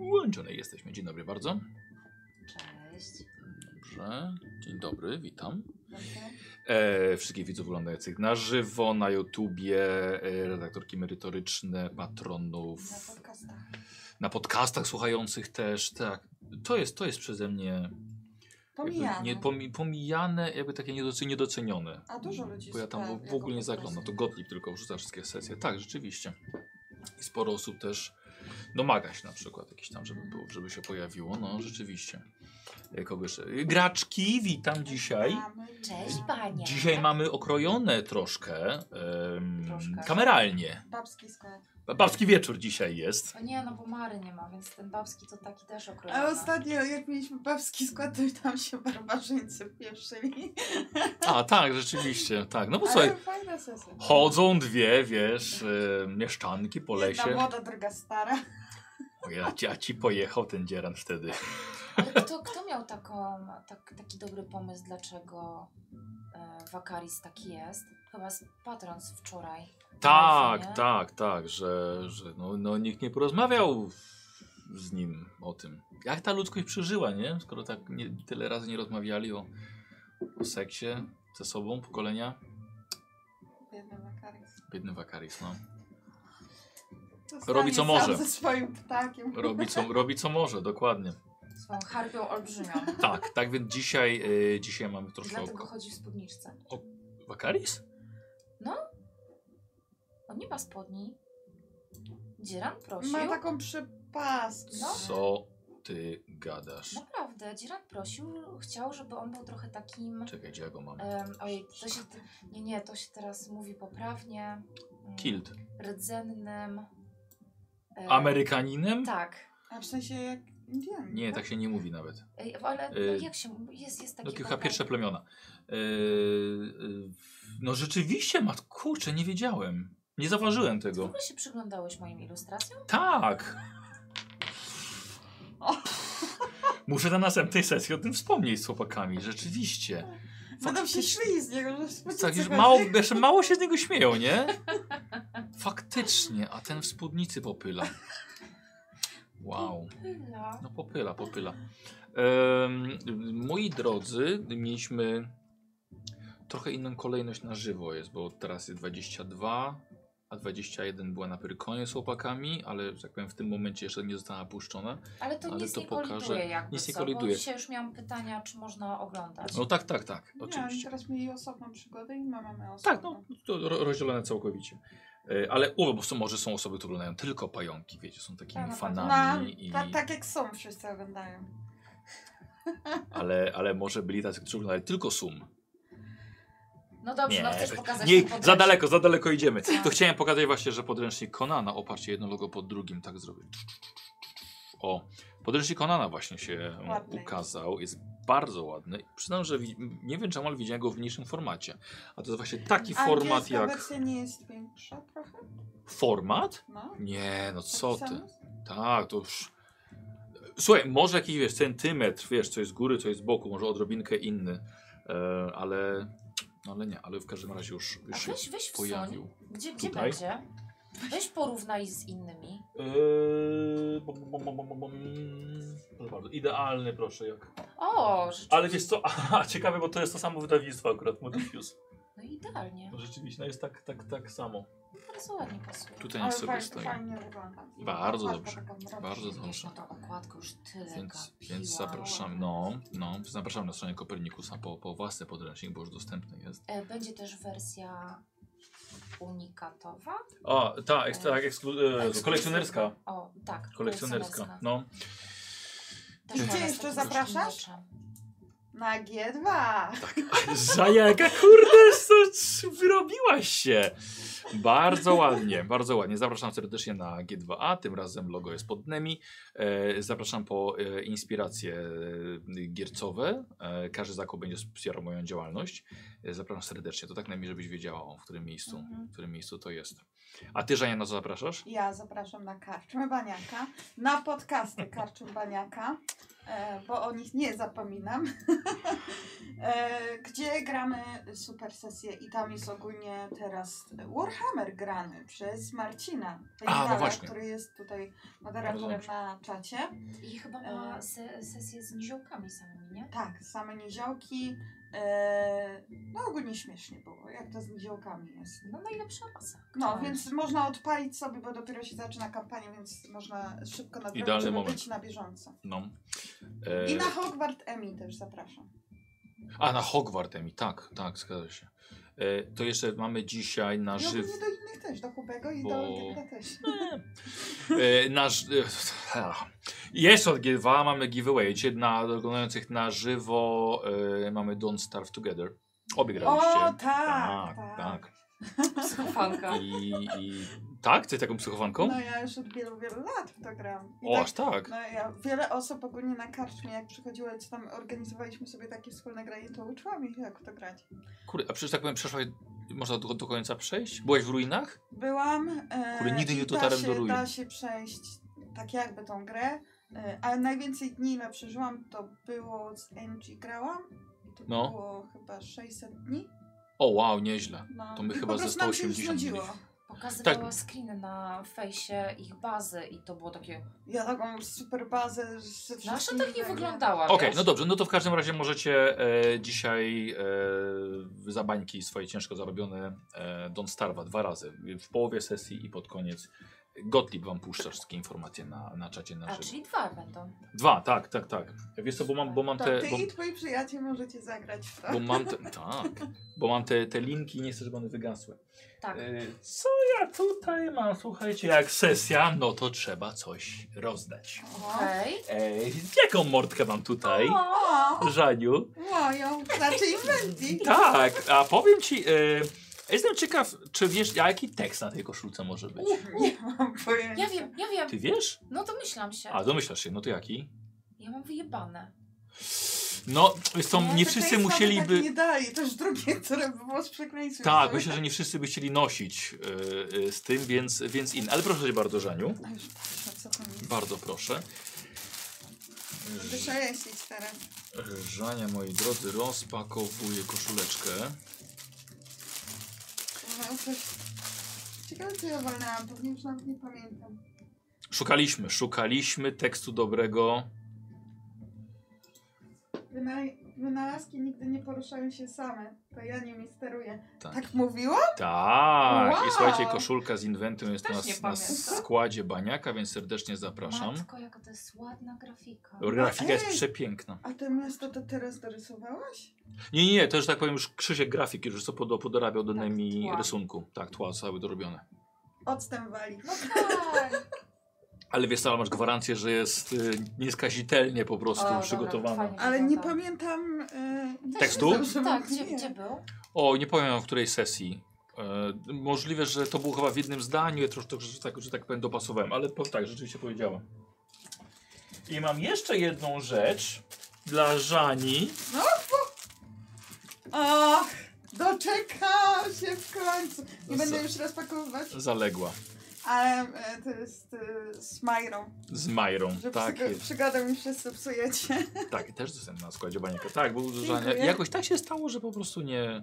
Łączone jesteśmy. Dzień dobry bardzo. Cześć. Dobrze. Dzień dobry, witam. Dobrze? E, wszystkich widzów oglądających na żywo, na YouTubie, e, redaktorki merytoryczne, Na patronów, podcastach. na podcastach słuchających też, tak. To jest, to jest przeze mnie jakby Pomijamy. no. Nie, pomi, pomijane, jakby takie niedoc- niedocenione. A dużo ludzi Bo ja tam słucha w, w jako ogóle nie podcast. zaglądam. No To Gottlieb tylko wrzuca wszystkie sesje. Tak, rzeczywiście. I sporo osób też domaga się na przykład jakieś tam, żeby było, żeby się pojawiło. No, rzeczywiście. E, Kogoś. e, Graczki, witam dzisiaj. Mamy- Cześć panie. Dzisiaj mamy okrojone troszkę, em, Troszkę. kameralnie. Babski sklep. Ba- Babski wieczór dzisiaj jest. O nie, no bo Mary nie ma, więc ten babski to taki też okrojony. A ostatnio jak mieliśmy babski skład, to i tam się barbarzyńcy pieprzyli. A tak, rzeczywiście, tak. No bo Ale No słuchaj, fajna sesja. chodzą dwie, wiesz, e, mieszczanki po Jedna lesie. młoda, druga stara. O ja, ci- a ci pojechał ten dzieran wtedy. Ale kto, kto miał taką, tak, taki dobry pomysł, dlaczego e, Wakaris taki jest? Chyba z patron z wczoraj. Mówi, Tak, nie? tak, tak, że, że no, no nikt nie porozmawiał z nim o tym. Jak ta ludzkość przeżyła, nie? Skoro tak nie, tyle razy nie rozmawiali o, o seksie ze sobą, pokolenia. Biedny Makaris. Biedny Wakaris, no. Zostanie Robi, co sam może. ze swoim ptakiem. Robi co, robi co może, dokładnie. Swoją harpią olbrzymią. Tak, tak więc dzisiaj, y, dzisiaj mamy troszkę Dlatego o... chodzi w spódniczce. Wakaris? On nie ma spodni. Dzieran prosił. Ma tak- taką przepastkę. No. Co ty gadasz? Naprawdę, Dzieran prosił, chciał, żeby on był trochę takim... Czekaj, gdzie ja go mam? em, ojej, to się... Nie, nie, to się teraz mówi poprawnie. Mm, Kilt. Rdzennym... e, Amerykaninem? Tak. A w sensie jak Indian. Nie, tak się nie mówi nawet. Ej, ale no Y, jak się. Jest, jest taki. No kilka pierwsze plemiona. Yy, yy, no rzeczywiście, mat, kurczę, nie wiedziałem. Nie zauważyłem W tego. ogóle się przyglądałeś moim ilustracjom? Tak! Muszę na następnej sesji o tym wspomnieć z chłopakami, rzeczywiście. Będą się faktycznie. szli z niego, że spójrzcie Tak, już sobie. mało, jeszcze mało się z niego śmieją, nie? Faktycznie, a ten w spódnicy popyla. Wow. Chyba. No popyla, popyla. Em, moi drodzy, mieliśmy trochę inną kolejność na żywo jest, bo teraz jest 22, a 21 była na Pyrkonie z chłopakami, ale że tak powiem w tym momencie jeszcze nie została puszczona. Ale to Ale nic to nie pokaże- koliduje jakby nic nie co, koliduje. Bo dzisiaj już miałam pytania, czy można oglądać. No tak, tak, tak, Nie, oni oczywiście. teraz mieli osobną przygodę i my mamy osobną. Tak, no to ro- rozdzielone całkowicie. E, Ale o, bo są, może są osoby, które oglądają tylko pająki, wiecie, są takimi Tak, na pewno. no Na, fanami. i, ta, tak jak są, wszyscy oglądają. ale, ale może byli tacy, którzy oglądali tylko sum. No dobrze, no chcesz to- pokazać. nie, ten podręcznik. za daleko, za daleko idziemy. Tak. To chciałem pokazać właśnie, że podręcznik Konana oparcie jedno logo pod drugim, tak zrobię. O, podręcznik Konana właśnie się Ładny. ukazał, jest bardzo ładny. Przyznam, że wi- nie wiem czemu, ale widziałem go w mniejszym formacie. A to jest właśnie taki format Angielska jak... wersja nie jest większa trochę? Format? No. Nie, no Tak co ty. samo? Tak, to już... Słuchaj, może jakiś wiesz, centymetr, wiesz, co jest z góry, co jest z boku, może odrobinkę inny, e, ale... No ale nie, ale w każdym razie już, A już się weź, weź w pojawił. Sony. Gdzie, gdzie Tutaj. będzie? Weź porównaj z innymi. Eee, bom, bom, bom, bom, bom, bom. Proszę bardzo, idealny proszę jak. O, rzeczywiście. Ale wiesz co, aha, ciekawe, bo to jest to samo wydawnictwo akurat Modifius. No idealnie. No Rzeczywiście, no jest tak, tak, tak samo. Bardzo ładnie pasuje. Tutaj Ale nic sobie fajnie, stoi. fajnie wygląda. I Bardzo okładka dobrze. taka mroczna. Bardzo Wiesz, dobrze. no ta okładka już tyle Więc, gapiła. więc zapraszam, no, no, zapraszam na stronę Kopernikusa po, po własny podręcznik, bo już dostępny jest. E, Będzie też wersja unikatowa. A, ta, eks- tak, E, e, kolekcjonerska. O, tak. Kolekcjonerska, no. Też Gdzie ona z jeszcze takim zapraszasz? spódniczem. Na G2. Tak. Za jaka kurde co- wyrobiłaś się? Bardzo ładnie, bardzo ładnie. Zapraszam serdecznie na G2A, tym razem logo jest pod nami. E, Zapraszam po e, inspiracje e, giercowe. E, Każdy zakup będzie wspierał moją działalność. E, Zapraszam serdecznie, to tak najmniej żebyś wiedziała o, w którym miejscu, Mhm. w którym miejscu to jest. A ty, Żania, na co zapraszasz? Ja zapraszam na karczmę Baniaka, na podcasty karczmy Baniaka, e, bo o nich nie zapominam, e, gdzie gramy super sesję i tam jest ogólnie teraz Warhammer grany przez Marcina, A, no Pejtala, właśnie. który jest tutaj moderatorem Bardzo na czacie. I chyba ma E. se sesję z niziołkami samymi, nie? Tak, same niziołki. E, no ogólnie śmiesznie było, jak to z niziołkami jest. No najlepsza Tak. masa. No, Tak. więc można odpalić sobie, bo dopiero się zaczyna kampania, więc można szybko nadrobić, Idealny żeby moment. być na bieżąco. No. E, I na Hogwart Emmy też zapraszam. A, na Hogwart Emi, tak, tak, zgadza się. E, to jeszcze mamy dzisiaj na I żywo. ogólnie do innych też, do Hubego i Bo- do Gilda też. E, nasz, e, jest od G2, mamy giveaway. Dzisiaj na oglądających na żywo e, mamy Don't Starve Together. Obie O, graliście. tak, tak. tak. Psychofanka. I, i tak? Ty taką psychowanką? No ja już od wielu, wielu lat w to gram. I o, tak, aż tak. no ja, wiele osób ogólnie na karczmie, jak przychodziło, co tam organizowaliśmy sobie takie wspólne granie, to uczyłam ich, jak w to grać. Kurde, a przecież tak powiem, przeszłaś, można do, do końca przejść? Byłeś w ruinach? Byłam. E, Kurde, nigdy i nie da dotarłem się- do ruin. Da się przejść tak jakby tą grę, e, ale najwięcej dni, ile przeżyłam, to było z NG grałam. I to No. było chyba 600 dni. O, wow, nieźle. No. To my I chyba po ze prostu nam się już 180 dni. znudziło. Pokazywała Tak. screen na fejsie ich bazy i to było takie... Ja taką super bazę. że Nasza wszystkim tak nie wygra- wyglądała, Okej, wiesz? no dobrze, no to w każdym razie możecie e, dzisiaj e, za bańki swoje ciężko zarobione e, Don Starwa dwa razy, w połowie sesji i pod koniec. Gottlieb wam puszcza wszystkie informacje na, na czacie na A, żywo. czyli dwa będą. Dwa, tak, tak, tak. Wiesz co, bo mam, bo mam To te... ty Bo, i twoi przyjaciel możecie zagrać w to. bo mam te... Tak. Bo mam te, te linki i nie chcę, żeby one wygasły. Tak. E, co ja tutaj mam? Słuchajcie, jak sesja, no to trzeba coś rozdać. Okej. E, jaką mordkę mam tutaj? O, Żaniu. moją, znaczy Invendi. Tak, a powiem ci, e, jestem ciekaw, czy wiesz, a jaki tekst na tej koszulce może być? Nie mam pojęcia. Ja wiem, ja wiem. Ty wiesz? No domyślam się. A, domyślasz się, no to jaki? Ja mam wyjebane. No, są, nie to wszyscy Keynes nam Tak musieliby... nie dali, to już drugie, które było z przekleństwem. Tak, myślę, że nie wszyscy by chcieli nosić e, e, z tym, więc, więc in. Ale proszę cię bardzo, Żaniu. A No już patrzę, co tam jest. Bardzo proszę. Będę szaleścić teraz. Żania, moi drodzy, rozpakowuje koszuleczkę. Uwaga, coś- Ciekawe, co ja walnęłam, pewnie już nawet nie pamiętam. Szukaliśmy, szukaliśmy tekstu dobrego. Wynaj- Wynalazki nigdy nie poruszają się same, to ja nimi steruję. Tak. Tak, mówiła? Tak, i Wow. słuchajcie, koszulka z inwentem jest Też na, nie na pamiętam. składzie baniaka, więc serdecznie zapraszam. Matko, jaka to jest ładna grafika. Grafika jest Ej! przepiękna. A to miasto to teraz dorysowałaś? Nie, nie, nie, to już tak powiem, już Krzysiek grafik już co pod- podorabiał do Tak, najmi tła. rysunku. Tak, tła całe dorobione. Odstęp wali. No tak. Ale wiesz, ale masz gwarancję, że jest y, nieskazitelnie po prostu O, dobra, przygotowana. fajnie. Ale nie Wygląda. pamiętam... e, tak. nie Tekstu? wiem, dobrze, Tak, nie. gdzie, gdzie był? O, nie powiem w której sesji. E, możliwe, że to było chyba w jednym zdaniu, ja troszkę, że tak, że tak powiem, dopasowałem, ale po, tak, rzeczywiście powiedziałam. I mam jeszcze jedną rzecz dla Żani. Och, doczekałam się w końcu. Nie No będę co? już rozpakowywać, Zaległa. ale e, to jest e, z Majrą. Z Majrą. Że Tak, przygo- jest. przygodę mi wszyscy psujecie. tak, też jestem na składzie baniaka. Tak, był Żania. Dziękuję. Jakoś tak się stało, że po prostu nie,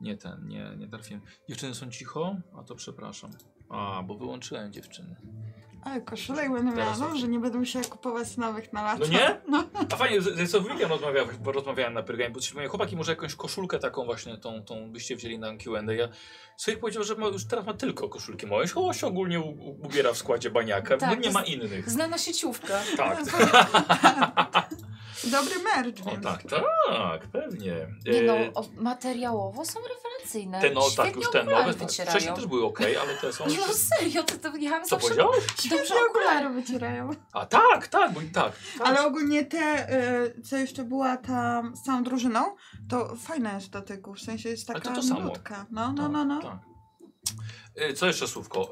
nie ten, nie, nie trafiłem. Dziewczyny są cicho? A to przepraszam. A, bo wyłączyłem dziewczyny. Ale koszulę będę miała, Teraz no, dobrze. że nie będę musiała kupować nowych na lato. No nie? A fajnie, ze ze Sownikiem rozmawiałem, bo rozmawiałem na pergamie, bo coś mówię, chłopaki, może jakąś koszulkę taką właśnie, tą, tą byście wzięli na Q&A. Ja Sowik powiedział, że ma, już teraz ma tylko koszulki małe. O, się ogólnie u, u, ubiera w składzie baniaka, Tak, bo nie to ma jest- innych. Znana sieciówka. Tak, no, Dobry merch, o, więc. tak, tak, pewnie. Nie no, E, o, materiałowo są rewelacyjne. Te, no, tak, E, Świetnie już te okulary nowe. Tak. wycierają. Wcześniej też były ok, ale te są. Nie no, serio, to, to ja mam Co zawsze powiedziałeś? dobrze okulary. okulary wycierają. A tak, tak, bo i tak. tak. Ale ogólnie te, y, co jeszcze była tam z całą drużyną, to fajna jest do tego. W sensie jest Ale taka to to samo. No, nutka. No, no, no, no. Tak. E, Tak, Co jeszcze słówko?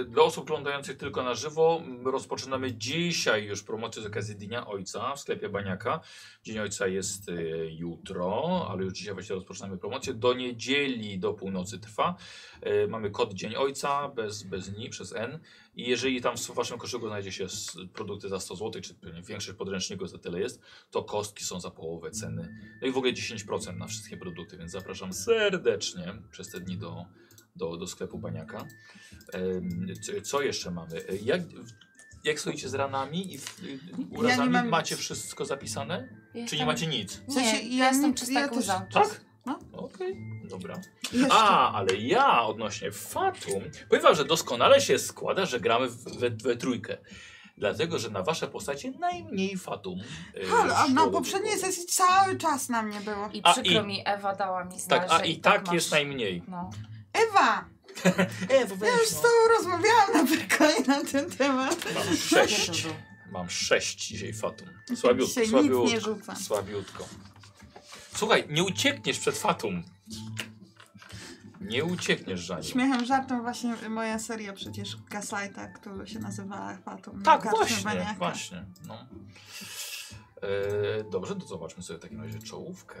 E, Dla osób oglądających tylko na żywo m, rozpoczynamy dzisiaj już promocję z okazji Dnia Ojca w sklepie Baniaka. Dzień Ojca jest e, jutro, ale już dzisiaj właśnie rozpoczynamy promocję. Do niedzieli, do północy trwa. E, Mamy kod Dzień Ojca, bez, bez ni, przez N. I jeżeli tam w waszym koszyku znajdzie się s- produkty za 100 zł, czy pewnie w większych podręczników za tyle jest, to kostki są za połowę ceny. No i w ogóle 10% na wszystkie produkty, więc zapraszam serdecznie przez te dni do, do, do sklepu Baniaka. Em, c- Co jeszcze mamy? E, Jak, w- jak stoicie z ranami i w- i urazami? nie mam Macie nic. wszystko zapisane? Ja Czy nie jestem- macie nic? W Nie, sensie, ja, ja jestem nie- czysta ja też- kurza. Tak? No. Okej, dobra. Jeszcze. A, ale ja odnośnie Fatum, powiem wam, że doskonale się składa, że gramy w- we, we trójkę. Dlatego, że na wasze postacie najmniej Fatum. e, Halo, a na szło do poprzedniej głowy. sesji cały czas na mnie było. I A, przykro i- mi, Ewa dała mi znać, Tak, a że i tak masz- jest najmniej. No. Ewa, E, weź, ja już z tobą rozmawiałam na wykonie na ten temat. Mam Jakie sześć. to był? Mam sześć dzisiaj Fatum. Słabiutko, Dzisiaj nic nie słabiutko, rzucam. słabiutko. Słuchaj, nie uciekniesz przed Fatum. Nie uciekniesz, Żaniu. Śmiechem żartem właśnie moja seria przecież Gaslighta, która się nazywała Fatum. Tak, Garczem właśnie, Maniaka. właśnie. No. E, dobrze, to zobaczmy sobie w takim razie czołówkę.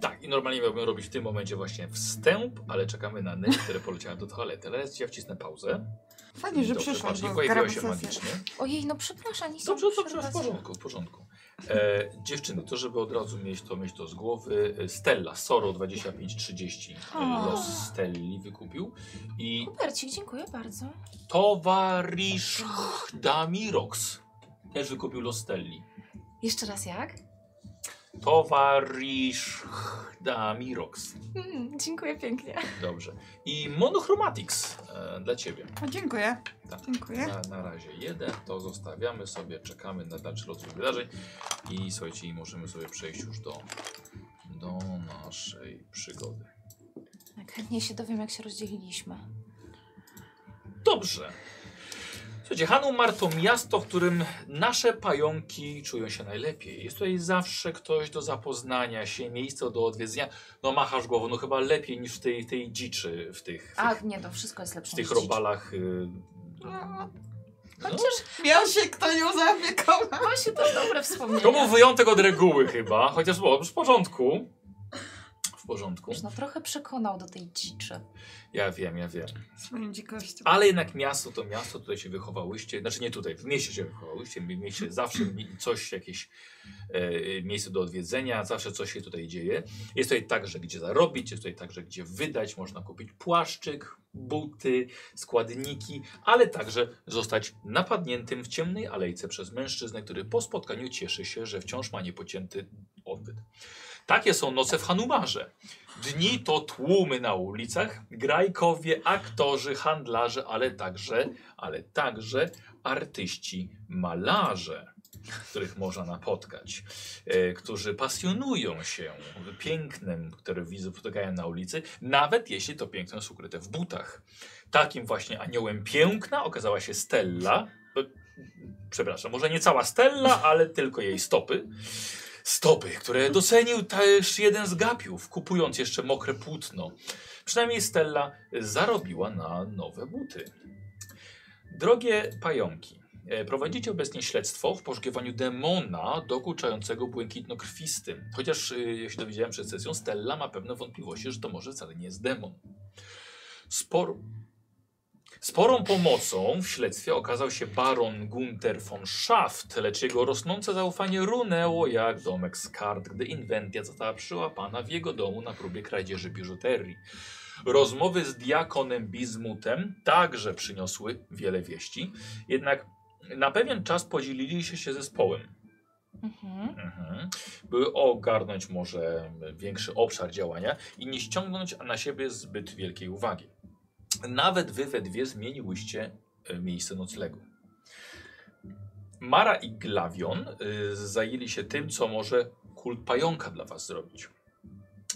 Tak, i normalnie miałbym robić w tym momencie właśnie wstęp, ale czekamy na Nel, które poleciała do toalety. Ale ja wcisnę pauzę. Fajnie, że Dobrze, przyszłaś, patrz, nie bo pojawiła się gramy sesję. magicznie. Ojej, no przepraszam, nie Dobrze, dobrze, w porządku, w porządku. E, dziewczyny, to żeby od razu mieć to, mieć to z głowy, e, Stella, Soro 2530 e, los Stelli wykupił i Hubercik, dziękuję bardzo. towarzysz Damirox też wykupił los Stelli. Jeszcze raz jak? Towarzysz Damirox. Mm, dziękuję pięknie. Dobrze. I Monochromatics e, dla ciebie. O, dziękuję. Tak. Dziękuję. Na, na razie jeden, to zostawiamy sobie, czekamy na dalszy rozwój wydarzeń i słuchajcie, i możemy sobie przejść już do, do naszej przygody. Tak, chętnie się dowiem, jak się rozdzieliliśmy. Dobrze. Słuchajcie, Hanu Mar to miasto, w którym nasze pająki czują się najlepiej. Jest tutaj zawsze ktoś do zapoznania się, miejsce do odwiedzenia. No machasz głową, no chyba lepiej niż w tej, tej dziczy, w tych, w A, tych, nie, to wszystko jest lepsze w tych niż dziś. robalach. y, No. No, Tak. Chociaż Miał się kto nią zaopiekował. właśnie to dobre wspomnienie. To był wyjątek od reguły chyba, chociaż było w porządku. W porządku. No trochę przekonał do tej dziczy. Ja wiem, ja wiem. Swoją dzikością. Ale jednak miasto to miasto, tutaj się wychowałyście, znaczy nie tutaj, w mieście się wychowałyście, w mieście zawsze mi- coś, jakieś e, miejsce do odwiedzenia, zawsze coś się tutaj dzieje. Jest tutaj także gdzie zarobić, jest tutaj także gdzie wydać, można kupić płaszczyk, buty, składniki, ale także zostać napadniętym w ciemnej alejce przez mężczyznę, który po spotkaniu cieszy się, że wciąż ma niepocięty odbyt. Takie są noce w Hanumarze. Dni to tłumy na ulicach, grajkowie, aktorzy, handlarze, ale także, ale także artyści, malarze. których można napotkać, e, którzy pasjonują się pięknem, które widzą, spotykają na ulicy, nawet jeśli to piękno jest ukryte w butach. Takim właśnie aniołem piękna okazała się Stella. E, Przepraszam, może nie cała Stella, ale tylko jej stopy. Stopy, które docenił też jeden z gapiów, kupując jeszcze mokre płótno. Przynajmniej Stella zarobiła na nowe buty. Drogie pająki, e, prowadzicie obecnie śledztwo w poszukiwaniu demona dokuczającego błękitnokrwistym. Chociaż, e, jak się dowiedziałem przed sesją, Stella ma pewne wątpliwości, że to może wcale nie jest demon. Spor... Sporą pomocą w śledztwie okazał się baron Gunther von Schaft, lecz jego rosnące zaufanie runęło jak domek z kart, gdy inwentja została przyłapana w jego domu na próbie kradzieży biżuterii. Rozmowy z diakonem Bizmutem także przyniosły wiele wieści, jednak na pewien czas podzielili się, się zespołem. Mhm. Mhm. By ogarnąć może większy obszar działania i nie ściągnąć na siebie zbyt wielkiej uwagi. Nawet wy we dwie zmieniłyście e, miejsce noclegu. Mara i Glawion y, zajęli się tym, co może kult pająka dla was zrobić.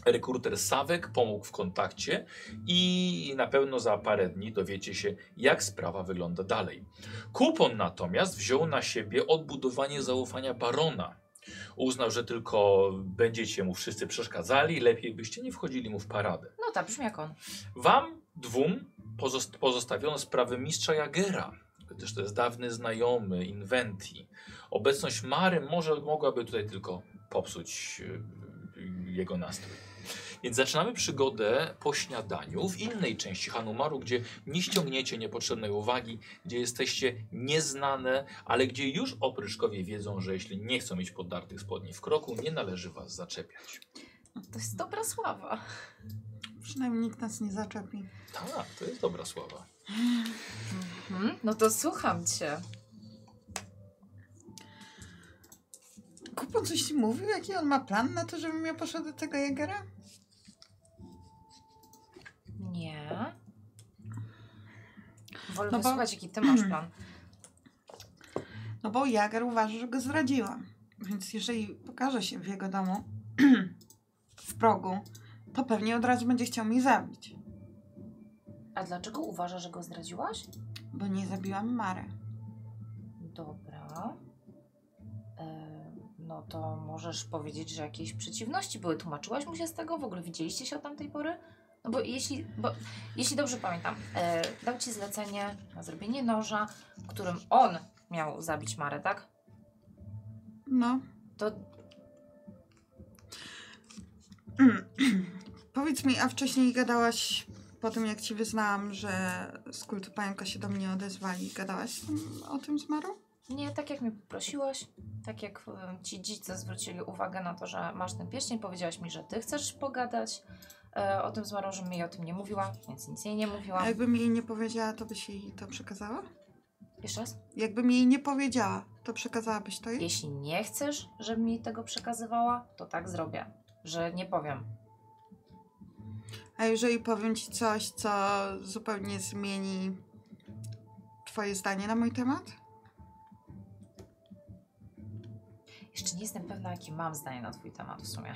Rekruter Sawek pomógł w kontakcie i na pewno za parę dni dowiecie się, jak sprawa wygląda dalej. Kupon natomiast wziął na siebie odbudowanie zaufania barona. Uznał, że tylko będziecie mu wszyscy przeszkadzali, lepiej byście nie wchodzili mu w paradę. No tak, brzmi jak on. Wam dwóm pozost- pozostawiono sprawy mistrza Jagera, gdyż to jest dawny znajomy Inventi. Obecność Mary może mogłaby tutaj tylko popsuć yy, jego nastrój. Więc zaczynamy przygodę po śniadaniu w innej części Hanumaru, gdzie nie ściągniecie niepotrzebnej uwagi, gdzie jesteście nieznane, ale gdzie już opryszkowie wiedzą, że jeśli nie chcą mieć poddartych spodni w kroku, nie należy was zaczepiać. To jest dobra sława. Przynajmniej nikt nas nie zaczepi. Tak, to jest dobra sława. Mhm. No to słucham cię. Kupon coś ci mówił? Jaki on ma plan na to, żebym ja poszła do tego Jagera? Nie. Wolę No bo- wysłuchać, jaki ty masz plan. No bo Jager uważa, że go zdradziłam. Więc jeżeli pokaże się w jego domu w progu, to pewnie od razu będzie chciał mnie zabić. A dlaczego uważasz, że go zdradziłaś? Bo nie zabiłam Marę. Dobra. E, No to możesz powiedzieć, że jakieś przeciwności były. Tłumaczyłaś mu się z tego? W ogóle widzieliście się od tamtej pory? No bo jeśli, bo jeśli dobrze pamiętam, e, dał ci zlecenie na zrobienie noża, którym on miał zabić Marę, tak? No. To Powiedz mi, a wcześniej gadałaś po tym, jak ci wyznałam, że z kultu pająka się do mnie odezwali. Gadałaś z tym- o tym z Marą? nie tak, jak mnie poprosiłaś, tak jak e, ci dzice zwrócili uwagę na to, że masz ten pierścień, powiedziałaś mi, że ty chcesz pogadać e, o tym z Marą, że mi jej o tym nie mówiła, więc nic jej nie mówiłam. A jakbym jej nie powiedziała, to byś jej to przekazała? Jeszcze raz? Jakbym jej nie powiedziała, to przekazałabyś to jej? Jeśli nie chcesz, żebym mi tego przekazywała, to tak zrobię, że nie powiem. A jeżeli powiem ci coś, co zupełnie zmieni twoje zdanie na mój temat? Jeszcze nie jestem pewna, jakie mam zdanie na twój temat w sumie.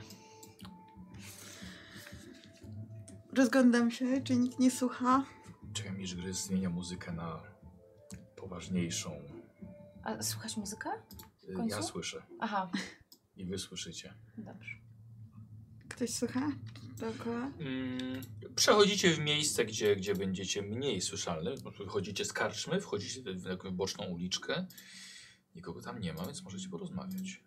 Rozglądam się, czy nikt nie słucha. Czekam, iż gry zmienia muzykę na poważniejszą. A słuchasz muzykę? Y, końcu? Ja słyszę Aha, i wy słyszycie. dobrze. Ktoś słucha? Dookoła? Mm, Przechodzicie w miejsce, gdzie, gdzie będziecie mniej słyszalny. Wychodzicie z karczmy, wchodzicie w jakąś boczną uliczkę. Nikogo tam nie ma, więc możecie porozmawiać.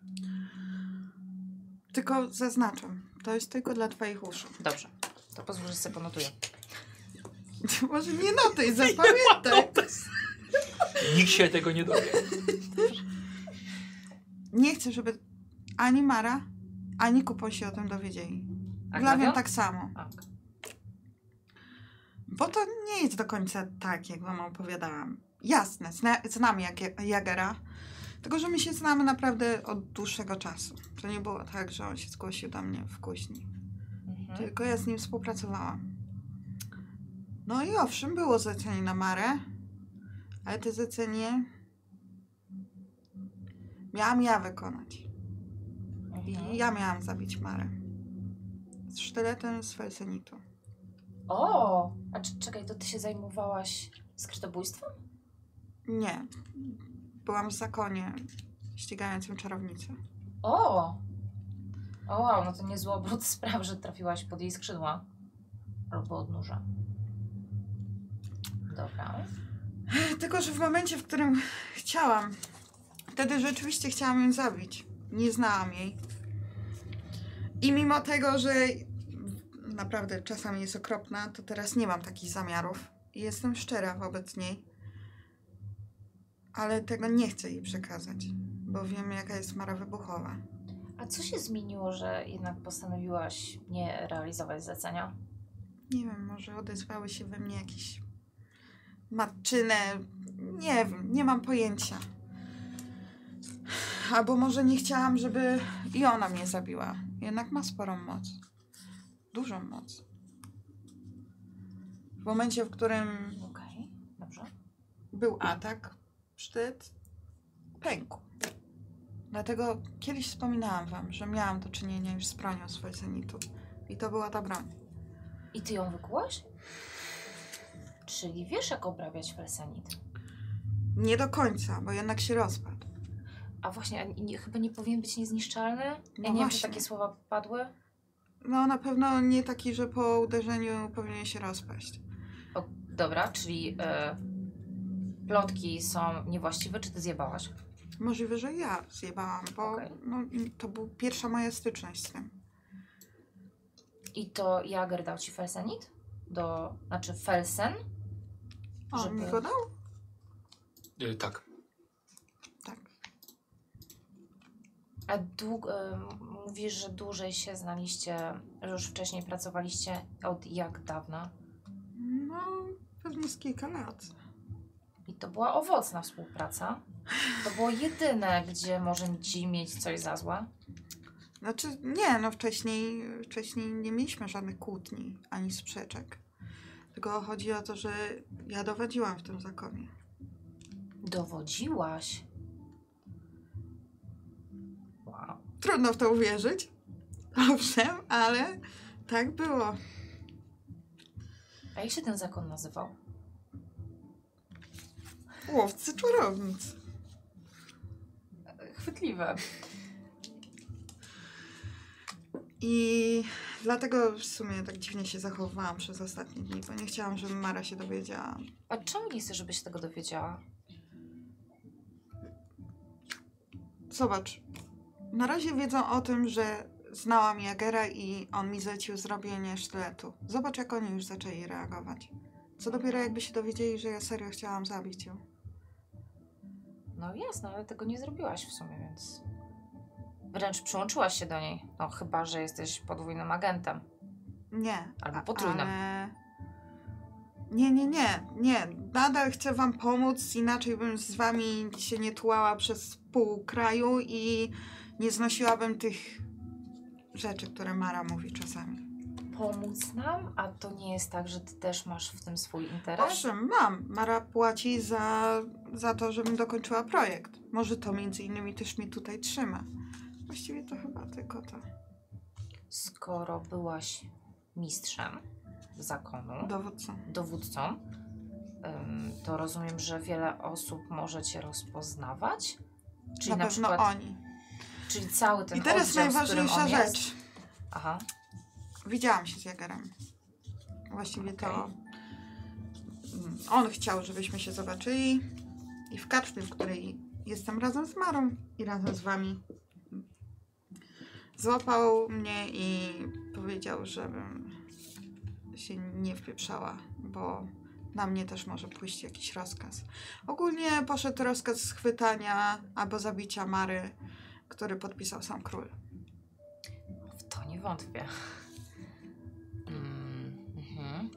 Tylko zaznaczam, to jest tylko dla twoich uszu. Dobrze, to pozwól, że sobie ponotuję. Może nie notuj, zapamiętaj. Nikt się tego nie dowie. Nie chcę, żeby ani Mara, ani Kupon się o tym dowiedzieli. A Glawiam Glawion? tak samo. A, Bo to nie jest do końca tak, jak wam opowiadałam. Jasne, zna, znam Jak- Jagera, tylko że my się znamy naprawdę od dłuższego czasu. To nie było tak, że on się zgłosił do mnie w kuźni. mhm. Tylko ja z nim współpracowałam. No i owszem, było zlecenie na Marę, ale to zlecenie Miałam ja wykonać. Mhm. I ja miałam zabić Marę. Z sztyletem z felsenitu. O! A czy, czekaj, to ty się zajmowałaś skrytobójstwem? Nie. Byłam w zakonie ścigającym czarownicę. O! O wow, no to niezły obrót spraw, że trafiłaś pod jej skrzydła. Albo odnóża. Dobra. Tylko, że w momencie, w którym chciałam, wtedy rzeczywiście chciałam ją zabić. Nie znałam jej. I mimo tego, że naprawdę czasami jest okropna, to teraz nie mam takich zamiarów. I Jestem szczera wobec niej. Ale tego nie chcę jej przekazać, bo wiem, jaka jest Mara wybuchowa. A co się zmieniło, że jednak postanowiłaś nie realizować zlecenia? Nie wiem, może odezwały się we mnie jakieś matczyne. Nie wiem, nie mam pojęcia. Albo może nie chciałam, żeby i ona mnie zabiła. Jednak ma sporą moc. Dużą moc. W momencie, w którym Okej, dobrze. był atak, sztyt pękł. Dlatego kiedyś wspominałam wam, że miałam do czynienia już z bronią z Felsenitu. I to była ta broń. I ty ją wykułaś? Czyli wiesz, jak obrabiać felsenit. Nie do końca, bo jednak się rozpadł. A właśnie, a nie, chyba nie powinien być niezniszczalny? Ja nie wiem, czy właśnie. takie słowa padły. No na pewno nie taki, że po uderzeniu powinien się rozpaść. O, dobra, czyli e, plotki są niewłaściwe, czy ty zjebałaś? Możliwe, że ja zjebałam, bo Okej. no, to była pierwsza moja styczność z tym. I to Jager dał ci felsenit? Do, znaczy felsen? On Żeby- mi go dał? E, tak. Tak. A dług, e, mówisz, że dłużej się znaliście, że już wcześniej pracowaliście od jak dawna? No, pewnie z kilka lat. I to była owocna współpraca. To było jedyne, gdzie może ci mieć coś za złe. Znaczy, nie, no wcześniej, wcześniej nie mieliśmy żadnych kłótni ani sprzeczek. Tylko chodzi o to, że ja dowodziłam w tym zakonie. Dowodziłaś. Wow. Trudno w to uwierzyć, owszem, ale tak było. A jak się ten zakon nazywał? Łowcy czarownic. Chwytliwe. I dlatego w sumie tak dziwnie się zachowywałam przez ostatnie dni, bo nie chciałam, żeby Mara się dowiedziała. A czemu nie chcesz, żeby się tego dowiedziała? Zobacz, na razie wiedzą o tym, że znałam Jagera i on mi zlecił zrobienie sztyletu. Zobacz, jak oni już zaczęli reagować. Co dopiero jakby się dowiedzieli, że ja serio chciałam zabić ją. No jasne, ale tego nie zrobiłaś w sumie, więc. Wręcz przyłączyłaś się do niej. No chyba, że jesteś podwójnym agentem. Nie. Albo a- potrójna. Ale... Nie, nie, nie, nie. Nadal chcę wam pomóc, inaczej bym z wami się nie tułała przez pół kraju i nie znosiłabym tych rzeczy, które Mara mówi czasami. Pomóc nam, a to nie jest tak, że ty też masz w tym swój interes. Owszem, mam. Mara płaci za, za to, żebym dokończyła projekt. Może to między innymi też mnie tutaj trzyma. Właściwie to chyba tylko to. Skoro byłaś mistrzem zakonu, Dowódcą. dowódcą, ym, to rozumiem, że wiele osób może cię rozpoznawać. Czyli na, na pewno przykład, oni. czyli cały ten I teraz oddział, z którym najważniejsza on rzecz. Jest. Aha. Widziałam się z Jagerem. Właściwie to Okej. mm, on chciał, żebyśmy się zobaczyli. I w karczmie, w której jestem razem z Marą i razem z wami, złapał mnie i powiedział, żebym się nie wpieprzała, bo na mnie też może pójść jakiś rozkaz. Ogólnie poszedł rozkaz schwytania albo zabicia Mary, który podpisał sam król. W to nie wątpię. Mm, mhm.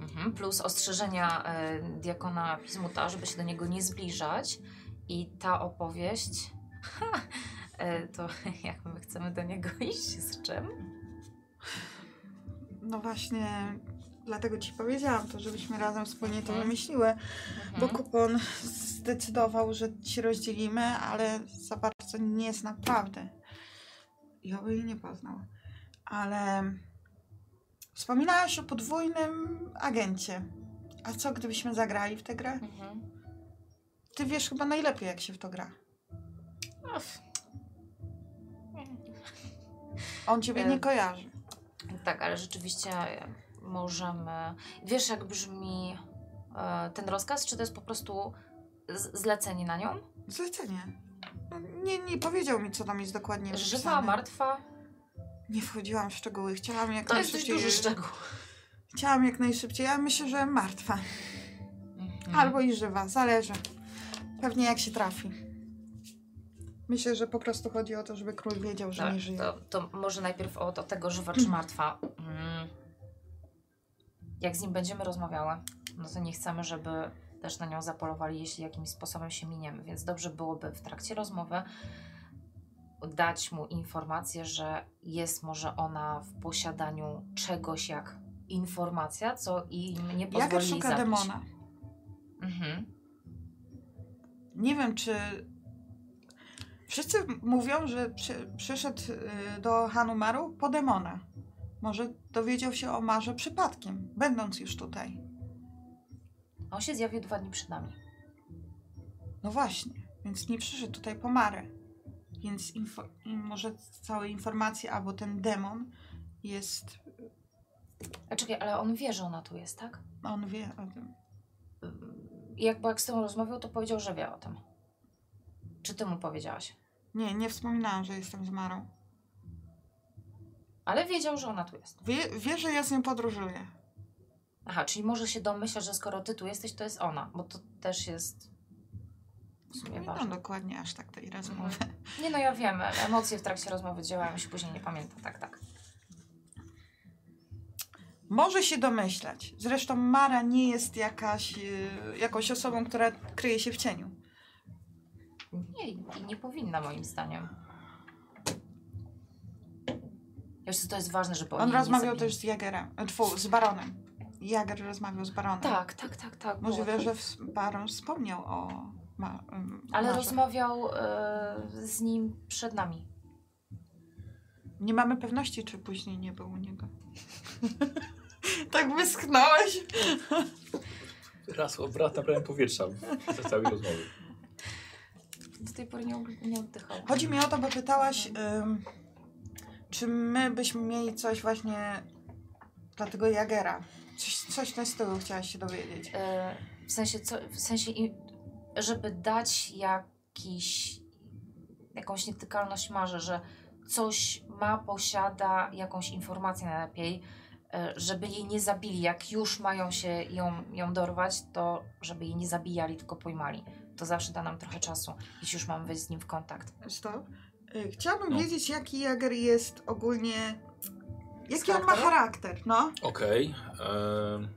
Mhm, Plus ostrzeżenia e, diakona Pismuta, żeby się do niego nie zbliżać. I ta opowieść, e, to jak my chcemy do niego iść, z czym? No właśnie, dlatego ci powiedziałam to, żebyśmy razem wspólnie to Mhm. wymyśliły, Mhm. bo kupon zdecydował, że się rozdzielimy, ale za bardzo nie zna prawdy. I oby jej nie poznał. Ale wspominałaś o podwójnym agencie. A co gdybyśmy zagrali w tę grę? Mhm. Ty wiesz chyba najlepiej, jak się w to gra. No, w- On ciebie Em, nie kojarzy. Tak, ale rzeczywiście e, możemy. Wiesz, jak brzmi e, ten rozkaz? Czy to jest po prostu z- zlecenie na nią? Zlecenie. No, Nie, nie powiedział mi, co tam jest dokładnie Żywa, napisane. martwa? Nie wchodziłam w szczegóły. Chciałam jak To jest dość najszybciej. duży szczegół. Chciałam jak najszybciej. Ja myślę, że martwa. Mhm. Albo i żywa, zależy. Pewnie jak się trafi. Myślę, że po prostu chodzi o to, żeby król wiedział, że Dobra, nie żyje. Tak, to, to może najpierw od, od tego żywa czy martwa. Mm. Jak z nim będziemy rozmawiały, no to nie chcemy, żeby też na nią zapolowali, jeśli jakimś sposobem się miniemy, więc dobrze byłoby w trakcie rozmowy dać mu informację, że jest może ona w posiadaniu czegoś jak informacja, co im nie pozwoli Jager jej szuka zabić. demona. Mhm. Nie wiem, czy. Wszyscy mówią, że przy, przyszedł y, do Hanumaru po demona. Może dowiedział się o Marze przypadkiem, będąc już tutaj. On się zjawił dwa dni przed nami. No właśnie, więc nie przyszedł tutaj po Marę. Więc info- i może całe informacje albo ten demon jest. A E, czekaj, ale on wie, że ona tu jest, tak? On wie o tym. I jakby jak z tym rozmawiał, to powiedział, że wie o tym. Czy ty mu powiedziałaś? Nie, nie wspominałam, że jestem z Marą. Ale wiedział, że ona tu jest. Wie, wie że ja z nią podróżuję. Aha, czyli może się domyślać, że skoro ty tu jesteś, to jest ona, bo to też jest. W sumie Nie ważne. Mhm. mam dokładnie aż tak tej rozmowy. Nie no, ja wiem, emocje w trakcie rozmowy działają, się później nie pamiętam, tak, tak. Może się domyślać. Zresztą Mara nie jest jakaś, y, jakąś osobą, która kryje się w cieniu. Nie, i nie powinna moim zdaniem. Wiesz co, to jest ważne, żeby oni On jej nie rozmawiał zabili. też z Jagerem, e, tfu, z Baronem. Jager rozmawiał z Baronem. Tak, tak, tak, tak. było Możliwe, to. że w- Baron wspomniał o ma, ym, Ale Marze. rozmawiał e, z nim przed nami. Nie mamy pewności, czy później nie był u niego. tak wyschnąłeś. Raz obrat na prawym powietrza w całej rozmowie. Do tej pory nie, ug- nie oddychał. Chodzi mi o to, bo pytałaś, ym, czy my byśmy mieli coś właśnie dla tego Jagera. Coś, coś na stylu chciałaś się dowiedzieć. E, w sensie, co, w sensie im, żeby dać jakiś, jakąś nietykalność marze, że coś ma, posiada jakąś informację najlepiej, e, żeby jej nie zabili. Jak już mają się ją, ją dorwać, to żeby jej nie zabijali, tylko pojmali. To zawsze da nam trochę czasu, jeśli już mam wejść z nim w kontakt. Stop. Y, Chciałabym No. wiedzieć, jaki Jager jest ogólnie. Jaki on ma charakteru? charakter, no? Okej. em,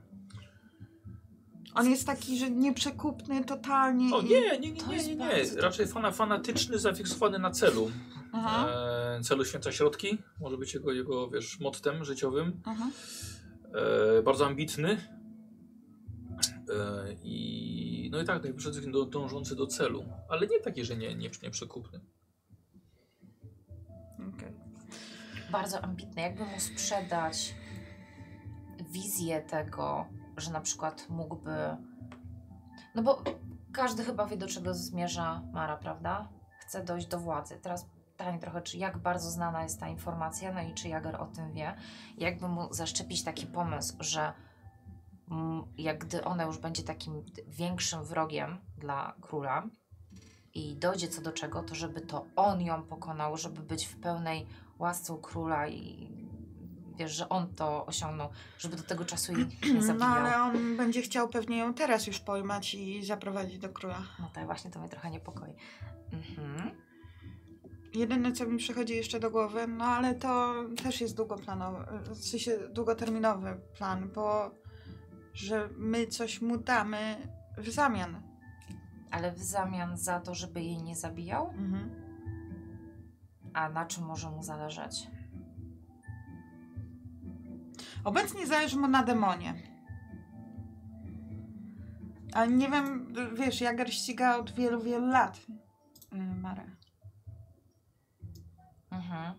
On jest taki, że nieprzekupny totalnie. O i- nie, nie, nie, To nie, jest nie, bardzo nie. Raczej fana, fanatyczny, zafiksowany na celu. Aha, E, celu święca środki. Może być jego, jego wiesz, mottem życiowym. aha. E, bardzo ambitny. E, I no i tak, no i przede wszystkim do, dążący do celu. Ale nie taki, że nie, nie, nie przekupny. Okej. bardzo ambitne. Jakby mu sprzedać wizję tego, że na przykład mógłby. No bo każdy chyba wie, do czego zmierza Mara, prawda? Chce dojść do władzy. Teraz pytanie trochę, czy jak bardzo znana jest ta informacja, no i czy Jager o tym wie. Jakby mu zaszczepić taki pomysł, że mm, jak gdy ona już będzie takim d- większym wrogiem dla króla i dojdzie co do czego, to żeby to on ją pokonał, żeby być w pełnej łasce u króla i wiesz, że on to osiągnął, żeby do tego czasu jej nie zabijał. No ale on będzie chciał pewnie ją teraz już pojmać i zaprowadzić do króla. No tak, właśnie to mnie trochę niepokoi. Mhm. Jedyne, co mi przychodzi jeszcze do głowy, no ale to też jest długoplanowy, w sensie długoterminowy plan, bo że my coś mu damy w zamian. Ale w zamian za to, żeby jej nie zabijał? Mhm. A na czym może mu zależeć? Obecnie zależy mu na demonie. Ale nie wiem, wiesz, Jager ściga od wielu, wielu lat E, y, Marę. Mhm.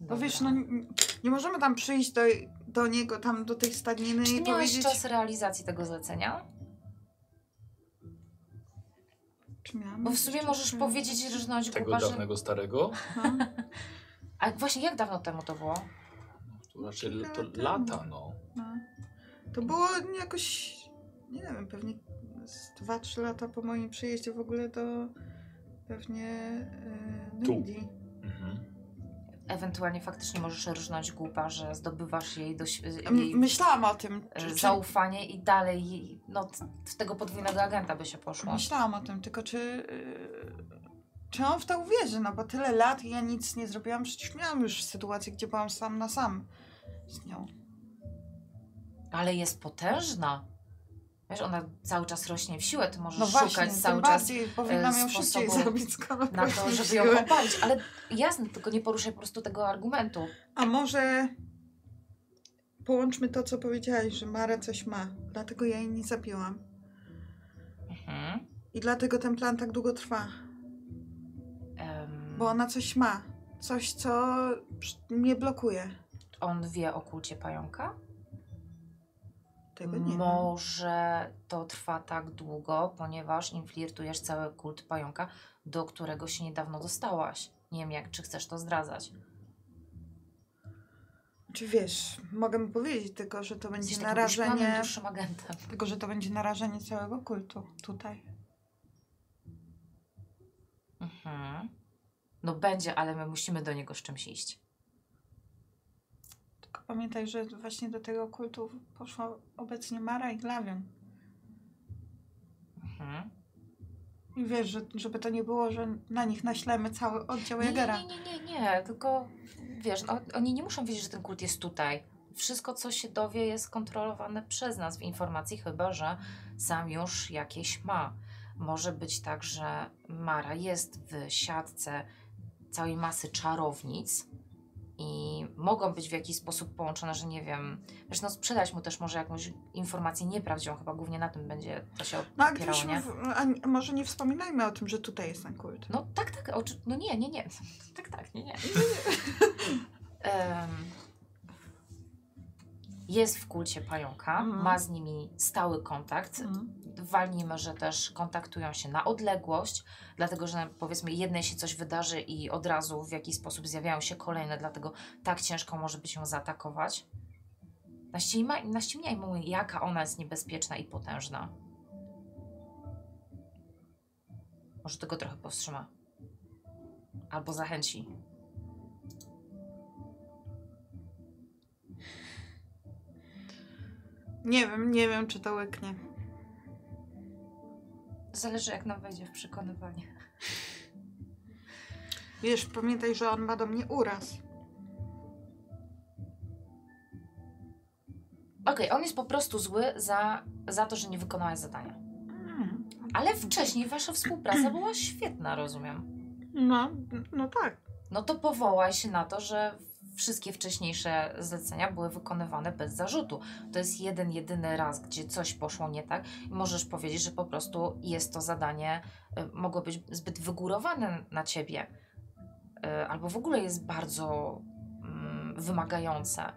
Bo wiesz, no Dobra. n- nie możemy tam przyjść do, do niego, tam do tej stadniny Czy i ty miałeś no, powiedzieć... czas realizacji tego zlecenia? Czy miałam Bo w jakiś sumie czas? możesz powiedzieć, że rżnąć Tego głupa, że... dawnego starego? No. A właśnie, jak dawno temu to było? To raczej l- to Kilka lat temu. lata, no. No. To było jakoś, nie wiem, pewnie z 2-3 lata po moim przyjeździe w ogóle do pewnie yy, Tu. Numidii. Mhm. Ewentualnie faktycznie możesz rżnąć głupa, że zdobywasz jej, doś... M- jej Myślałam o tym. e, Czy, czy, zaufanie i dalej jej, no, t- w tego podwójnego agenta by się poszło. myślałam o tym, tylko czy, yy, czy on w to uwierzy? No bo tyle lat i ja nic nie zrobiłam. Przecież miałam już sytuację, gdzie byłam sam na sam z nią. Ale jest potężna. Wiesz, ona cały czas rośnie w siłę, ty możesz No właśnie, szukać tym cały czas e, bardziej powinnam ją szybciej sposobu zabić, skoro na to, właśnie żeby siły. ją opalić. Ale jasne, tylko nie poruszaj po prostu tego argumentu. A może połączmy to, co powiedziałaś, że Mara coś ma, dlatego ja jej nie zabiłam. Mhm. I dlatego ten plan tak długo trwa, Em, bo ona coś ma. Coś, co przy- mnie blokuje. On wie o kulcie pająka? Tego nie No. wiem. Może to trwa tak długo, ponieważ im flirtujesz cały kult pająka, do którego się niedawno dostałaś. Nie wiem, jak, czy chcesz to zdradzać. Czy wiesz, mogę mu powiedzieć tylko, że to będzie Jesteś takim uśpanym, narażenie... dłuższym agentem. Tylko, że to będzie narażenie całego kultu tutaj. Mhm. No będzie, ale my musimy do niego z czymś iść. Tylko pamiętaj, że właśnie do tego kultu poszła obecnie Mara i Glawion. Mhm. I wiesz, że, żeby to nie było, że na nich naślemy cały oddział Nie, nie, Jagera. nie, nie, nie, nie, tylko wiesz, no, oni nie muszą wiedzieć, że ten kult jest tutaj. Wszystko, co się dowie, jest kontrolowane przez nas w informacji, chyba że sam już jakieś ma. Może być tak, że Mara jest w siatce całej masy czarownic i mogą być w jakiś sposób połączone, że nie wiem, wiesz, no sprzedać mu też może jakąś informację nieprawdziwą, chyba głównie na tym będzie to się No a opierało, nie? gdybyśmy, w, a, nie- może nie wspominajmy o tym, że tutaj jest ten kult. No tak, tak, oczy... no nie, nie, nie. Tak, tak, nie, nie. Em, jest w kulcie pająka, Mhm. ma z nimi stały kontakt. Mm. Walnijmy, że też kontaktują się na odległość, dlatego że powiedzmy jednej się coś wydarzy i od razu w jakiś sposób zjawiają się kolejne, dlatego tak ciężko może być ją zaatakować. Naścima- Naściemniaj mu, jaka ona jest niebezpieczna i potężna. Może tego trochę powstrzyma. Albo zachęci. Nie wiem, nie wiem, czy to łyknie. Zależy, jak nam wejdzie w przekonywanie. Wiesz, pamiętaj, że on ma do mnie uraz. Okej, on jest po prostu zły za, za to, że nie wykonałaś zadania. Ale wcześniej wasza współpraca była świetna, rozumiem. No, no tak. No to powołaj się na to, że wszystkie wcześniejsze zlecenia były wykonywane bez zarzutu. To jest jeden, jedyny raz, gdzie coś poszło nie tak i możesz powiedzieć, że po prostu jest to zadanie, y, mogło być zbyt wygórowane na ciebie. Y, Albo w ogóle jest bardzo mm, wymagające.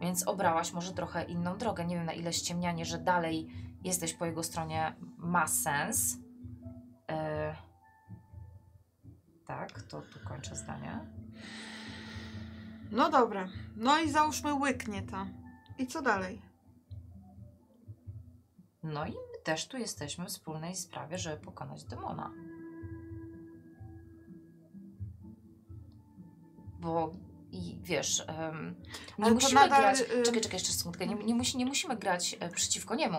Więc obrałaś może trochę inną drogę. Nie wiem, na ile ściemnianie, że dalej jesteś po jego stronie, ma sens. Y, tak, to tu kończę zdanie. No dobra. No i załóżmy łyknie to. I co dalej? No i my też tu jesteśmy w wspólnej sprawie, żeby pokonać demona. Bo i wiesz, em, nie Ale to musimy No nadal, y- grać. em, Czekaj, czekaj, jeszcze sekundkę. Nie, nie, musi, nie musimy grać e, przeciwko niemu.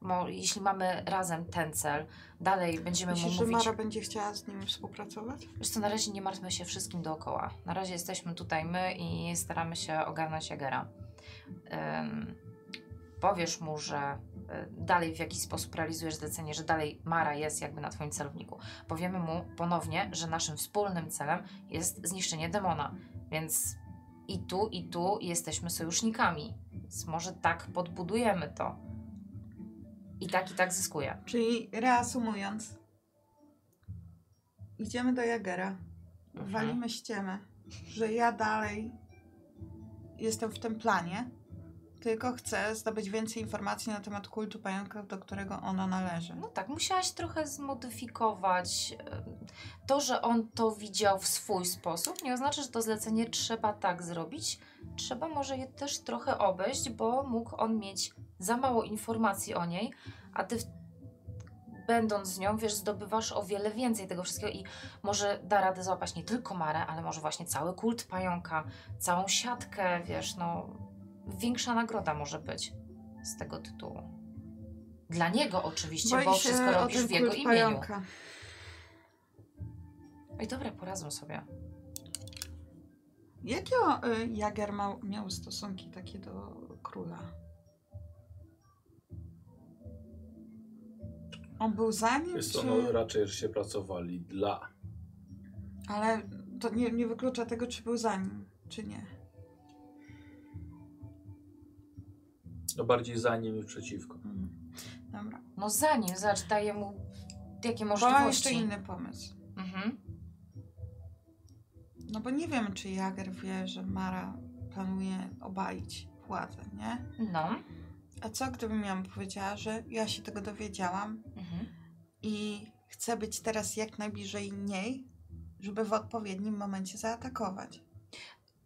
Mo, jeśli mamy razem ten cel, dalej będziemy Myślisz, mu że mówić. Mara będzie chciała z nim współpracować? Wiesz co, na razie nie martwmy się wszystkim dookoła. Na razie jesteśmy tutaj my i staramy się ogarnąć Jagera. Ym, powiesz mu, że e, dalej w jakiś sposób realizujesz zlecenie, że dalej Mara jest jakby na twoim celowniku. Powiemy mu ponownie, że naszym wspólnym celem jest zniszczenie demona, więc i tu, i tu jesteśmy sojusznikami. Więc może tak podbudujemy to. I tak, i tak zyskuje. Czyli reasumując, idziemy do Jagera, Mhm. walimy ściemę, że ja dalej jestem w tym planie, tylko chcę zdobyć więcej informacji na temat kultu pająka, do którego ona należy. No tak, musiałaś trochę zmodyfikować. e, To, że on to widział w swój sposób, nie oznacza, że to zlecenie trzeba tak zrobić. Trzeba może je też trochę obejść, bo mógł on mieć za mało informacji o niej, a ty w... będąc z nią, wiesz, zdobywasz o wiele więcej tego wszystkiego i może da radę złapać nie tylko Marę, ale może właśnie cały kult pająka, całą siatkę, wiesz, no większa nagroda może być z tego tytułu. Dla niego oczywiście, bo, Boi się wszystko o robisz ten w jego kult imieniu. pająka. Oj, dobra, poradzą sobie. Jakie o, y, Jager ma, miał stosunki takie do króla? On był za nim? Jest czy... to no, raczej, że się pracowali dla. Ale to nie, nie wyklucza tego, czy był za nim, czy nie. No bardziej za nim niż przeciwko. Mhm. Dobra. No zanim, zobacz, daje mu jakie Bo mam jeszcze możliwości. inny pomysł. Mhm. No bo nie wiem, czy Jager wie, że Mara planuje obalić władzę, nie? No. A co gdybym ja mu powiedziała, że ja się tego dowiedziałam Mhm. i chcę być teraz jak najbliżej niej, żeby w odpowiednim momencie zaatakować.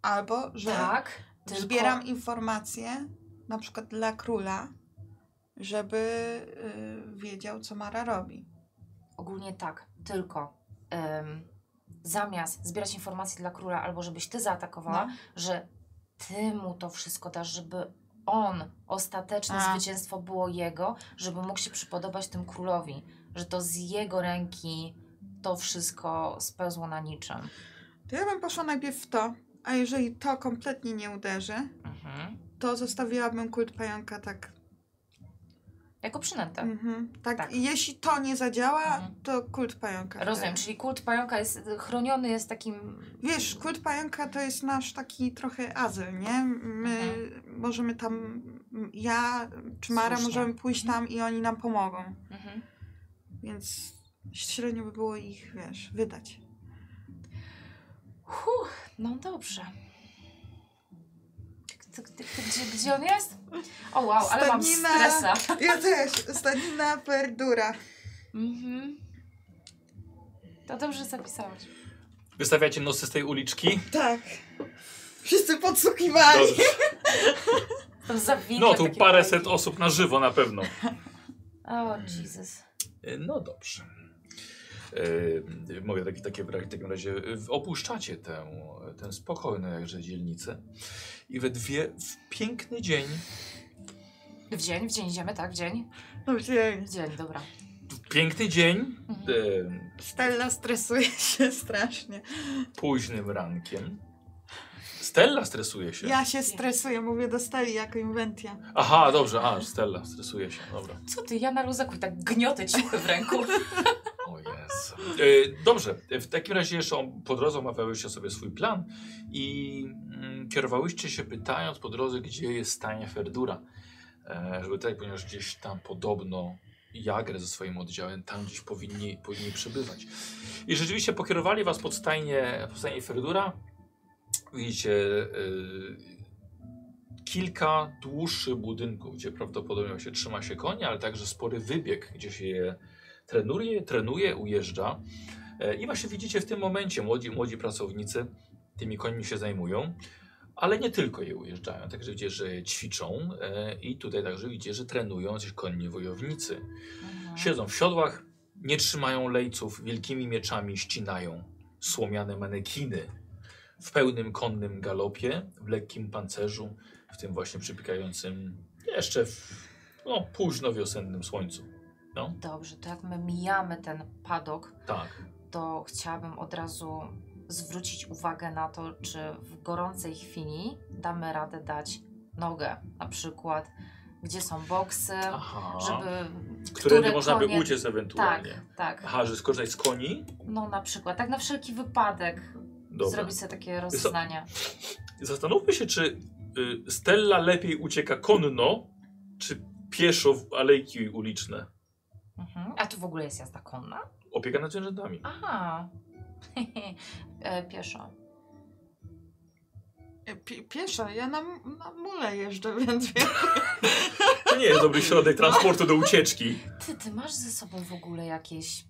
Albo, że Tak. Tylko... zbieram informacje, na przykład dla króla, żeby y, wiedział, co Mara robi. Ogólnie tak, tylko em, zamiast zbierać informacje dla króla albo żebyś ty No. zaatakowała, że ty mu to wszystko dasz, żeby on, ostateczne A. zwycięstwo było jego, żeby mógł się przypodobać tym królowi, że to z jego ręki to wszystko spełzło na niczym. To ja bym poszła najpierw w to, a jeżeli to kompletnie nie uderzy, Mhm. to zostawiłabym kult pająka tak. Jako przynętę. Mhm, tak. Tak. I jeśli to nie zadziała, Mhm. to kult pająka. Rozumiem, wtedy. czyli kult pająka jest chroniony jest takim. Wiesz, kult pająka to jest nasz taki trochę azyl, nie? My możemy tam, ja czy Mara Słusznie. możemy pójść tam i oni nam pomogą. Mhm. Więc średnio by było ich, wiesz, wydać. Huh, no dobrze. Tyk, tyk, tyk, tyk, Gdzie, gdzie on jest? O wow, ale mam Stanina. stresa. Ja też, stanina perdura. Mhm. To dobrze zapisałaś. Wystawiacie nosy z tej uliczki? Tak. Wszyscy podsłuchiwali. Dobrze. To zawinę No tu paręset osób na żywo na pewno. O Jesus. E, No dobrze. E, Mogę taki, takie w takim razie e, opuszczacie tę, tę spokojną jakże dzielnicę i we dwie w piękny dzień, W dzień, w dzień idziemy, tak? W dzień? Dobrze. W dzień, dobra. w piękny dzień, Mhm. e, Stella stresuje się strasznie. późnym rankiem. Stella stresuje się. Ja się stresuję, mówię do Steli jako inwentia. Aha, dobrze, a Stella stresuje się, dobra. Co ty, ja na luzaku tak gniotę ciuchy w ręku. O Jezu. E, dobrze, e, w takim razie jeszcze on- po drodze omawiałyście sobie swój plan i mm, kierowałyście się pytając po drodze, gdzie jest stanie Ferdura. E, żeby tak, ponieważ gdzieś tam podobno Jagr ze swoim oddziałem tam gdzieś powinni, powinni przebywać. I rzeczywiście pokierowali was pod stajnię, pod stajnię Ferdura. Widzicie e, kilka dłuższych budynków, gdzie prawdopodobnie się trzyma się konia, ale także spory wybieg, gdzie się je trenuje, trenuje ujeżdża. E, I właśnie widzicie w tym momencie młodzi, młodzi pracownicy tymi końmi się zajmują, ale nie tylko je ujeżdżają. Także widzicie, że ćwiczą e, i tutaj także widzicie, że trenują jacyś konni wojownicy. Mhm. Siedzą w siodłach, nie trzymają lejców, wielkimi mieczami ścinają słomiane manekiny w pełnym konnym galopie, w lekkim pancerzu, w tym właśnie przypikającym jeszcze w no, późno wiosennym słońcu. Dobrze, to jak my mijamy ten padok, Tak. to chciałabym od razu zwrócić uwagę na to, czy w gorącej chwili damy radę dać nogę. Na przykład gdzie są boksy, Aha. żeby... Które nie można by konie- uciec Tak, ewentualnie. tak. Aha, że skorzystać z koni? No na przykład, tak na wszelki wypadek Dobra. zrobić sobie takie rozeznania. Zastanówmy się, czy y, Stella lepiej ucieka konno, czy pieszo w alejki uliczne. Mhm. A tu w ogóle jest jazda konna? Opieka nad zwierzętami. Aha. E, Pieszo. Pi- Pieszo, ja na, na mule jeżdżę, więc wiem. To nie jest dobry środek transportu do ucieczki. Ty, ty masz ze sobą w ogóle jakieś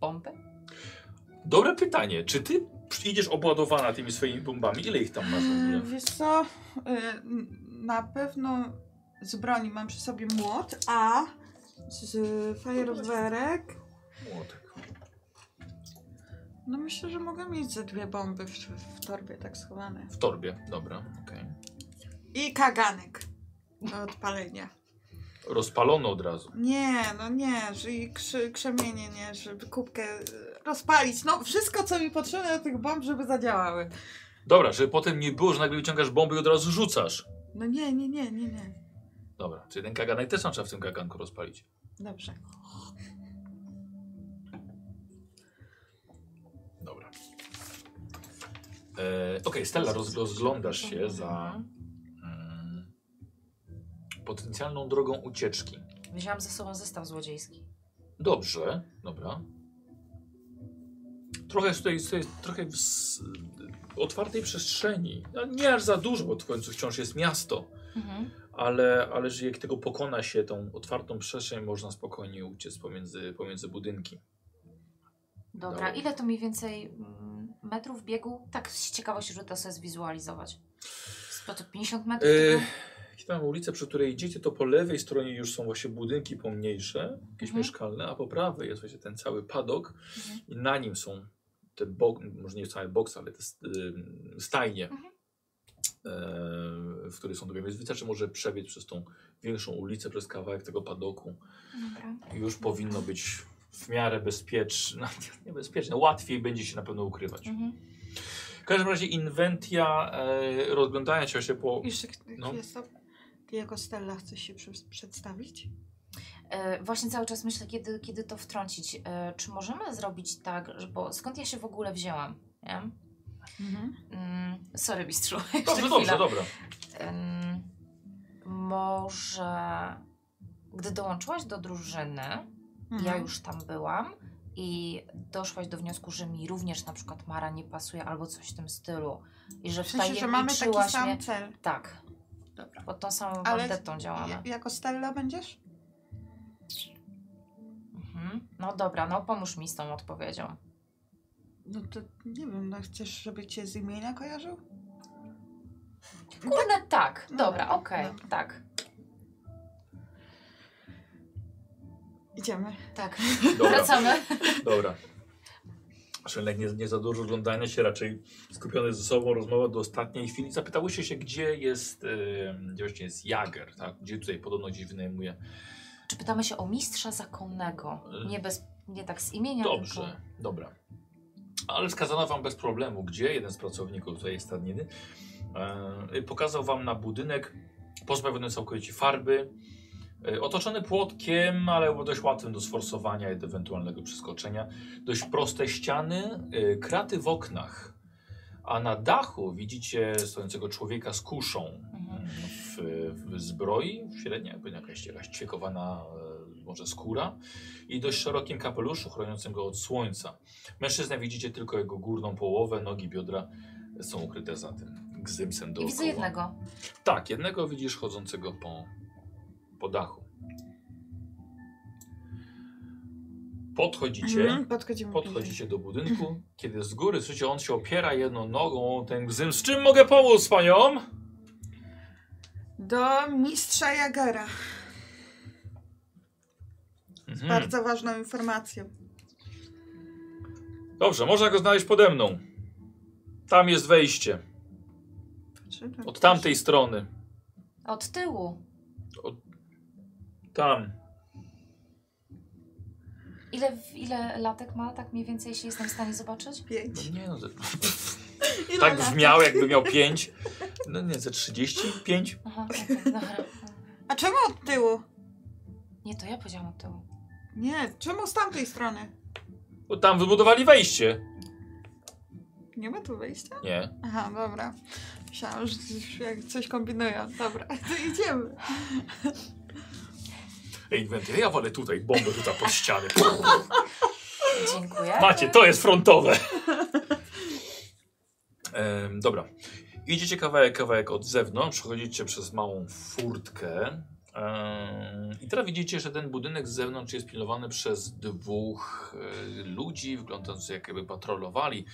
bomby? Dobre pytanie. Czy ty idziesz obładowana tymi swoimi bombami? Ile ich tam masz w ogóle? E, Hmm. Wiesz co, e, n- na pewno z broni mam przy sobie młot, a z fajerwerek, Młotek. no myślę, że mogę mieć ze dwie bomby w, w torbie tak schowane. W torbie. Dobra, okej. I kaganek do odpalenia. Rozpalono od razu. Nie, no nie, że i krzy, krzemienie, nie, żeby kubkę e, rozpalić. No wszystko, co mi potrzebne do tych bomb, żeby zadziałały. Dobra, żeby potem nie było, że nagle wyciągasz bomby i od razu rzucasz. No nie, nie, nie, nie, nie. Dobra, czyli ten kaganek też trzeba w tym kaganku rozpalić. Dobrze. Dobra. E, Okej, Stella, roz, rozglądasz Mhm. się za mm, potencjalną drogą ucieczki. Wzięłam ze sobą zestaw złodziejski. Dobrze, dobra. Trochę jest tutaj, tutaj trochę w s- otwartej przestrzeni. No, nie aż za dużo, bo w końcu wciąż jest miasto. Mhm. Ale, ale że jak tego pokona się, tą otwartą przestrzeń, można spokojnie uciec pomiędzy, pomiędzy budynki. Dobra, Dobra. ile to mniej więcej mm, metrów biegu? Tak z ciekawości, że to sobie zwizualizować. To, to 50 metrów? Yy, Yy. tam ulicę, przy której idziecie, to po lewej stronie już są właśnie budynki pomniejsze, jakieś Mhm. mieszkalne, a po prawej jest właśnie ten cały padok Mhm. i na nim są te, bok, może nie całe boksy, ale te st- ym, stajnie, Mhm. yy, w których są domy. Więc wystarczy może przebiec przez tą większą ulicę, przez kawałek tego padoku. Dobra. i Już powinno być w miarę bezpieczne, nie- niebezpieczne, łatwiej będzie się na pewno ukrywać. Mhm. W każdym razie inwentia, e, rozglądając się właśnie po... Jeszcze No. no. chwilę, Ty jako Stella chcesz się przy- przedstawić? E, właśnie cały czas myślę, kiedy, kiedy to wtrącić. E, czy możemy zrobić tak, że- bo skąd ja się w ogóle wzięłam? Nie? Mm, sorry, mistrzu. jeszcze Dobrze, dobrze, chwila. dobra. Ym, może gdy dołączyłaś do drużyny, Mhm. ja już tam byłam i doszłaś do wniosku, że mi również na przykład Mara nie pasuje albo coś w tym stylu i że W sensie, że mamy taki wtajemniczyłaś sam mnie. cel. Tak, pod tą samą Ale- bandytą działamy. Ja- Jako Stella będziesz? Mhm. No dobra, no pomóż mi z tą odpowiedzią. No to nie wiem, no chcesz, żeby cię z imienia kojarzył? Kurde, tak, No dobra, dobra, okej, dobra. tak, Idziemy. tak, dobra. wracamy. Dobra. Szelek nie, nie za dużo oglądania się, raczej skupiony ze sobą rozmowa do ostatniej chwili. Zapytałyście się, gdzie jest, e, gdzie właśnie jest Jager, tak? Gdzie tutaj podobno gdzieś wynajmuje. Czy pytamy się o mistrza zakonnego? Nie, bez, nie tak z imienia, E. Dobrze, dobra. Ale wskazano wam bez problemu, gdzie jeden z pracowników tutaj stadniny e, pokazał wam na budynek pozbawiony całkowicie farby, e, otoczony płotkiem, ale dość łatwym do sforsowania i do ewentualnego przeskoczenia. Dość proste ściany, e, kraty w oknach, a na dachu widzicie stojącego człowieka z kuszą tylko. Mhm. w, w zbroi, w średnia, pewnie jakaś, jakaś ćwiekowana e, może skóra i dość szerokim kapeluszu chroniącym go od słońca. Mężczyznę widzicie tylko jego górną połowę, nogi, biodra są ukryte za tym gzymsem I dookoła. widzę jednego. Tak, jednego widzisz chodzącego po, po dachu. Podchodzicie. Mhm, Podchodzimy. Podchodzicie do budynku, kiedy z góry słyszycie, on się opiera jedną nogą, ten gzym. Z czym mogę pomóc paniom? Do mistrza Jagera. Mhm. Bardzo ważną informacją. Dobrze, można go znaleźć pode mną. Tam jest wejście. Patrzymy. Od tamtej strony. Od tyłu. Tam. Ile, ile latek ma, tak mniej więcej, jeśli jestem w stanie zobaczyć? No Pięć. nie no, ze, Ile tak lat? brzmiał, jakby miał pięć. No nie, ze 35. Aha, okej, dobra. A A czemu od tyłu? Nie, to ja powiedziałam od tyłu. Nie, czemu z tamtej strony? Bo tam wybudowali wejście. Nie ma tu wyjścia? Nie. Aha, dobra. Myślałam, że już jak coś kombinują. Dobra, to idziemy. Ej, Wendy, ja walę tutaj bombę tutaj pod ścianę. Dziękuję. Macie, to jest frontowe. Em, dobra. Idziecie kawałek, kawałek od zewnątrz, przechodzicie przez małą furtkę. em, I teraz widzicie, że ten budynek z zewnątrz jest pilnowany przez dwóch e, ludzi, wyglądając jakby patrolowali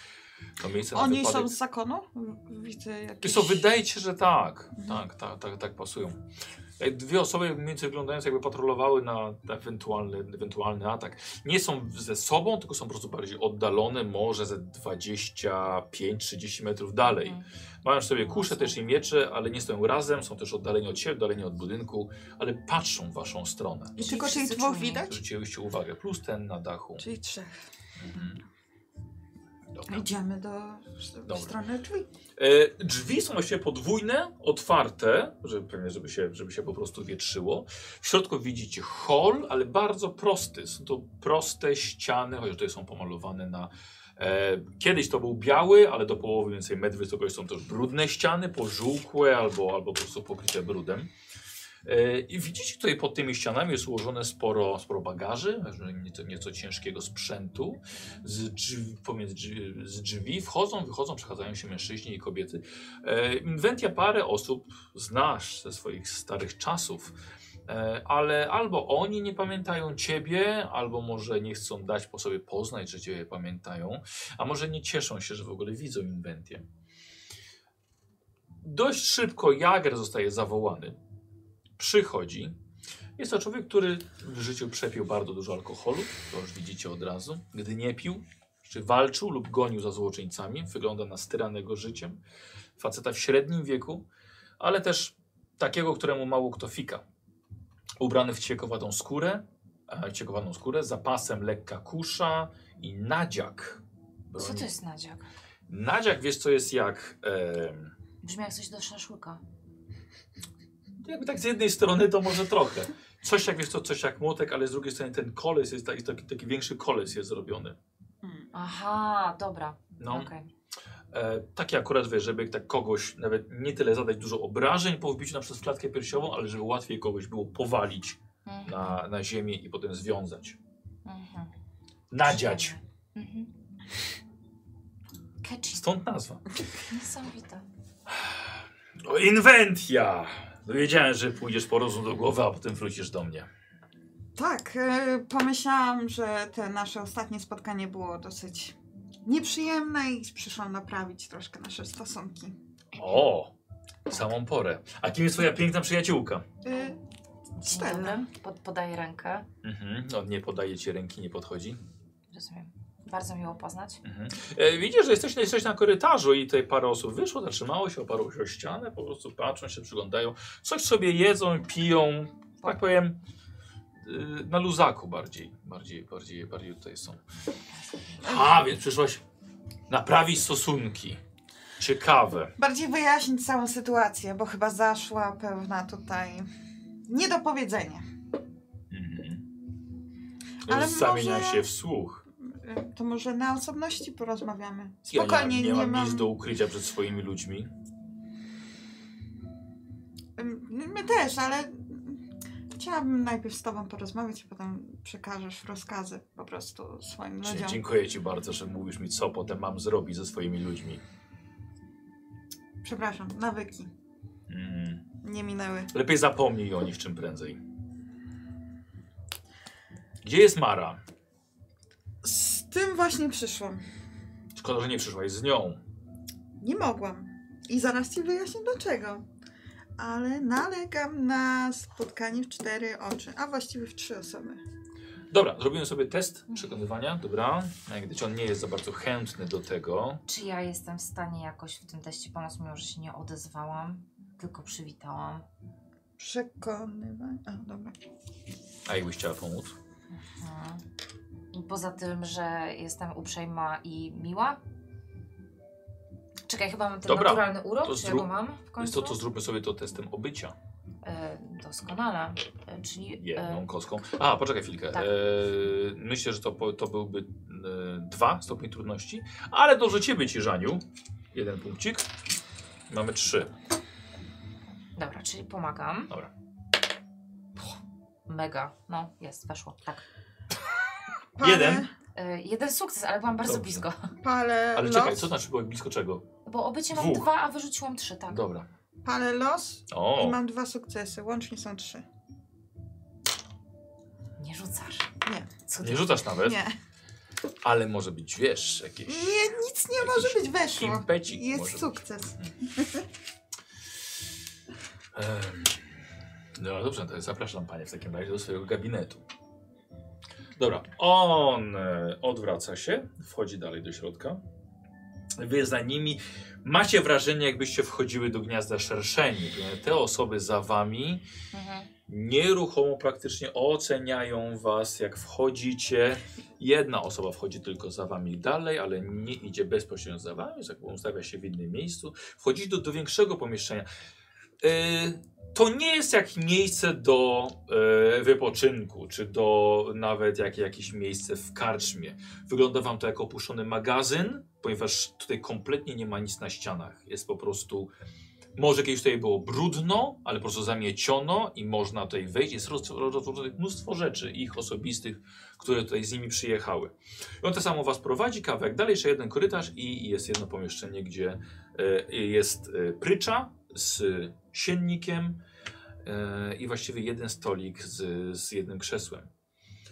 to miejsce na Oni wypadek. są z zakonu? W- Widzę jakieś... Wiesz co, wydaje ci się, że tak. Mhm. Tak, tak, tak, tak pasują. Jak Dwie osoby mniej więcej wyglądające jakby patrolowały na na ewentualny, ewentualny atak. Nie są ze sobą, tylko są po prostu bardziej oddalone, może ze 25-30 metrów dalej. Mhm. Mają przy sobie kusze też i miecze, ale nie stoją razem, są też oddaleni od siebie, oddaleni od budynku, ale patrzą w waszą stronę. I tylko Wszyscy tych dwóch czujni. widać? Zwróciłyście uwagę, plus ten na dachu. Czyli trzech. Mhm. No. Dobra. Idziemy do Dobra. w strony drzwi. E, drzwi są właściwie podwójne, otwarte, żeby, pewnie żeby się, żeby się po prostu wietrzyło. W środku widzicie hol, ale bardzo prosty. Są to proste ściany, chociaż tutaj są pomalowane na... E, kiedyś to był biały, ale do połowy więcej metr wysokości są też brudne ściany, pożółkłe albo, albo po prostu pokryte brudem. E, I widzicie tutaj pod tymi ścianami jest ułożone sporo, sporo bagaży, nieco, nieco ciężkiego sprzętu z drzwi, pomiędzy drzwi, z drzwi wchodzą, wychodzą, przechadzają się mężczyźni i kobiety. E, inwentia parę osób znasz ze swoich starych czasów, e, ale albo oni nie pamiętają ciebie, albo może nie chcą dać po sobie poznać, że ciebie pamiętają, a może nie cieszą się, że w ogóle widzą inwentię. Dość szybko Jager zostaje zawołany. Przychodzi. Jest to człowiek, który w życiu przepił bardzo dużo alkoholu, to już widzicie od razu. Gdy nie pił, czy walczył lub gonił za złoczyńcami, wygląda na styranego życiem, faceta w średnim wieku, ale też takiego, któremu mało kto fika. Ubrany w ciekowatą skórę, e, ciekowaną skórę, zapasem lekka kusza i nadziak. Co Broń- to jest nadziak? Nadziak, wiesz co jest jak... em, Brzmi jak coś do szaszłyka. jakby tak z jednej strony to może trochę. Coś jak, wiesz co, coś jak młotek, ale z drugiej strony ten koles jest taki, taki, taki większy koles jest zrobiony. Mm. Aha, dobra. No, Okej. e, taki akurat, wiesz, żeby tak kogoś, nawet nie tyle zadać dużo obrażeń po wbiciu na przez klatkę piersiową, ale żeby łatwiej kogoś było powalić Mhm. na, na ziemię i potem związać. Mhm. Nadziać. Mhm. Catchy. Stąd nazwa. Niesamowite. O, inwentia! No wiedziałem, że pójdziesz po rozum do głowy, a potem wrócisz do mnie. Tak, e, pomyślałam, że te nasze ostatnie spotkanie było dosyć nieprzyjemne i przyszłam naprawić troszkę nasze stosunki. O! w Samą porę. A kim jest twoja piękna przyjaciółka? E, Dzień Stella. dobry. Pod, podaję rękę. Mhm. On nie podaje ci ręki, nie podchodzi. Rozumiem. Bardzo miło poznać. Mhm. E, widzisz, że jesteś, jesteś na korytarzu i tutaj parę osób wyszło, zatrzymało się, oparło się o ścianę, po prostu patrzą się, przyglądają. Coś sobie jedzą, piją, tak powiem, y, na luzaku bardziej, bardziej, bardziej, bardziej tutaj są. A, więc przyszłaś naprawić stosunki. Ciekawe. bardziej wyjaśnić całą sytuację, bo chyba zaszła pewna tutaj niedopowiedzenie. Mhm. Ale Zamieniam może- się w słuch. E, To może na osobności porozmawiamy. Ja nie, Spokojnie, nie, nie, mam mam. nic do ukrycia przed swoimi ludźmi. Ym, My też, ale chciałabym najpierw z tobą porozmawiać, a potem przekażesz rozkazy po prostu swoim Dzie- ludziom. Dziękuję ci bardzo, że mówisz mi, co potem mam zrobić ze swoimi ludźmi. Przepraszam, nawyki Mhm. nie minęły. Lepiej zapomnij o nich czym prędzej. Gdzie jest Mara? Z tym właśnie przyszłam. Szkoda, że nie przyszłaś z nią. Nie mogłam. I zaraz ci wyjaśnię dlaczego. Ale nalegam na spotkanie w cztery oczy, a właściwie w trzy osoby. Dobra, zrobimy sobie test przekonywania, dobra? Jak gdyś on nie jest za bardzo chętny do tego. Czy ja jestem w stanie jakoś w tym teście pomóc, mimo że się nie odezwałam, tylko przywitałam? Przekonywanie. A, dobra. A jakbyś chciała pomóc? Mhm. I Poza tym, że jestem uprzejma i miła? Czekaj, chyba mam ten Dobra, naturalny urok, to czy ja go zrób- mam w Więc końcu? to, to zróbmy sobie to testem obycia. E, doskonale. E, czyli Jedną e, kostką. A, poczekaj chwilkę. Tak. E, myślę, że to, po- to byłby e, dwa stopnie trudności, ale dorzucimy ci, Żaniu. Jeden punkcik. Mamy trzy. dobra, czyli pomagam. Dobra. Mega. No, jest, weszło. Tak. Palę, Jeden. E, jeden sukces, ale byłam bardzo Dobrze. blisko. Palę Ale los. czekaj, co znaczy byłeś blisko czego? Bo obycie mam Dwóch. dwa, a wyrzuciłam trzy, tak. Dobra. Palę los i O, mam dwa sukcesy. Łącznie są trzy. Nie rzucasz. Nie. Cudnie. nie rzucasz nawet, Nie. ale może być, wiesz, jakieś... Nie, nic nie może być weszło. Impecik może Jest być. Hmm. sukces. Em, No dobrze, to zapraszam Panie w takim razie do swojego gabinetu. Dobra, on e, odwraca się, wchodzi dalej do środka. Wy za nimi macie wrażenie, jakbyście wchodziły do gniazda szerszeni. Te osoby za wami Mhm. nieruchomo praktycznie oceniają was, jak wchodzicie. Jedna osoba wchodzi tylko za wami dalej, ale nie idzie bezpośrednio za wami, za- ustawia się w innym miejscu. Wchodzi do, do większego pomieszczenia. Yy, to nie jest jak miejsce do yy, wypoczynku, czy do nawet jak, jakieś miejsce w karczmie. Wygląda wam to jako opuszczony magazyn, ponieważ tutaj kompletnie nie ma nic na ścianach. Jest po prostu może kiedyś tutaj było brudno, ale po prostu zamieciono i można tutaj wejść. Jest roz- rozłożonych mnóstwo rzeczy, ich osobistych, które tutaj z nimi przyjechały. I on to samo was prowadzi, kawałek dalej, jeszcze jeden korytarz i jest jedno pomieszczenie, gdzie e, jest e, prycza z siennikiem e, i właściwie jeden stolik z, z jednym krzesłem.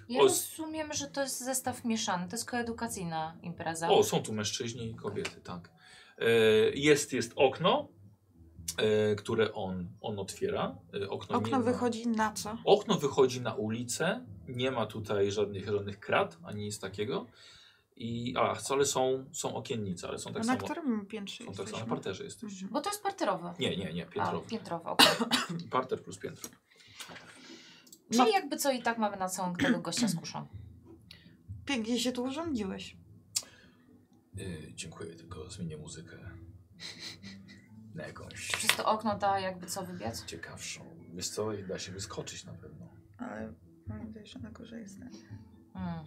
Ja O, z- rozumiem, że to jest zestaw mieszany. To jest koedukacyjna Tak. impreza. O, są tu mężczyźni i kobiety, tak. E, Jest, jest okno, e, które on, on otwiera. E, Okno, nie Okno ma- wychodzi na co? Okno wychodzi na ulicę, nie ma tutaj żadnych żadnych krat ani nic takiego. I, a, ale są, są okiennice, ale są tak na samo. którym piętrze Są tak samo na jesteśmy? parterze jest. Mhm. Bo to jest parterowe. Nie, nie, nie, piętrowy. A, piętrowe, okej. Parter plus piętro. Czyli jakby co i tak mamy na całą tego gościa z kuszą. Pięknie się tu urządziłeś. Yy, dziękuję, tylko zmienię muzykę. Na jakąś Przez to okno da jakby co wybiec? ciekawszą. Wiesz co, da się wyskoczyć na pewno. Ale pamiętaj, że na górze jestem. Mhm.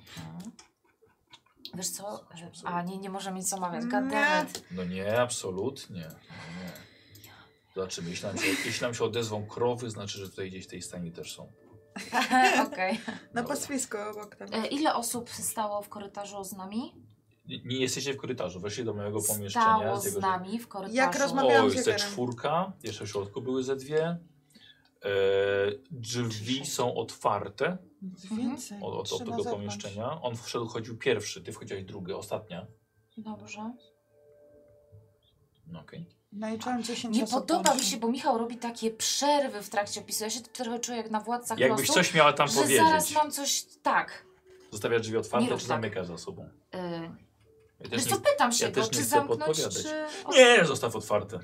Wiesz co? A, nie, nie możemy nic omawiać. God Nie. damn it. No nie, absolutnie. No nie. Zobaczymy, jeśli nam, się, jeśli nam się odezwą krowy, znaczy, że tutaj gdzieś w tej stanie też są. Okej. Na Dobra. pastwisko obok tam. E, Ile osób stało w korytarzu z nami? Nie, nie jesteście w korytarzu, weszli do mojego pomieszczenia. Stało z jego- z nami w korytarzu. Jak rozmawiałam O, z jest te Jagerem. czwórka, jeszcze w środku były ze dwie. E, drzwi są otwarte Mm, mhm. Więcej. od, od, od Trzeba tego zadbać. pomieszczenia. On wszedł, chodził pierwszy, ty wchodziłaś drugi, ostatnia. Dobrze. No, okej. Naliczyłam 10 Nie osób podoba mi łącznie. się, bo trochę robi takie przerwy w trakcie opisu. Ja się trochę czuję jak na władcach Jakbyś losu, coś miała tam Tak, że powiedzieć. zaraz mam coś... Tak. Zostawiasz drzwi Nie otwarte, rób czy tak. zamykasz za sobą? Y, Ja Wiesz też nie... co, pytam się ja go, też nie czy chcę zamknąć, podpowiadać. czy... nie, zostaw otwarte.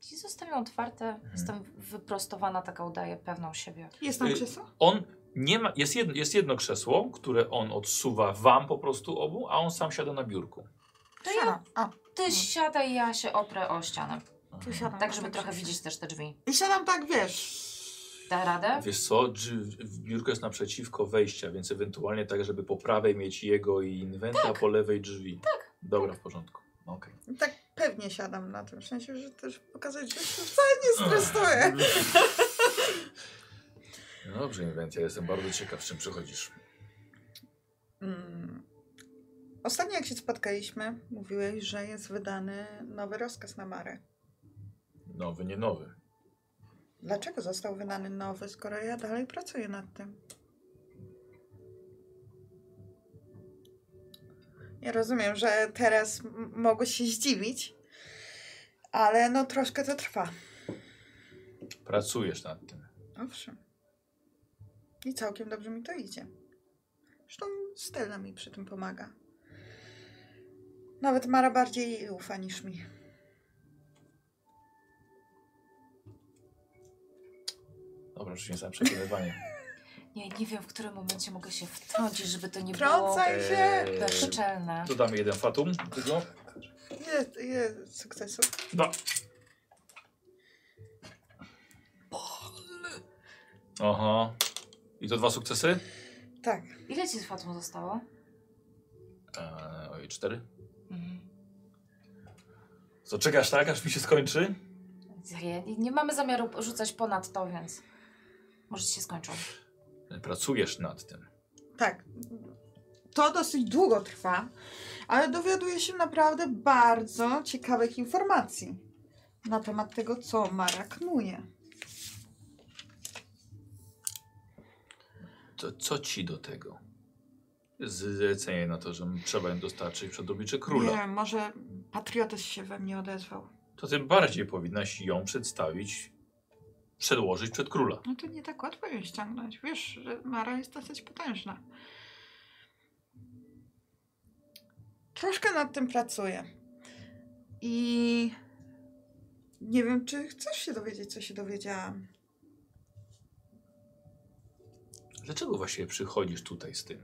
Ci zostawiam otwarte, jestem wyprostowana, taka udaje pewną siebie. Jest tam Y- krzesło? On nie ma, jest, jedno, jest jedno krzesło, które on odsuwa wam po prostu obu, a on sam siada na biurku. To ja, A, ty Mhm. siadaj, ja się oprę o ścianę. tu siadam. Tak, żeby trochę Krzesło. widzieć też te drzwi. I siadam tak, wiesz. Da radę? Wiesz co, drzwi- w- biurko jest naprzeciwko wejścia, więc ewentualnie tak, żeby po prawej mieć jego i inwenta, a po lewej drzwi. Tak. Dobra, w porządku. Okej. Tak pewnie siadam na tym. W sensie, że też pokazać, że się wcale nie stresuję. No dobrze, inwent, ja jestem bardzo ciekaw, z czym przychodzisz. Mm. Ostatnio jak się spotkaliśmy, mówiłeś, że jest wydany nowy rozkaz na Marę. Nowy, nie nowy. Dlaczego został wydany nowy, skoro ja dalej pracuję nad tym? Ja rozumiem, że teraz m- mogłeś się zdziwić, ale no troszkę to trwa. Pracujesz nad tym. Owszem. I całkiem dobrze mi to idzie. Zresztą Stella mi przy tym pomaga. Nawet Mara bardziej jej ufa niż mi. Dobra, już nie sam przekonywanie. Nie, nie wiem, w którym momencie mogę się wtrącić, żeby to nie Tak Trącaj się! Eee, było bezczelne. Dodamy jeden fatum. Tylko. Jest, jest sukcesu. Da. Aha. I to dwa sukcesy? Tak. Ile ci z Fatmą zostało? Eee, oj, cztery. Mhm. Co, czekasz tak, aż mi się skończy? Ja- Nie mamy zamiaru rzucać ponad to, więc może ci się skończą. Pracujesz nad tym. Tak. To dosyć długo trwa, ale dowiaduję się naprawdę bardzo ciekawych informacji na temat tego, co Mara knuje. To co ci do tego? Zlecenie na to, że trzeba im dostarczyć przedoblicze króla. Nie wiem, może patriotyzm się we mnie odezwał. To tym bardziej powinnaś ją przedstawić, przedłożyć przed króla. No to nie tak łatwo ją ściągnąć. Wiesz, że Mara jest dosyć potężna. Troszkę nad tym pracuję. I nie wiem, czy chcesz się dowiedzieć, co się dowiedziałam. Dlaczego właściwie przychodzisz tutaj z tym?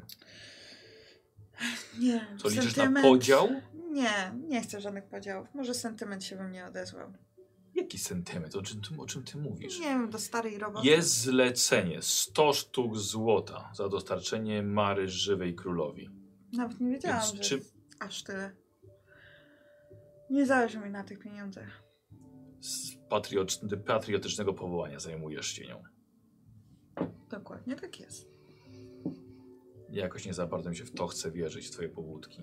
Nie, Co, liczysz na sentyment- podział? Nie, nie chcę żadnych podziałów. Może sentyment się we mnie odezwał. Jaki sentyment? O czym, ty- o czym ty mówisz? Nie wiem, do starej roboty. Jest zlecenie 100 sztuk złota za dostarczenie Mary żywej królowi. Nawet nie wiedziałam, Więc że czy- aż tyle. Nie zależy mi na tych pieniądzach. Z patriotyczny- patriotycznego powołania zajmujesz się nią. Dokładnie tak jest. Jakoś nie za bardzo mi się w to chce wierzyć, w twoje pobudki.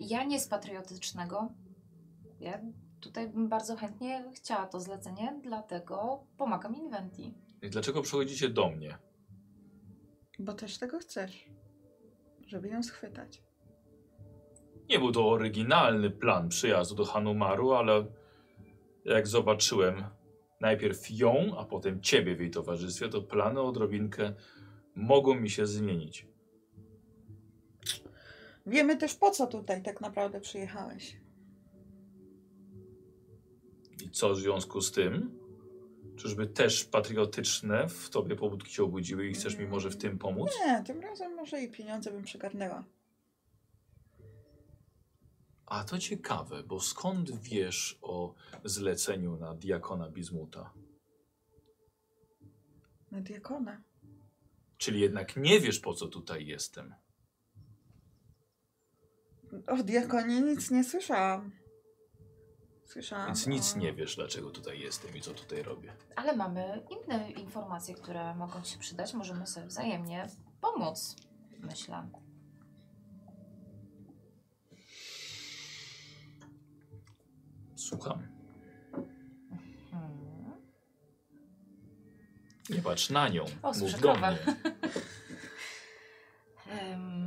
Ja nie z patriotycznego. Ja tutaj bym bardzo chętnie chciała to zlecenie, dlatego pomagam Inventi. I dlaczego przychodzicie do mnie? Bo też tego chcesz. Żeby ją schwytać. Nie był to oryginalny plan przyjazdu do Hanumaru, ale jak zobaczyłem najpierw ją, a potem ciebie w jej towarzystwie, to plany odrobinkę mogą mi się zmienić. Wiemy też po co tutaj tak naprawdę przyjechałeś. I co w związku z tym? Czyżby też patriotyczne w tobie pobudki się obudziły i chcesz mi może w tym pomóc? Nie, tym razem może i pieniądze bym przygarnęła. A to ciekawe, bo skąd wiesz o zleceniu na diakona Bizmuta? Na diakona. Czyli jednak nie wiesz, po co tutaj jestem. O diakonie nic nie słyszałam. Słyszałam. Więc nic o- nie wiesz, dlaczego tutaj jestem i co tutaj robię. Ale mamy inne informacje, które mogą się przydać. Możemy sobie wzajemnie pomóc, myślę. Słucham. Hmm. Nie patrz na nią. O, Mów sprzed do krowa. mnie. Em,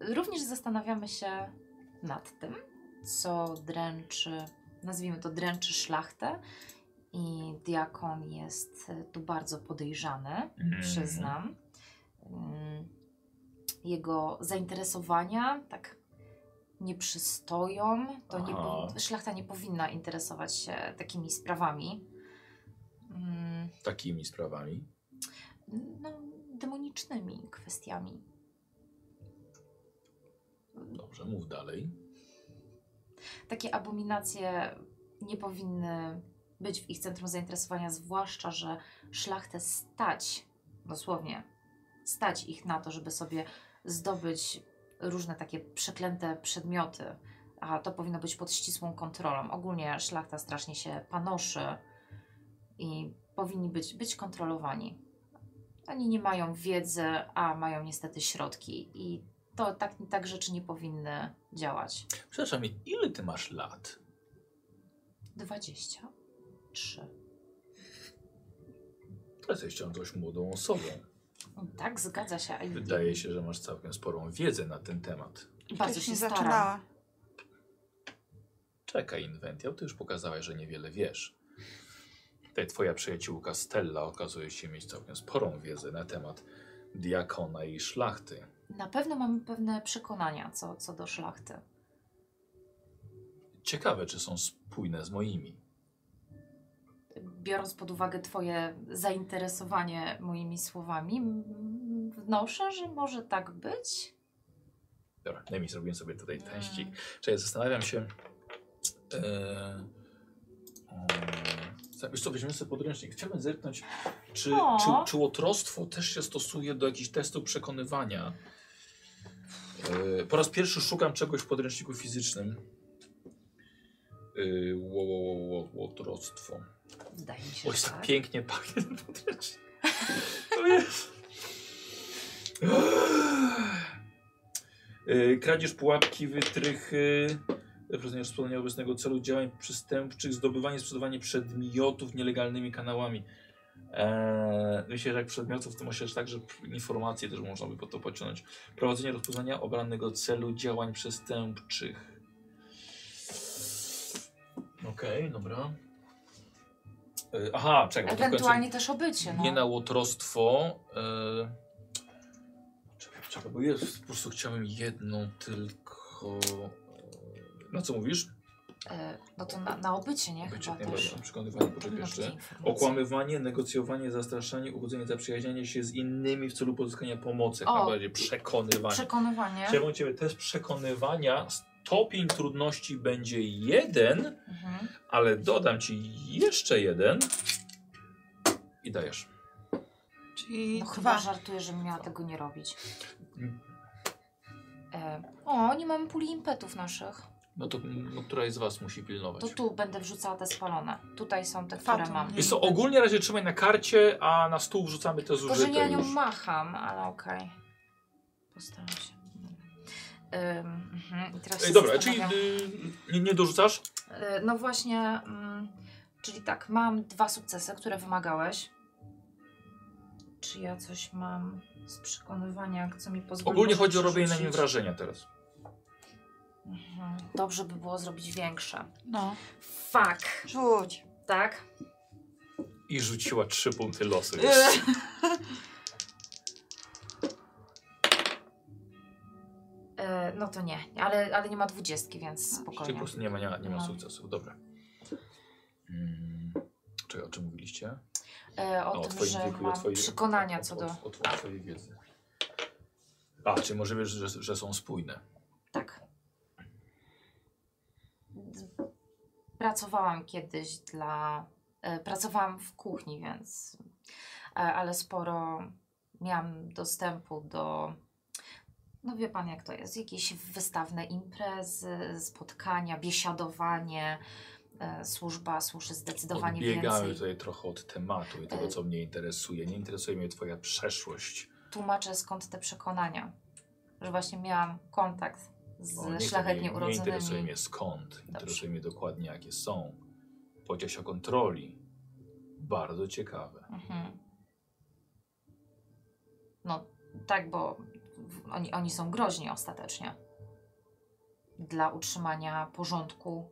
Również zastanawiamy się nad tym, co dręczy, nazwijmy to dręczy szlachtę. I diakon jest y, tu bardzo podejrzany. Mm. przyznam. Mm, Jego zainteresowania tak nie przystoją. To nie Aha. powi- szlachta nie powinna interesować się takimi sprawami. Mm, Takimi sprawami. No, demonicznymi kwestiami. Dobrze, mów dalej. Takie abominacje nie powinny być w ich centrum zainteresowania, zwłaszcza, że szlachtę stać, dosłownie, stać ich na to, żeby sobie zdobyć różne takie przeklęte przedmioty, a to powinno być pod ścisłą kontrolą. Ogólnie szlachta strasznie się panoszy i powinni być, być kontrolowani. Oni nie mają wiedzy, a mają niestety środki i to tak, tak rzeczy nie powinny działać. Przepraszam, ile ty masz lat? 23. To jesteś jeszcze dość młodą osobą. No Tak, zgadza się. a i- Wydaje się, że masz całkiem sporą wiedzę na ten temat. Bardzo Wcześniej się staram. zaczynała. Czekaj, Inventiał, ty już pokazałeś, że niewiele wiesz. Tutaj twoja przyjaciółka Stella okazuje się mieć całkiem sporą wiedzę na temat diakona i szlachty. Na pewno mamy pewne przekonania co, co do szlachty. Ciekawe, czy są spójne z moimi. Biorąc pod uwagę Twoje zainteresowanie moimi słowami, mm, wnoszę, że może tak być. Dobra, daj mi zrobiłem sobie tutaj teścik. Mm. Czyli zastanawiam się. E, Eee, Wiesz co, weźmiemy sobie podręcznik. Chciałbym zerknąć, czy, O. czy, czy łotrostwo też się stosuje do jakichś testów przekonywania. Eee, po raz pierwszy szukam czegoś w podręczniku fizycznym. Eee, Ło, ło, ło, ło, łotrostwo. Wydaje mi się, Oj, że tak tak. pięknie pachnie ten podręcznik. O Jezu. Eee, Kradzież pułapki, y, wytrychy, rozumiesz spełnienia obecnego celu działań przestępczych, zdobywanie, sprzedawanie przedmiotów nielegalnymi kanałami. Eee, myślę, że jak przedmiotów, to myślę, że także informacje też można by po to pociągnąć. Prowadzenie rozpoznania obranego celu działań przestępczych. Okej, dobra. Eee, aha, czekaj. bo to w końcu- Ewentualnie też obycie, no. nie na łotrostwo. Yy... Czekaj, czekaj, bo jest, po prostu chciałem jedną tylko. e, Na co mówisz? E, no to na, na obycie, nie? Bycie, Chyba nie też. dobra, przekonywanie, poczekaj Powinno być jeszcze. informacja. Okłamywanie, negocjowanie, zastraszanie, uchodzenie, zaprzyjaźnianie się z innymi w celu pozyskania pomocy. O. Jak najbardziej przekonywanie. Przekonywanie. Chciałbym Ciebie test przekonywania. Stopień trudności będzie jeden, Mhm. ale dodam Ci jeszcze jeden i dajesz. Czyli No chyba dwa. żartuję, że miała tego nie robić. Mm. E, o, nie mamy puli impetów naszych. No to no, któraś z Was musi pilnować. To tu będę wrzucała te spalone. Tutaj są te, które Fatum. mam. Jest to ogólnie razie trzymaj na karcie, a na stół wrzucamy te Tylko, że zużyte nie nią już. macham, ale okej. Postaram się. Ym, mhm, i teraz Ej, się dobra, czyli zastanawiam. y, nie, nie dorzucasz? Y, No właśnie, mm, czyli tak, mam dwa sukcesy, które wymagałeś. Czy ja coś mam z przekonywania, co mi pozwoli. Ogólnie może chodzi o robienie na nim przerzucić? wrażenia teraz. Mhm. Dobrze by było zrobić większe. No. Fuck, Rzuć. tak? I rzuciła trzy punkty losu. E, no to nie, ale, ale nie ma dwudziestki, więc Czyli po spokojnie. prostu nie ma, nie ma, nie ma No. sukcesu. Dobra. Mm, Czekaj, o czym mówiliście? E, o, A, tym, że No, wieku i tak, mam przekonania co do. O, o, o, o twojej wiedzy. A, czy może wiesz, że, że są spójne. Tak. D- Pracowałam kiedyś dla. e, Pracowałam w kuchni, więc. e, Ale sporo miałam dostępu do. No wie pan, jak to jest? Jakieś wystawne imprezy, spotkania, biesiadowanie. e, Służba służy zdecydowanie Odbiegamy więcej. tutaj trochę od tematu i tego, E. co mnie interesuje. Nie interesuje mnie twoja przeszłość. Tłumaczę skąd te przekonania. Że właśnie miałam kontakt z O, nie chcę- szlachetnie nie, Nie interesuje urodzonymi. mnie skąd, interesuje mnie dokładnie jakie są. Powiedziałeś o kontroli. Bardzo ciekawe. Mhm. No tak, bo w- oni, oni są groźni ostatecznie. Dla utrzymania porządku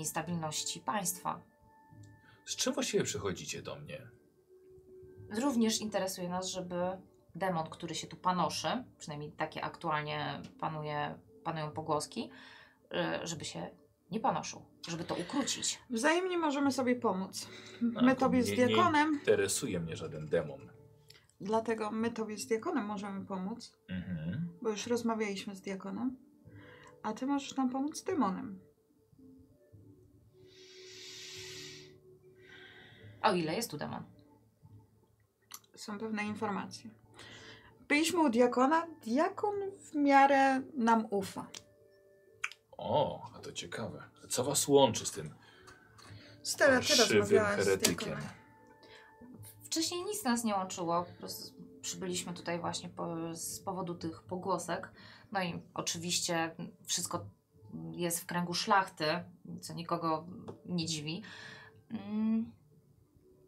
i stabilności państwa. Z czym właściwie przychodzicie do mnie? Również interesuje nas, żeby demon, który się tu panoszy, przynajmniej takie aktualnie panuje, panują pogłoski, y, żeby się nie panoszył, żeby to ukrócić. Wzajemnie możemy sobie pomóc. A, My to tobie z No, nie- nie- diakonem, Interesuje mnie żaden demon. dlatego my tobie z diakonem możemy pomóc, Mhm. bo już rozmawialiśmy z diakonem, a ty możesz nam pomóc z demonem. O ile jest tu demon? Są pewne informacje. Byliśmy u diakona, diakon w miarę nam ufa. O, a to ciekawe. Co was łączy z tym Stella, ty szywym rozmawiałaś z heretykiem? diakonem. Wcześniej nic nas nie łączyło. Po prostu przybyliśmy tutaj właśnie po, z powodu tych pogłosek. No i oczywiście wszystko jest w kręgu szlachty, co nikogo nie dziwi. Mm.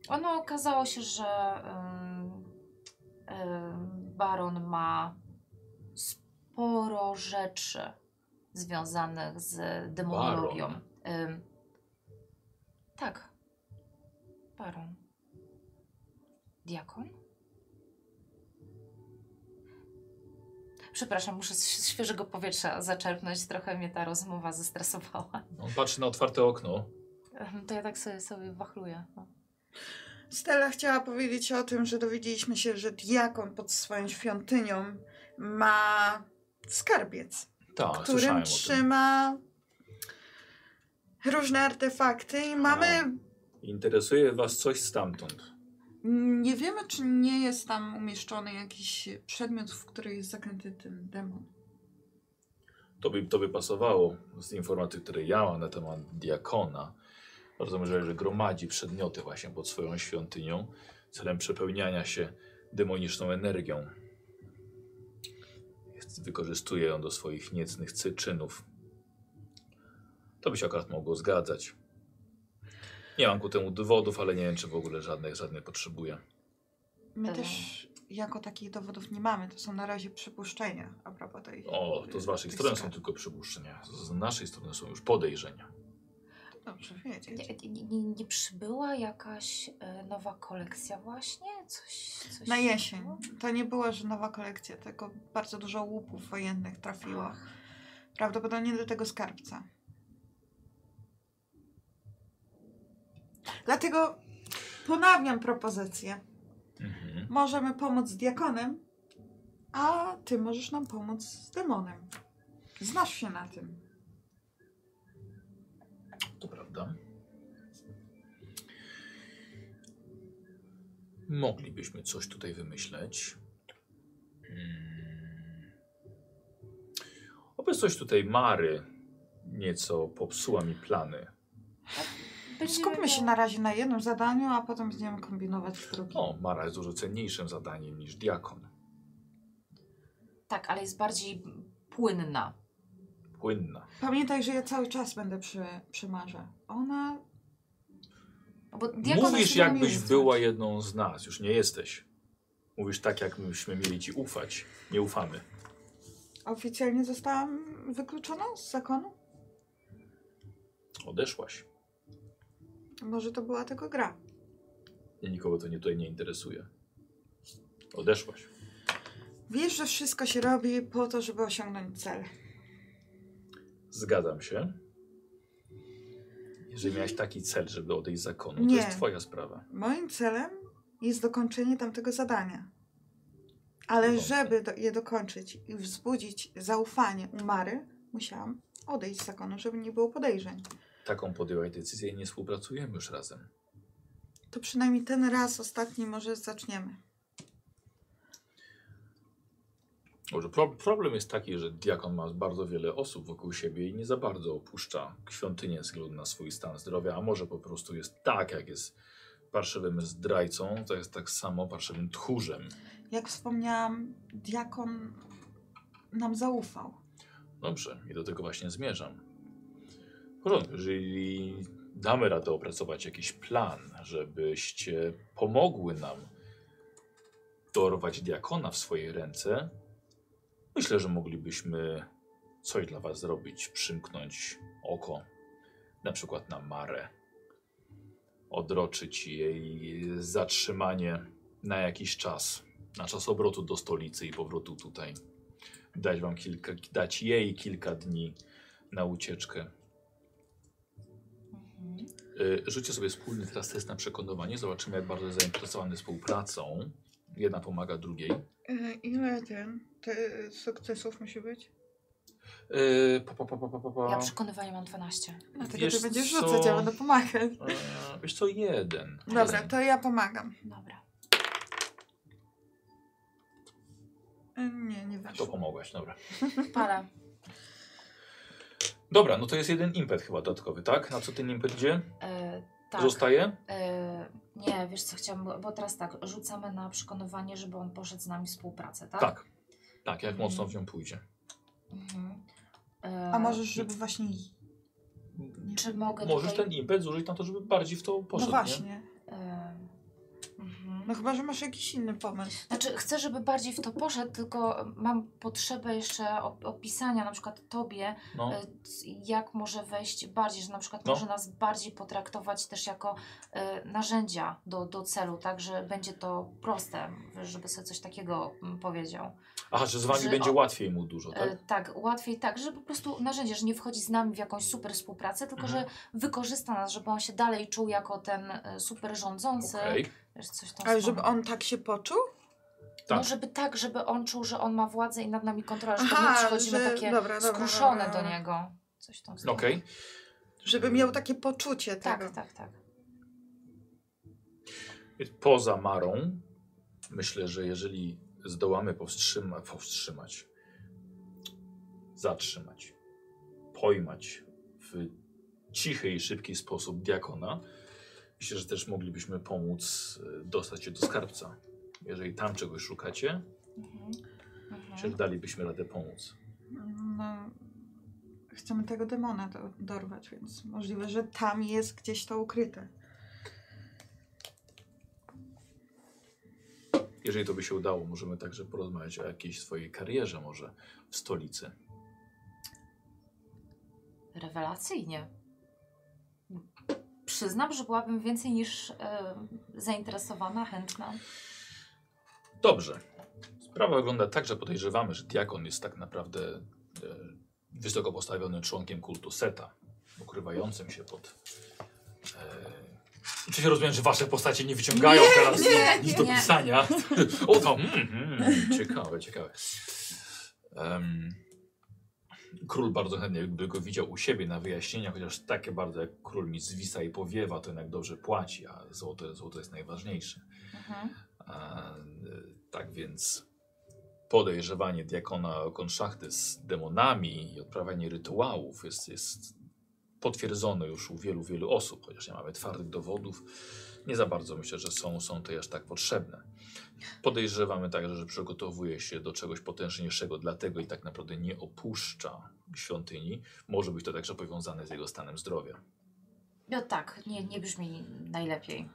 Ono okazało się, że ym, ym, baron ma sporo rzeczy związanych z demonologią. Ym, tak. Baron. Diakon? Przepraszam, muszę z świeżego powietrza zaczerpnąć. Trochę mnie ta rozmowa zestresowała. No, On patrzy na otwarte okno. Em, To ja tak sobie, sobie wachluję. No. Stella chciała powiedzieć o tym, że dowiedzieliśmy się, że diakon pod swoją świątynią ma skarbiec, Tak, którym słyszałem o tym. trzyma różne artefakty i mamy... Interesuje was coś stamtąd. mm, Nie wiemy, czy nie jest tam umieszczony jakiś przedmiot, w który jest zakręty ten demon. To by, to by pasowało z informacji, które ja mam na temat diakona. Bardzo możliwe, że gromadzi przedmioty właśnie pod swoją świątynią celem przepełniania się demoniczną energią. Jest- Wykorzystuje ją do swoich niecnych cy- czynów. To by się akurat mogło zgadzać. Nie mam ku temu dowodów, ale nie wiem, czy w ogóle żadnych, żadnych potrzebuję. My Tak. też jako takich dowodów nie mamy, to są na razie przypuszczenia a propos tej... O, to z waszej tych strony są spraw. tylko przypuszczenia. Z naszej strony są już podejrzenia. Dobrze wiedzieć. Nie, nie, nie, nie przybyła jakaś e, nowa kolekcja właśnie? Coś, coś Na jesień. było? To nie była, że nowa kolekcja, tylko bardzo dużo łupów wojennych trafiło. Prawdopodobnie do tego skarbca. Dlatego ponawiam propozycję. Mhm. Możemy pomóc z diakonem, a ty możesz nam pomóc z demonem. Znasz się na tym. To prawda. Moglibyśmy coś tutaj wymyśleć. Hmm. Obecność tutaj Mary nieco popsuła mi plany. Będziemy Skupmy się miały- na razie na jednym zadaniu, a potem będziemy kombinować w drugim. O, No, Mara jest dużo cenniejszym zadaniem niż diakon. Tak, ale jest bardziej płynna. Płynna. Pamiętaj, że ja cały czas będę przy, przy Marze. Ona No Bo diakon Mówisz, jest- się jakbyś zamienić. była jedną z nas. Już nie jesteś. Mówisz tak, jakbyśmy mieli ci ufać. Nie ufamy. oficjalnie została wykluczona z zakonu? Odeszłaś. Może to była tylko gra. I nikogo to nie, tutaj nie interesuje. Odeszłaś. Wiesz, że wszystko się robi po to, żeby osiągnąć cel. Zgadzam się. Jeżeli miałeś taki cel, żeby odejść z zakonu, Nie. to jest twoja sprawa. Moim celem jest dokończenie tamtego zadania. Ale Dobrze. żeby do, je dokończyć i wzbudzić zaufanie u Mary, musiałam odejść z zakonu, żeby nie było podejrzeń. Taką podjęłaś decyzję i nie współpracujemy już razem. To przynajmniej ten raz ostatni może zaczniemy. Może pro problem jest taki, że diakon ma bardzo wiele osób wokół siebie i nie za bardzo opuszcza świątynię ze względu na swój stan zdrowia, a może po prostu jest tak, jak jest parszywym zdrajcą, to jest tak samo parszywym tchórzem. Jak wspomniałam, diakon nam zaufał. Dobrze, i do tego właśnie zmierzam. W porządku, jeżeli damy radę opracować jakiś plan, żebyście pomogły nam dorwać diakona w swoje ręce, myślę, że moglibyśmy coś dla was zrobić, przymknąć oko, na przykład na Marę, odroczyć jej zatrzymanie na jakiś czas, na czas obrotu do stolicy i powrotu tutaj dać wam kilka, dać jej kilka dni na ucieczkę. Mhm. Y, Rzućcie sobie wspólny teraz test na przekonywanie. Zobaczymy, jak bardzo jest zainteresowany współpracą. Jedna pomaga drugiej. E, Ile ten, te sukcesów musi być? Yy, pa, pa, pa, pa, pa, pa, pa. Ja przekonywanie mam 12. Dlatego Wiesz ty będziesz co? rzucać, ja będę pomagać. Eee, Wiesz co, jeden. Dobra, Jeden. to ja pomagam. Dobra. Y, Nie, nie To weszło. pomogłaś, dobra. Parę. Dobra, no to jest jeden impet chyba dodatkowy, tak? Na co ten impet idzie? E, tak. Zostaje? E, nie, wiesz co chciałam, bo- bo teraz tak, rzucamy na przekonywanie, żeby on poszedł z nami w współpracę, tak? Tak. Tak, jak Mhm. mocno w nią pójdzie. Mhm. E, A możesz, żeby właśnie... Czy mogę Możesz tutaj... ten impet zużyć na to, żeby bardziej w to No poszedł, nie? właśnie. E, mhm. No chyba, że masz jakiś inny pomysł. Znaczy, chcę, żeby bardziej w to poszedł, tylko mam potrzebę jeszcze op- opisania na przykład tobie, No. e, c- jak może wejść bardziej, że na przykład No. może nas bardziej potraktować też jako e, narzędzia do, do celu, tak, że będzie to proste, żeby sobie coś takiego mm, powiedział. Aha, że z wami Że- będzie o- łatwiej mu dużo, E, tak? tak, łatwiej tak, że po prostu narzędzie, że nie wchodzi z nami w jakąś super współpracę, tylko Mhm. że wykorzysta nas, żeby on się dalej czuł jako ten e, super rządzący. Okej. Wiesz, coś tam Ale w żeby tą- on tak się poczuł? Tak. No, żeby tak, żeby on czuł, że on ma władzę i nad nami kontrolę, żeby my przychodzimy takie dobra, dobra, skruszone dobra. do niego. Coś tam No Okej. Żeby miał takie poczucie tego. Tak, tak, tak. Więc Poza Marą, myślę, że jeżeli zdołamy powstrzyma, powstrzymać, zatrzymać, pojmać w cichy i szybki sposób diakona, myślę, że też moglibyśmy pomóc e, dostać się do skarbca. Jeżeli tam czegoś szukacie, Mhm. myślę, Mhm. że dalibyśmy radę pomóc. No, chcemy tego demona do, dorwać, więc możliwe, że tam jest gdzieś to ukryte. Jeżeli to by się udało, możemy także porozmawiać o jakiejś swojej karierze może w stolicy. Rewelacyjnie. Przyznam, że byłabym więcej niż e, zainteresowana, chętna. Dobrze. Sprawa wygląda tak, że podejrzewamy, że diakon jest tak naprawdę e, wysoko postawionym członkiem kultu Seta, ukrywającym się pod. E, czy się rozumiem, że wasze postacie nie wyciągają teraz nie, nic nie, do nie. pisania? o to, mm, mm, ciekawe, ciekawe. Em, król bardzo chętnie by go widział u siebie na wyjaśnienia, chociaż takie bardzo jak król mi zwisa i powiewa, to jednak dobrze płaci, a złoto, złoto jest najważniejsze. Mhm. A, y, tak więc podejrzewanie diakona o konszachty z demonami i odprawianie rytuałów jest, jest potwierdzone już u wielu, wielu osób, chociaż nie mamy twardych dowodów. Nie za bardzo myślę, że są, są te aż tak potrzebne. Podejrzewamy także, że przygotowuje się do czegoś potężniejszego, dlatego i tak naprawdę nie opuszcza świątyni. Może być to także powiązane z jego stanem zdrowia. No tak, nie, nie brzmi najlepiej.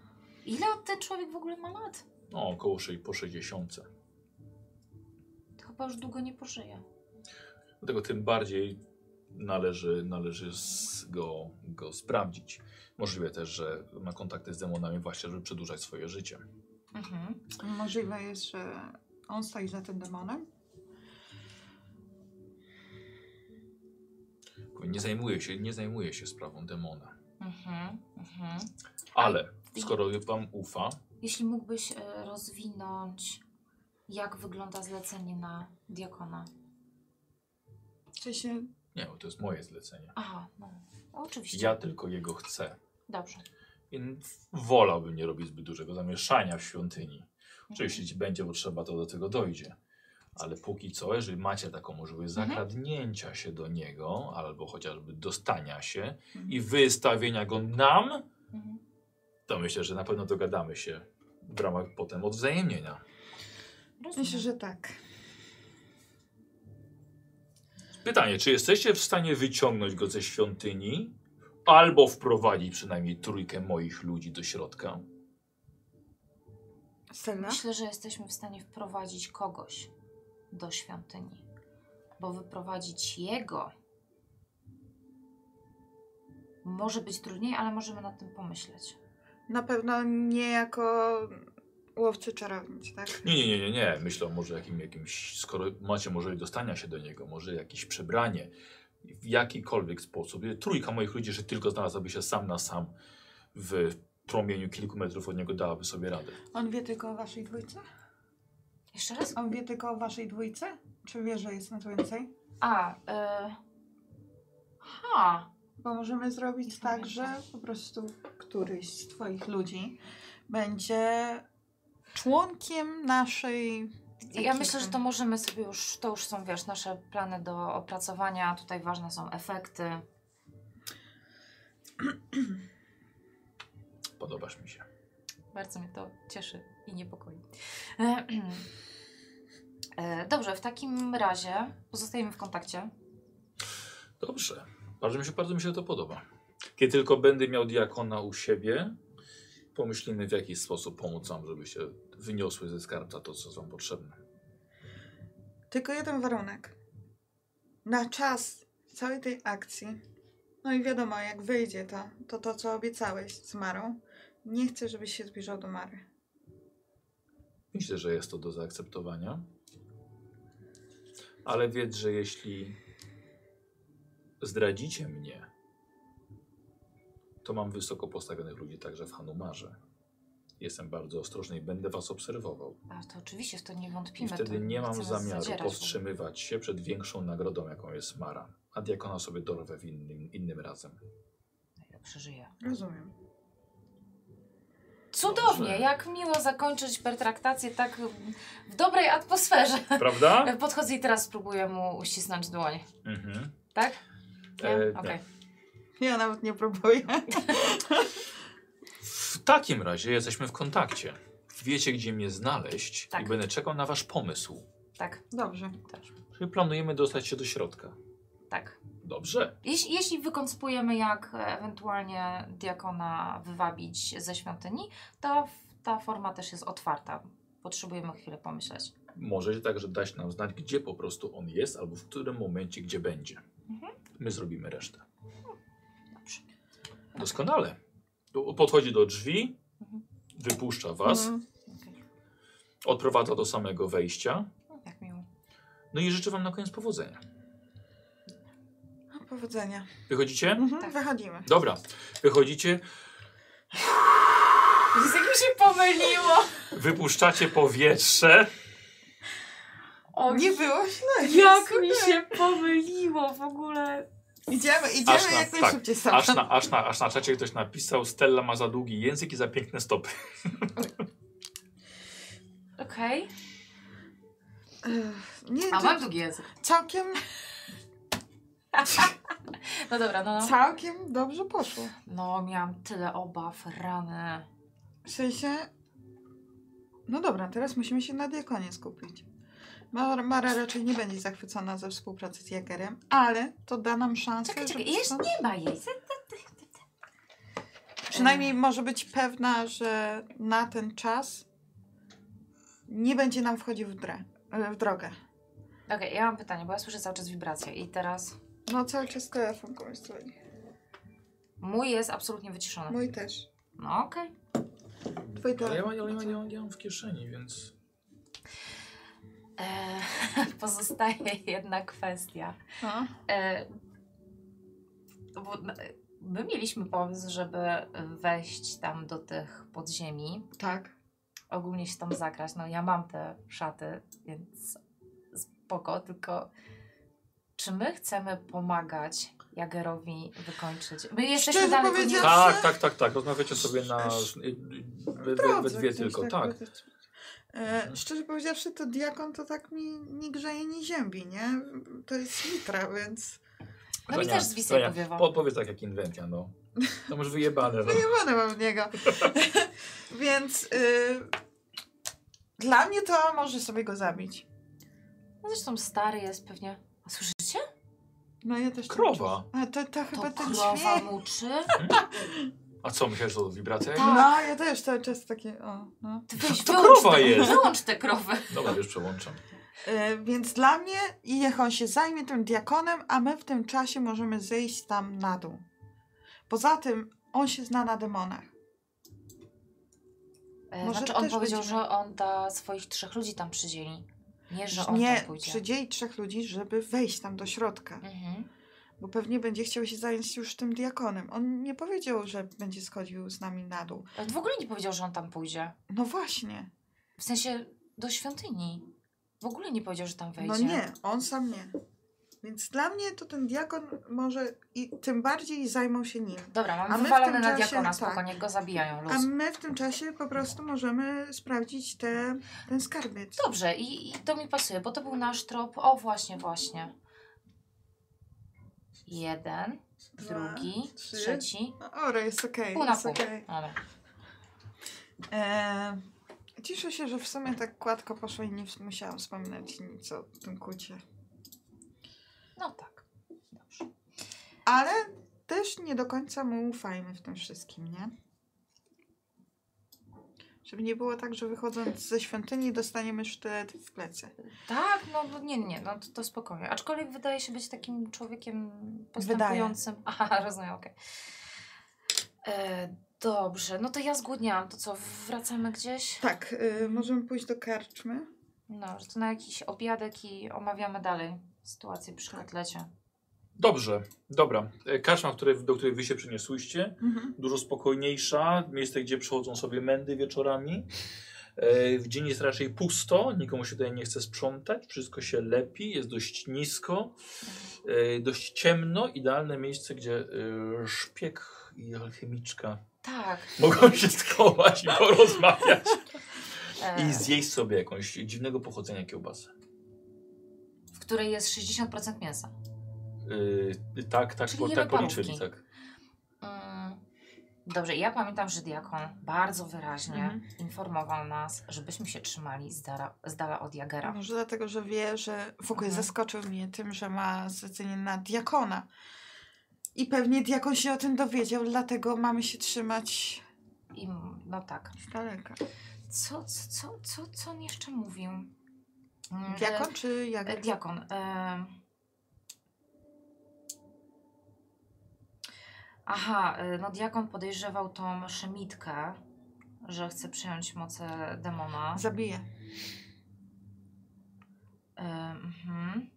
Ile ten człowiek w ogóle ma lat? No, około 6 po 60. To chyba już długo nie pożyje. Dlatego tym bardziej należy, należy z go, go sprawdzić. Możliwe też, że ma kontakty z demonami właśnie, żeby przedłużać swoje życie. Mhm. Możliwe jest, że on stoi za tym demonem. Nie zajmuje się, nie zajmuje się sprawą demona. Mhm. Mhm. Ale skoro wam ufa, Jeśli mógłbyś e, rozwinąć, jak wygląda zlecenie na diakona. W sensie, nie, bo to jest moje zlecenie. Aha, no. Oczywiście. Ja tylko jego chcę. Dobrze. I wolałbym nie robić zbyt dużego zamieszania w świątyni. Oczywiście jeśli będzie potrzeba, to do tego dojdzie. Ale póki co, jeżeli macie taką możliwość Mhm. zakradnięcia się do niego, albo chociażby dostania się Mhm. i wystawienia go nam, Mhm. to myślę, że na pewno dogadamy się w ramach potem odwzajemnienia. Rozumiem. myślę, że tak. Pytanie, czy jesteście w stanie wyciągnąć go ze świątyni, albo wprowadzić przynajmniej trójkę moich ludzi do środka? Stella? Myślę, że jesteśmy w stanie wprowadzić kogoś do świątyni, bo wyprowadzić jego może być trudniej, ale możemy nad tym pomyśleć. Na pewno nie jako łowcy czarownic, tak? Nie, nie, nie, nie, nie. Myślę może jakim, jakimś, skoro macie możliwość dostania się do niego, może jakieś przebranie, w jakikolwiek sposób. Trójka moich ludzi, że tylko znalazłaby się sam na sam w promieniu kilku metrów od niego, dałaby sobie radę. On wie tylko o waszej dwójce? Jeszcze raz? On wie tylko o waszej dwójce? Czy wie, że jest nas więcej? A, y... ha, Bo możemy zrobić Nie tak, pamiętam. że po prostu któryś z twoich ludzi będzie członkiem naszej... ja myślę, że to możemy sobie już, to już są, wiesz, nasze plany do opracowania, tutaj ważne są efekty. Podobasz mi się. Bardzo mnie to cieszy i niepokoi. E, Dobrze, w takim razie pozostajemy w kontakcie. Dobrze. Bardzo mi się, bardzo mi się to podoba. Kiedy tylko będę miał diakona u siebie, pomyślimy w jakiś sposób pomóc wam, żeby się wyniosły ze skarbca to, co jest wam potrzebne. Tylko jeden warunek. Na czas całej tej akcji, no i wiadomo, jak wyjdzie to, to to, co obiecałeś z Marą, nie chcę, żebyś się zbliżał do Mary. Myślę, że jest to do zaakceptowania. Ale wiedz, że jeśli zdradzicie mnie, to mam wysoko postawionych ludzi także w Hanumarze. Jestem bardzo ostrożny i będę was obserwował. A to oczywiście, w to nie I wątpimy. wtedy to nie mam chcemy zamiaru zadzierać w ogóle. powstrzymywać się przed większą nagrodą, jaką jest Mara. A diakona sobie dorwę w innym, innym razem. przeżyje. Rozumiem. Cudownie, Dobrze. jak miło zakończyć pertraktację tak w dobrej atmosferze. Prawda? Podchodzę i teraz spróbuję mu uścisnąć dłoń. Mhm. Tak? Nie? E, Okej. tak. Ja nawet nie próbuję. W takim razie jesteśmy w kontakcie. Wiecie, gdzie mnie znaleźć Tak. i będę czekał na wasz pomysł. Tak, Dobrze. Czyli planujemy dostać się do środka. tak. Dobrze. Jeśli, jeśli wykonspujemy, jak ewentualnie diakona wywabić ze świątyni, to ta forma też jest otwarta. Potrzebujemy chwilę pomyśleć. Możecie także tak, dać nam znać, gdzie po prostu on jest, albo w którym momencie, gdzie będzie. Mhm. My zrobimy resztę. Dobrze. Doskonale. Tu Podchodzi do drzwi, Mhm. wypuszcza was, Mm. odprowadza do samego wejścia. No, Jak miło. No i życzę wam na koniec powodzenia. no, Powodzenia. Wychodzicie? Mhm, Tak. Wychodzimy. Dobra, wychodzicie, Z jakim się pomyliło? wypuszczacie powietrze. O, Nie było źle. jak mi się pomyliło w ogóle. Idziemy, idziemy Aż na- jak tak, najszybciej tak, Aż na, aż, na, aż na czacie ktoś napisał, Stella ma za długi język i za piękne stopy. Okej. Nie, A to mam długi język. całkiem, No dobra, no. no. całkiem dobrze poszło. No, miałam tyle obaw, rany. W sensie... No dobra, teraz musimy się na diakonie skupić. Mara, Mara raczej nie będzie zachwycona ze współpracy z Jagerem, ale to da nam szansę, Czekaj, czekaj, żeby jest, stąd- nie ma jej. Przynajmniej może być pewna, że na ten czas nie będzie nam wchodził w, drę, w drogę. Okej, ja mam pytanie, bo ja słyszę cały czas wibracje i teraz No cały czas telefon komuś dzwoni. mój jest absolutnie wyciszony. Mój też. No okej. Twój Ale ja, mam- telefon. ja, mam- ja, mam- ja mam w kieszeni, więc... Eee, Pozostaje jedna kwestia. No. E, bo, no, e, my mieliśmy pomysł, żeby wejść tam do tych podziemi, Tak. ogólnie się tam zagrać. No ja mam te szaty, więc spoko, tylko czy my chcemy pomagać Jagerowi wykończyć? My jesteśmy No, Szczerze dalej... powiedziawszy- pod Tak, nim- tak, tak, tak. Rozmawiacie sobie na... y, We, we, we Drodze, dwie ktoś tylko, no. tak. Mhm. powiedzieć. E, szczerze powiedziawszy, to diakon to tak mi nie grzeje, nie ziębi, nie? To jest litra, więc No mi Zania, też zwisek Zania, powiewa. po- Powiedz tak jak inwentia, no. To masz wyjebane, no. wyjebane mam w niego. więc y, dla mnie to może sobie go zabić. No zresztą stary jest pewnie... A słyszycie? No ja też... Krowa. A to, to chyba to ten krowa dźwięk. muczy? A co, myślałeś, że to wibracja? Tak. No, ja też cały czas takie, o, no. Ty weź, To wyłącz krowa te, jest. Wyłącz te krowy. Dobra, już przełączam. E, więc dla mnie, i niech on się zajmie tym diakonem, a my w tym czasie możemy zejść tam na dół. Poza tym, on się zna na demonach. E, Może znaczy on też powiedział, będziemy- że on da swoich trzech ludzi tam przydzieli. Nie, że on Nie tam pójdzie. przydzieli trzech ludzi, żeby wejść tam do środka, Mhm. bo pewnie będzie chciał się zająć już tym diakonem. On nie powiedział, że będzie schodził z nami na dół. Ale W ogóle nie powiedział, że on tam pójdzie. No właśnie. W sensie do świątyni. W ogóle nie powiedział, że tam wejdzie. No nie, on sam nie. Więc dla mnie to ten diakon może i tym bardziej zajmą się nim. Dobra, A mam my w wywalone tym na czasie- diakona, tak. spoko, niech go zabijają luz. A my w tym czasie po prostu możemy sprawdzić te, ten skarbiec. Dobrze, i, i to mi pasuje, bo to był nasz trop. O, właśnie, właśnie. Jeden, Dwa, drugi, trzy. trzeci. No, Ora, jest okej, Pół na jest pół. okej. Dobra. Eee, Cieszę się, że w sumie tak gładko poszło i nie w- musiałam wspominać nic o tym kucie. No tak. Dobrze. Ale też nie do końca mu ufajmy w tym wszystkim, nie? Żeby nie było tak, że wychodząc ze świątyni dostaniemy sztylet w plecy. Tak, no bo nie, nie, no to, to spokojnie. Aczkolwiek wydaje się być takim człowiekiem postępującym. Aha, rozumiem, okej. E, Dobrze, no to ja zgłodniałam. To co, wracamy gdzieś? Tak, y, możemy pójść do karczmy. No, że to na jakiś obiadek i omawiamy dalej sytuację przy Tak. kotlecie. Dobrze, dobra. E, Karczma, w której, do której wy się przyniosłyście, Mhm. dużo spokojniejsza, miejsce, gdzie przychodzą sobie mędy wieczorami. E, W dzień jest raczej pusto, nikomu się tutaj nie chce sprzątać, wszystko się lepi, jest dość nisko, e, dość ciemno, idealne miejsce, gdzie e, szpieg i alchemiczka Tak. mogą się schować i porozmawiać. E, I zjeść sobie jakąś dziwnego pochodzenia kiełbasę. w której jest 60% mięsa. Yy, tak, tak, Czyli po, nie tak ma policzyli. parówki. Tak. Mm, Dobrze, ja pamiętam, że diakon bardzo wyraźnie Mhm. informował nas, żebyśmy się trzymali z, dala, z dala od Jagera. Może dlatego, że wie, że w ogóle Tak. Mhm. zaskoczył mnie tym, że ma zlecenie na diakona. I pewnie diakon się o tym dowiedział, dlatego mamy się trzymać I m- no tak. z daleka. Co, co, co, co, co on jeszcze mówił? Mm, Diakon czy E, e, Jager? diakon. E... Aha, e, no diakon podejrzewał tą szemitkę, że chce przejąć moce demona. Zabije. E, mhm.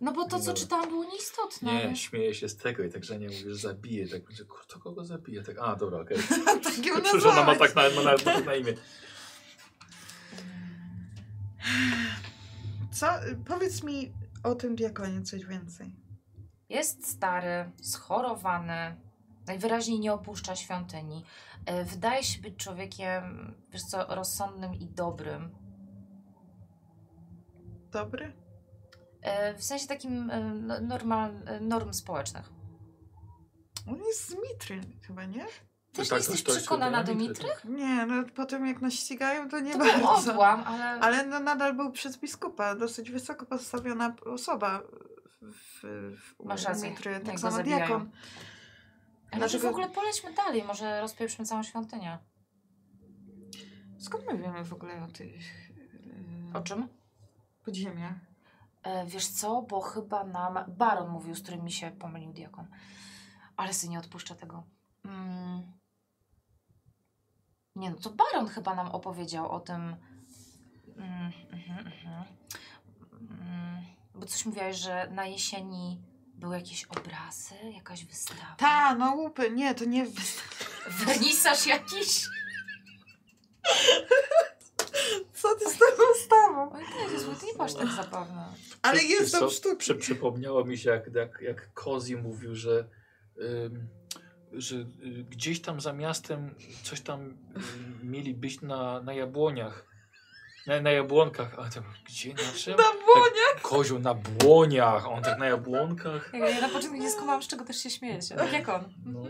No bo to, co Dobra. czytałam, było nieistotne. Nie, śmieję się z tego i tak, że nie mówisz, zabije. Tak będzie, kur- to kogo zabije? Tak, a, dobra, okej. tak ją Przecież ona ma nazwałeś. tak na, ma na, tak na imię. Co? Powiedz mi o tym diakonie coś więcej. Jest stary, schorowany, najwyraźniej nie opuszcza świątyni. E, Wydaje się być człowiekiem, wiesz co, rozsądnym i dobrym. Dobry? E, W sensie takim e, no- normal, e, norm społecznych. On jest z Mitry chyba, nie? Też Tak, nie jesteś to- to jest przekonana do Mitry, Mitry? Nie, no po tym jak nas ścigają, to nie To był bardzo. odłam, ale, Ale no, nadal był przez biskupa, dosyć wysoko postawiona osoba w, w, u- Masz u rację, Mitry, jak tak go samo zabijają. diakon. ale dlaczego- w ogóle polećmy dalej, może rozpieprzmy całą świątynię. Skąd my wiemy w ogóle o tych O yy, czym? podziemiach? E, Wiesz co, bo chyba nam Baron mówił, z którym mi się pomylił diakon. Ale sobie nie odpuszczę tego. Mm. Nie no, to Baron chyba nam opowiedział o tym. Mm, mhm, mhm. Mm, Bo coś mówiłaś, że na jesieni były jakieś obrazy, jakaś wystawa. Ta, no łupy, nie, to nie Wernisaż jakiś. Co ty z tą ustawą? Oj, tak, jest, ty nie byłaś tak zabawna. Ale Przy- jest co? to sztuki. Przy, przypomniało mi się, jak, jak, jak Kozi mówił, że, ym, że y, gdzieś tam za miastem coś tam y, mieli być na, na jabłoniach. Na, na jabłonkach. A tam, gdzie na czym? Na błonie! Koziu, na błoniach. a On tak na jabłonkach. Ja na początku nie skumałam, z czego też się śmiejecie. Tak jak on. No.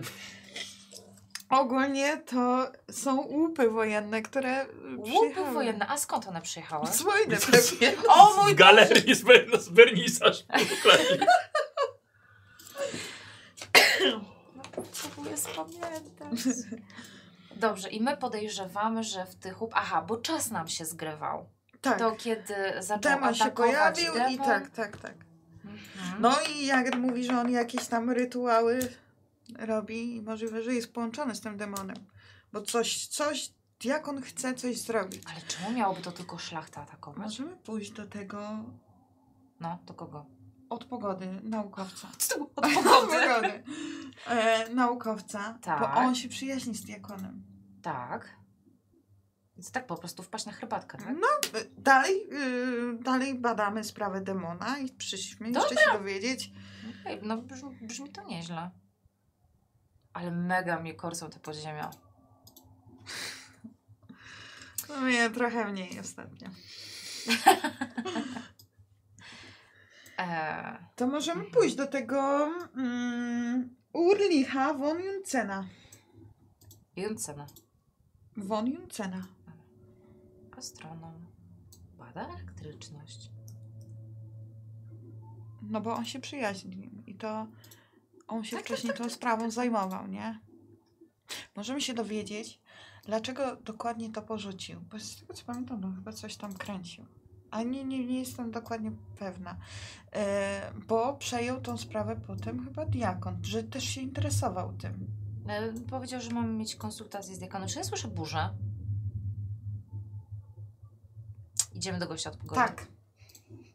Ogólnie to są łupy wojenne, które Łupy wojenne, a skąd one przyjechały? Z wojny pewnie. O mój W galerii z, wer- z wernisaż. No, Próbuję spamiętać. Dobrze, i my podejrzewamy, że w tych... up- Aha, bo czas nam się zgrywał. Tak. To kiedy zaczął Demon się atakować pojawił demon. i tak, tak, tak. Mhm. No i Jagr mówi, że on jakieś tam rytuały robi i możliwe, że jest połączony z tym demonem. Bo coś, coś, diakon chce coś zrobić. Ale czemu miałoby to tylko szlachta atakować? Możemy pójść do tego No, do kogo? od pogody naukowca. Co to było? pogody. E, naukowca, Tak. bo on się przyjaźni z diakonem. Tak. Więc tak po prostu wpaść na herbatkę, tak? No, e, dalej, y, dalej badamy sprawę demona i przyszliśmy jeszcze się dowiedzieć. Okej, no brzmi, brzmi to nieźle. Ale mega mnie korsą te podziemia. No nie, trochę mniej ostatnio. Eee, To możemy pójść do tego mm, Urlicha von Juncena. Juncena, Von Juncena. astronom, bada elektryczność. No bo on się przyjaźni z nim i to on się Tak, tak, wcześniej tą sprawą zajmował, nie? Możemy się dowiedzieć, dlaczego dokładnie to porzucił. Bo z tego co pamiętam, no chyba coś tam kręcił. A nie, nie, nie jestem dokładnie pewna. E, bo przejął tą sprawę potem chyba diakon, że też się interesował tym. E, Powiedział, że mamy mieć konsultację z diakonem. Czy ja słyszę burzę? Idziemy do gościa od pogody. Tak.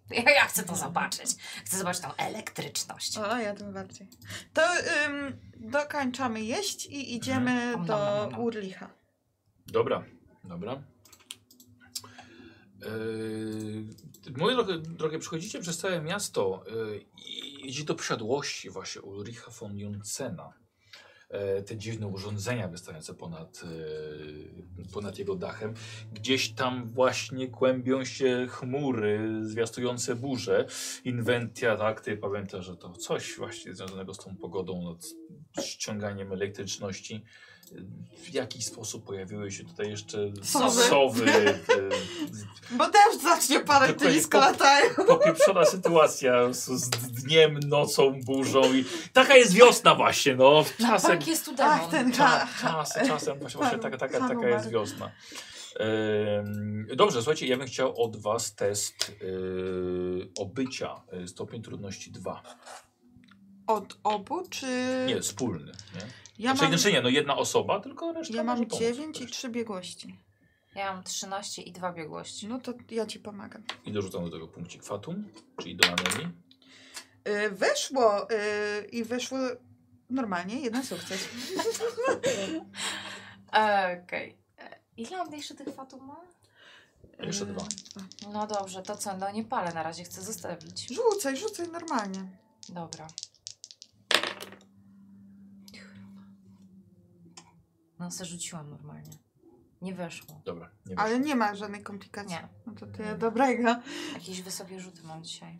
Ja, ja chcę to zobaczyć. Chcę zobaczyć tą elektryczność. O, ja tym bardziej. To ym, dokończamy jeść i idziemy Om nom, nom, do nom, nom. Urlicha. Dobra, dobra. Yy, moi drogie, drogie, przechodzicie przez całe miasto yy, i Idzie do posiadłości właśnie Ulricha von Juncena. E, Te dziwne urządzenia wystające ponad, e, ponad jego dachem. Gdzieś tam właśnie kłębią się chmury zwiastujące burze. Inwentia, tak, ty pamiętasz, że to coś właśnie związanego z tą pogodą, no, z ściąganiem elektryczności. E, W jakiś sposób pojawiły się tutaj jeszcze Sowy. sowy e, Bo też zacznie padać Dokładnie. tymi latają. popieprzona sytuacja z, z dniem, nocą, burzą i taka jest wiosna właśnie, no. Czasem, Pak jest tu demon. Ach, Tak, ten cza, tak. ha, ha, czas, czasem właśnie, właśnie taka, taka, Pan- taka pan jest Marek. wiosna. Ym, Dobrze, słuchajcie, ja bym chciał od was test yy, obycia, yy, stopień trudności 2. Od obu, czy... Nie, wspólny. Nie? Y, ja znaczy, mam, znaczy nie, no jedna osoba, tylko reszta ja mam może pomóc 9 i też. 3 biegłości. Ja mam 13 i 2 biegłości. No to ja ci pomagam. I dorzucam do tego punkcik fatum, czyli do anemii. Y, Weszło y, i wyszło normalnie, jeden sukces. Mm. E, Okej. E, Ile on jeszcze tych fatum ma? Jeszcze Mm. dwa. No dobrze, to co? No nie palę na razie, chcę zostawić. Rzucaj, rzucaj normalnie. Dobra. No se rzuciłam normalnie. Nie weszło. Dobra, nie wiem. Ale nie ma żadnej komplikacji. Nie. No to tyle dobrego. Jakieś wysokie rzuty mam dzisiaj.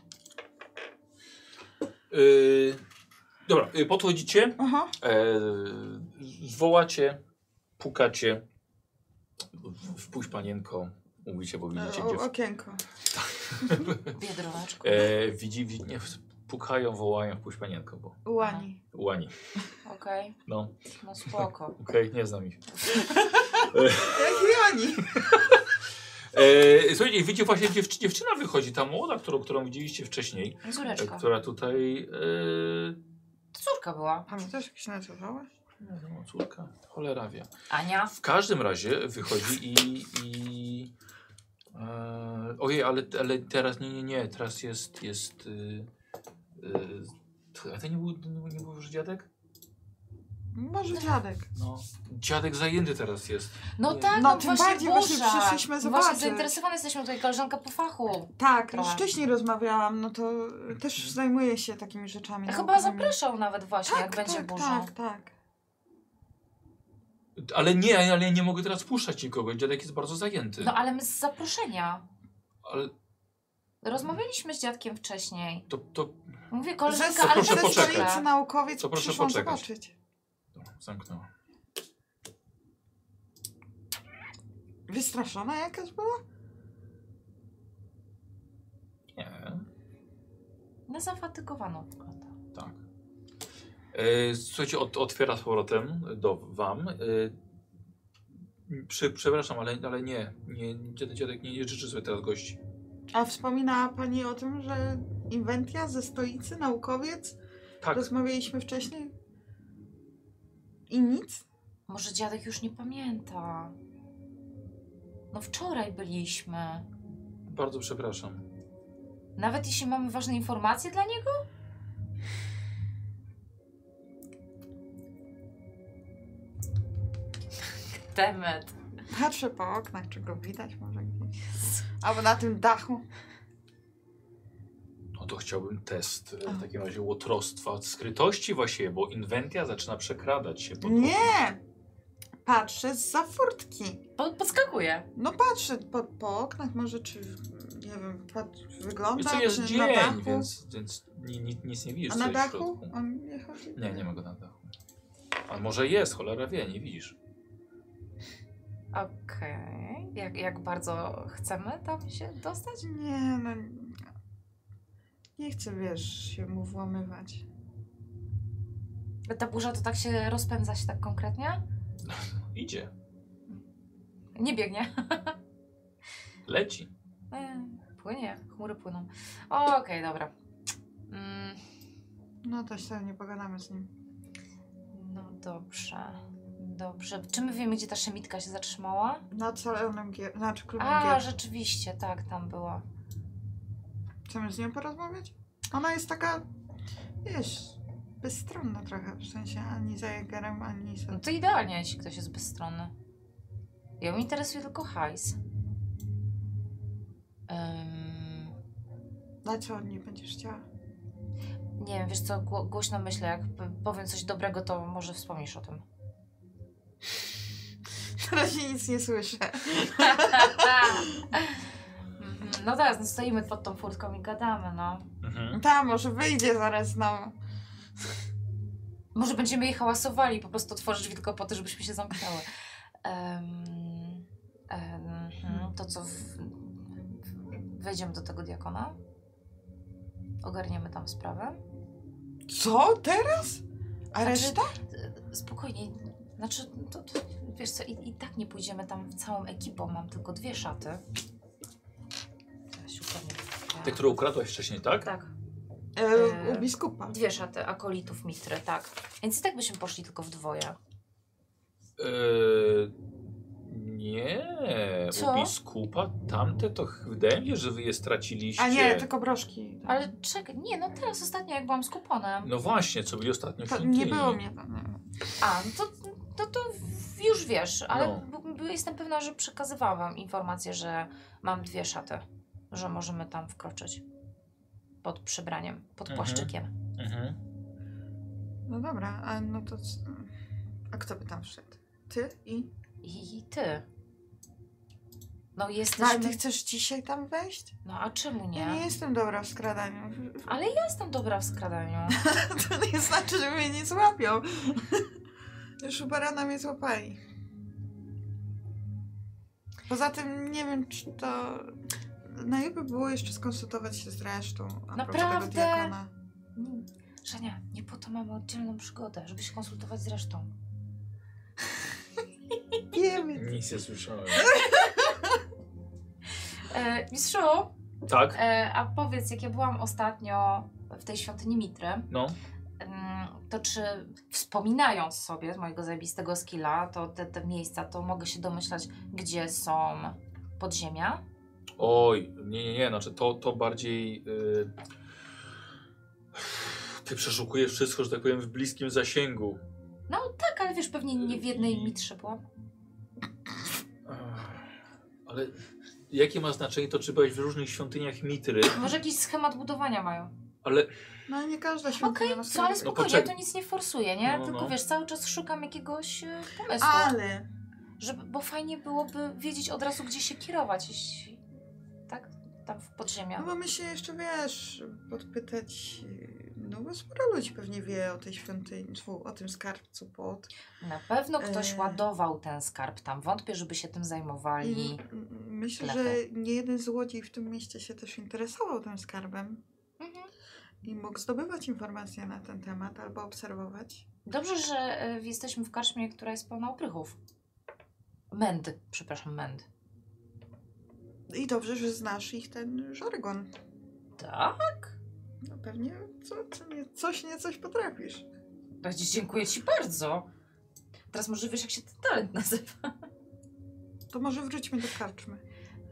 Yy, dobra, yy, podchodzicie. Aha. E, wołacie, pukacie. W- Wpuść panienko, mówicie, bo widzicie y, E, O, dziewczynę. okienko. Biedroneczko. E, widzi, widzi, nie, pukają, wołają, wpuść panienko, bo Łani. łani. Okej, No, no spoko. okej, nie znam ich. Jaki Łani? E, słuchajcie, widzicie właśnie dziew, dziewczyna wychodzi, ta młoda, którą, którą widzieliście wcześniej, e, Córeczka. która tutaj... E, To córka była. Pamiętasz, jak się nazywała? nie wiem, no, córka, cholera wie. Ania. W każdym razie wychodzi i. i e, ojej, ale, ale teraz nie, nie, nie. Teraz jest. jest y, y, a to nie był, nie, nie był już dziadek? Może dziadek. No. Dziadek zajęty teraz jest. No Nie. tak, No, no, tym właśnie bardziej właśnie burza. przyszliśmy Właśnie zobaczyć. zainteresowane jesteśmy tutaj koleżanka po fachu. Tak, Trochę. już wcześniej rozmawiałam, no to też zajmuję się takimi rzeczami. Chyba naukowymi. zapraszał nawet właśnie, jak będzie tak, burza. Tak, tak. Ale nie, ale ja nie mogę teraz puszczać nikogo. Dziadek jest bardzo zajęty. No ale my z zaproszenia. Ale Rozmawialiśmy z dziadkiem wcześniej. to. to Mówię, Ze, koleżanka, To ale proszę ze poczekać. stolicy naukowiec To proszę przyszłam poczekać. zobaczyć. dobra, zamknęła. Wystraszona jakaś była? Nie, No zafatygowaną wygląda. tak. E, słuchajcie, ot, otwiera z powrotem do wam. E, przy, przepraszam, ale, ale nie, nie. Dziadek, dziadek nie, nie życzy sobie teraz gości. A wspominała Pani o tym, że Inwentia ze stolicy naukowiec, Tak, rozmawialiśmy wcześniej i nic? Może dziadek już nie pamięta. No wczoraj byliśmy. bardzo przepraszam. Nawet jeśli mamy ważne informacje dla niego? Demet. Patrzę po oknach, czy go widać może gdzieś. Albo na tym dachu. No to chciałbym test e, w takim razie łotrostwa od skrytości właśnie, bo inwentia zaczyna przekradać się. Pod Nie! Patrzę za furtki. Po, podskakuje. No patrzę po, po oknach może, czy nie wiem, patrz, wygląda, Co jest czy dzień, tak, na dachu. więc, więc ni, ni, nic nie widzisz. A co na jest w dachu? środku. On nie chodzi? Nie, nie ma go na dachu. A może jest, cholera wie, nie widzisz. Okej. Jak, jak bardzo chcemy tam się dostać? Nie, no... Nie chcę, wiesz, się mu włamywać. Ta burza to tak się rozpędza się tak konkretnie? Idzie, Nie biegnie. leci. E, Płynie, chmury płyną. Okej, dobra. Mm, No to się nie pogadamy z nim. no dobrze. Dobrze. Czy my wiemy, gdzie ta szemitka się zatrzymała? Na calonym gier... Znaczy klubem A, gier. rzeczywiście, tak, tam była. Chcemy z nią porozmawiać? Ona jest taka, wiesz, bezstronna trochę. W sensie ani za Jagerem, ani za... No to idealnie, jeśli ktoś jest bezstronny. Ją interesuje tylko hajs. Ym, Na co od niej będziesz chciała? Nie wiem, wiesz co, gło, głośno myślę, jak p- powiem coś dobrego, to może wspomnisz o tym. Na razie nic nie słyszę. Mhm. no teraz, no stoimy pod tą furtką i gadamy, no. Mhm. Ta, może wyjdzie zaraz znowu. Może będziemy jej hałasowali, po prostu otworzyć drzwi tylko po to, żebyśmy się zamknęły. Em, em, mhm. to co, w, w- wejdziemy do tego diakona? Ogarniemy tam sprawę? Co? Teraz? A Znaczy, reszta? e, Spokojnie. Znaczy, to, to, wiesz co, i, i tak nie pójdziemy tam całą ekipą. Mam tylko dwie szaty. Teraz upewnię. Te, które ukradłaś wcześniej, tak? Tak, E, u biskupa. dwie szaty akolitów mitry, tak. Więc i tak byśmy poszli tylko w dwoje. Eee, nie. Co? U biskupa tamte to ch- wydaje mi się, że wy je straciliście. A nie, tylko broszki. Ale czekaj, nie, no teraz ostatnio jak byłam z kuponem. No właśnie, co byli ostatnio w To nie świątyni. było mnie tam. nie wiem. A, no to, no to w- już wiesz, ale No. b- b- jestem pewna, że przekazywałam wam informację, że mam dwie szaty, że możemy tam wkroczyć. Pod przybraniem, pod Mhm. płaszczykiem. Mhm. No dobra, a no to... c- A kto by tam wszedł? Ty i... I ty. No No, ale ty jesteśmy... chcesz dzisiaj tam wejść? No a czemu Ja nie nie? jestem dobra w skradaniu. Ale ja jestem dobra w skradaniu. To nie znaczy, że mnie nie złapią. Już u barana mnie złapali. Poza tym nie wiem, czy to... Najlepiej było jeszcze skonsultować się z resztą. a propos tego Naprawdę? diakona. Mm, Żenia, nie po to mamy oddzielną przygodę, żeby się konsultować z resztą. Wiemy. Nic nie słyszałem. E, mistrzu, Tak? e, a powiedz, jak ja byłam ostatnio w tej świątyni Mitry, No. em, to czy wspominając sobie z mojego zajebistego skilla, to te, te miejsca, to mogę się domyślać, gdzie są podziemia? Oj, nie, nie, nie, znaczy to, to bardziej. y, Ty przeszukujesz wszystko, że tak powiem, w bliskim zasięgu. No tak, ale wiesz, pewnie nie w jednej mitrze byłam. Ach, Ale jakie ma znaczenie to, czy byłeś w różnych świątyniach Mitry? Może jakiś schemat budowania mają. Ale No nie każda się Okej, co, No, ale spokojnie, ja poczekaj. to nic nie forsuję, nie? No, no, Tylko no. wiesz, cały czas szukam jakiegoś e, pomysłu, Ale żeby, bo fajnie byłoby wiedzieć od razu, gdzie się kierować, jeśli, tak? Tam w podziemia. no bo my się jeszcze, wiesz, podpytać, yy, no bo sporo ludzi pewnie wie o tej świątyni, tfu, o tym skarbcu pod. Na pewno ktoś E. ładował ten skarb tam, wątpię, żeby się tym I zajmowali. m- myślę, Lepiej. że nie jeden złodziej w tym mieście się też interesował tym skarbem Mhm. i mógł zdobywać informacje na ten temat albo obserwować. Dobrze, że e, jesteśmy w karczmie, która jest pełna oprychów. Męd, przepraszam, męd. I dobrze, że znasz ich ten żargon. Tak? No pewnie co, co nie, coś nie coś potrafisz. Będzie, dziękuję ci bardzo. Teraz może wiesz, jak się ten talent nazywa. To może wróćmy do karczmy.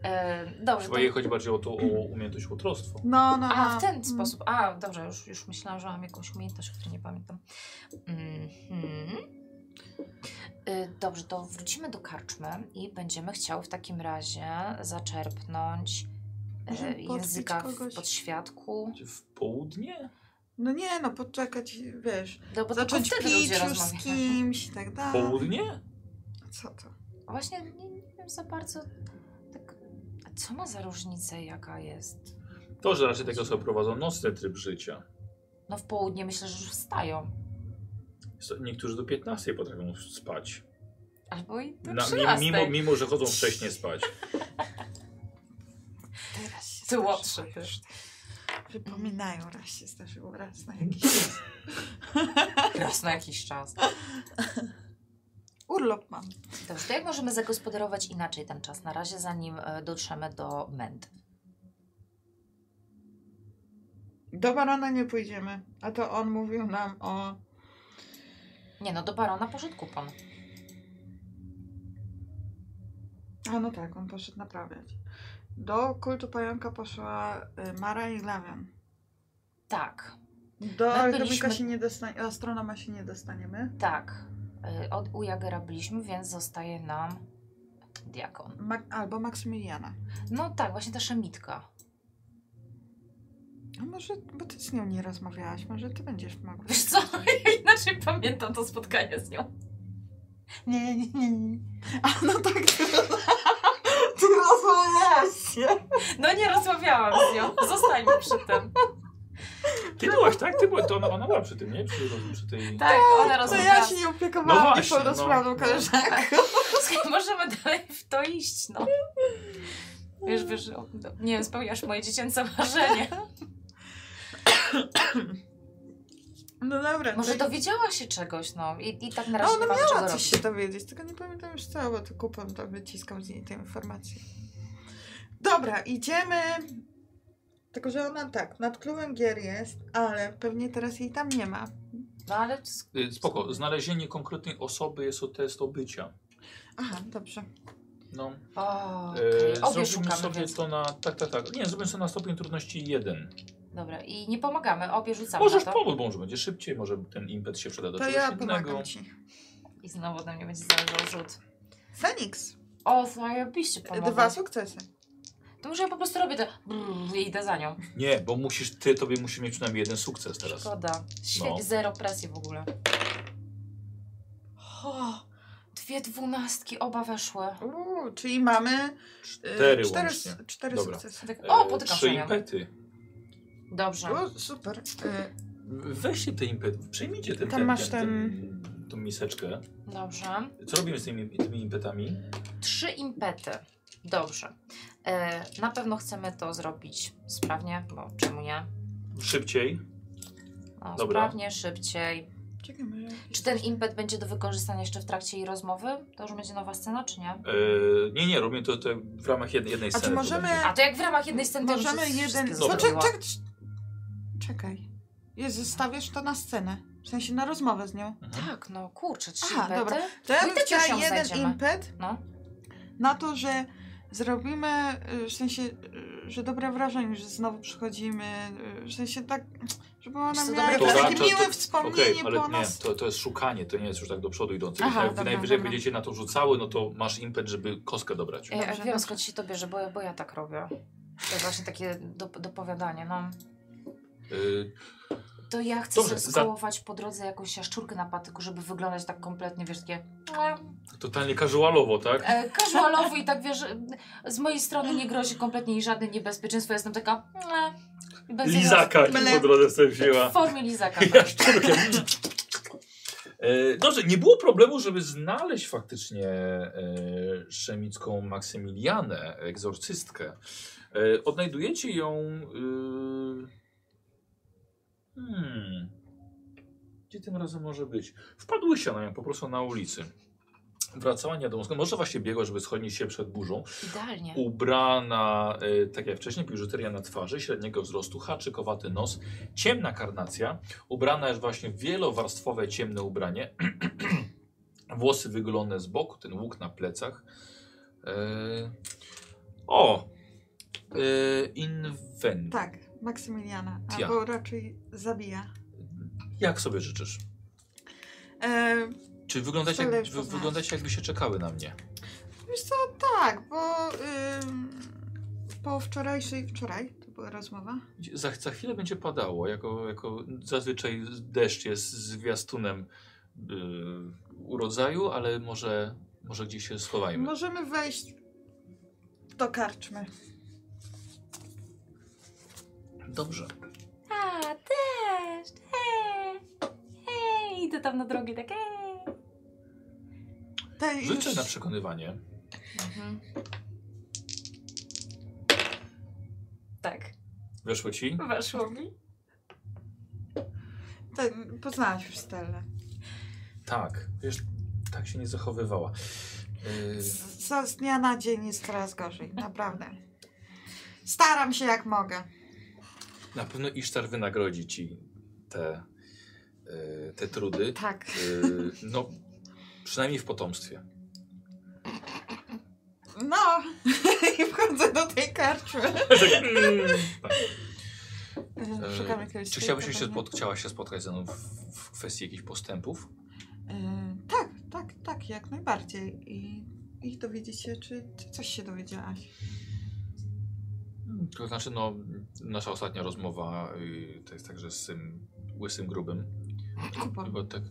E, dobrze, Chyba to jej chodzi bardziej o to o umiejętność łotrostwo. No, no, A, w ten Mm. sposób. A, dobrze, już, już myślałam, że mam jakąś umiejętność, o której nie pamiętam. Mhm. Y, Dobrze, to wrócimy do karczmy i będziemy chciały w takim razie zaczerpnąć Możemy e, podbić języka kogoś. w podświadku. Czy W południe? No nie, no poczekać, wiesz, No, bo zacząć tylko wtedy pić ludzie już z rozmawiają. kimś i tak dalej. Południe? Co to? Właśnie nie, nie wiem za bardzo, tak, a co ma za różnicę, jaka jest? To, że raczej takie osoby prowadzą nocny tryb życia. No w południe myślę, że już wstają. So- Niektórzy do 15 potrafią spać. Albo i do Na, mi- 13. mimo, mimo, że chodzą wcześniej spać. Teraz się Ty łotrze zdarzyło też. już. Przypominają, raz się zdarzyło, raz na jakiś czas. Raz na jakiś czas. Urlop mam. Dobrze, to jak możemy zagospodarować inaczej ten czas na razie, zanim e, dotrzemy do męd? Do barona nie pójdziemy, a to on mówił nam o... Nie no, do barona poszedł kupon. A no tak, on poszedł naprawiać. Do kultu pająka poszła y, Mara i Lawian. Tak, Do My alchemika byliśmy- się nie dostanie, astronoma się nie dostaniemy. tak. E, Od Ujagera byliśmy, więc zostaje nam diakon. Ma- albo Maksymiliana. No tak, właśnie ta szemitka. A może, bo ty z nią nie rozmawiałaś, może ty będziesz mogła. Wiesz co, ja inaczej pamiętam to spotkanie z nią. Nie, nie, nie, nie. A no tak, ty, ty rozmawiałaś się. No nie rozmawiałam z nią, zostańmy przy tym. Tak, Ty byłaś, tak? Ty była, to ona, ona była przy tym, nie? Przy, przy tej... Tak, ona To rozmawiała. ja się nie opiekowałam No no właśnie, niepełnosprawną no. koleżanką. Słuchaj, możemy dalej w to iść, no. Wiesz, wiesz, o- no, nie wiem, spełniasz moje dziecięce marzenie. No dobra. Może dowiedziała się czegoś, no. I, i tak na No razie ona nie mamy czego miała coś robić. się dowiedzieć, tylko nie pamiętam już co, bo to kupon to wyciskał z niej te informacje. Dobra, idziemy. Tylko, że ona tak, nad klubem gier jest, ale pewnie teraz jej tam nie ma. No ale s- Y, Spoko, znalezienie konkretnej osoby jest o test obycia. Aha, dobrze. No, o, e, okay. obie zrobimy szukamy, sobie więc... to na... Tak, tak, tak. Nie, zrobimy sobie na stopień trudności jeden. Dobra, i nie pomagamy, obie rzucamy Możesz na to. pomóc, bo może będzie szybciej, może ten impet się przyda do To czegoś ja innego. pomagam ci. I znowu ode mnie będzie zależał rzut. Feniks, O, zajebiście pomogę. E, dwa sukcesy. To może ja po prostu robię to brrr, i idę za nią. Nie, bo musisz, ty, tobie musisz mieć przynajmniej jeden sukces teraz. Szkoda. Świetnie, No. zero presji w ogóle. O, dwie dwunastki, oba weszły. Uuu, czyli mamy y, Cztery cztery, łącznie. s- cztery Dobra. sukcesy. Tak, o, E, potykam Trzy się nią. impety. Dobrze. O, super. Y, Weźcie te impety, przejmijcie ten, Tam ten, masz ten, tą miseczkę. Dobrze. Co robimy z tymi, tymi impetami? Trzy impety. Dobrze. E, na pewno chcemy to zrobić sprawnie, bo czemu nie? Szybciej. No, Dobra. sprawnie, szybciej. czekaj, może... Czy ten impet będzie do wykorzystania jeszcze w trakcie jej rozmowy? To już będzie nowa scena, czy nie? E, nie, nie, robimy to, to w ramach jednej, jednej A sceny. czy to możemy... będzie. A to jak w ramach jednej sceny to już Możemy wszystkie jeden... Znaczy, Dobra. Czekaj, zrobiła. czekaj. Czekaj. Jezu, zostawiasz to na scenę. W sensie na rozmowę z nią. Mhm. Tak, no kurczę, trzy Aha, impety. dobra. To ja No i bym tak chciała już ją jeden znajdziemy. impet No. na to, że zrobimy, y, w sensie, y, że dobre wrażenie, że znowu przychodzimy, y, w sensie tak, Wiesz żeby ona co, dobre miała jakieś takie wrażenie. To- miłe to- Okej, wspomnienie po ale nie, nas. to, to jest szukanie, to nie jest już tak do przodu idące. Więc Aha, jak dobra, najwyżej dobra. E. będziecie na to rzucały, no to masz impet, żeby kostkę dobrać. Ja Dobrze, wiem dobrze. skąd się to bierze, bo ja, bo ja tak robię. To jest właśnie takie do, dopowiadanie, no. Y, To ja chcę Dobrze, Dobrze, za- skołować po drodze jakąś jaszczurkę na patyku, żeby wyglądać tak kompletnie, wiesz, takie e, totalnie casualowo, tak? e, casualowo i tak, wiesz, e, z mojej strony nie grozi kompletnie jej żadne niebezpieczeństwo. Ja jestem taka e, i bez Lizaka Byle- po drodze sobie jakiejś- wzięła. W formie lizaka. tak. Jaszczurkiem. E, Dobrze, nie było problemu, żeby znaleźć faktycznie e, szemicką Maksymilianę, egzorcystkę. E, odnajdujecie ją. e, hmm, gdzie tym razem może być? Wpadłyście na nią po prostu na ulicy. Wracała nie wiadomo skąd. Może właśnie biegła, żeby schronić się przed burzą. Idealnie. Ubrana, y, tak jak wcześniej, biżuteria na twarzy, średniego wzrostu, haczykowaty nos, ciemna karnacja. Ubrana jest właśnie w wielowarstwowe ciemne ubranie. Włosy wygolone z boku, ten łuk na plecach. E, o! E, inwen. Tak, Maksymiliana, Ja. albo raczej zabija. Jak sobie życzysz? E, Czy wyglądacie, Wcale jak, już wy, poznałam. wyglądacie jakbyście czekały na mnie? Wiesz co, tak, bo ym, po wczorajszej, wczoraj to była rozmowa. Za, za chwilę będzie padało, jako, jako zazwyczaj deszcz jest zwiastunem yy, urodzaju, ale może, może gdzieś się schowajmy. Możemy wejść do karczmy. Dobrze. A, też, hej, hej, idę tam na drogi, tak hej. Te Życzę już- na przekonywanie. Mhm. Tak, Weszło ci? weszło mi. Ten, poznałaś już Stellę. Tak. Wiesz, tak się nie zachowywała. Yy, Z, z- z dnia na dzień jest coraz gorzej, naprawdę. Staram się jak mogę. na pewno Isztar wynagrodzi ci te, yy, te trudy. Tak. Yy, no, przynajmniej w potomstwie. No i wchodzę do tej karczmy. Tak. Ym, Mm. Szukam jakiegoś E, Czy chciałabyś stolika się, pewnie. spot, chciałaś się spotkać ze mną w, w kwestii jakichś postępów? Ym, Tak, tak, tak, jak najbardziej. I, i dowiedzieć się, czy, czy coś się dowiedziałaś. To znaczy, no, nasza ostatnia rozmowa y, to jest także z tym łysym grubym. Kupon. Bo tak,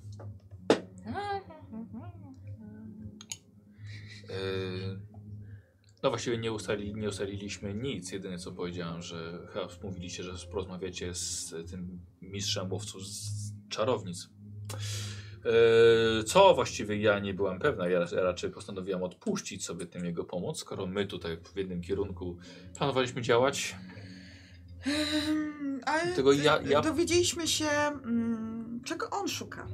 y, no właściwie nie, ustali, nie ustaliliśmy nic. Jedyne co powiedziałem, że chyba mówiliście, że porozmawiacie z tym mistrzem łowców z czarownic. Y, Co właściwie ja nie byłam pewna, ja raczej postanowiłam odpuścić sobie tę jego pomoc, skoro my tutaj w jednym kierunku planowaliśmy działać. Ym, Ale Tego d- ja- ja- dowiedzieliśmy się, mm, czego on szuka.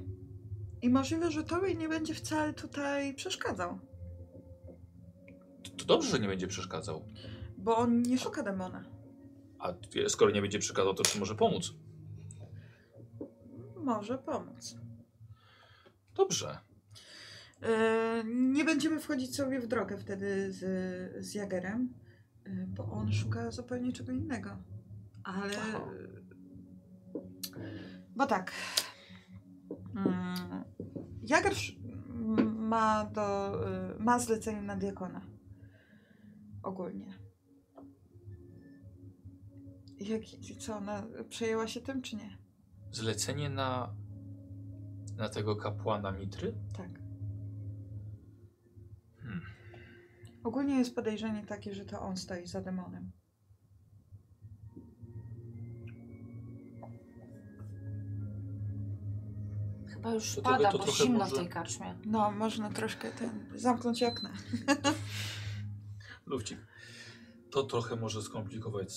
I możliwe, że tobie nie będzie wcale tutaj przeszkadzał, To- To dobrze, że nie będzie przeszkadzał. bo on nie szuka demona. A skoro nie będzie przeszkadzał, to czy może pomóc? Może pomóc. Dobrze. Yy, nie będziemy wchodzić sobie w drogę wtedy z, z Jagerem, yy, bo on szuka zupełnie czego innego. Ale. Aha. Bo tak. Mm, Jager sz- m- ma, do, yy, ma zlecenie na diakona. Ogólnie. Jak, co ona przejęła się tym, czy nie? Zlecenie na, na tego kapłana Mitry? Tak. Hmm. Ogólnie jest podejrzenie takie, że to on stoi za demonem. Chyba już To tego- pada, to bo trochę zimno może- w tej karczmie. No, można troszkę ten, zamknąć okna. Lufcik. To trochę może skomplikować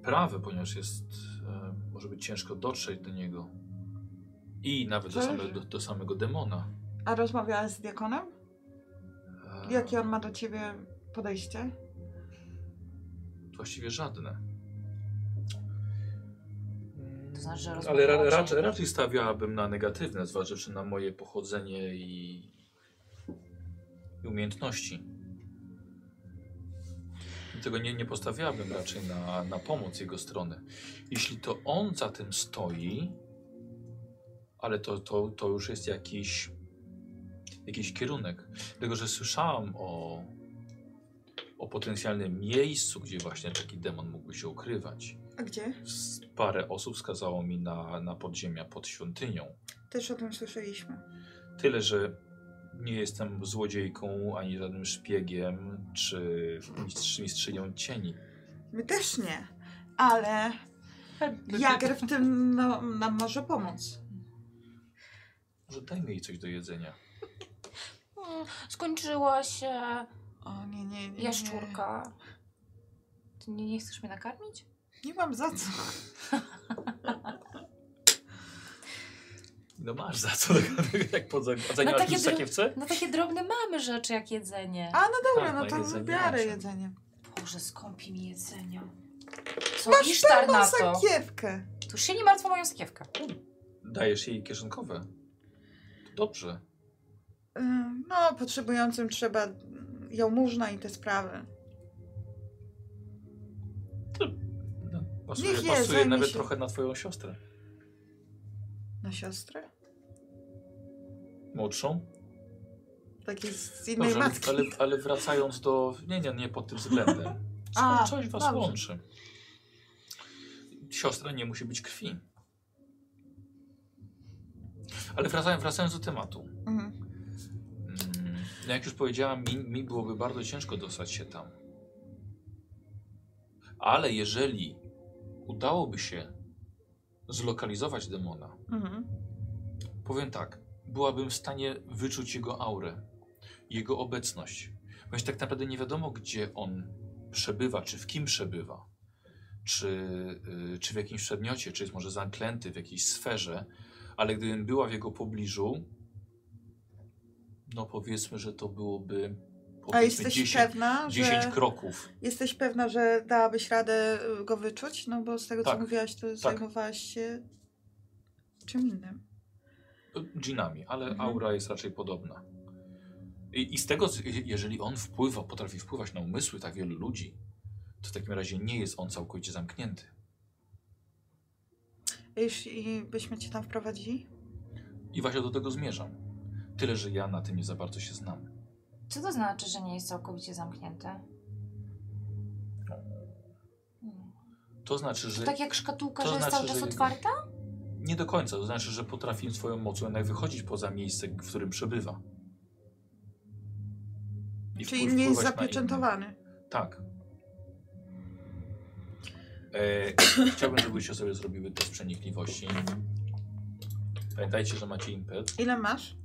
sprawę, ponieważ jest, e, może być ciężko dotrzeć do niego. I nawet do, Zależy. same, do, do samego demona. A rozmawiałaś z diakonem? E, Jakie on ma do ciebie podejście? Właściwie żadne. To znaczy, że Ale ra, rozmawiałaś- raczej, raczej stawiałabym na negatywne, zważywszy na moje pochodzenie i, i umiejętności. Dlatego nie, nie postawiałabym raczej na, na pomoc jego strony. Jeśli to on za tym stoi, ale to, to, to już jest jakiś, jakiś kierunek. Dlatego, że słyszałam o, o potencjalnym miejscu, gdzie właśnie taki demon mógłby się ukrywać. A gdzie? S- parę osób wskazało mi na, na podziemia pod świątynią. Też o tym słyszeliśmy. Tyle, że nie jestem złodziejką ani żadnym szpiegiem czy mistrz, mistrzynią cieni. My też nie, ale Jager w tym no, nam może pomóc. Może dajmy jej coś do jedzenia. Mm, Skończyła się O nie, nie, nie. jaszczurka. Ty nie, nie chcesz mnie nakarmić? Nie mam za co. No masz za co, jak No podzaniałaś takie no, w dro- sakiewce? No takie drobne mamy rzeczy jak jedzenie. A no dobra, Tak, no na to jedzenie wybiorę raczej. jedzenie. Boże, skąpi mi jedzenia. Co Masz Isztar na to? Sakiewkę. Tu się nie martw o moją sakiewkę. Dajesz jej kieszonkowe. To dobrze. Y, No, potrzebującym trzeba mm, jałmużna i te sprawy. No, pasuje Niech je, pasuje zajmie nawet się. trochę na twoją siostrę. Na siostrę? Młodszą? Takiej z innej Dobrze, ale, matki. ale, ale wracając do... Nie, nie, nie pod tym względem. Co, A, coś was dobrze. łączy. Siostra nie musi być krwi. Ale wracając, wracając do tematu. Mhm. Mm, no jak już powiedziałam, mi, mi byłoby bardzo ciężko dostać się tam. Ale jeżeli udałoby się zlokalizować demona, Mhm. Powiem tak, byłabym w stanie wyczuć jego aurę, jego obecność. Ponieważ tak naprawdę nie wiadomo, gdzie on przebywa, czy w kim przebywa, czy, y, czy w jakimś przedmiocie, czy jest może zaklęty w jakiejś sferze, ale gdybym była w jego pobliżu, no powiedzmy, że to byłoby A powiedzmy jesteś 10, pewna, 10 że... kroków. Jesteś pewna, że dałabyś radę y, go wyczuć? No bo z tego, Tak. co mówiłaś, to zajmowałaś się czym innym. dżinami, ale Mhm. aura jest raczej podobna. I, I z tego, co- je- jeżeli on wpływa, potrafi wpływać na umysły tak wielu ludzi, to w takim razie nie jest on całkowicie zamknięty. A Jeśli byśmy cię tam wprowadzili? I właśnie do tego zmierzam. Tyle, że ja na tym nie za bardzo się znam. Co to znaczy, że nie jest całkowicie zamknięte? zamknął. To znaczy, że Tak jak szkatułka, To że jest znaczy, cały czas że- otwarta? nie do końca. To znaczy, że potrafi swoją mocą jednak wychodzić poza miejsce, w którym przebywa. I Czyli wpływ- nie jest wpływać na innych. zapieczętowany. Tak. E, chciałbym, żebyście sobie zrobiły test przenikliwości. Pamiętajcie, że macie impet. Ile masz?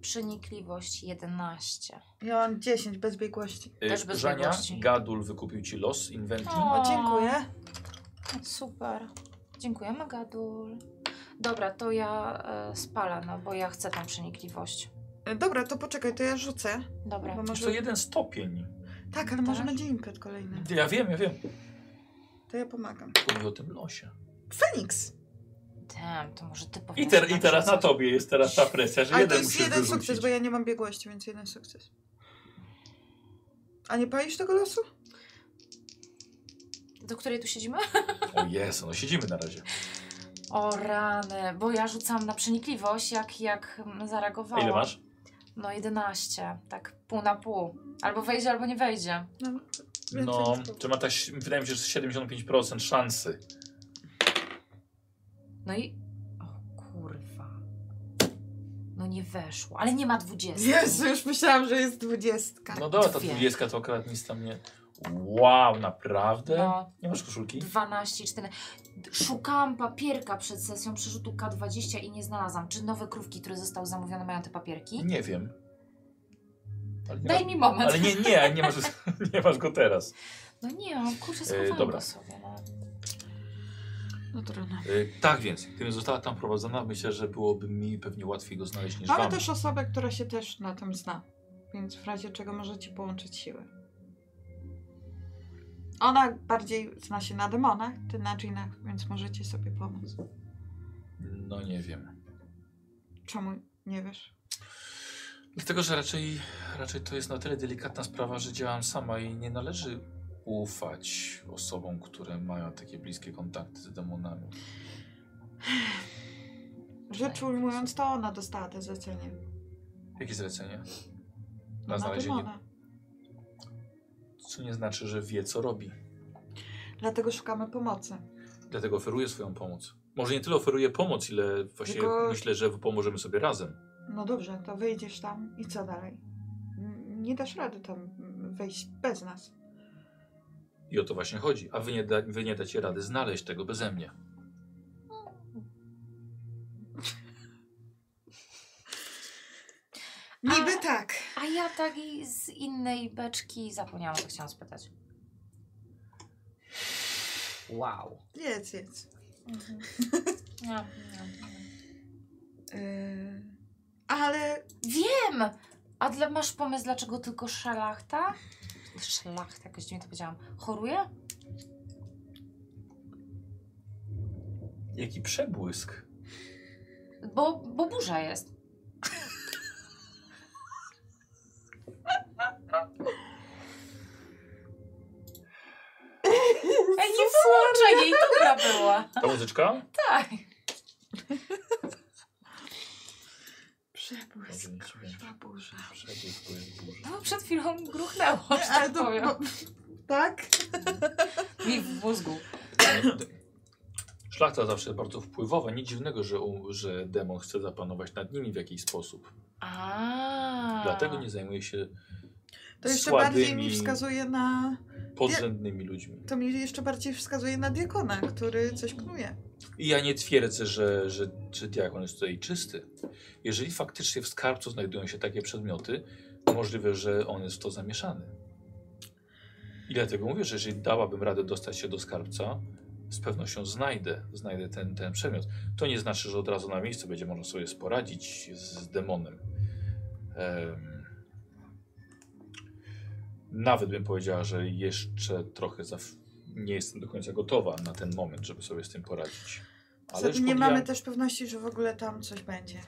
Przenikliwość 11. Ja mam 10 bez biegłości. E, Też bez Żania, biegłości. Gadul wykupił ci los, inwenty. O. O, dziękuję. Super. Dziękujemy, Gadul. Dobra, to ja e, spalę, no bo ja chcę tą przenikliwość. E, Dobra, to poczekaj, to ja rzucę. Dobra. Bo Jest to może... jeden stopień. Tak, ale może Tak. będzie impet kolejny. Ja wiem, ja wiem. To ja pomagam. Mówię o tym losie. Feniks! Damn, to może ty I, powinieneś ter, I nam teraz na rzucać. tobie jest teraz ta presja, że Ale to jeden jest musisz jeden wyrzucić. sukces, bo ja nie mam biegłości, więc jeden sukces. A nie palisz tego losu? Do której tu siedzimy? O Jezu, no siedzimy na razie. O rany, bo ja rzucam na przenikliwość, jak, jak mm, A zareagowałam. ile masz? No 11, tak pół na pół. Albo wejdzie, albo nie wejdzie. No, więcej No, niż pół. czy ma też, wydaje mi się, że 75% szansy. No i... O kurwa. No nie weszło, ale nie ma 20. Jezu, już myślałam, że jest dwudziestka. No dobra, ta Dwie. 20 to akurat nic tam nie... Wow, naprawdę? No, Nie masz koszulki? 12, 14. Szukałam papierka przed sesją przerzutu K20 i nie znalazłam. Czy nowe krówki, które zostały zamówione, mają te papierki? Nie wiem. Ale nie, Daj masz, mi moment. ale nie, nie, nie masz, nie masz go teraz. No nie, o kurczę, schowałam E, dobra. go sobie. No. No trudno. Y, tak więc, gdybym została tam prowadzona, myślę, że byłoby mi pewnie łatwiej go znaleźć niż Mamy wam. też osobę, która się też na tym zna, więc w razie czego możecie połączyć siły. Ona bardziej zna się na demonach, ty na dżinach, więc możecie sobie pomóc. No nie wiem. Czemu nie wiesz? Dlatego, że raczej, raczej to jest na tyle delikatna sprawa, że działam sama i nie należy ufać osobom, które mają takie bliskie kontakty z demonami. Rzecz ujmując, to ona dostała te zlecenie. Jakie zlecenie? Na No, Na znalezienie, demona. co nie znaczy, że wie co robi. Dlatego szukamy pomocy. Dlatego oferuję swoją pomoc. Może nie tyle oferuję pomoc, ile właśnie Tylko- myślę, że pomożemy sobie razem. No dobrze, to wyjdziesz tam i co dalej? N- Nie dasz rady tam wejść bez nas. I o to właśnie chodzi. A wy nie, da, wy nie dacie rady znaleźć tego beze mnie. Niby tak. A ja tak i z innej beczki zapomniałam, co chciałam spytać. Wow. Jedz, jedz. Mhm. Ja, ja. Yy, ale Wiem! A dla, masz pomysł, dlaczego tylko szlachta? Szlachta, jakoś dziwnie to powiedziałam. Choruje? Jaki przebłysk. Bo, bo burza jest. Ej, nie włączaj jej, dobra była. Ta muzyczka? Tak. Przebłysk, kurwa burza. Przebłysk jest burza. No przed chwilą gruchnęło, że Ale tak to, powiem. bo, tak? Mi w mózgu. Szlachta zawsze bardzo wpływowa. Nic dziwnego, że, u- że demon chce zapanować nad nimi w jakiś sposób. A. Dlatego nie zajmuje się To jeszcze Słabymi. bardziej mi wskazuje na... podrzędnymi ludźmi. To mi jeszcze bardziej wskazuje na diakona, który coś knuje. I ja nie twierdzę, że, że, że diakon jest tutaj czysty. Jeżeli faktycznie w skarbcu znajdują się takie przedmioty, możliwe, że on jest w to zamieszany. I dlatego mówię, że jeżeli dałabym radę dostać się do skarbca, z pewnością znajdę, znajdę ten, ten przedmiot. To nie znaczy, że od razu na miejscu będzie można sobie sporadzić z, z demonem. Em, nawet bym powiedziała, że jeszcze trochę za, nie jestem do końca gotowa na ten moment, żeby sobie z tym poradzić. Ale Zatem już nie podjęłam- mamy też pewności, że w ogóle tam coś będzie.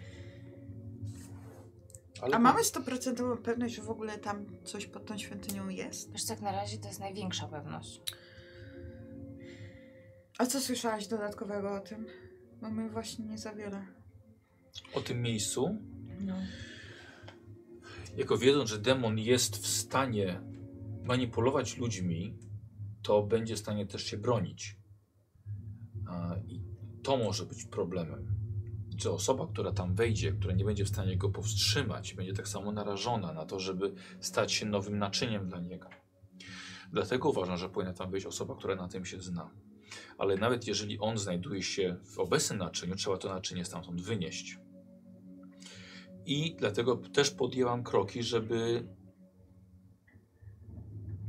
ale A mamy stuprocentową pewność, że w ogóle tam coś pod tą świątynią jest? Wiesz, co, jak na razie to jest największa pewność. A co słyszałaś dodatkowego o tym? Mamy właśnie nie za wiele. O tym miejscu, No. jako wiedząc, że demon jest w stanie manipulować ludźmi, to będzie w stanie też się bronić. A, I to może być problemem. Czy osoba, która tam wejdzie, która nie będzie w stanie go powstrzymać, będzie tak samo narażona na to, żeby stać się nowym naczyniem dla niego. Dlatego uważam, że powinna tam wejść osoba, która na tym się zna. Ale nawet jeżeli on znajduje się w obecnym naczyniu, trzeba to naczynie stamtąd wynieść. I dlatego też podjęłam kroki, żeby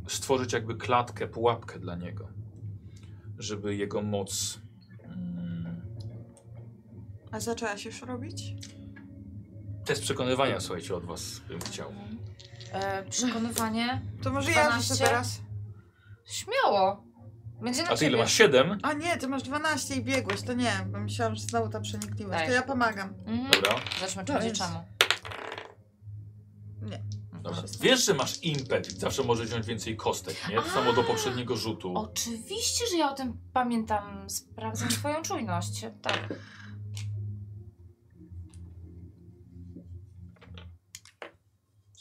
stworzyć jakby klatkę, pułapkę dla niego, żeby jego moc. mm, A zaczęłaś już robić? Test przekonywania, słuchajcie, od Was bym chciał. E, przekonywanie. To może ja 12? rzucę teraz. Śmiało. Będzie na A ty ile ciebie. masz? 7? A nie, ty masz 12 i biegłość, to nie, bo myślałam, że znowu ta przenikliwość. To Daj. ja pomagam. Mhm. Dobra. Zobaczmy, czy No będzie więc- czemu. Nie. No, Dobra. Wiesz, że masz impet, zawsze możesz wziąć więcej kostek, nie? To samo do poprzedniego rzutu. Oczywiście, że ja o tym pamiętam. Sprawdzam twoją czujność. Tak.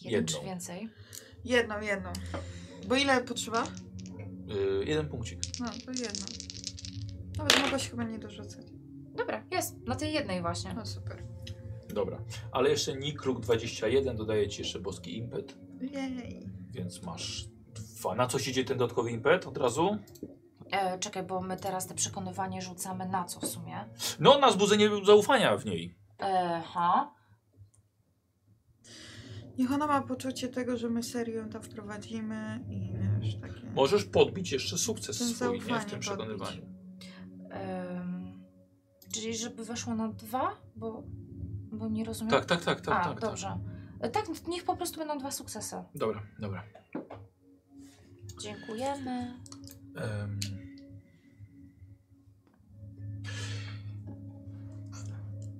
Jeden Jedną. czy więcej? Jedną, jedną. Bo ile potrzeba? Y, jeden punkcik. No, to jedną. Nawet mogłaś chyba nie dorzucać. Dobra, jest. Na tej jednej właśnie. No super. Dobra. Ale jeszcze Nikruk 21 dodaje ci jeszcze boski impet, Jej. więc masz dwa. Na co ci idzie ten dodatkowy impet od razu? E, czekaj, bo my teraz te przekonywanie rzucamy na co w sumie? No, na zbudzenie zaufania w niej. E, ha. Niech ona ma poczucie tego, że my serio ją tam wprowadzimy i wiesz, takie... Możesz podbić jeszcze sukces Ten swój, nie? W zaufanie tym podbić. przekonywaniu. Em, czyli żeby weszło na dwa? Bo, bo nie No. rozumiem. Tak, tak, tak, tak, A, tak. tak. dobrze. E, Tak, niech po prostu będą dwa sukcesy. Dobra, dobra. Dziękujemy. Em.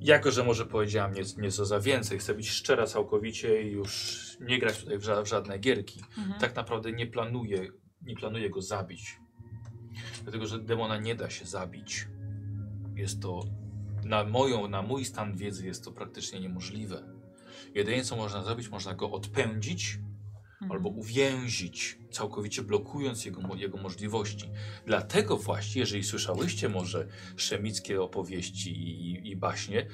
Jako, że może powiedziałam nie- nieco za więcej, chcę być szczera całkowicie i już nie grać tutaj w, ża w żadne gierki. Mhm. Tak naprawdę nie planuję, nie planuję go zabić. Dlatego, że demona nie da się zabić. Jest to, na, moją, na mój stan wiedzy jest to praktycznie niemożliwe. Jedynie co można zrobić, można go odpędzić mhm. albo uwięzić, całkowicie blokując jego, mo- jego możliwości. Dlatego właśnie, jeżeli słyszałyście może szemickie opowieści i, i- i baśnie,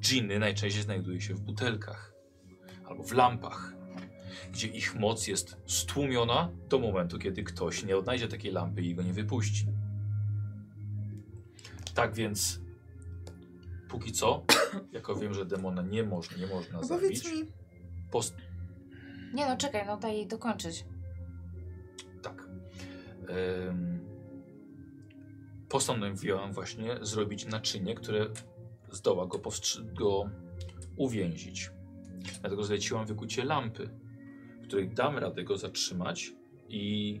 dżiny najczęściej znajduje się w butelkach albo w lampach, gdzie ich moc jest stłumiona do momentu, kiedy ktoś nie odnajdzie takiej lampy i go nie wypuści. Tak więc, póki co, jako wiem, że demona nie można, nie można A zabić, No powiedz mi, post- Nie no, czekaj, no daj jej dokończyć. Tak. Ym, postanowiłam właśnie zrobić naczynie, które zdoła go, powstrzy- go uwięzić. Dlatego zleciłam wykucie lampy, w której dam radę go zatrzymać i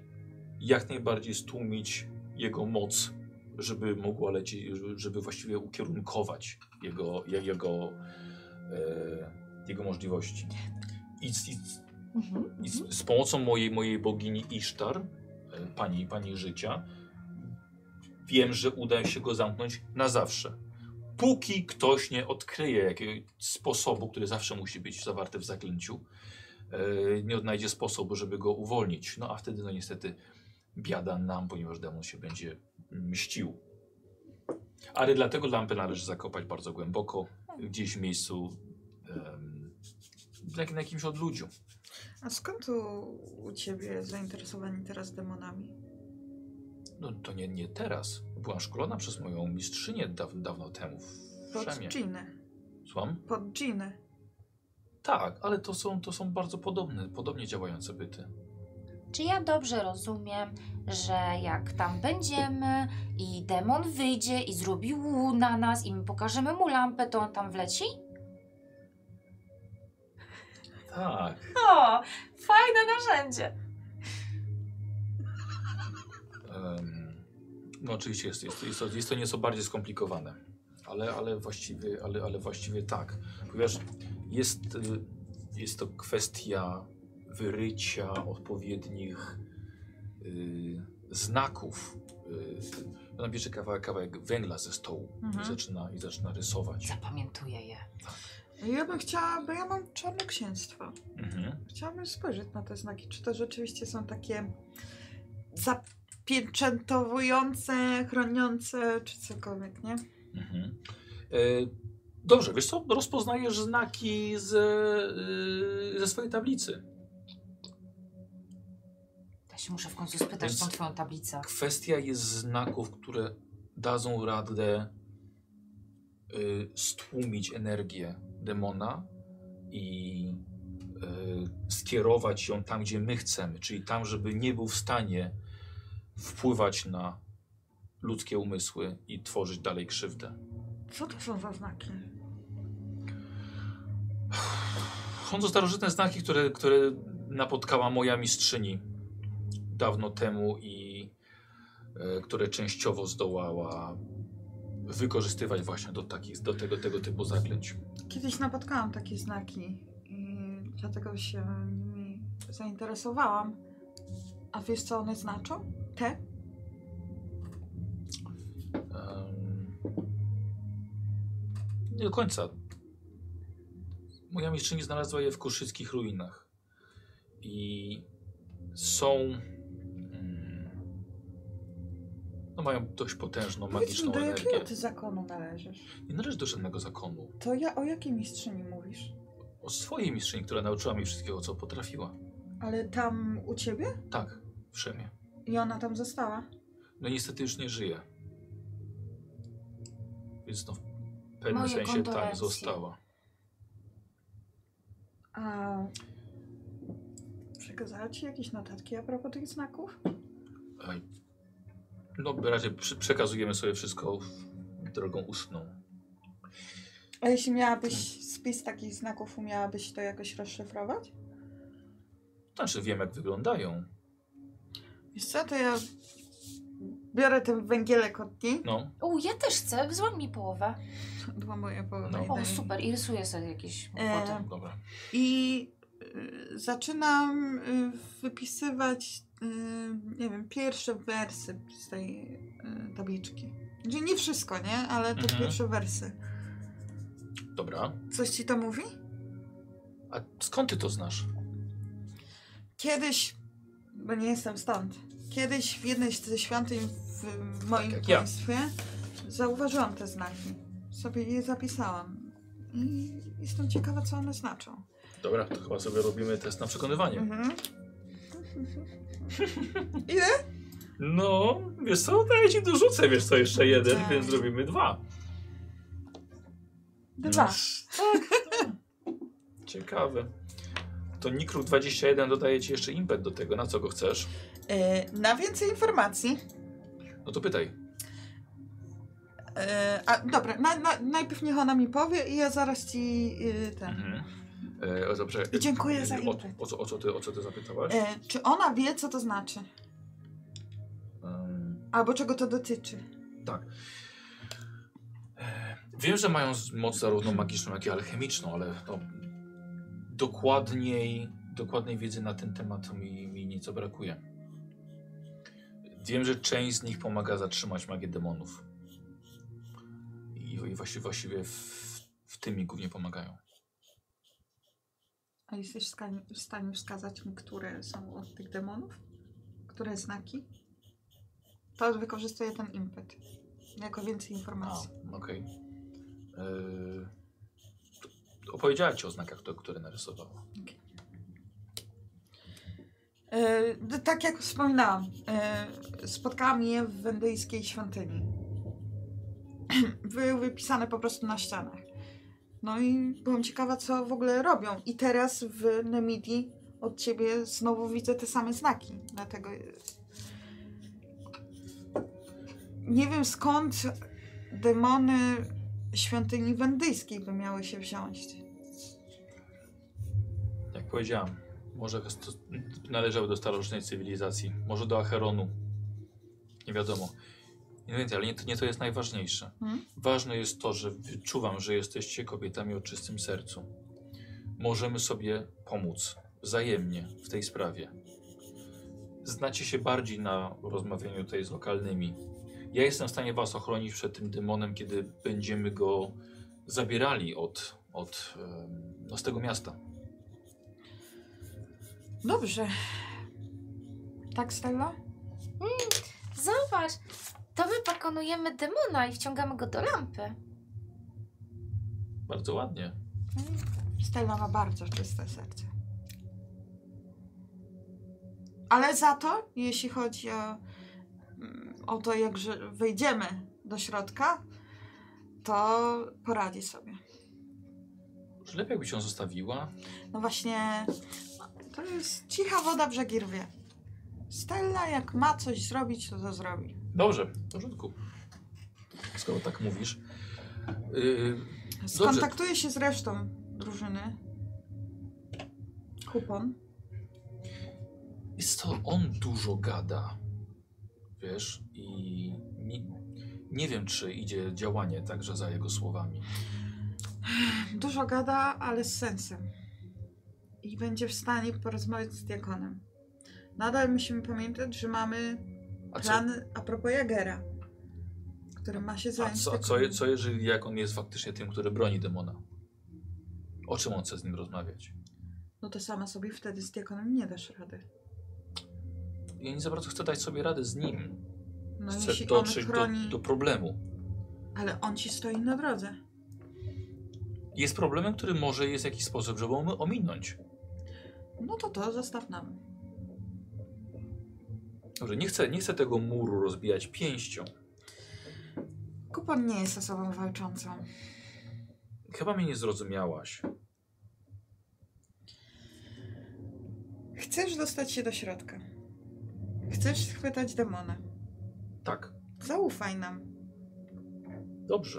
jak najbardziej stłumić jego moc, żeby mogła lecieć, żeby właściwie ukierunkować jego, je- jego, e, jego możliwości. I, c- i, c- Mhm. i z, z pomocą mojej, mojej bogini Isztar, e, pani, pani życia, wiem, że uda się go zamknąć na zawsze. Póki ktoś nie odkryje jakiegoś sposobu, który zawsze musi być zawarty w zaklęciu, e, nie odnajdzie sposobu, żeby go uwolnić. No a wtedy, no niestety, biada nam, ponieważ demon się będzie mścił. Ale dlatego lampę należy zakopać bardzo głęboko, gdzieś w miejscu, em, na na jakimś odludziu. a skąd u, u ciebie zainteresowani teraz demonami? No to nie, nie teraz. Byłam szkolona przez moją mistrzynię daw, dawno temu w Pod Szemie. dżiny. Słucham? Pod dżiny. Tak, ale to są, to są bardzo podobne, podobnie działające byty. Czy ja dobrze rozumiem, że jak tam będziemy i demon wyjdzie i zrobi łu na nas i my pokażemy mu lampę, to on tam wleci? Tak. O, fajne narzędzie. em, no oczywiście jest, jest, jest, to, jest to nieco bardziej skomplikowane. Ale, ale, właściwie, ale, ale właściwie tak. Ponieważ jest, y, jest to kwestia wyrycia odpowiednich y, znaków. Y, ona bierze kawałek, kawałek węgla ze stołu Mhm. i, zaczyna, i zaczyna rysować. Tak. Zapamiętuję je. Ja bym chciała, bo ja mam czarnoksięstwo. Mhm. Chciałabym spojrzeć na te znaki, czy to rzeczywiście są takie za, pieczętowujące, chroniące, czy cokolwiek, nie? Mhm. E, dobrze, wiesz co, rozpoznajesz znaki z, e, ze swojej tablicy. Ja się muszę w końcu spytać tą twoją tablicę. Kwestia jest znaków, które dadzą radę y, stłumić energię demona i y, skierować ją tam, gdzie my chcemy, czyli tam, żeby nie był w stanie wpływać na ludzkie umysły i tworzyć dalej krzywdę. Co to są za znaki? Są to starożytne znaki, które, które napotkała moja mistrzyni dawno temu i e, które częściowo zdołała wykorzystywać właśnie do, takich, do tego, tego typu zaklęć. Kiedyś napotkałam takie znaki i dlatego się nimi zainteresowałam. A wiesz, co one znaczą? Te? Em, nie do końca. Moja mistrzyni znalazła je w koszyckich ruinach. I są. mm, No mają dość potężną, Powiedz mi, magiczną do jakiego energię. ty zakonu należysz? Nie należy do żadnego zakonu. To ja o jakiej mistrzyni mówisz? O swojej mistrzyni, która nauczyła mnie wszystkiego, co potrafiła. Ale tam u ciebie? Tak, w Szemie. I ona tam została? No niestety już nie żyje. Więc no w pewnym Moje sensie tak kondolencje. została. A przekazała ci jakieś notatki a propos tych znaków? Ej. No raczej przy, przekazujemy sobie wszystko w, drogą ustną. A jeśli miałabyś spis takich znaków, umiałabyś to jakoś rozszyfrować? Znaczy wiem jak wyglądają. Wiesz co, to ja biorę ten węgielek od niej, No, U, ja też chcę, złam mi połowę. odłamuję połowę No. no. O, super, i rysuję sobie jakieś E, potem. dobra. i y, zaczynam y, wypisywać, y, nie wiem, pierwsze wersy z tej y, tabliczki. Znaczy nie wszystko, nie? Ale te Mhm. pierwsze wersy. Dobra. Coś ci to mówi? A skąd ty to znasz? Kiedyś, bo nie jestem stąd, kiedyś w jednej ze świątyń w, w moim jak ja. państwie zauważyłam te znaki. Sobie je zapisałam. I jestem ciekawa, co one znaczą. Dobra, to chyba sobie robimy test na przekonywanie. Mhm. Ile? No, wiesz co, daję ci dorzucę, wiesz co, jeszcze jeden, Tak. więc zrobimy dwa. Dwa. Tak, Ciekawe. To Nikru 21 dodaje ci jeszcze impet do tego, na co go chcesz. E, na więcej informacji. No to pytaj. E, a dobra, na, na, najpierw niech ona mi powie i ja zaraz ci e, ten. Mhm. E, o, dobrze. I dziękuję E, za o, impet. o, co, o, co ty, o co ty zapytałaś? E, czy ona wie, co to znaczy? Em, Albo czego to dotyczy? wiem, że mają z- moc zarówno magiczną, jak i alchemiczną, ale no, dokładniej, dokładnej wiedzy na ten temat mi, mi nieco brakuje. Wiem, że część z nich pomaga zatrzymać magię demonów. I, i właściwie, właściwie w, w tym mi głównie pomagają. A jesteś w skanie- w stanie wskazać mi, które są od tych demonów? Które znaki? To wykorzystuje ten impet. Jako więcej A, informacji. okej. Yy, opowiedziała ci o znakach, to, które narysowała. E, d- tak jak wspominałam, e, spotkałam je w wendyjskiej świątyni. Były wypisane po prostu na ścianach. No i byłam ciekawa, co w ogóle robią. I teraz w Nemidii od ciebie znowu widzę te same znaki. Dlatego. e, Nie wiem skąd demony świątyni wendyjskiej by miały się wziąć. Jak powiedziałam, może sto- należały do starożytnej cywilizacji, może do Acheronu. Nie wiadomo. Nie więcej, ale nie to, nie to jest najważniejsze. Mhm. Ważne jest to, że wyczuwam, że jesteście kobietami o czystym sercu. Możemy sobie pomóc wzajemnie w tej sprawie. Znacie się bardziej na rozmawianiu tutaj z lokalnymi. Ja jestem w stanie was ochronić przed tym demonem, kiedy będziemy go zabierali od, od, em, no, z tego miasta. Dobrze. Tak, Stella? Zobacz, to my pokonujemy demona i wciągamy go do lampy. Bardzo ładnie. Stella ma bardzo czyste serce. Ale za to, jeśli chodzi o, mm, o to, jak ży- wejdziemy do środka, to poradzi sobie. Czy lepiej jakby się zostawiła? No właśnie, to jest cicha woda, brzegi rwie. Stella, jak ma coś zrobić, to to zrobi. Dobrze, w porządku. Skoro tak mówisz. Yy, Skontaktuje się z resztą drużyny. Kupon. Jest to on dużo gada. Wiesz, i nie, nie wiem, czy idzie działanie także za jego słowami. Dużo gada, ale z sensem. I będzie w stanie porozmawiać z diakonem. Nadal musimy pamiętać, że mamy A co, plan a propos Jagera, który ma się a zająć. co, co, diakonem. je- co jeżeli jak on jest faktycznie tym, który broni demona? O czym on chce z nim rozmawiać? No to sama sobie wtedy z diakonem nie dasz rady. Ja nie za bardzo chcę dać sobie rady z nim. No Chcę jeśli on dotrzeć chroni, do, do problemu. ale on ci stoi na drodze. Jest problemem, który może jest jakiś sposób, żeby omi- ominąć. No to to zostaw nam. Dobrze, nie chcę, nie chcę tego muru rozbijać pięścią. Kupon nie jest osobą walczącą. Chyba mnie nie zrozumiałaś. Chcesz dostać się do środka. Chcesz schwytać demona. Tak, Zaufaj nam. dobrze.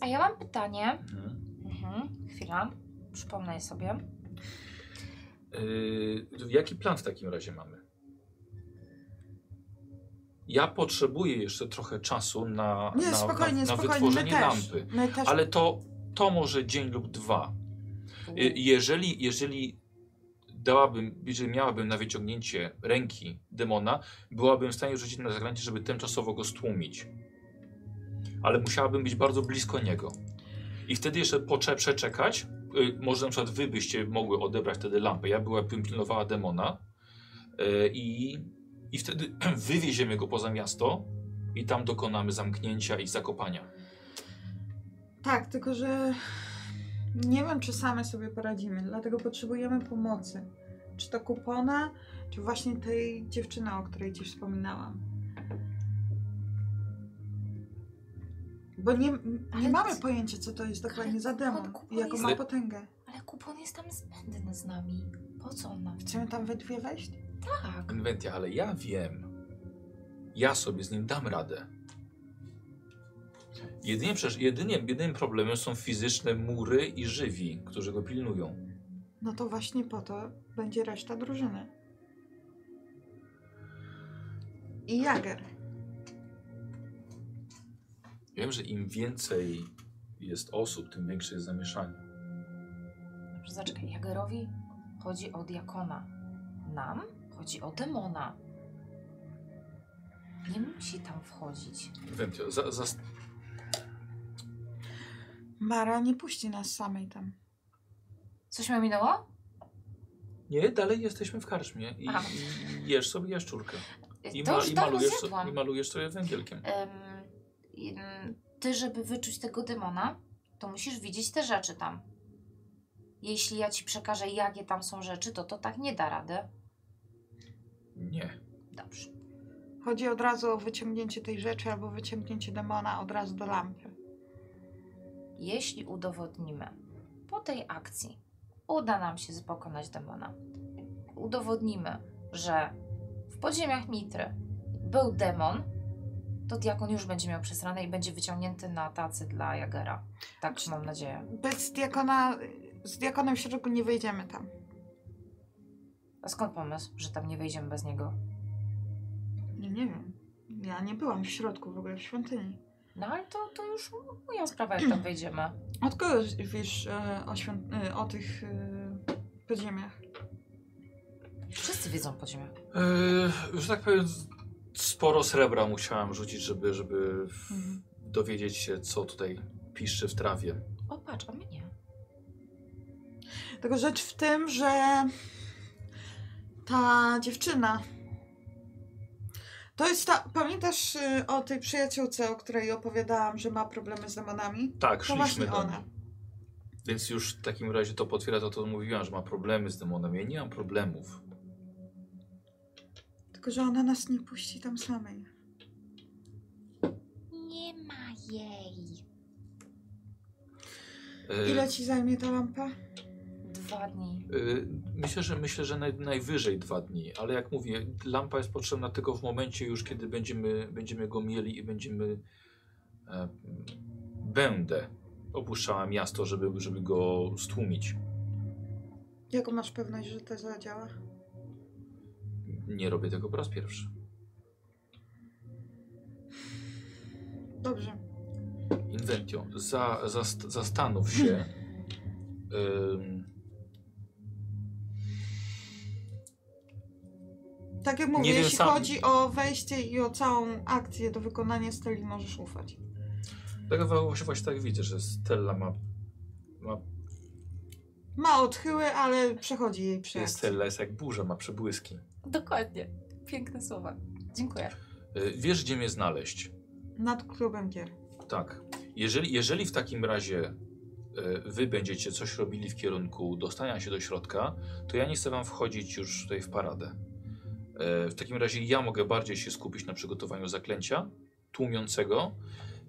A ja mam pytanie. Mhm. Mhm, chwila, przypomnę je sobie. Yy, jaki plan w takim razie mamy? Ja potrzebuję jeszcze trochę czasu na, Nie, na, spokojnie, na, na spokojnie. My wytworzenie też. lampy. My też. Ale to, to może dzień lub dwa. Y, Jeżeli, jeżeli dałabym, jeżeli miałabym na wyciągnięcie ręki demona, byłabym w stanie rzucić na zaklęcie, żeby tymczasowo go stłumić. Ale musiałabym być bardzo blisko niego. I wtedy jeszcze pocze- przeczekać. Y, może na przykład wy byście mogły odebrać wtedy lampę. Ja byłabym pilnowała demona. Y, I, I wtedy wywieziemy go poza miasto i tam dokonamy zamknięcia i zakopania. Tak, tylko że nie wiem, czy same sobie poradzimy, dlatego potrzebujemy pomocy. Czy to kupona, czy właśnie tej dziewczyny, o której ci wspominałam. Bo nie, nie Ale mamy c- pojęcia, co to jest dokładnie za demon kupon i jaką jest- ma Ale- potęgę. Ale kupon jest tam zbędny z nami. Po co on nam Chcemy tam we dwie wejść? Tak. Inwentia, ale ja wiem. Ja sobie z nim dam radę. Jedynie, przecież, jedynie, jedynym problemem są fizyczne mury i żywi, którzy go pilnują. No to właśnie po to będzie reszta drużyny. I Jager. Wiem, że im więcej jest osób, tym większe jest zamieszanie. Dobrze, zaczekaj. Jagerowi chodzi o diakona. Nam chodzi o demona. Nie musi tam wchodzić. Inwentia, za, za, Mara nie puści nas samej tam. Coś mi minęło? nie, dalej jesteśmy w karczmie i, Aha. i jesz sobie jaszczurkę. I, to już i, dawno malujesz, zjadłam. I malujesz sobie węgielkiem. Em, em, ty, żeby wyczuć tego demona, to musisz widzieć te rzeczy tam. Jeśli ja ci przekażę, jakie tam są rzeczy, to to tak nie da rady. Nie. Dobrze. Chodzi od razu o wyciągnięcie tej rzeczy albo wyciągnięcie demona od razu do lampy. Jeśli udowodnimy po tej akcji, uda nam się pokonać demona, udowodnimy, że w podziemiach Mitry był demon, to diakon już będzie miał przesrane i będzie wyciągnięty na tacy dla Jagera. Tak mam nadzieję. Bez diakona, z diakonem w środku nie wejdziemy tam. A skąd pomysł, że tam nie wejdziemy bez niego? Nie, nie wiem. Ja nie byłam w środku w ogóle w świątyni. No ale to, to już moja sprawa, jak tam wejdziemy. Od kogo wiesz e, o, świąt- e, o tych e, podziemiach? Wszyscy wiedzą po ziemiach. Yy, że tak powiem, z- sporo srebra musiałem rzucić, żeby, żeby w- Mhm. dowiedzieć się, co tutaj piszczy w trawie. O patrz, a mnie nie. Tylko rzecz w tym, że ta dziewczyna To jest ta. Pamiętasz y, o tej przyjaciółce, o której opowiadałam, że ma problemy z demonami? Tak, właśnie szliśmy do ona. niej. Więc już w takim razie to potwierdza to, co mówiłam, że ma problemy z demonem. Ja nie mam problemów. Tylko, że ona nas nie puści tam samej. Nie ma jej. E, Ile ci zajmie ta lampa? Dwa dni. Y, Myślę, że myślę, że naj, najwyżej dwa dni, ale jak mówię, lampa jest potrzebna tylko w momencie już, kiedy będziemy, będziemy go mieli i będziemy. E, będę opuszczała miasto, żeby, żeby go stłumić. Jaką masz pewność, że to zadziała? Nie robię tego po raz pierwszy. Dobrze. Inventio, za, zast, zastanów się. Ym, Tak jak mówię, Nie wiem jeśli sam- chodzi o wejście i o całą akcję do wykonania steli, możesz ufać. tak właśnie, właśnie tak widzę, że Stella ma. ma Ma odchyły, ale przechodzi jej przy akcji. Stella jest jak burza, ma przebłyski. Dokładnie. Piękne słowa. Dziękuję. Y, wiesz, gdzie mnie znaleźć. Nad klubem gier. Tak. Jeżeli, jeżeli w takim razie e, wy będziecie coś robili w kierunku dostania się do środka, to ja nie chcę wam wchodzić już tutaj w paradę. E, W takim razie ja mogę bardziej się skupić na przygotowaniu zaklęcia tłumiącego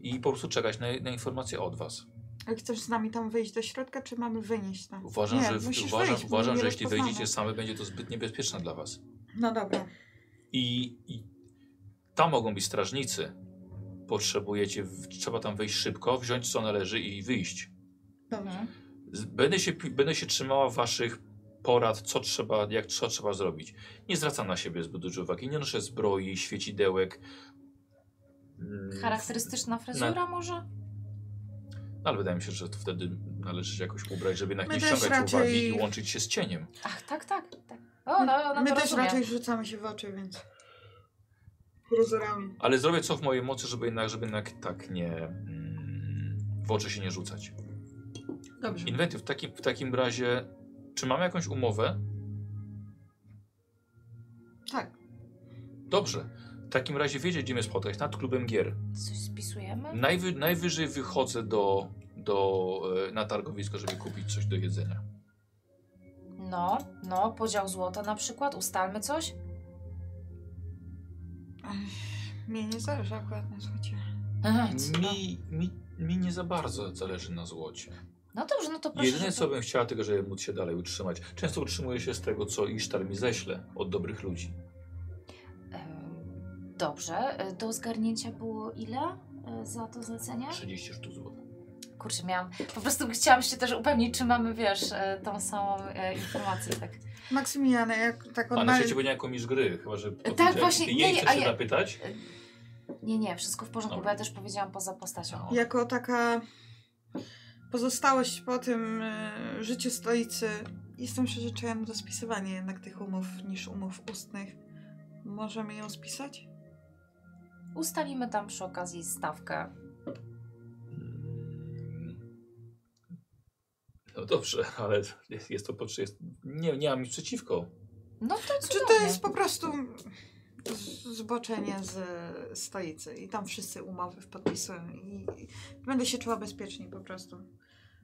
i po prostu czekać na, na informacje od was. Ale chcesz z nami tam wyjść do środka, czy mamy wynieść tam? Uważam, Nie, że, w- musisz uważam, wyjść, bo uważam nie że jeśli rozpoznamy. wyjdziecie same, będzie to zbyt niebezpieczne dla was. No dobra. I, i tam mogą być strażnicy. Potrzebujecie, w- trzeba tam wejść szybko, wziąć co należy i wyjść. Mhm. Z- Będę się, pi- będę się trzymała waszych porad, co trzeba, jak co trzeba zrobić. Nie zwracam na siebie zbyt dużo uwagi, nie noszę zbroi, świecidełek. Mm, Charakterystyczna fryzura może? Ale wydaje mi się, że to wtedy należy się jakoś ubrać, żeby jednak My nie też ściągać raczej- uwagi i łączyć się z cieniem. Ach, tak, tak. tak. O, no, ona My to też rozumie. raczej rzucamy się w oczy, więc. Rozorami. Ale zrobię co w mojej mocy, żeby jednak, żeby jednak tak nie mm, w oczy się nie rzucać. Dobrze. Inwenty, w takim, w takim razie, czy mamy jakąś umowę? Tak. Dobrze. W takim razie wiecie, gdzie mnie spotkać, nad klubem gier. Coś spisujemy? Najwy, najwyżej wychodzę do, do, e, na targowisko, żeby kupić coś do jedzenia. No, no, podział złota na przykład, ustalmy coś. Ech, Mnie nie zależy akurat na złocie. Aha, Mi, mi, mi nie za bardzo zależy na złocie. No dobrze, no to proszę. Jedyne żeby- co bym chciała, tylko żeby móc się dalej utrzymać. Często utrzymuję się z tego, co Isztar mi ześle od dobrych ludzi. Em, Dobrze, e, do zgarnięcia było ile e, za to zlecenie? 30 sztuk złota. Kurczę, miałam, po prostu chciałam się też upewnić, czy mamy, wiesz, e, tą samą e, informację, tak. Maksymilianę, jak tak A odnal- na cię będzie jako mistrz gry, chyba że Tak, właśnie, jej nie, nie, chcesz a się ja- zapytać? Nie, nie, wszystko w porządku, Dobra. bo ja też powiedziałam poza postacią. No. jako taka pozostałość po tym e, życiu stolicy. Jestem przyzwyczajona do spisywania jednak tych umów niż umów ustnych. Możemy ją spisać? Ustalimy tam przy okazji stawkę. Mm. No dobrze, ale jest, jest to potrzebne. Nie, nie mam nic przeciwko. No to Czy cudownie. to jest po prostu z- zboczenie z stolicy i tam wszyscy umowy podpisują i i będę się czuła bezpiecznie po prostu.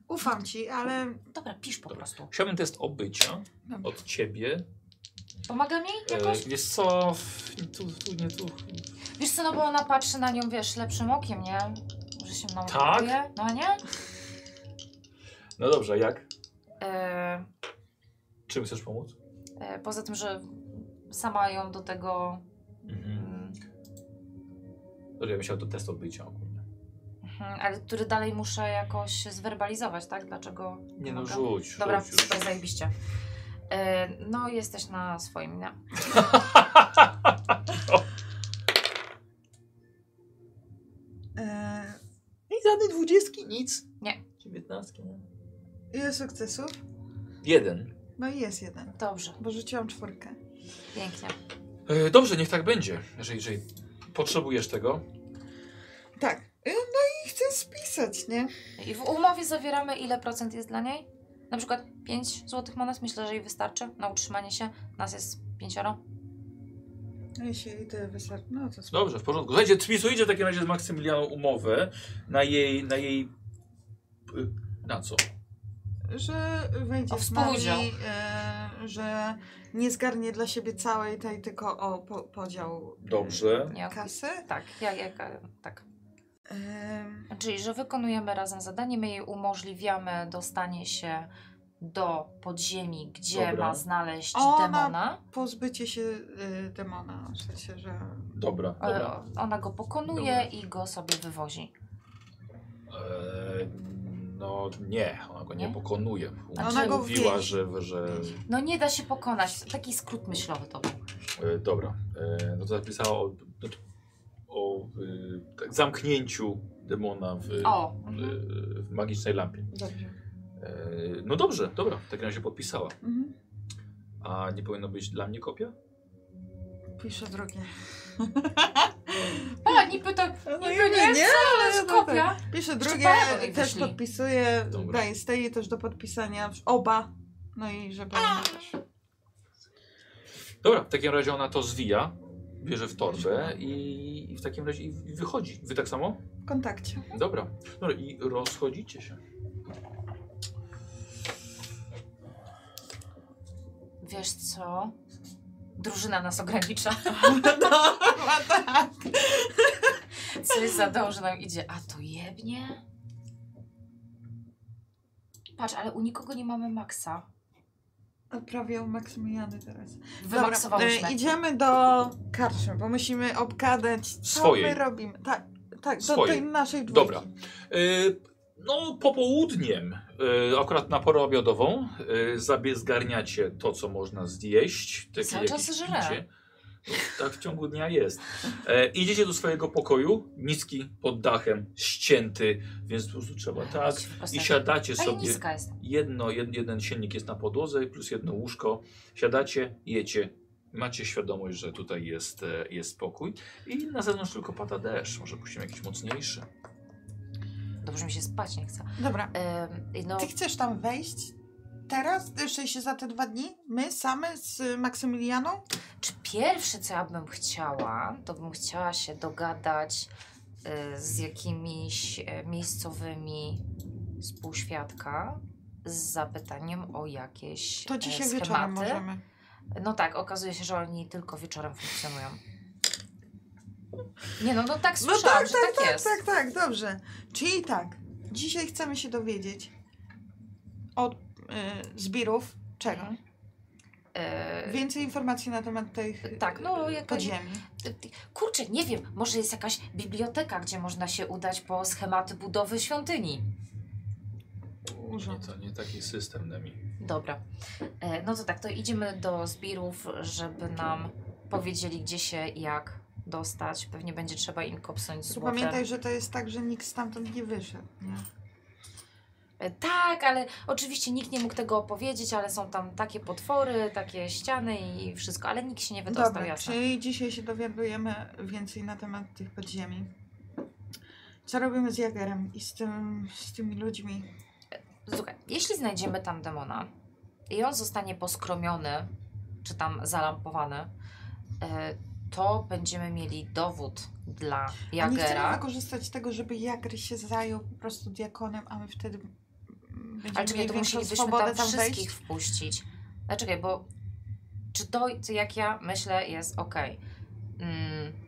Ufam ci, ale Dobra, pisz po Dobra. prostu. Chciałbym test obycia Dobra. od ciebie. Pomagam jej E, jakoś? wiesz co, tu, tu, nie tu. Wiesz co, no bo ona patrzy na nią, wiesz, lepszym okiem, nie? Że się mną Tak? opiekuje. No nie? No dobrze, jak? E, Czym chcesz pomóc? e, poza tym, że sama ją do tego... Mhm. mm, Dobrze, ja myślałem to test odbycia ogólnie. Mhm, ale który dalej muszę jakoś zwerbalizować, tak? Dlaczego? Nie no, mogę? rzuć, Dobra, rzuć super, zajebiście. E, no, jesteś na swoim, nie? e, I żadnej dwudziestki, nic. Nie. Dziewiętnastki, nie? ile sukcesów? Jeden. No i jest jeden, Dobrze, bo rzuciłam czwórkę. pięknie. E, dobrze, niech tak będzie. Jeżeli, jeżeli potrzebujesz tego. Tak, e, no i chcę spisać, nie? I w umowie zawieramy, ile procent jest dla niej? Na przykład 5 złotych monet, myślę, że jej wystarczy na utrzymanie się. Nas jest pięcioro. Ja No się idę wysar... No to spoko. Dobrze, w porządku. Słuchajcie, spisujcie w takim razie z Maksymilianą umowę na jej, na jej... Na co? Że wejdzie O z nami, współudział. e, że nie zgarnie dla siebie całej tej, tylko o po, podział Dobrze. Ja, kasy. tak, ja, ja, tak. Em, Czyli, że wykonujemy razem zadanie, my jej umożliwiamy dostanie się do podziemi, gdzie Dobra. ma znaleźć Ona- demona. pozbycie się y, demona, w sensie, że... Dobra, dobra. E, Ona go pokonuje Dobra. i go sobie wywozi. Eee, no nie, ona go nie, Nie? pokonuje. Ona Ona go mówiła, wiezie. że, że No nie da się pokonać. Taki skrót myślowy to był. E, dobra, e, no to zapisała o, o e, tak, zamknięciu demona w, e, O, mhm. w magicznej lampie. Dobrze. E, no dobrze, dobra, w takim razie podpisała. Mhm. A nie powinno być dla mnie kopia? Piszę drugie. Pani pyta, niby nie, nie, ale jest no tak. kopia. Piszę Jeszcze drugie, parę do tej też wyszli. podpisuję, Dobra. daję steli też do podpisania, oba, no i żeby... Dobra, w takim razie ona to zwija, bierze w torbę i, i w takim razie i, i wychodzi. Wy tak samo? W kontakcie. Dobra. Dobra, i rozchodzicie się. Wiesz co? Drużyna nas ogranicza. No, chyba tak. Coś za dobrze nam idzie. A to jebnie? Patrz, ale u nikogo nie mamy maksa. A Prawie u Maksymiliany teraz. Wymaksowałyśmy. e, idziemy do karczmy, bo musimy obgadać, co Swojej. my robimy. Tak, tak, do Swojej. tej naszej dwójki. Dobra. E, No, popołudniem, e, akurat na porę obiadową, e, zabie- zgarniacie to, co można zjeść. takie Cały czas jakieś żre. picie. No, tak w ciągu dnia jest. E, idziecie do swojego pokoju, niski pod dachem, ścięty, więc po prostu trzeba tak. Ci po prostu- I siadacie Ej, sobie. niska jest. Jedno, jed, jeden silnik jest na podłodze, plus jedno łóżko. Siadacie, jecie. Macie świadomość, że tutaj jest, e, jest spokój. I na zewnątrz tylko pada deszcz. Może puścimy jakiś mocniejszy. Dobrze mi się spać nie chce. Dobra. Ym, no, Ty chcesz tam wejść? Teraz? Jeszcze się za te dwa dni? My same z y, Maksymilianą? Czy pierwsze, co ja bym chciała, to bym chciała się dogadać y, z jakimiś y, miejscowymi współświadka z zapytaniem o jakieś To y, dzisiaj schematy. wieczorem możemy. No tak, okazuje się, że oni tylko wieczorem funkcjonują. Nie no, no tak No słyszałam, tak, że tak, tak, tak, jest. tak, tak, dobrze. Czyli tak, dzisiaj chcemy się dowiedzieć od y, zbirów czego? Mhm. Y, Więcej informacji na temat tych y, Tak, no, y, jakaś- podziemi. y, y, Kurczę, nie wiem, może jest jakaś biblioteka, gdzie można się udać po schematy budowy świątyni. Nie, Urząd. to nie taki system, Nemi. Dobra. E, No to tak, to idziemy do zbirów, żeby nam powiedzieli, gdzie się i jak dostać. Pewnie będzie trzeba im kopsnąć Tylko złote. Pamiętaj, że to jest tak, że nikt stamtąd nie wyszedł. Nie? E, Tak, ale oczywiście nikt nie mógł tego opowiedzieć, ale są tam takie potwory, takie ściany i wszystko, ale nikt się nie wydostał, Dobra, jasne. czyli dzisiaj się dowiadujemy więcej na temat tych podziemi. Co robimy z Jagerem i z, tym, z tymi ludźmi? Słuchaj, jeśli znajdziemy tam demona i on zostanie poskromiony, czy tam zalampowany, e, to będziemy mieli dowód dla Oni chcemy Jagera. wykorzystać tego, żeby Jager się zajął po prostu diakonem, a my wtedy mm, będziemy Ale czekaj, mieli to większą musielibyśmy swobodę tam, tam wszystkich wejść. wpuścić. Ale czekaj, bo czy to, co jak ja myślę, jest ok. Mm,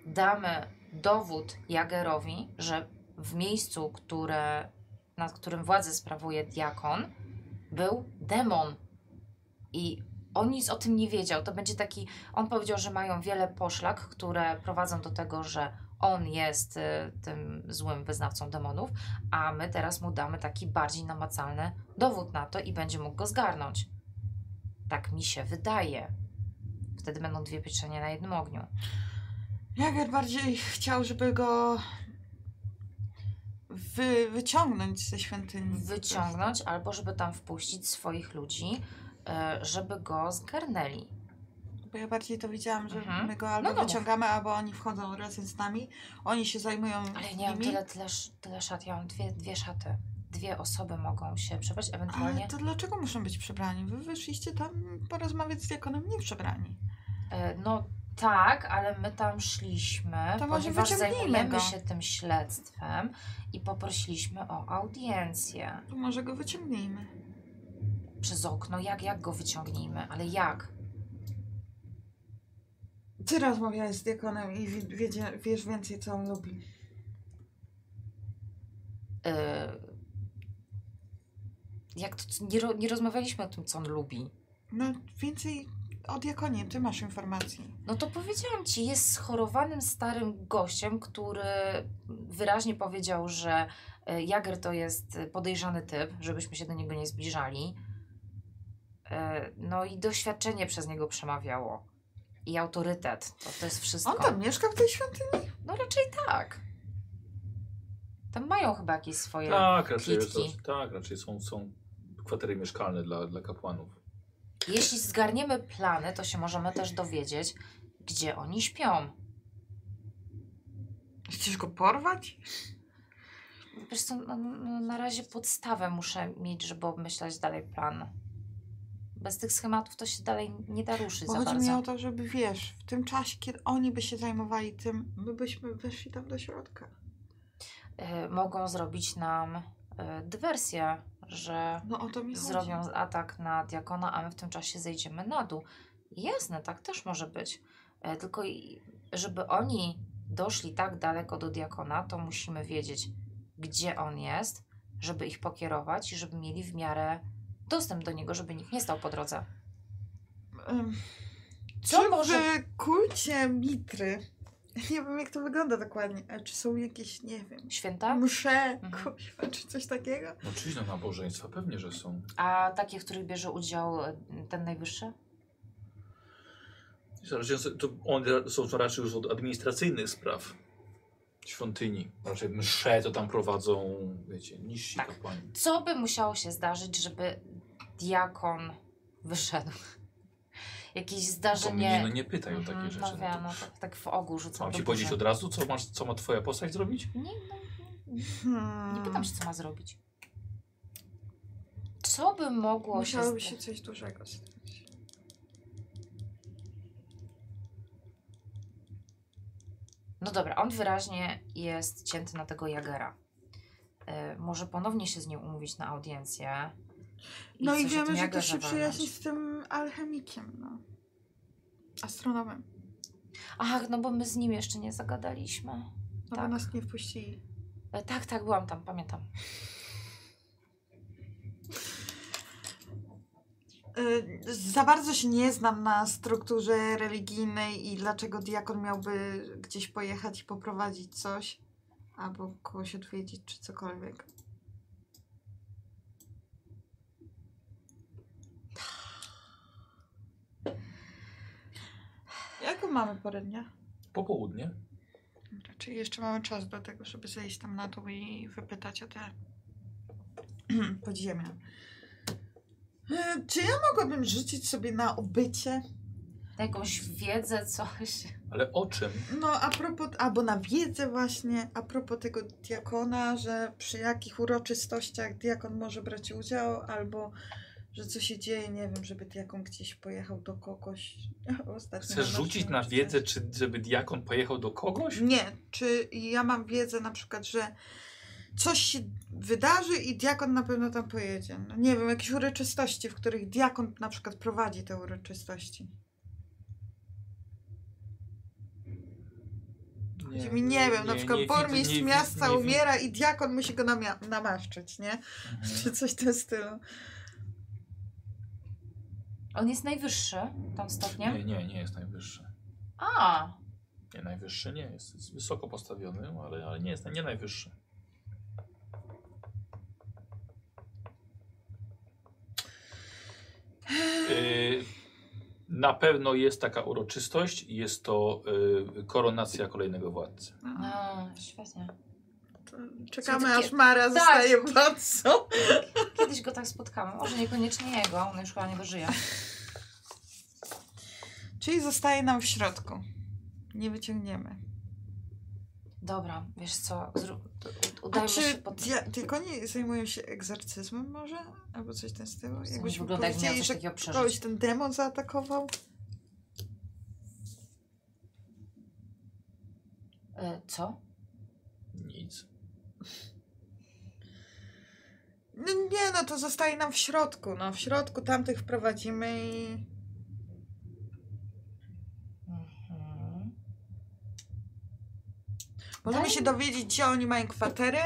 damy dowód Jagerowi, że w miejscu, które, nad którym władzę sprawuje diakon, był demon. I on nic o tym nie wiedział. To będzie taki. On powiedział, że mają wiele poszlak, które prowadzą do tego, że on jest y, tym złym wyznawcą demonów, a my teraz mu damy taki bardziej namacalny dowód na to i będzie mógł go zgarnąć. Tak mi się wydaje. Wtedy będą dwie pieczenie na jednym ogniu. Jager bardziej chciał, żeby go wy, wyciągnąć ze świątyni. Wyciągnąć albo żeby tam wpuścić swoich ludzi, y, żeby go zgarnęli. Bo ja bardziej to widziałam, że Mhm. my go albo No, no. wyciągamy, albo oni wchodzą razem z nami. Oni się zajmują Ale ja nie mam nimi. tyle, tyle, sz- tyle szat, ja mam dwie, dwie szaty. Dwie osoby mogą się przebrać, ewentualnie. Ale to dlaczego muszą być przebrani? Wy wyszliście tam porozmawiać z diakonem nie przebrani. y, No, Tak, ale my tam szliśmy, To może ponieważ wyciągnijmy zajmujemy go. się tym śledztwem i poprosiliśmy o audiencję. To może go wyciągnijmy. Przez okno, jak, jak go wyciągnijmy, ale jak? Ty rozmawiałeś z diakonem i wi- wiedzie, wiesz więcej, co on lubi. Yy, jak to, nie, ro, nie rozmawialiśmy o tym, co on lubi. No, więcej o diakonie, ty masz informacji. No to powiedziałam ci, jest schorowanym starym gościem, który wyraźnie powiedział, że e, Jager to jest e, podejrzany typ, żebyśmy się do niego nie zbliżali. E, No i doświadczenie przez niego przemawiało. I autorytet. To, to jest wszystko. On tam mieszka w tej świątyni? No raczej tak. Tam mają chyba jakieś swoje. Tak, raczej, Kitki. raczej- tak, raczej są, są kwatery mieszkalne dla, dla kapłanów. Jeśli zgarniemy plany, to się możemy też dowiedzieć, gdzie oni śpią. Chcesz go porwać? Wiesz co, no, no, na razie podstawę muszę mieć, żeby obmyślać dalej plan. Bez tych schematów to się dalej nie da ruszyć Bo za chodzi mi bardzo. o to, żeby wiesz, w tym czasie, kiedy oni by się zajmowali tym, my byśmy weszli tam do środka. Y, mogą zrobić nam y, dywersję, że No o to mi zrobią chodzi. atak na diakona, a my w tym czasie zejdziemy na dół. Jasne, tak też może być. Y, tylko i- żeby oni doszli tak daleko do diakona, to musimy wiedzieć, gdzie on jest, żeby ich pokierować i żeby mieli w miarę dostęp do niego, żeby nikt nie stał po drodze. Ym, Co czy może- w kulcie mitry, nie wiem jak to wygląda dokładnie, ale czy są jakieś, nie wiem, Święta? msze, Mhm. kuźwa, czy coś takiego? No czyli na nabożeństwa pewnie, że są. A takie, w których bierze udział e, ten najwyższy? Raczej są- To one są to raczej już od administracyjnych spraw świątyni. Raczej msze to tam prowadzą, wiecie, niżsi Tak. kapłani. Co by musiało się zdarzyć, żeby diakon wyszedł? Jakieś To mnie no zdarzenie. nie pytaj o Mhm, takie rzeczy. No No wiem, to no, tak, tak w ogół rzucam. Mam do ci góry. powiedzieć od razu, co, masz, co ma twoja postać zrobić? Nie, no, Hmm. nie pytam się, co ma zrobić. Co by mogło Musiałoby się. się zda- coś dużego stać. No dobra, on wyraźnie jest cięty na tego Jagera. E, może ponownie się z nim umówić na audiencję. No i coś o tym wiemy, że Jagerze też się walnąć. przyjaźni z tym alchemikiem, no. Astronomem. Ach, no bo my z nim jeszcze nie zagadaliśmy. No bo Tak. nas nie wpuścili. E, Tak, tak, byłam tam, pamiętam. Y, Za bardzo się nie znam na strukturze religijnej i dlaczego diakon miałby gdzieś pojechać i poprowadzić coś, albo kogoś odwiedzić, czy cokolwiek. Jaką mamy porę dnia? Popołudnie. Raczej Znaczy, jeszcze mamy czas do tego, żeby zejść tam na dół i wypytać o te podziemia. E, Czy ja mogłabym rzucić sobie na ubycie? Jakąś wiedzę, coś. Ale o czym? No a propos, albo na wiedzę właśnie, a propos tego diakona, że przy jakich uroczystościach diakon może brać udział, albo że co się dzieje, nie wiem, żeby diakon gdzieś pojechał do kogoś. Ostatnio Chcesz naszym rzucić na czy coś. wiedzę, czy żeby diakon pojechał do kogoś? Nie, czy ja mam wiedzę na przykład, że coś się wydarzy i diakon na pewno tam pojedzie. No, nie wiem, jakieś uroczystości, w których diakon na przykład prowadzi te uroczystości. Nie, mi, nie wiem, na przykład widzę, burmistrz nie wi- miasta nie wi- umiera i diakon musi go namia- namaszczyć, nie? Mhm. Czy coś w tym stylu. On jest najwyższy tam Nie, stopniem. nie, nie jest najwyższy. A, Nie, najwyższy nie jest. Jest wysoko postawiony, ale, ale nie jest nie najwyższy. Yy, na pewno jest taka uroczystość. Jest to yy, koronacja kolejnego władcy. No, a świetnie. to czekamy takie- aż Mara Tak. zostaje władcą. Kiedyś go tak spotkamy. Może niekoniecznie jego, on już chyba nie dożyje. Czyli zostaje nam w środku. Nie wyciągniemy. Dobra, wiesz co, zrób, u- A udajmy się czy pod... dia- tylko nie zajmują się egzorcyzmem może? Albo coś w tym stylu? nie Jakbyśmy wygląda, jak miał powiedzieli, coś że takiego przeżyć. kogoś ten demon zaatakował? E, co? Nic. No nie, no to zostaje nam w środku. No w środku tamtych wprowadzimy i... Mhm. Możemy Daj- się dowiedzieć, gdzie oni mają kwatery,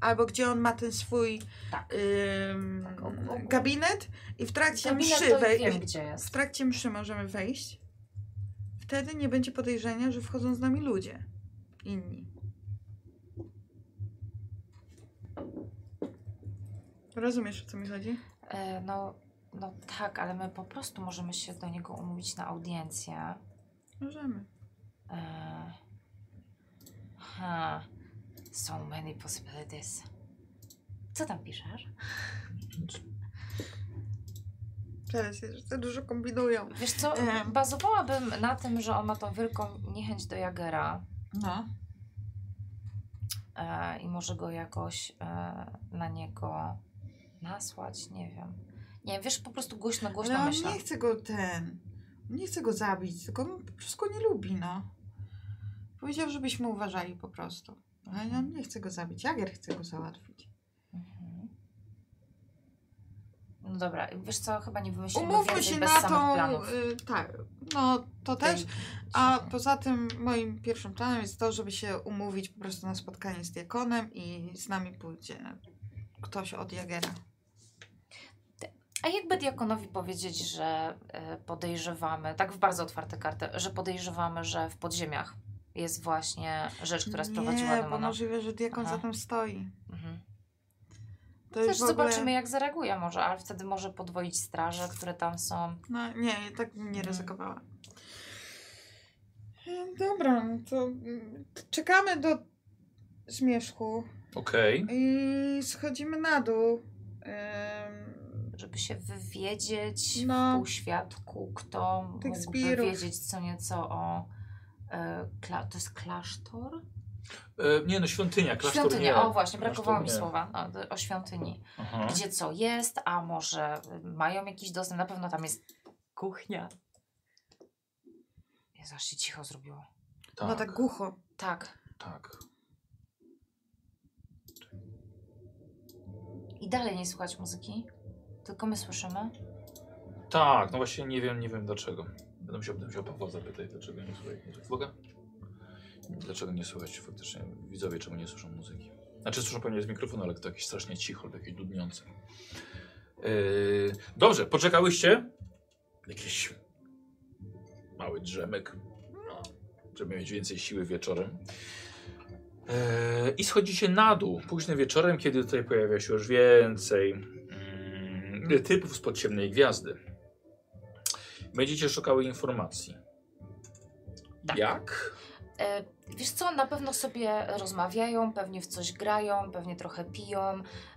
albo gdzie on ma ten swój Tak. ym, Tak, ok, ok. gabinet i w trakcie Gabinet mszy Mhm. to wej- wiem, gdzie jest. w trakcie mszy możemy wejść. Wtedy nie będzie podejrzenia, że wchodzą z nami ludzie. Inni. Rozumiesz, o co mi chodzi? E, no, no tak, ale my po prostu możemy się do niego umówić na audiencję. Możemy. E, ha. So many possibilities. Co tam piszesz? Teraz jeszcze za tak dużo kombinują. Wiesz co, Em. bazowałabym na tym, że on ma tą wielką niechęć do Jagera No. e, i może go jakoś e, na niego nasłać, nie wiem. Nie, wiesz, po prostu głośno, Ale głośno on myślę. nie chce go ten. on Nie chce go zabić, tylko on po prostu go nie lubi, no. Powiedział, żebyśmy uważali po prostu. Ale on nie chce go zabić. Jager chce go załatwić. Mhm. No dobra, wiesz co, chyba nie wymyślimy Umówmy więcej się bez na samych tą. planów. Y, tak, no to tej- też. A poza tym moim pierwszym planem jest to, żeby się umówić po prostu na spotkanie z diakonem i z nami pójdzie ktoś od Jagera. A jakby diakonowi powiedzieć, że e, podejrzewamy, tak w bardzo otwarte karty, że podejrzewamy, że w podziemiach jest właśnie rzecz, która sprowadziła Nie, bo demona. możliwe, że diakon Aha. za tym stoi. Mhm. To Też już w ogóle... zobaczymy, jak zareaguje może, ale wtedy może podwoić straże, które tam są. No nie, ja tak bym nie Mhm. ryzykowała. E, Dobra, no to mm, t- czekamy do zmierzchu Okej. i schodzimy na dół. Ym, żeby się wywiedzieć No. w półświadku, kto Tych mógłby zbirów. wiedzieć co nieco o... E, kla, to jest klasztor? E, Nie no, świątynia, klasztor Świątynia, nie. o właśnie, brakowało mi Klasztor nie. No. słowa no, o świątyni. Aha. Gdzie co jest, a może y, mają jakiś dostęp, na pewno tam jest kuchnia. Jezu, aż się cicho zrobiło. Tak, No tak. tak głucho. Tak, i dalej nie słychać muzyki, tylko my słyszymy. Tak, no właśnie nie wiem, nie wiem dlaczego. Będę musiał, będę musiał Pawła zapytać, dlaczego nie słychać muzyki. Boga? Dlaczego nie słychać faktycznie? Widzowie czemu nie słyszą muzyki? Znaczy słyszą pewnie z mikrofonu, ale to jakieś strasznie cicho, takie dudniące. Yy, dobrze, poczekałyście? Jakiś mały drzemek, no, żeby mieć więcej siły wieczorem. Yy, I schodzicie na dół późnym wieczorem, kiedy tutaj pojawia się już więcej mm, typów spod ciemnej gwiazdy. Będziecie szukały informacji. Tak. Jak? E, Wiesz co, na pewno sobie rozmawiają, pewnie w coś grają, pewnie trochę piją.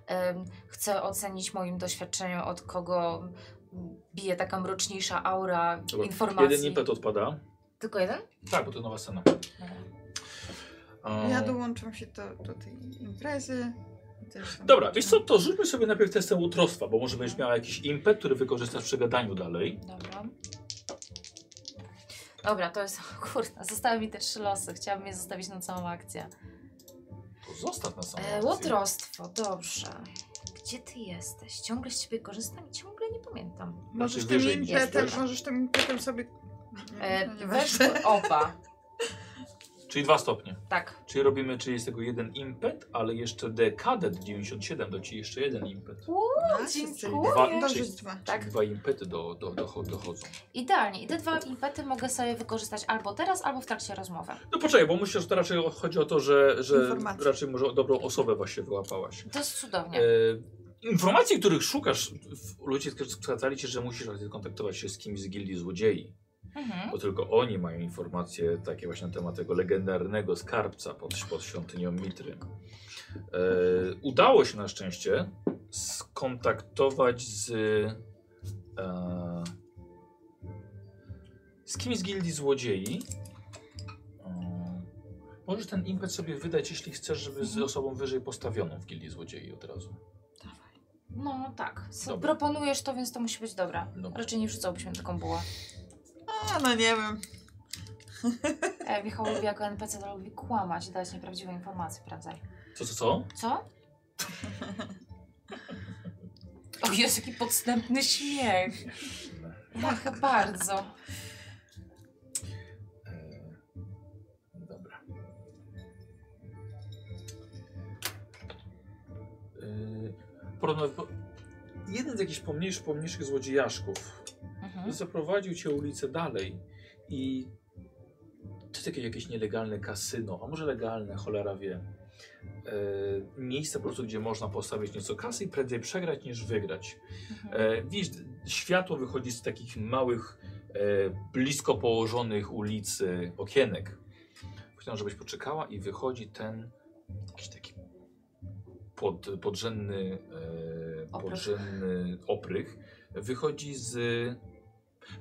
Em, Chcę ocenić moim doświadczeniem, od kogo bije taka mroczniejsza aura Dobra, informacji. Jeden impet odpada. Tylko jeden? Tak, bo to nowa scena. Ja No. Ehm, dołączam się do, do tej imprezy. i też tam- Dobra, wiesz co, to rzućmy sobie najpierw testem utrostwa, bo może będziesz miała jakiś impet, który wykorzystasz przy gadaniu dalej. Dobra. Dobra, to jest. Kurde, zostały mi te trzy losy. Chciałabym je zostawić na całą akcję. To zostaw na samą E, akcję. łotrostwo, dobrze. Gdzie ty jesteś? Ciągle z ciebie korzystam i ciągle nie pamiętam. Możesz tym, Znaczy, wyżej impetem, niż- możesz tym impetem sobie... E, No, nie weszły oba. Czyli dwa stopnie. Tak. Czyli robimy, czyli jest tego jeden impet, ale jeszcze dekadet 97 do ci jeszcze jeden impet. ważne. dziękuję. Dwa- Dobrze, czyli- dwa. Tak. Czyli dwa impety do, do, do, dochodzą. Idealnie. I te dwa impety mogę sobie wykorzystać albo teraz, albo w trakcie rozmowy. No poczekaj, bo myślę, że to raczej chodzi o to, że, że Informacje. raczej może dobrą osobę właśnie wyłapałaś. To jest cudownie. E, informacji, których szukasz, w- ludzie wskazali ci, że musisz kontaktować się z kimś z gildii złodziei, Mhm. bo tylko oni mają informacje takie właśnie na temat tego legendarnego skarbca pod, pod świątynią Mitry. E, udało się na szczęście skontaktować z e, z kimś z gildii złodziei. E, Możesz ten impet sobie wydać, jeśli chcesz, żeby z osobą wyżej postawioną w gildii złodziei od razu. No tak. S- Dobra. Proponujesz to, więc to musi być dobre. Dobra. Raczej nie wrzucałbyśmy taką bułę. A, no nie wiem. E, Michał lubi jako NPC, to lubi kłamać i dać nieprawdziwe informacje, prawda? Co, co, co? Co? O Jezu, jaki podstępny śmiech. Tak. Ach, bardzo. E, Dobra. E, Porówno, po- jeden z jakichś pomniejszych, pomniejszych złodziejaszków Mhm. zaprowadził cię ulicę dalej i to jest jakieś, jakieś nielegalne kasyno, a może legalne, cholera wie. E, miejsce po prostu, gdzie można postawić nieco kasy i prędzej przegrać niż wygrać. Mhm. E, widzisz, d- światło wychodzi z takich małych, e, blisko położonych ulicy okienek. Chciałem, żebyś poczekała i wychodzi ten jakiś taki pod, podrzędny, e, Oprych. podrzędny oprych. Wychodzi z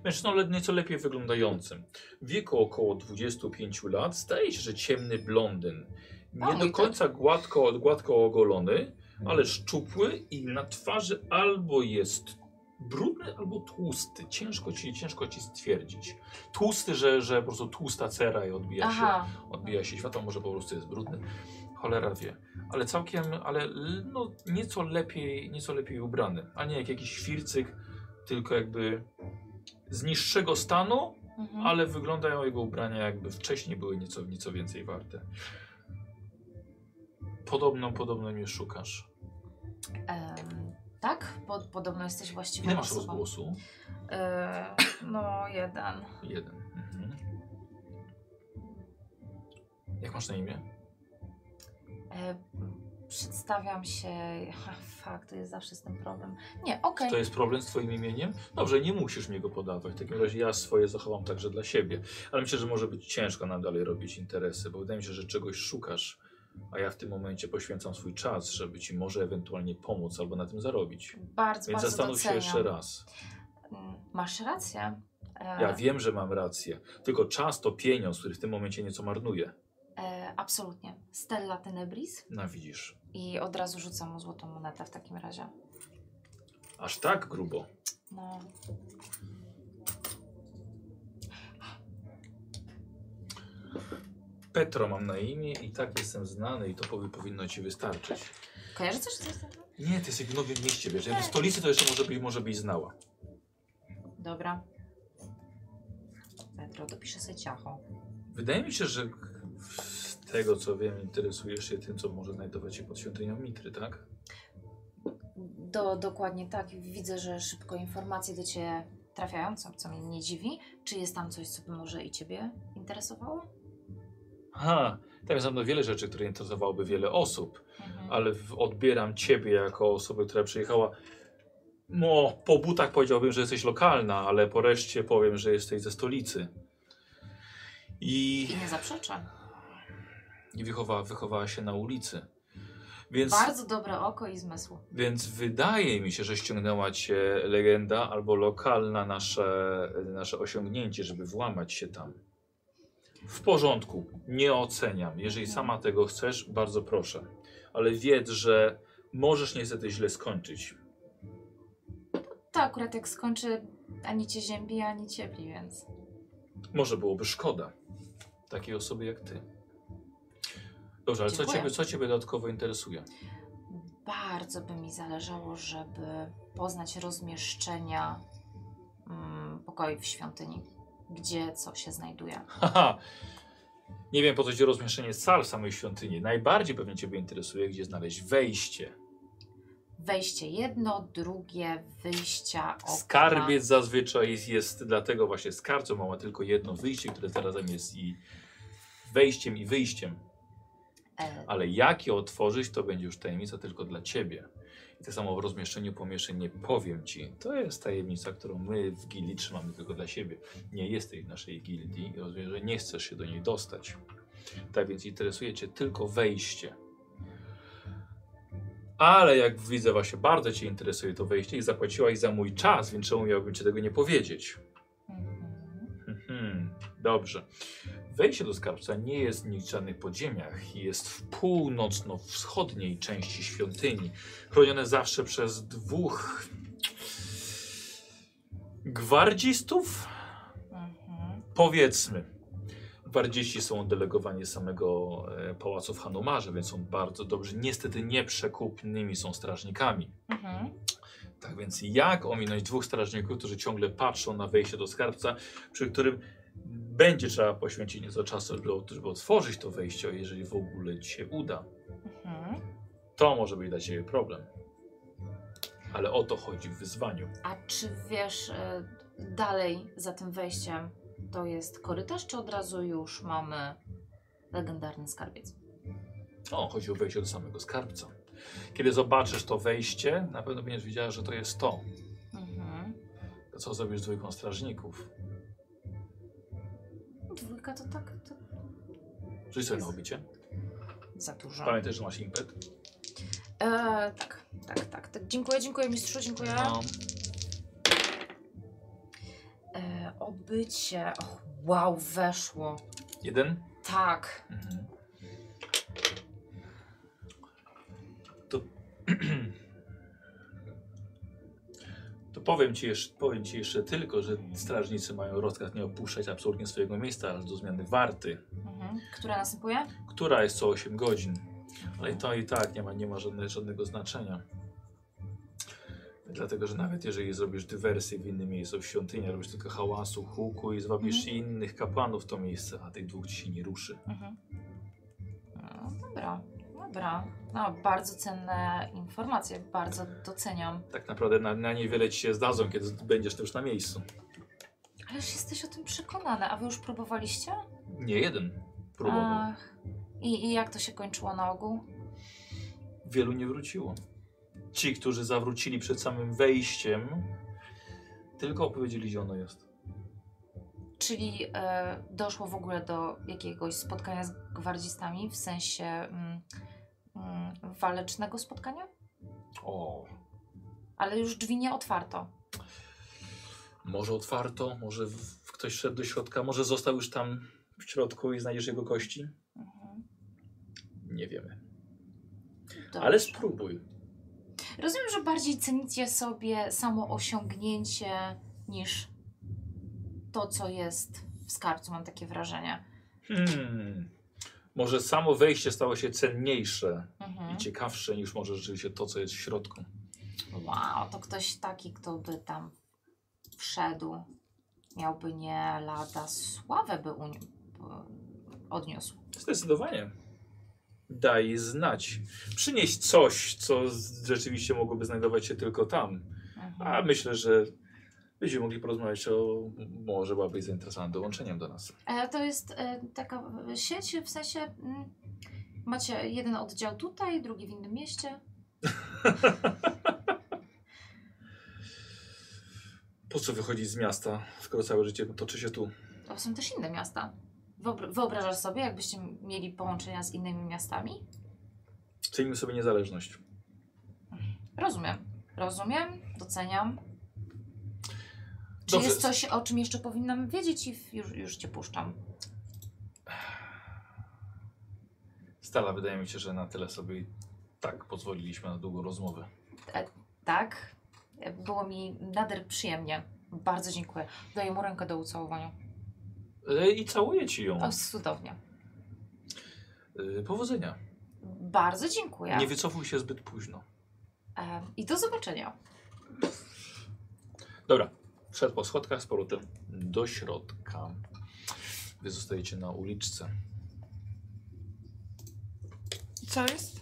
mężczyzną le- nieco lepiej wyglądającym. W wieku około 25 lat staje się, że ciemny blondyn. O, Nie mój tak. do typ. końca gładko, gładko ogolony, ale szczupły i na twarzy albo jest brudny, albo tłusty. Ciężko ci, ciężko ci stwierdzić. Tłusty, że, że po prostu tłusta cera i odbija się Aha. odbija się światło, może po prostu jest brudny. Cholera wie. Ale całkiem, ale l- no, nieco lepiej, nieco lepiej ubrany. A nie jak jakiś fircyk, tylko jakby z niższego stanu, Mhm. ale wyglądają jego ubrania jakby wcześniej były nieco, nieco więcej warte. Podobno, podobno mnie szukasz. Em, tak? Bo podobno jesteś właściwą Ile masz osobą. rozgłosu? E, no, jeden. Jeden. Mhm. Jak masz na imię? E, przedstawiam się. Ha, fuck, to jest zawsze z tym problem. Nie, okej. To jest problem z twoim imieniem? Dobrze, nie musisz mi go podawać. W takim razie ja swoje zachowam także dla siebie. Ale myślę, że może być ciężko nam dalej robić interesy, bo wydaje mi się, że czegoś szukasz, a ja w tym momencie poświęcam swój czas, żeby ci może ewentualnie pomóc albo na tym zarobić. Bardzo, Więc bardzo zastanów doceniam. się jeszcze raz. Mm, Masz rację. E, Ja wiem, że mam rację, tylko czas to pieniądz, który w tym momencie nieco marnuje. e, absolutnie. Stella Tenebris No widzisz. i od razu rzucam mu złotą monetę w takim razie. Aż tak grubo. No, Petro mam na imię i tak jestem znany i to powi- powinno ci wystarczyć. kojarzy coś z tym? Nie, ty jesteś w nowym mieście, wiesz, jak w stolicy to jeszcze może byś, może byś znała. Dobra. Petro, dopiszę sobie ciacho. Wydaje mi się, że z tego co wiem, interesujesz się tym, co może znajdować się pod świątynią Mitry, tak? Do, dokładnie tak. Widzę, że szybko informacje do Ciebie trafiają, co, co mnie nie dziwi. Czy jest tam coś, co by może i Ciebie interesowało? Ha, tam jest na pewno wiele rzeczy, które interesowałoby wiele osób, Mhm. ale w- odbieram ciebie jako osobę, która przyjechała. No, po butach powiedziałbym, że jesteś lokalna, ale po reszcie powiem, że jesteś ze stolicy. I, I nie zaprzeczę. i wychowała, wychowała się na ulicy. Więc Bardzo dobre oko i zmysł. Więc wydaje mi się, że ściągnęła cię legenda albo lokalna nasze, nasze osiągnięcie, żeby włamać się tam. W porządku, nie oceniam. Jeżeli sama tego chcesz, bardzo proszę. Ale wiedz, że możesz niestety źle skończyć. To akurat jak skończy ani Cię ziębi, ani ciepli, więc... Może byłoby szkoda takiej osoby jak ty. Dobrze, ale co Dziękuję. ciebie, co ciebie dodatkowo interesuje? Bardzo by mi zależało, żeby poznać rozmieszczenia mm, pokoi w świątyni. Gdzie co się znajduje. Haha. Nie wiem, po co ci rozmieszczenie sal w samej świątyni. Najbardziej pewnie ciebie interesuje, gdzie znaleźć wejście. Wejście jedno, drugie, wyjścia, okna. Skarbiec zazwyczaj jest, jest dlatego właśnie skarbcą, bo ma tylko jedno wyjście, które zarazem jest i wejściem i wyjściem. E, Ale jak je otworzyć, to będzie już tajemnica tylko dla ciebie. I tak samo w rozmieszczeniu pomieszczeń nie powiem ci. To jest tajemnica, którą my w gildii trzymamy tylko dla siebie. Nie jesteś w naszej gildii i rozumiem, że nie chcesz się do niej dostać. Tak więc interesuje cię tylko wejście. Ale jak widzę, właśnie bardzo cię interesuje to wejście i zapłaciłaś za mój czas, więc czemu miałbym ci tego nie powiedzieć? mhm. Mhm, dobrze. Wejście do skarbca nie jest w niczym podziemiach. Jest w północno-wschodniej części świątyni. Chronione zawsze przez dwóch gwardzistów, Mhm. powiedzmy. Gwardziści są delegowani z samego e, pałacu w Hanumarze, więc są bardzo dobrzy. Niestety nieprzekupnymi są strażnikami. Mhm. Tak więc jak ominąć dwóch strażników, którzy ciągle patrzą na wejście do skarbca, przy którym będzie trzeba poświęcić nieco czasu, żeby, ot- żeby otworzyć to wejście, jeżeli w ogóle ci się uda. Mhm. To może być dla ciebie problem. Ale o to chodzi w wyzwaniu. A czy wiesz, e, dalej za tym wejściem to jest korytarz, czy od razu już mamy legendarny skarbiec? O, chodzi o wejście do samego skarbca. Kiedy zobaczysz to wejście, na pewno będziesz wiedziała, że to jest to. Mhm. To co zrobisz z dwójką strażników? Dwójka to tak to Rzuć sobie na obicie. za dużo. Pamiętaj, że masz impet. E, tak, tak, tak, tak. Dziękuję, dziękuję mistrzu, dziękuję. No. E, obycie. Och, wow, weszło. Jeden. Tak. Mhm. To, to powiem, ci jeszcze, powiem ci jeszcze tylko, że strażnicy mają rozkaz nie opuszczać absolutnie swojego miejsca aż do zmiany warty, Mhm. Która następuje? która jest co 8 godzin. Ale i to i tak nie ma, nie ma żadne, żadnego znaczenia. Dlatego, że nawet jeżeli zrobisz dywersję w innym miejscu, w świątyni, robisz tylko hałasu, huku i zwabisz innych kapłanów w to miejsce, a tych dwóch ci się nie ruszy. Mhm. No, dobra, dobra. No, bardzo cenne informacje, bardzo doceniam. Tak naprawdę na, na niewiele ci się zdadzą, kiedy będziesz już na miejscu. Ależ jesteś o tym przekonany, a wy już próbowaliście? Nie jeden próbował. Ach. I, I jak to się kończyło na ogół? Wielu nie wróciło. Ci, którzy zawrócili przed samym wejściem, tylko opowiedzieli, gdzie ono jest. Czyli e, doszło w ogóle do jakiegoś spotkania z gwardzistami, w sensie mm, mm, walecznego spotkania? O, Ale już drzwi nie otwarto. może otwarto, może w, ktoś szedł do środka, może został już tam w środku i znajdziesz jego kości? Mhm. Nie wiemy. Dobrze. Ale spróbuj. Rozumiem, że bardziej cenicie sobie samo osiągnięcie niż to, co jest w skarbcu, mam takie wrażenie. Hmm. Może samo wejście stało się cenniejsze Mhm. i ciekawsze niż może rzeczywiście to, co jest w środku. Wow, to ktoś taki, kto by tam wszedł, miałby nie lada sławę by uni- by odniósł. Zdecydowanie. Daj znać. Przynieś coś, co z- rzeczywiście mogłoby znajdować się tylko tam. A Mhm. myślę, że będziemy mogli porozmawiać o... Może byłabyś zainteresowana dołączeniem do nas. E, to jest e, taka e, sieć, w sensie mm, macie jeden oddział tutaj, drugi w innym mieście. Po co wychodzić z miasta, skoro całe życie toczy się tu? To są też inne miasta. Wyobra- Wyobrażasz sobie, jakbyście mieli połączenia z innymi miastami? Cenimy sobie niezależność. Rozumiem. Rozumiem, doceniam. Czy Dobrze. jest coś, o czym jeszcze powinnam wiedzieć i w- już, już cię puszczam? Stala, wydaje mi się, że na tyle sobie i tak pozwoliliśmy na długą rozmowę. Tak? E, Było mi nader przyjemnie. Bardzo dziękuję. Daję mu rękę do ucałowania. E, I całuję ci ją. O, cudownie. E, Powodzenia. Bardzo dziękuję. Nie wycofuj się zbyt późno. E, I do zobaczenia. Dobra, wszedł po schodkach z powrotem do środka. Wy zostajecie na uliczce. Co jest?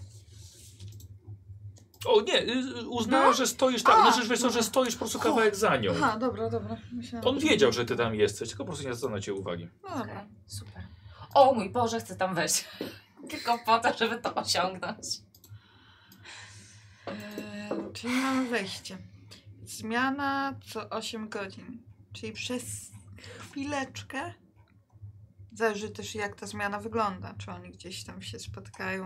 O nie, y, uznała, No. że stoisz tak, A. znaczy no. wiesz co, że stoisz po prostu kawałek za nią. Aha, dobra, dobra. Myślałam, On wiedział, że ty tam jesteś, tylko po prostu nie zwraca na ciebie uwagi. No dobra. Okej, Super. O mój Boże, chcę tam wejść. Tylko po to, żeby to osiągnąć. Eee, czyli mamy wejście. Zmiana co 8 godzin. Czyli przez chwileczkę. Zależy też jak ta zmiana wygląda. Czy oni gdzieś tam się spotkają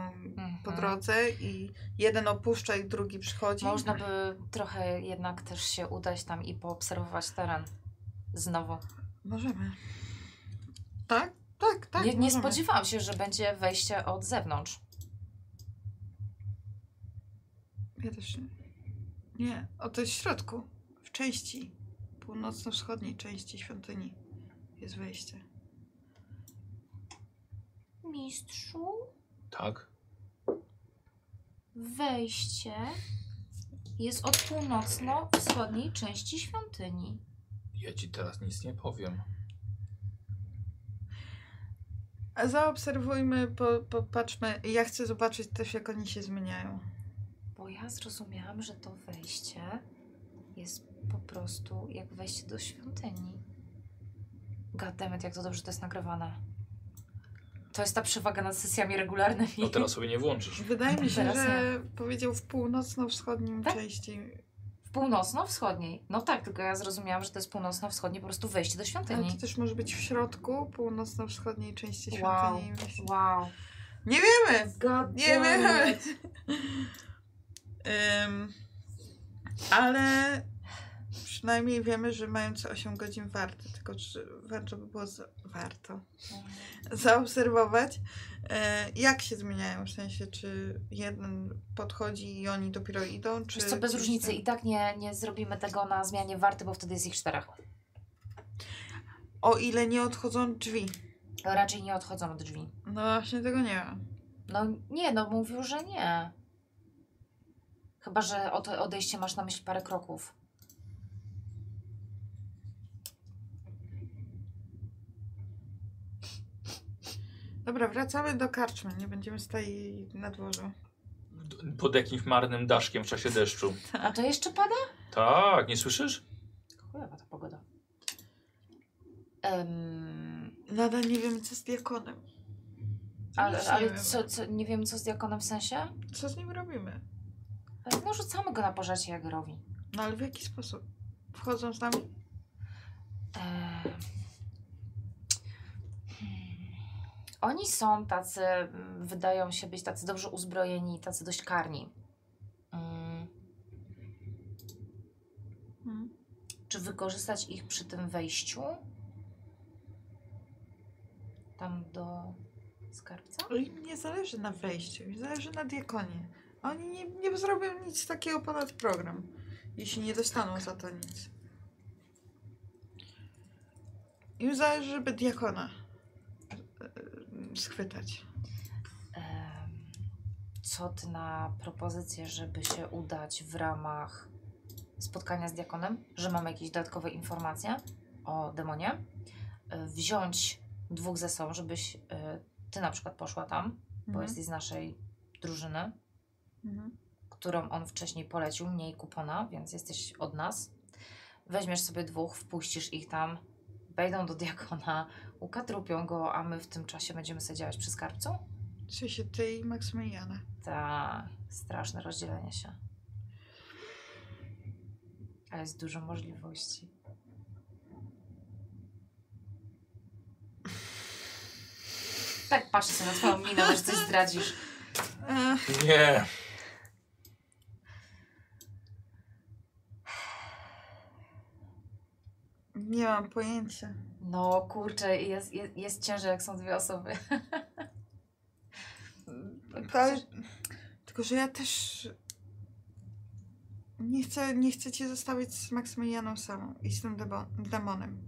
po Mhm. drodze i jeden opuszcza i drugi przychodzi. Można by trochę jednak też się udać tam i poobserwować teren. Znowu. Możemy. Tak? Tak, tak. nie, nie możemy. spodziewałam się, że będzie wejście od zewnątrz. Ja też nie. Nie, o to jest w środku. W części północno-wschodniej części świątyni jest wejście. Mistrzu, Tak? wejście jest od północno-wschodniej części świątyni. Ja ci teraz nic nie powiem. No, A Zaobserwujmy, po, popatrzmy. Ja chcę zobaczyć też, jak oni się zmieniają. Bo ja zrozumiałam, że to wejście jest po prostu jak wejście do świątyni. Goddammit, jak to dobrze to jest nagrywane. To jest ta przewaga nad sesjami regularnymi. No teraz sobie nie włączysz. Wydaje mi się, Mhm, Teraz że powiedział w północno-wschodnim Tak? części. W północno-wschodniej. No tak, tylko ja zrozumiałam, że to jest północno-wschodnie po prostu wejście do Ale świątyni. to też może być w środku północno-wschodniej części Wow. świątyni. Myślę- Wow. Nie wiemy! God Nie wiemy! Ym, ale przynajmniej wiemy, że mają co 8 godzin warty. Tylko czy warto by było za, warto zaobserwować, e, jak się zmieniają. W sensie, czy jeden podchodzi i oni dopiero idą, czy... Wiesz co, bez czy- różnicy i tak nie, nie zrobimy tego na zmianie warty, bo wtedy jest ich czterech. O ile nie odchodzą drzwi. Raczej nie odchodzą od drzwi. No właśnie tego nie wiem. No nie, no mówił, że nie. Chyba, że o to odejście masz na myśli parę kroków. Dobra, wracamy do karczmy. Nie będziemy stali na dworzu. D- Pod jakimś marnym daszkiem w czasie deszczu. A to jeszcze pada? Tak, nie słyszysz? Chujowa ta pogoda. Em, Nadal nie wiemy, co z diakonem. Nic ale nie ale wiemy. co, co, nie wiem, co z diakonem w sensie? Co z nim robimy? No rzucamy go na pożarcie Jagerowi. No ale w jaki sposób? Wchodzą z nami? Eee. Oni są tacy, mm, wydają się być tacy dobrze uzbrojeni, tacy dość karni. Mm. Mhm. Czy wykorzystać ich przy tym wejściu? Tam do skarbca? Im nie zależy na wejściu, im zależy na diakonie. Oni nie, nie zrobią nic takiego ponad program, jeśli nie dostaną za to nic. Im zależy, żeby diakona e, schwytać. Em, Co ty na propozycję, żeby się udać w ramach spotkania z diakonem, że mamy jakieś dodatkowe informacje o demonie? E, Wziąć dwóch ze sobą, żebyś e, ty na przykład poszła tam, bo jesteś z naszej drużyny, Mhm. którą on wcześniej polecił, mniej kupona, więc jesteś od nas. Weźmiesz sobie dwóch, wpuścisz ich tam, wejdą do diakona, ukatrupią go, a my w tym czasie będziemy sobie działać przy skarbcu? W sensie ty i Maksymiliana. Tak, straszne rozdzielenie się. Ale jest dużo możliwości. Tak patrzę sobie na twoją minę, że coś zdradzisz. E, Nie. nie mam pojęcia. No kurczę, jest, jest, jest ciężej jak są dwie osoby. Ale, tylko, że ja też nie chcę, nie chcę cię zostawić z Maksymilianą samą i z tym debo- demonem.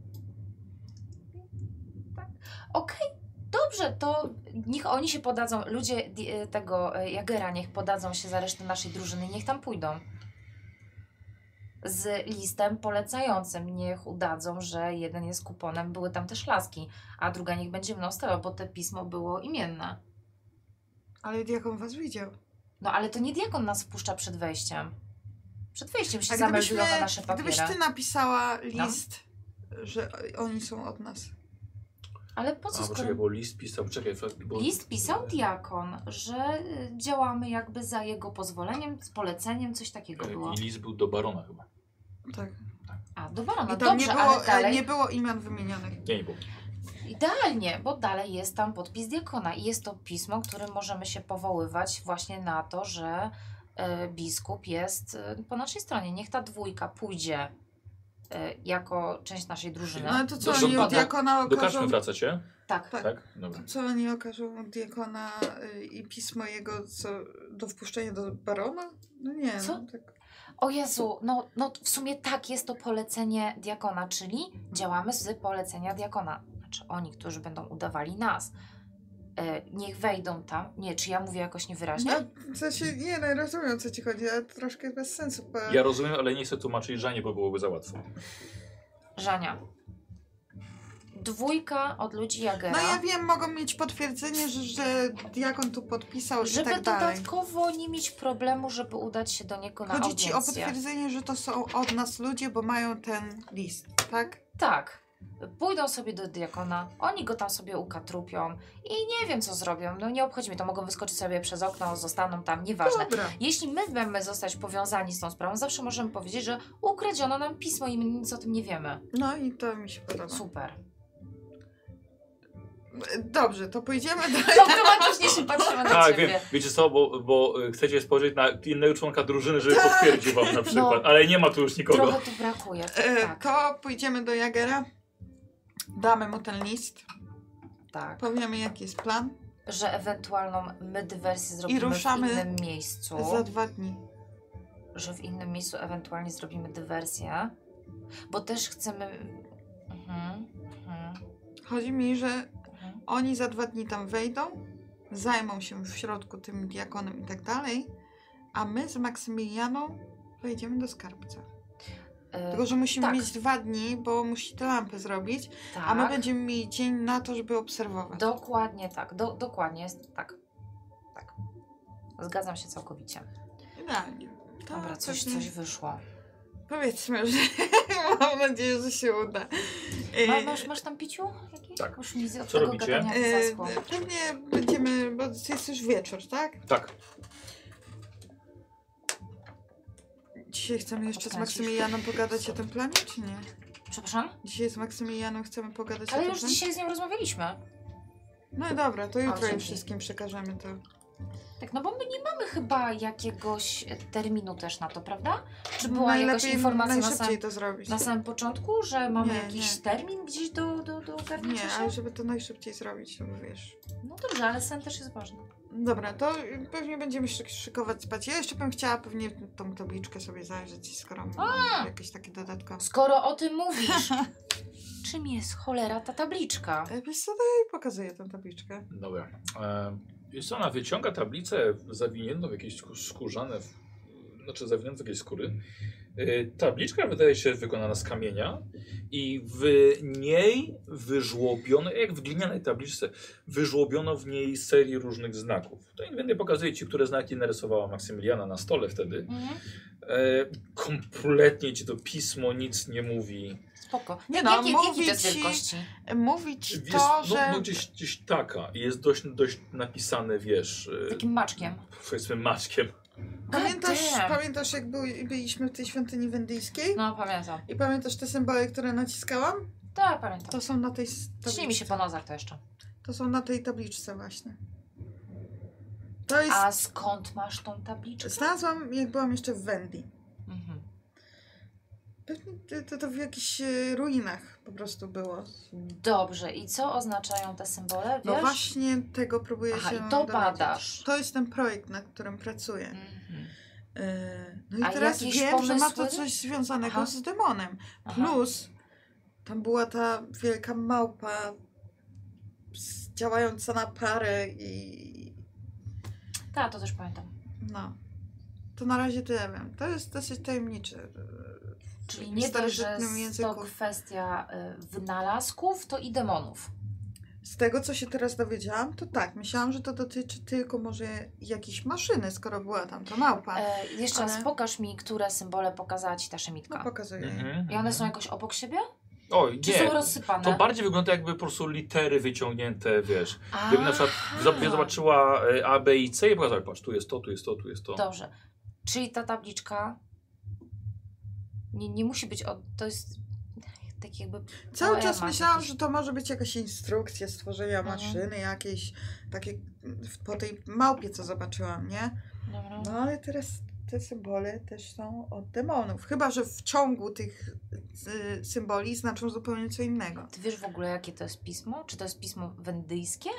Okej, dobrze, to niech oni się podadzą, ludzie di- e, tego e, Jagera niech podadzą się za resztę naszej drużyny, niech tam pójdą. Z listem polecającym, niech udadzą, że jeden jest kuponem, były tam też laski, a druga niech będzie mną stała, bo to pismo było imienne. Ale diakon was widział. No ale to nie diakon nas wpuszcza przed wejściem. Przed wejściem się A zameldują gdybyśmy, na nasze gdybyś papiery. No. ty napisała list, że oni są od nas. Ale po co A, skoro... poczekaj, bo list pisał, czekaj. Bo... List pisał diakon, że y, działamy jakby za jego pozwoleniem, z poleceniem, coś takiego było. e, I list był do barona chyba. Tak. A, do barona, I tam No dobrze, nie, ale było, e, dalej, nie było imion wymienionych. Nie, nie był. idealnie, bo dalej jest tam podpis diakona i jest to pismo, którym możemy się powoływać właśnie na to, że y, biskup jest y, po naszej stronie. Niech ta dwójka pójdzie y, jako część naszej drużyny. No ale to co, Dobrze, oni do- od diakona Do karczmy okażą... wracacie? Tak. Tak. Tak? Dobra. Co oni okażą od diakona y, i pismo jego co, do wpuszczenia do barona? No nie, Co? No, tak. O Jezu, no, no w sumie tak jest to polecenie diakona, czyli działamy z polecenia diakona. Znaczy oni, którzy będą udawali nas. e, niech wejdą tam. Nie, czy ja mówię jakoś niewyraźnie? No, w sensie, nie, no, rozumiem o co ci chodzi, ale troszkę bez sensu. Bo... Ja rozumiem, ale nie chcę tłumaczyć Żanie, bo byłoby za łatwo. Żania. Dwójka od ludzi Jagera. No ja wiem, mogą mieć potwierdzenie, że, że diakon tu podpisał i żeby tak dalej. dodatkowo nie mieć problemu, żeby udać się do niego na Chodzi ci o audiencję. potwierdzenie, że to są od nas ludzie, bo mają ten list, tak? Tak. Pójdą sobie do diakona, oni go tam sobie ukatrupią i nie wiem co zrobią. No nie obchodzi mnie to, mogą wyskoczyć sobie przez okno, zostaną tam, nieważne. Dobra. Jeśli my będziemy zostać powiązani z tą sprawą, zawsze możemy powiedzieć, że ukradziono nam pismo i my nic o tym nie wiemy. No i to mi się podoba. Super. Dobrze, to pójdziemy dalej. Automatycznie się patrzymy na Tak, wiem. ciebie. Wiecie co, bo, bo y, chcecie spojrzeć na innego członka drużyny, żeby potwierdził wam na przykład, ale nie ma tu już nikogo. Tak. No. Trochę tu brakuje. E, Tak, To pójdziemy do Jagera, damy mu ten list, tak. powiemy jaki jest plan Że ewentualną my dywersję zrobimy ruszamy w innym miejscu. za dwa dni. Że w innym miejscu ewentualnie zrobimy dywersję. Bo też chcemy... Mhm, mhm. Chodzi mi, że Mhm. oni za dwa dni tam wejdą, zajmą się w środku tym diakonem i tak dalej, a my z Maksymilianą wejdziemy do skarbca. E, Tylko, że musimy tak. mieć dwa dni, bo musi te lampy zrobić, tak. a my będziemy mieli dzień na to, żeby obserwować. Dokładnie tak, do, dokładnie jest tak. Tak. Zgadzam się całkowicie. Idealnie. To Dobra, coś, pewnie- coś wyszło. Powiedzmy, że mam nadzieję, że się uda. E, Ma, masz, masz tam piciu? Jakieś? Tak. Już mi z od Co tego robicie? gadania e, zaschło. pewnie będziemy, bo jest już wieczór, tak? Tak, Dzisiaj chcemy jeszcze z Odkręcisz. Maksymilianą pogadać o tym planie, czy nie? Przepraszam? Dzisiaj z Maksymilianą chcemy pogadać o Ale tym już planie? dzisiaj z nią rozmawialiśmy. No i dobra, to jutro im dzięki. wszystkim przekażemy to. Tak, no bo my nie mamy chyba jakiegoś terminu też na to, prawda? Czy była jakaś Najlepiej, informacja na najszybciej samym, to zrobić. na samym początku, że mamy Nie, jakiś nie. termin gdzieś do, do, do ogarnięcia Nie, się? ale żeby to najszybciej zrobić, to wiesz. No dobrze, ale sen też jest ważny. Dobra, to pewnie będziemy szyk- szykować spać. Ja jeszcze bym chciała pewnie tą tabliczkę sobie zajrzeć, skoro mam jakieś takie dodatkowe. Skoro o tym mówisz, czym jest cholera ta tabliczka? E, Wiesz co, daj pokazuję tę tabliczkę. dobra. E, jest ona wyciąga tablicę zawiniętą w jakieś sku- skórzane, w, znaczy zawiniętą w jakieś skóry. E, tabliczka wydaje się wykonana z kamienia i w niej wyżłobiono, jak w glinianej tabliczce, wyżłobiono w niej serię różnych znaków. To nie będę pokazuję ci, które znaki narysowała Maksymiliana na stole wtedy. Mhm. E, kompletnie ci to pismo nic nie mówi. Spoko. Nie no, Jakie, jakie mówi to jest ci, wielkości? mówi E, ci Jest, to, no, że... no gdzieś, gdzieś taka. I Jest dość, dość napisane, wiesz, e, Takim maczkiem. powiedzmy maczkiem. Pamiętasz, God damn. pamiętasz jak były- byliśmy w tej świątyni wendyjskiej? No pamiętam. I pamiętasz te symbole, które naciskałam? Tak, pamiętam. To są na tej s- Śni mi tabliczce. się po nozach to jeszcze. To są na tej tabliczce właśnie. To jest... A skąd masz tą tabliczkę? Znalazłam, jak byłam jeszcze w Wendy. Mhm. Pewnie to- to, to w jakichś e, ruinach po prostu było. Dobrze, i co oznaczają te symbole? No Wiesz? właśnie tego próbuję Aha, się i to dowiedzieć. badasz. To jest ten projekt, nad którym pracuję. Mhm. E, No i A teraz jakieś wiem, że ma to pomysły? coś związanego Aha. z demonem. Aha. Plus tam była ta wielka małpa z- działająca na parę i Tak, to też pamiętam. no. To na razie tyle wiem. To jest dosyć tajemniczy. e, Czyli w nie to, że starożytnym jest to kwestia y, wynalazków, to i demonów. Z tego, co się teraz dowiedziałam, to tak, myślałam, że to dotyczy tylko może jakiejś maszyny, skoro była tam ta małpa. E, jeszcze Tak. Ale- raz pokaż mi, które symbole pokazała ci ta No szemitka. pokazuję. Mhm. I one są jakoś obok siebie? O, Czy nie. są rozsypane? To bardziej wygląda jakby po prostu litery wyciągnięte, wiesz. A, Gdyby na przykład zob- zobaczyła e, A, B i C i pokazała, patrz, tu jest to, tu jest to, tu jest to. Dobrze. Czyli ta tabliczka nie, nie musi być od... To jest tak jakby... Cały poemat czas myślałam, jakiś. że to może być jakaś instrukcja stworzenia Mhm. maszyny jakiejś, takie w- po tej małpie, co zobaczyłam, nie? Dobra. No ale teraz te symbole też są od demonów. Chyba, że w ciągu tych y, symboli znaczą zupełnie co innego. Ty wiesz w ogóle, jakie to jest pismo? Czy to jest pismo wendyjskie?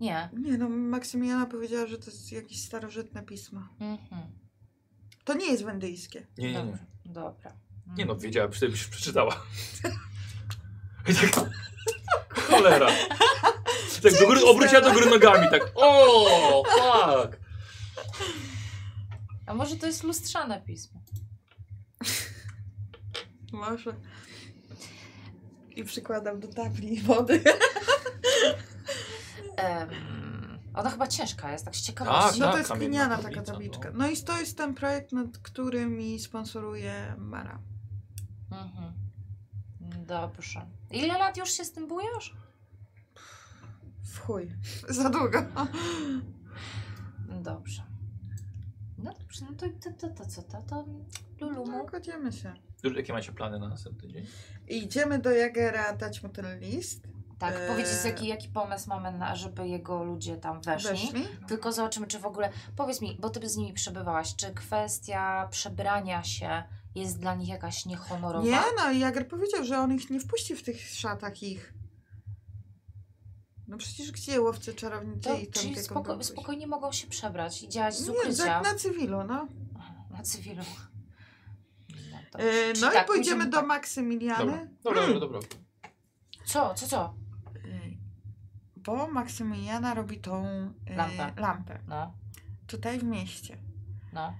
Nie. Nie no, Maksymiliana powiedziała, że to jest jakieś starożytne pismo. Mhm. To nie jest wendyjskie. Nie, nie, nie. Dobrze. Dobra. Mm. Nie no, wiedziała, przecież byś przeczytała. Cholera. tak do góry, obróciła do góry nogami, tak o, fuck. A może to jest lustrzane pismo? Może. I przykładam do tabli wody. Em, ona chyba ciężka jest, tak z Mm. Tak, ciekawości. No tak, to jest kamienna gliniana tablica, taka no. tabliczka. No i to jest ten projekt, nad którym mi sponsoruje Mara. Mhm. Dobrze. Ile lat już się z tym bujesz? W chuj. Za długo. Dobrze. No dobrze, no to, to, to, to co, to, to No, Lulumu. godzimy się. Duży, Jakie macie plany na następny dzień? Idziemy do Jagera, dać mu ten list. Tak, Eee. powiedz jaki, jaki pomysł mamy, na, żeby jego ludzie tam weszli. Weszli. Tylko zobaczymy, czy w ogóle, powiedz mi, bo ty z nimi przebywałaś, czy kwestia przebrania się jest dla nich jakaś niehonorowa? Nie, no i Jager powiedział, że on ich nie wpuści w tych szatach ich. No przecież gdzie łowcy czarownicy To, i tam czyli tylko spoko- były? spokojnie mogą się przebrać i działać z Nie, ukrycia tak na cywilu, no. na cywilu. No, dobrze. E, Czyli no tak, i pójdziemy do tak. Dobra, Maksymiliany. dobra, Hmm. dobra, dobra. Co, co, co? Ej, E, Bo Maksymiliana robi tą e, Lampę. lampę. lampę No, tutaj w mieście. no.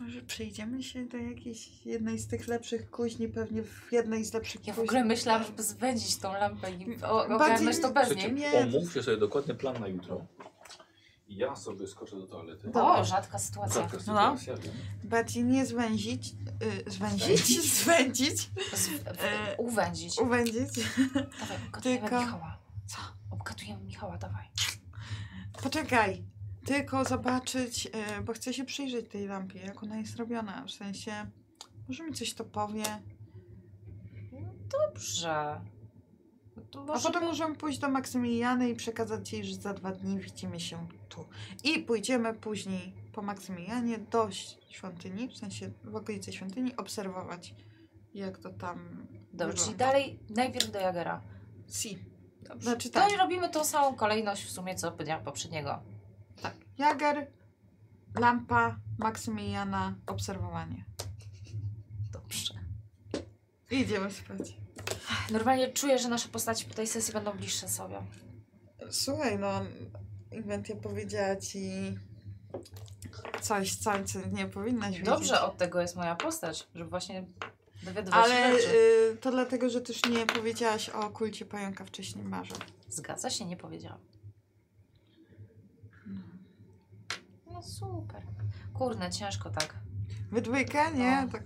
Może przejdziemy się do jakiejś jednej z tych lepszych kuźni, pewnie w jednej z lepszych Ja w kuźni. ogóle myślałam, żeby zwędzić tą lampę i o- Bardziej- ogarnąć to bez Słuchajcie, niej. Nie. Omówcie sobie dokładnie plan na jutro. I Ja sobie skoczę do toalety. O, rzadka sytuacja. Rzadka sytuacja, wiem. Bardziej nie zwęzić, y, zwęzić, zwędzić, Z, w, E, uwędzić. uwędzić. Dawaj, obgadujemy tylko- Michała. Co? Obgadujemy Michała, dawaj. Poczekaj, tylko zobaczyć, y, bo chcę się przyjrzeć tej lampie, jak ona jest robiona. W sensie, może mi coś to powie. Dobrze. No To A może potem możemy pójść do Maksymiliany i przekazać jej, że za dwa dni widzimy się tu. I pójdziemy później po Maksymilianie do ś- świątyni, w sensie w okolicy świątyni, obserwować, jak to tam. Dobrze, czyli wygląda. dalej najpierw do Jagera. Si. Dobrze. Znaczy To tak. robimy tą samą kolejność w sumie co dnia poprzedniego. tak. Jager, lampa, Maksymiliana, obserwowanie. Dobrze. I idziemy spać. Normalnie czuję, że nasze postaci po tej sesji będą bliższe sobie. Słuchaj, no, Inwentia powiedziała ci coś, coś, co nie powinnaś wiedzieć. Dobrze, od tego jest moja postać, żeby właśnie dowiadywać się Ale rzeczy. y, to dlatego, że też nie powiedziałaś o kulcie pająka wcześniej, Marze. Zgadza się, nie powiedziałam. No super. Kurde, ciężko tak. We dwójkę, nie? No. Tak.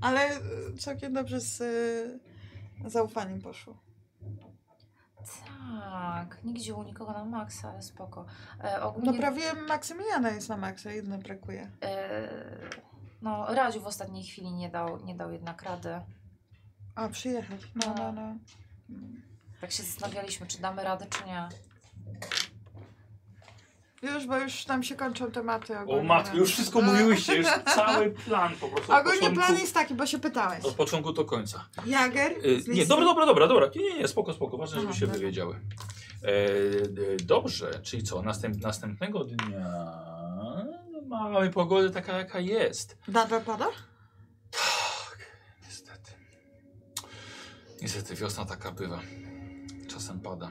Ale y, całkiem dobrze z y, zaufaniem poszło. Tak, nigdzie u nikogo na maksa, ale spoko. E, ogólnie, No prawie Maksymiliana jest na maksa, jedna brakuje. e, no, Radziu w ostatniej chwili nie dał, nie dał jednak rady. A, przyjechał. No, no, no. Tak się zastanawialiśmy, czy damy radę, czy nie. Już, bo już tam się kończą tematy ogólnie. O matko, już wszystko mówiłyście, już cały plan po prostu. od Ogólnie początku- plan jest taki, bo się pytałeś. Od początku do końca. Jager? Y, z Nie, listy. dobra, dobra, dobra, dobra. Nie, nie, nie, spoko, spoko. Ważne, Aha, żeby się dobra. wywiedziały. E, e, dobrze, czyli co? Następ, następnego dnia no, mamy pogodę taka, jaka jest. Nadal pada? Niestety. Niestety, wiosna taka bywa. Czasem pada.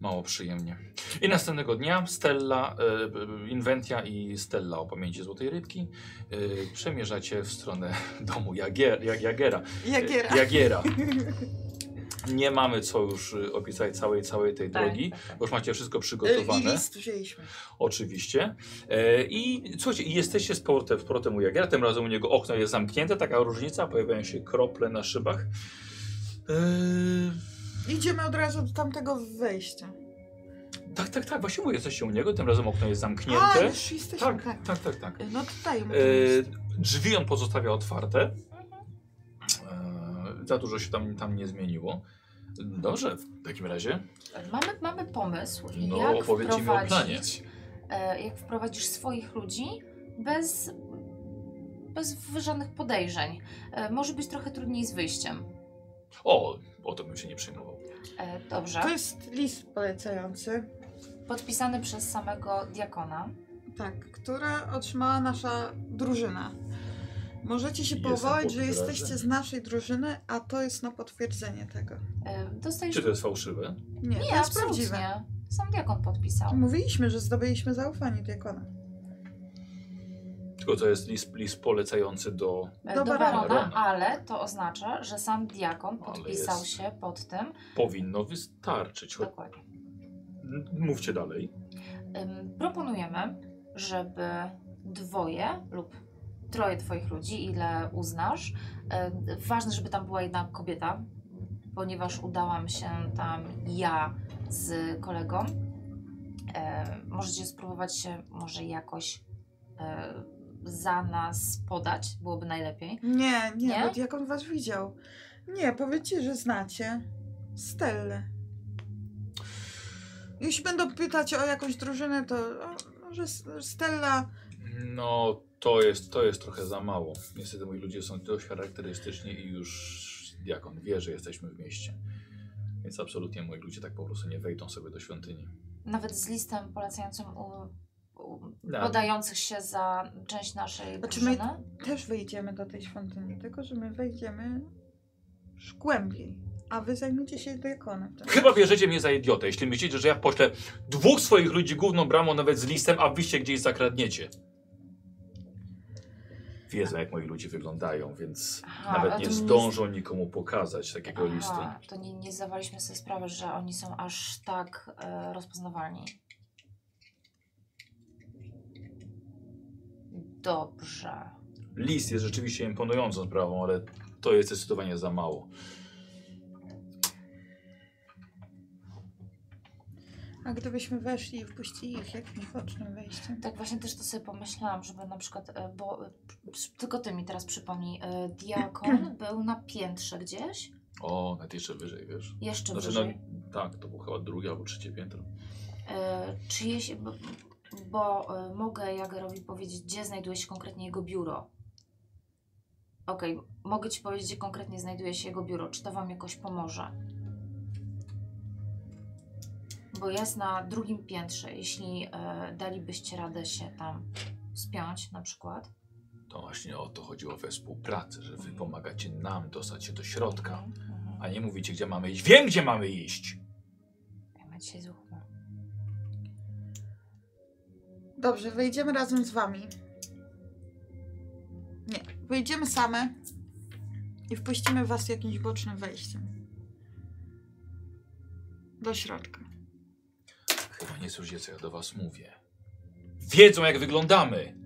Mało przyjemnie. I następnego dnia Stella, e, b- b- Inwentia i Stella o pamięci Złotej Rybki e, przemierzacie w stronę domu Jagier, Jag- Jagera. Jagiera. Y, Jagiera. Nie mamy co już y, opisać całej, całej tej Tak, drogi, bo już macie wszystko E, I przygotowane, list wzięliśmy. oczywiście. E, I słuchajcie, i jesteście z portem, w portem u Jagiera, tym razem u niego okno jest zamknięte, taka różnica, pojawiają się krople na szybach. E, Idziemy od razu do tamtego wejścia. tak, tak, tak, właśnie mówię, jesteście u niego, tym razem okno jest A, zamknięte. już jesteśmy, Tak, tak. tak, tak, tak. No tutaj E, drzwi on pozostawia otwarte. E, za dużo się tam, tam nie zmieniło. Dobrze, w takim razie tak. Mamy, mamy pomysł, No, jak, opowiedz mi o planie. wprowadzić, e, jak wprowadzisz swoich ludzi bez, bez w- żadnych podejrzeń. E, może być trochę trudniej z wyjściem. O, o to bym się nie przejmował. E, dobrze. To jest list polecający, Podpisany przez samego diakona. tak, który otrzymała nasza drużyna. Możecie się Jest na powołać, że podwórzu. jesteście z naszej drużyny, a to jest na potwierdzenie tego. E, dostajesz... Czy to jest fałszywe? Nie, to Nie, jest prawdziwe. No, absolutnie. Sam diakon podpisał. Mówiliśmy, że zdobyliśmy zaufanie diakona. Tylko to jest list, list polecający do... E, Do Do barona. barona, ale to oznacza, że sam diakon Ale podpisał jest. się pod tym. Powinno wystarczyć. Cho- Dokładnie. M- Mówcie dalej. Ym, proponujemy, żeby dwoje lub troje Twoich ludzi, ile uznasz. y, Ważne, żeby tam była jedna kobieta, ponieważ udałam się tam ja z kolegą. Y, Możecie spróbować się może jakoś y, za nas podać, byłoby najlepiej. Nie, nie, Nie? bo diakon was widział. Nie, powiedzcie, że znacie Stellę. Jeśli będą pytać o jakąś drużynę, to o, może S- Stella... No, to jest, to jest trochę za mało. Niestety moi ludzie są dość charakterystyczni i już diakon wie, że jesteśmy w mieście. Więc absolutnie moi ludzie tak po prostu nie wejdą sobie do świątyni. Nawet z listem polecającym u, u, No. podających się za część naszej Znaczy my- drużyny. Też wyjdziemy do tej świątyni, tylko że my wejdziemy już głębiej, a wy zajmiecie się diakonem. Tak? Chyba bierzecie mnie za idiotę, jeśli myślicie, że ja poślę dwóch swoich ludzi główną bramą nawet z listem, a wyście gdzieś zakradniecie. Wiedzą, jak moi ludzie wyglądają, więc Aha, a nawet to nie nie zdążą nikomu pokazać takiego Aha, listu. To nie, nie zdawaliśmy sobie sprawy, że oni są aż tak e, rozpoznawalni. Dobrze. List jest rzeczywiście imponującą sprawą, ale to jest zdecydowanie za mało. A gdybyśmy weszli i wpuścili ich jakimś bocznym wejściem? Tak właśnie też to sobie pomyślałam, żeby na przykład, e, bo e, przy- tylko ty mi teraz przypomnij, e, diakon był na piętrze gdzieś, O, nawet jeszcze wyżej, wiesz. jeszcze Znaczy, no, wyżej. tak, to było chyba drugie albo trzecie piętro. E, czyjeś, bo, bo e, mogę Jagerowi powiedzieć, gdzie znajduje się konkretnie jego biuro. Okej, mogę ci powiedzieć, gdzie konkretnie znajduje się jego biuro. Czy to wam jakoś pomoże? Bo jest na drugim piętrze. Jeśli e, dalibyście radę się tam spiąć, na przykład. To właśnie o to chodziło we współpracy, że wy pomagacie nam dostać się do środka, Mhm, a nie mówicie, gdzie mamy iść. Wiem, gdzie mamy iść! Ja mam dzisiaj zły humor. Dobrze, wyjdziemy razem z wami. Nie, wyjdziemy same i wpuścimy was jakimś bocznym wejściem. Do środka. Chyba nie słyszycie, co ja do was mówię. Wiedzą, jak wyglądamy!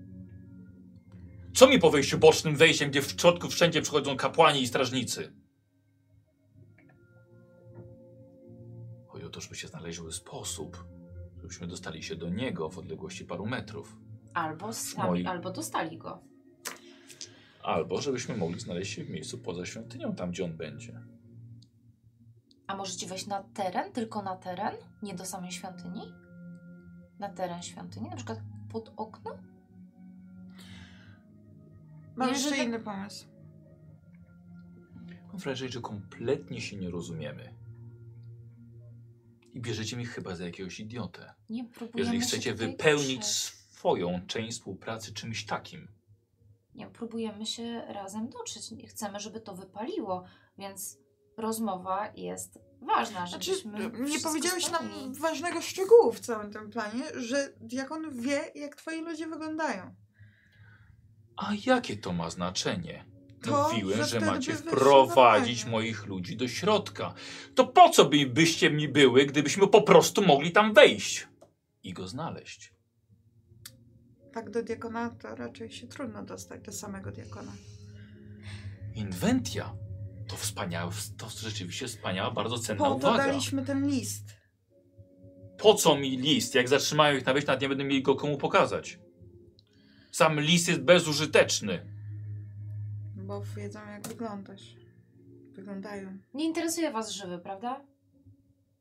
Co mi po wyjściu bocznym wejściem, gdzie w środku wszędzie przychodzą kapłani i strażnicy? Chodzi o to, żeby się znaleźły sposób, żebyśmy dostali się do niego w odległości paru metrów. Albo sami, Moi. albo dostali go. Albo żebyśmy mogli znaleźć się w miejscu poza świątynią, tam gdzie on będzie. A możecie wejść na teren, tylko na teren, nie do samej świątyni? Na teren świątyni, na przykład pod okno? Mam Jeżeli jeszcze tak- inny pomysł. Mam wrażenie, że kompletnie się nie rozumiemy. I bierzecie mi chyba za jakiegoś idiotę. Nie próbujemy Jeżeli się chcecie tutaj wypełnić dotrzeć. swoją część współpracy czymś takim. Nie, próbujemy się razem dotrzeć. Nie Chcemy, żeby to wypaliło, więc rozmowa jest ważna, Znaczy, żebyśmy nie wszystko powiedziałeś nam spełnili. ważnego szczegółu w całym tym planie, że diakon wie, jak twoi ludzie wyglądają. A jakie to ma znaczenie? To, Mówiłem, że że wtedy macie by wyszło wprowadzić normalnie. moich ludzi do środka. To po co by, byście mi były, gdybyśmy po prostu mogli tam wejść i go znaleźć? Tak do diakona to raczej się trudno dostać, do samego diakona. Inwentia to wspaniała, to rzeczywiście wspaniała, bardzo cenna Po to Tak, no uwaga. daliśmy ten list. Po co mi list? Jak zatrzymają ich na wieś, nawet nie będę mieli go komu pokazać. Sam list jest bezużyteczny. Bo wiedzą, jak wyglądasz. Wyglądają. Nie interesuje was żywy, prawda?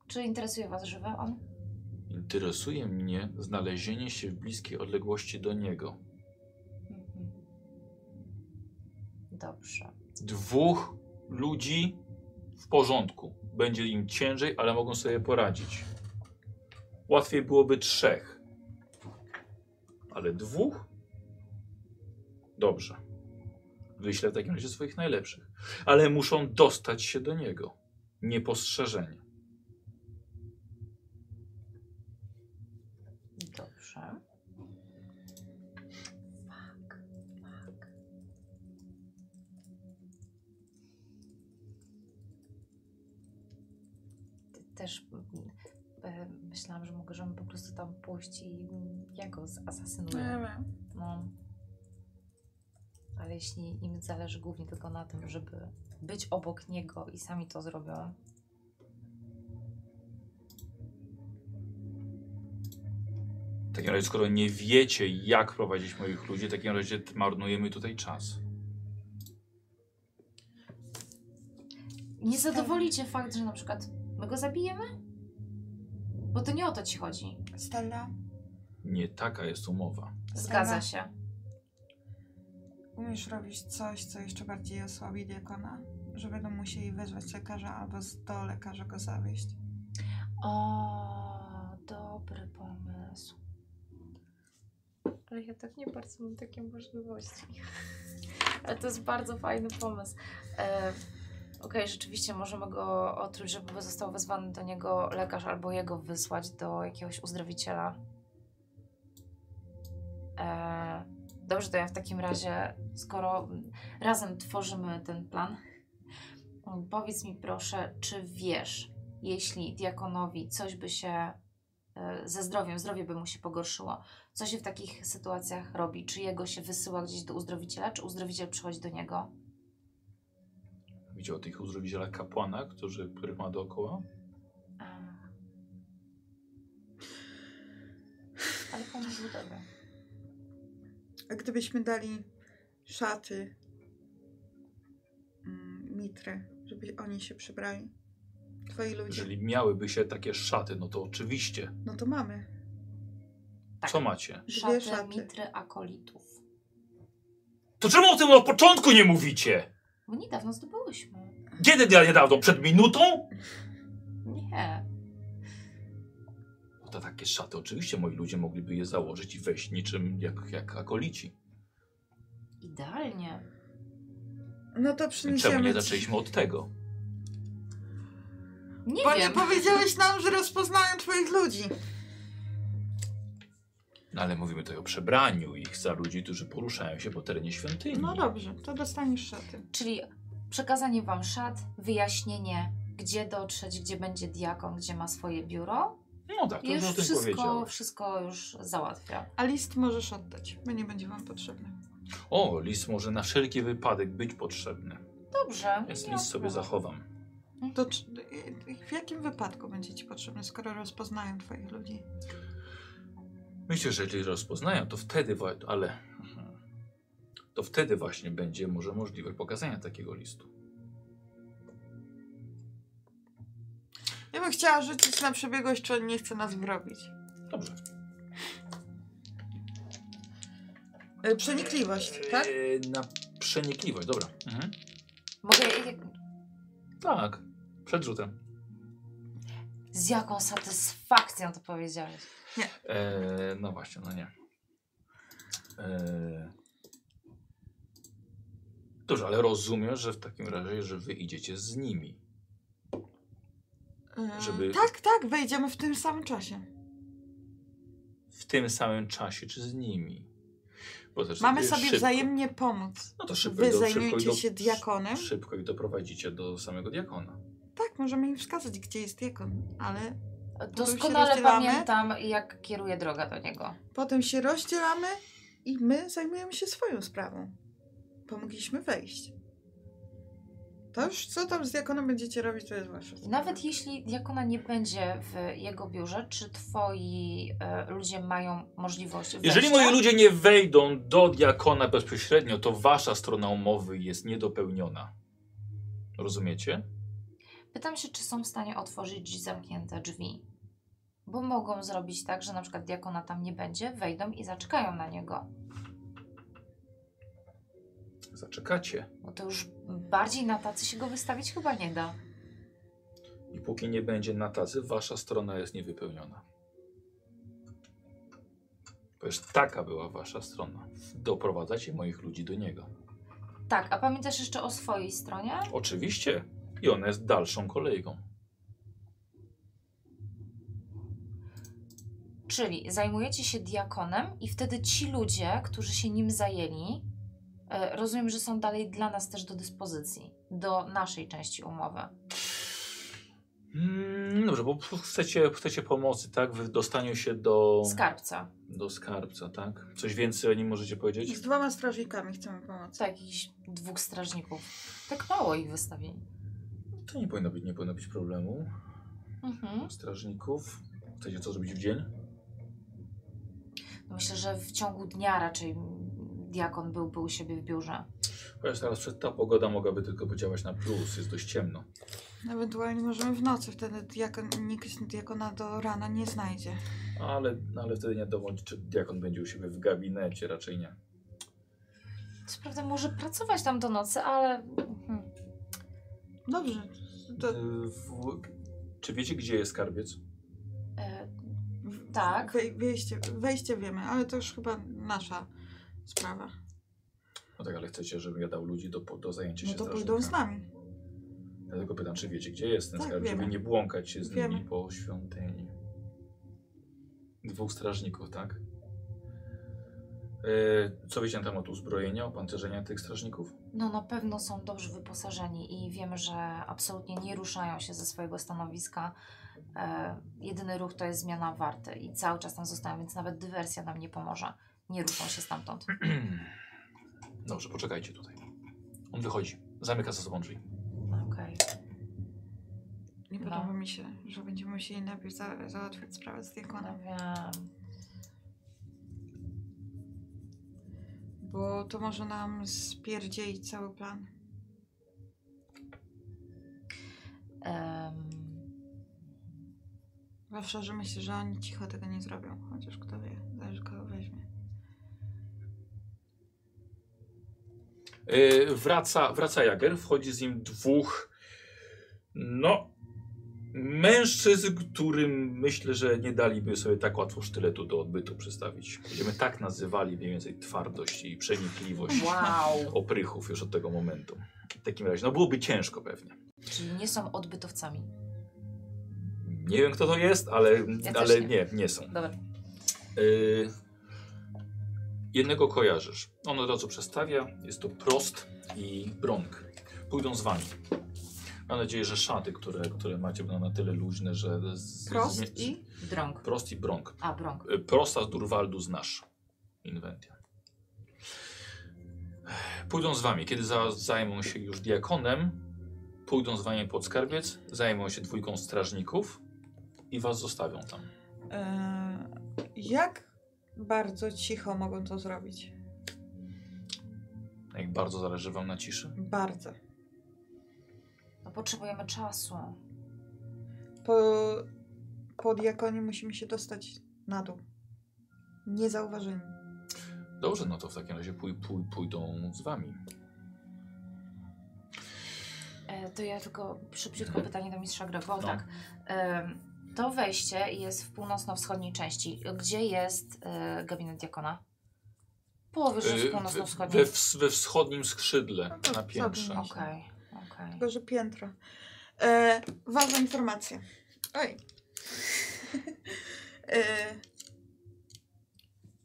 Czy interesuje was żywy on? Interesuje mnie znalezienie się w bliskiej odległości do niego. Mhm. Dobrze. Dwóch ludzi w porządku. Będzie im ciężej, ale mogą sobie poradzić. Łatwiej byłoby trzech. Ale dwóch? Dobrze. Wyślę w takim razie swoich najlepszych. Ale muszą dostać się do niego. Niepostrzeżenie. Dobrze. Ty też mm, e, myślałam, że możemy po prostu tam pójść i mm, ja go zasasynuję. wiem. No. Ale jeśli im zależy głównie tylko na tym, żeby być obok niego i sami to zrobią. W takim razie, skoro nie wiecie, jak prowadzić moich ludzi, w takim razie t- marnujemy tutaj czas. Nie zadowoli cię fakt, że na przykład my go zabijemy? Bo to nie o to ci chodzi. Stella, Nie taka jest umowa. Zgadza Stella, się. Umiesz robić coś, co jeszcze bardziej osłabi diakona, że będą musieli wezwać lekarza albo z- do lekarza go zawieść. O, dobry pomysł. Ale ja tak nie bardzo mam takie możliwości. Ale to jest bardzo fajny pomysł. E, Okej, rzeczywiście możemy go otruć, żeby został wezwany do niego lekarz albo jego wysłać do jakiegoś uzdrowiciela. E, dobrze, to ja w takim razie, skoro razem tworzymy ten plan, powiedz mi proszę, czy wiesz, jeśli diakonowi coś by się e, ze zdrowiem, zdrowie by mu się pogorszyło, co się w takich sytuacjach robi? Czy jego się wysyła gdzieś do uzdrowiciela, czy uzdrowiciel przychodzi do niego? Widział tych uzdrowiciela kapłana, którzy, których ma dookoła? Ach. Ale pomysł był dobry. A gdybyśmy dali szaty mm, mitry, żeby oni się przybrali, twoi ludzie, Jeżeli miałyby się takie szaty, no to oczywiście. no to mamy. Tak. Co macie? Dwie Szaty, szaty. mitry, akolitów. To czemu o tym od początku nie mówicie? Bo niedawno zdobyłyśmy. Kiedy ja niedawno? Przed minutą? Nie. No to takie szaty oczywiście moi ludzie mogliby je założyć i wejść niczym jak, jak akolici. Idealnie. No to Czemu przyniesiemy nie ci- zaczęliśmy od tego? Nie Bo nie wiem. powiedziałeś nam, że rozpoznają twoich ludzi. No ale mówimy tutaj o przebraniu ich za ludzi, którzy poruszają się po terenie świątyni. No dobrze, to dostaniesz szaty. Czyli przekazanie wam szat, wyjaśnienie, gdzie dotrzeć, gdzie będzie diakon, gdzie ma swoje biuro. No tak, to I już już o tym wszystko, powiedziałeś. wszystko już załatwia. A list możesz oddać, bo nie będzie wam potrzebny. O, list może na wszelki wypadek być potrzebny, Dobrze. więc nie list sobie odpływa. zachowam. To czy, i- i w jakim wypadku będzie ci potrzebny, skoro rozpoznają twoich ludzi? Myślę, że jeżeli rozpoznają, to wtedy, wa- ale mhm. to wtedy właśnie będzie może możliwe pokazanie takiego listu. Ja bym chciała rzucić na przebiegłość, czy on nie chce nas wrobić. Dobrze. E, Przenikliwość, tak? Eee, na przenikliwość, dobra. Mhm. Mogę, jak, Tak, przed rzutem. z jaką satysfakcją to powiedziałeś. Eee, no właśnie, no nie. Eee. Dobrze, ale rozumiem, że w takim razie, że wy idziecie z nimi. E, żeby- Tak, tak, wejdziemy w tym samym czasie. w tym samym czasie, czy z nimi. Bo też Mamy jest sobie szybko. wzajemnie pomóc. No to szybko Wy i do- szybko i zajmujecie do- się diakonem. Szybko ich doprowadzicie do samego diakona. Tak, możemy im wskazać, gdzie jest diakon, ale Doskonale rozdzielamy. pamiętam, jak kieruje droga do niego. potem się rozdzielamy i my zajmujemy się swoją sprawą. Pomogliśmy wejść. To już co tam z diakonem będziecie robić, to jest wasza sprawa. Nawet jeśli diakona nie będzie w jego biurze, czy twoi e, ludzie mają możliwość wejścia? Jeżeli moi ludzie nie wejdą do diakona bezpośrednio, to wasza strona umowy jest niedopełniona. Rozumiecie? Pytam się, czy są w stanie otworzyć zamknięte drzwi. Bo mogą zrobić tak, że na przykład diakona tam nie będzie, wejdą i zaczekają na niego. Zaczekacie. Bo No to już bardziej na tacy się go wystawić chyba nie da. I póki nie będzie na tacy, wasza strona jest niewypełniona. Ponieważ taka była wasza strona. Doprowadzacie moich ludzi do niego. Tak, a pamiętasz jeszcze o swojej stronie? Oczywiście. I ona jest dalszą kolejką. Czyli zajmujecie się diakonem i wtedy ci ludzie, którzy się nim zajęli, e, rozumiem, że są dalej dla nas też do dyspozycji, do naszej części umowy. Mm, dobrze, bo chcecie, chcecie pomocy, tak? W dostaniu się do, Skarbca. do skarbca, tak? Coś więcej o nim możecie powiedzieć? Z dwoma strażnikami chcemy pomóc. Tak, jakichś dwóch strażników. Tak mało ich wystawili. To nie powinno być, nie powinno być problemu. Mhm. Strażników. Chcecie co zrobić w dzień? Myślę, że w ciągu dnia raczej diakon byłby u siebie w biurze. Chociaż teraz przed ta pogoda mogłaby tylko podziałać na plus, jest dość ciemno. Ewentualnie możemy w nocy, wtedy diakon, nikt diakona do rana nie znajdzie. Ale, no ale wtedy nie dowodzi, czy diakon będzie u siebie w gabinecie, raczej nie. Co prawda może pracować tam do nocy, ale... mhm. Dobrze, to Y, W, czy wiecie, gdzie jest skarbiec? E, w- Tak. wej- wejście, wejście wiemy, ale to już chyba nasza sprawa. No tak, ale chcecie, żebym ja dał ludzi do, po- do zajęcia No się to strażnika. pójdą z nami. Ja tylko pytam, czy wiecie, gdzie jest ten Tak, skarb, żeby wiemy. nie błąkać się z nimi Wiemy. po świątyni. Dwóch strażników, tak? E, co wiecie na temat uzbrojenia, opancerzenia tych strażników? No na pewno są dobrze wyposażeni i wiem, że absolutnie nie ruszają się ze swojego stanowiska. E, jedyny ruch to jest zmiana warty i cały czas tam zostają, więc nawet dywersja nam nie pomoże. Nie ruszą się stamtąd. Dobrze, poczekajcie tutaj. On wychodzi, zamyka za sobą drzwi. Okej. Nie No. podoba mi się, że będziemy musieli najpierw za, załatwić sprawę z No diakonem, wiem. bo to może nam spierdzielić cały plan. Em, Zwłaszcza, że myślę, że oni cicho tego nie zrobią, chociaż kto wie, zależy kogo weźmie. E, wraca, wraca Jager, wchodzi z nim dwóch, no, mężczyzn, którym myślę, że nie daliby sobie tak łatwo sztyletu do odbytu przystawić. Będziemy tak nazywali mniej więcej twardość i przenikliwość wow. oprychów już od tego momentu. W takim razie, no byłoby ciężko pewnie. Czyli nie są odbytowcami. Nie wiem kto to jest, ale, też ale nie. nie, nie są. Dobra. Y, jednego kojarzysz. On od razu przestawia. Jest to Prost i Bronk. Pójdą z wami. Mam nadzieję, że szaty, które, które macie będą na tyle luźne, że... Z, Prost z- i? Drąg. Prost i Bronk. A, drąg. Y, Prosta z Durwaldu znasz. Inwentia. Pójdą z wami. Kiedy za, zajmą się już diakonem, pójdą z wami pod skarbiec, zajmą się dwójką strażników i was zostawią tam. Eee, jak bardzo cicho mogą to zrobić? Jak bardzo zależy wam na ciszy. Bardzo. No potrzebujemy czasu. Po, po diakonie musimy się dostać na dół. Niezauważeni. Dobrze, no to w takim razie pój, pój, pójdą z wami. E, to ja tylko szybciutko pytanie do mistrza gry, bo Mhm. No. tak. em, to wejście jest w północno-wschodniej części. Gdzie jest e, gabinet diakona? Połowy już jest Y, północno-wschodniej. we, ws- we wschodnim skrzydle No to na piętrze. zabił. Okej, okej. Tylko, że piętro. E, ważna informacja. Oj. e,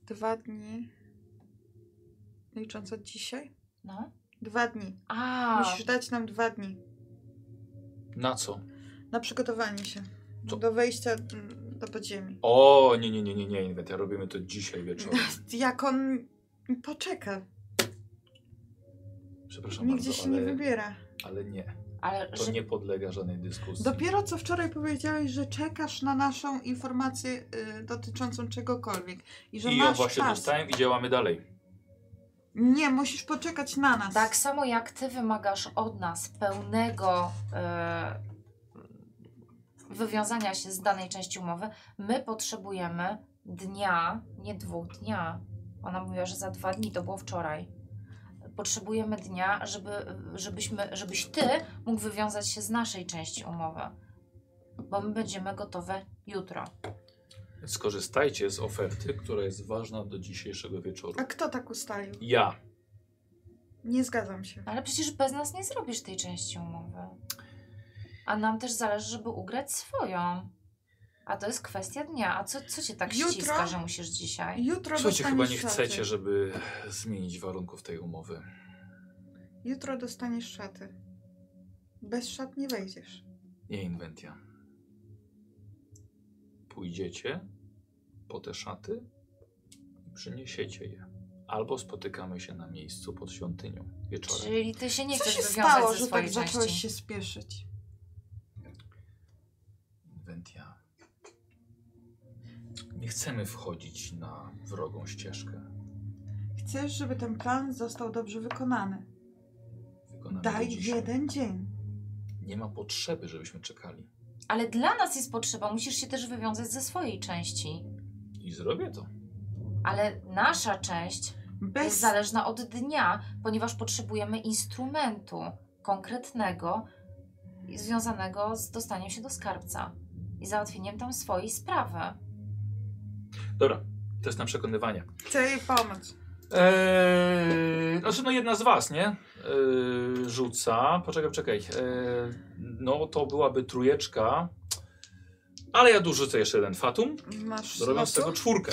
dwa dni. Licząc od dzisiaj? No. Dwa dni. A, Musisz dać nam dwa dni Na co? na przygotowanie się. Co? Do wejścia mm, do podziemi. O, nie, nie, nie, nie, nie, Inwenta, robimy to dzisiaj wieczorem. Jak on poczeka. Przepraszam No, Nigdzie bardzo, się nie ale, wybiera. ale nie. ale To że, nie podlega żadnej dyskusji. Dopiero co wczoraj powiedziałeś, że czekasz na naszą informację y, dotyczącą czegokolwiek i że I ją masz właśnie czas. dostałem i działamy dalej. Nie, musisz poczekać na nas. tak samo jak ty wymagasz od nas pełnego e, wywiązania się z danej części umowy, my potrzebujemy dnia, nie dwóch dnia. Ona mówiła, że za dwa dni, to było wczoraj. Potrzebujemy dnia, żeby, żebyśmy, żebyś ty mógł wywiązać się z naszej części umowy, bo my będziemy gotowe jutro. Więc Skorzystajcie z oferty, która jest ważna do dzisiejszego wieczoru. A kto tak ustalił? Ja. Nie zgadzam się. Ale przecież bez nas nie zrobisz tej części umowy. A nam też zależy, żeby ugrać swoją. A to jest kwestia dnia. A co, co cię tak Jutro? ściska, że musisz dzisiaj? Jutro Słuchajcie, chyba dostaniesz nie szaty. chcecie, żeby zmienić warunków tej umowy. Jutro dostaniesz szaty. Bez szat nie wejdziesz. Nie inwentia. Pójdziecie po te szaty i przyniesiecie je. Albo spotykamy się na miejscu pod świątynią wieczorem. Czyli ty się nie Co chcesz się wywiązać stało, ze że tak swojej zacząłeś części. się spieszyć? Inwentia. Nie chcemy wchodzić na wrogą ścieżkę. Chcesz, żeby ten plan został dobrze wykonany. Wykonamy go Daj dzisiaj. jeden dzień. Nie ma potrzeby, żebyśmy czekali. Ale dla nas jest potrzeba. Musisz się też wywiązać ze swojej części. I zrobię to. Ale nasza część jest Bez zależna od dnia, ponieważ potrzebujemy instrumentu konkretnego i związanego z dostaniem się do skarbca i załatwieniem tam swojej sprawy. Dobra, to jest na przekonywanie. chcę jej pomóc. Eee, znaczy, no jedna z was, nie? Eee, rzuca. Poczekaj, poczekaj. Eee, no to byłaby trójeczka. Ale ja dużo rzucę jeszcze jeden fatum. Masz Zrobię z tego losu? czwórkę.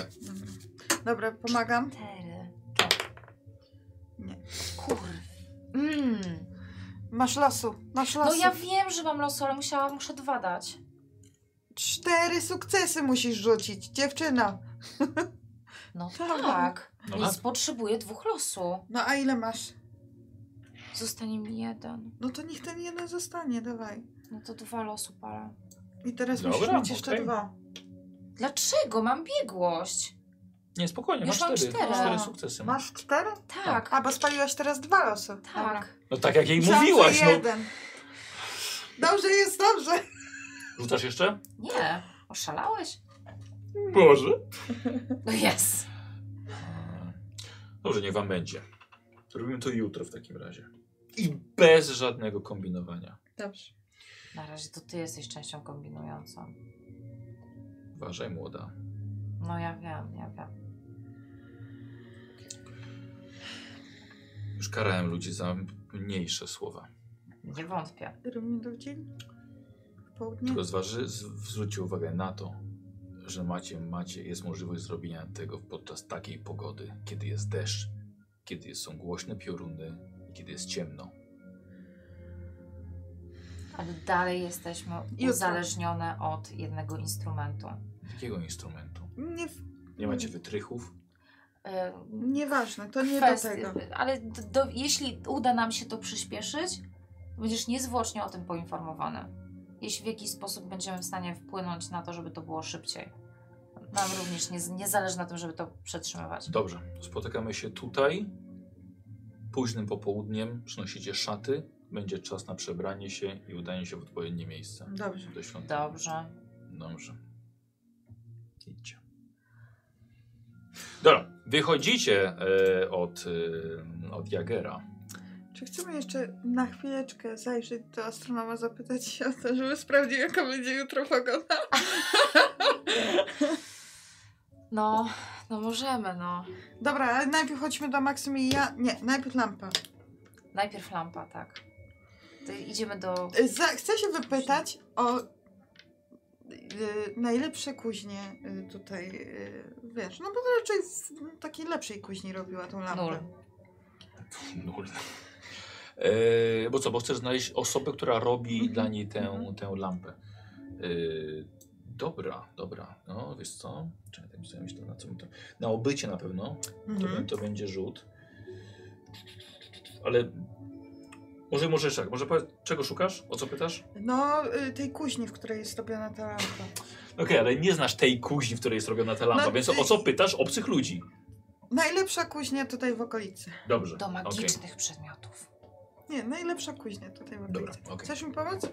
Dobra. Dobra, pomagam. Tery. Nie. Kur... Mm. Masz losu. Masz losu. No ja wiem, że mam losu, ale musiałam, muszę dwa dać. Cztery sukcesy musisz rzucić, dziewczyno. No Tak. tak. No Więc tak. potrzebuję dwóch losu. No a ile masz? Zostanie mi jeden. No to niech ten jeden zostanie, dawaj. No to dwa losu, para. I teraz Dobra, musisz mieć jeszcze okej. dwa. Dlaczego? Mam biegłość. Nie, spokojnie, Już masz mam cztery. cztery. Masz cztery sukcesy. Masz cztery? Tak, A, bo spaliłaś teraz dwa losy. Dobra. tak. No tak jak jej Myślałam, że mówiłaś. No. jeden. Dobrze jest, dobrze. Rzucasz jeszcze? Nie, oszalałeś? Boże. No jest. Dobrze, niech wam będzie. Robimy to jutro w takim razie. I bez żadnego kombinowania. Dobrze. Na razie to ty jesteś częścią kombinującą. Uważaj, młoda. No ja wiem, ja wiem. Już karałem ludzi za mniejsze słowa. Nie wątpię. Robimy to w dzień? W południe? Tylko zważy, z, zwróćcie uwagę na to, że macie, macie, jest możliwość zrobienia tego podczas takiej pogody, kiedy jest deszcz, kiedy są głośne pioruny i kiedy jest ciemno. Ale dalej jesteśmy Jutro. uzależnione od jednego instrumentu. Jakiego instrumentu? Nie, Nie macie wytrychów? Y, nieważne, to nie kwest- do tego. Ale do, do, jeśli uda nam się to przyspieszyć, będziesz niezwłocznie o tym poinformowany. Jeśli w jakiś sposób będziemy w stanie wpłynąć na to, żeby to było szybciej. Nam również nie, nie zależy na tym, żeby to przetrzymywać. Dobrze, spotykamy się tutaj. Późnym popołudniem przynosicie szaty. Będzie czas na przebranie się i udanie się w odpowiednie miejsce. Dobrze. Do świątyni. Dobrze. Dobrze. Idźcie. Dobra, wychodzicie e, od, e, od Jagera. Czy chcemy jeszcze na chwileczkę zajrzeć do astronoma, zapytać się o to, żeby sprawdził, jaka będzie jutro pogoda? No, no możemy, no. Dobra, ale najpierw chodźmy do Maksymiliana. Nie, najpierw lampa. Najpierw lampa, tak. To idziemy do. Y, Za, chcę się wypytać o y, najlepsze kuźnie y, tutaj, y, wiesz, no bo to raczej w takiej lepszej kuźni robiła tą lampę. Nul. Nul. E, bo co, bo chcesz znaleźć osobę, która robi Mhm. dla niej tę, Mhm. tę lampę. E, dobra, dobra. No, wiesz co? Czekaj, tak myślałem jeszcze na co mi to... Na obycie na pewno. To, Mhm. bę- to będzie rzut. Ale... Może, może jeszcze tak, może powiedz, czego szukasz? O co pytasz? No, y, tej kuźni, w której jest robiona ta lampa. Okej, ale nie znasz tej kuźni, w której jest robiona ta lampa, No, więc o co pytasz? Obcych ludzi. Najlepsza kuźnia tutaj w okolicy. Dobrze. Do okej. magicznych przedmiotów. Nie, najlepsza kuźnia tutaj w Dobra, okolicy. okej. Chcesz mi pomóc?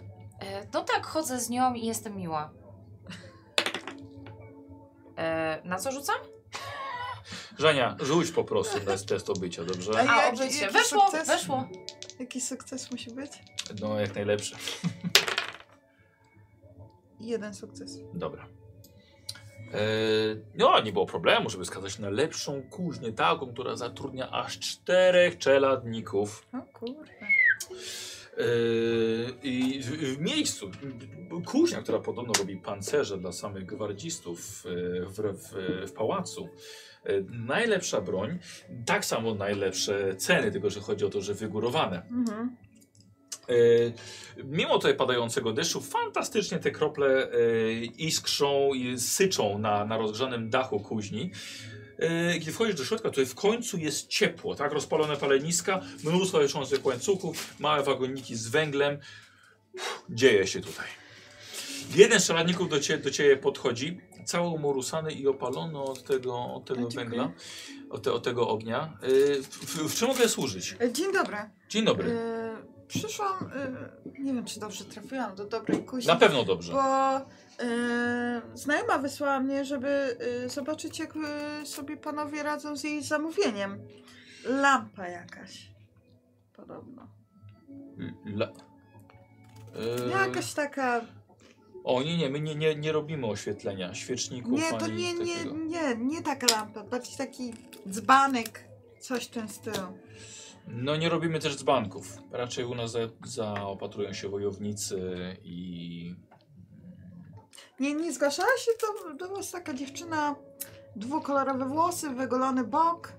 E, No tak, chodzę z nią i jestem miła. E, na co rzucam? Żania, rzuć po prostu na często bycia, dobrze? Ej. A, jaki- obycie. jaki Weszło, sukces? weszło. Jaki sukces musi być? No, jak najlepsze. Jeden sukces. Dobra. Eee, no, nie było problemu, żeby skazać na lepszą kuźnię, taką, która zatrudnia aż czterech czeladników. O kurde. Eee, I w, w miejscu, kuźnia, która podobno robi pancerze dla samych gwardzistów e, w, w, w pałacu, e, najlepsza broń, tak samo najlepsze ceny, tylko że chodzi o to, że wygórowane. Mhm. E, Mimo tutaj padającego deszczu, fantastycznie te krople e, iskrzą i syczą na, na rozgrzanym dachu kuźni. E, Kiedy wchodzisz do środka, to w końcu jest ciepło, tak? Rozpalone paleniska, mnóstwo wiszących łańcuchów, małe wagoniki z węglem. Uff, Dzieje się tutaj. Jeden z czeladników do ciebie, do ciebie podchodzi, cały umorusany i opalony od tego, od tego dziękuję. węgla, od, te, od tego ognia. E, W, w, w czym mogę służyć? E, Dzień dobry. Dzień dobry. E, przyszłam, e, nie wiem czy dobrze trafiłam do dobrej kuźni. Na pewno dobrze. Bo e, znajoma wysłała mnie, żeby e, zobaczyć jak e, sobie panowie radzą z jej zamówieniem. Lampa jakaś. Podobno. La... Yy, Jakaś taka O nie, nie, my nie, nie, nie robimy oświetlenia, świeczników Nie, to ani nie, nie, takiego. nie, nie taka lampa, bardziej taki dzbanek, coś w tym stylu. No nie robimy też dzbanków. Raczej u nas za- zaopatrują się wojownicy i... Nie, nie zgłaszała się to do was taka dziewczyna, dwukolorowe włosy, wygolony bok.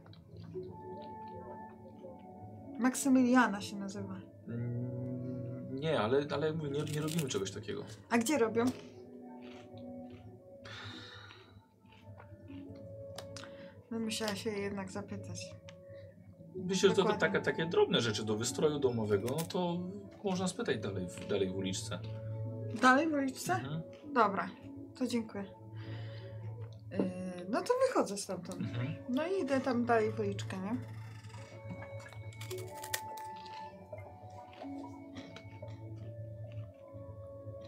Maksymiliana się nazywa. Mm, Nie, ale, ale mówię, nie, nie robimy czegoś takiego. A gdzie robią? No, musiała się jej jednak zapytać. Myślę, że to, to Dokładnie. taka, takie drobne rzeczy do wystroju domowego, no to można spytać dalej, w- dalej w uliczce. Dalej w uliczce? Mhm. Dobra, to dziękuję. Yy, no to wychodzę stamtąd. Mhm. No i idę tam dalej w uliczkę, nie?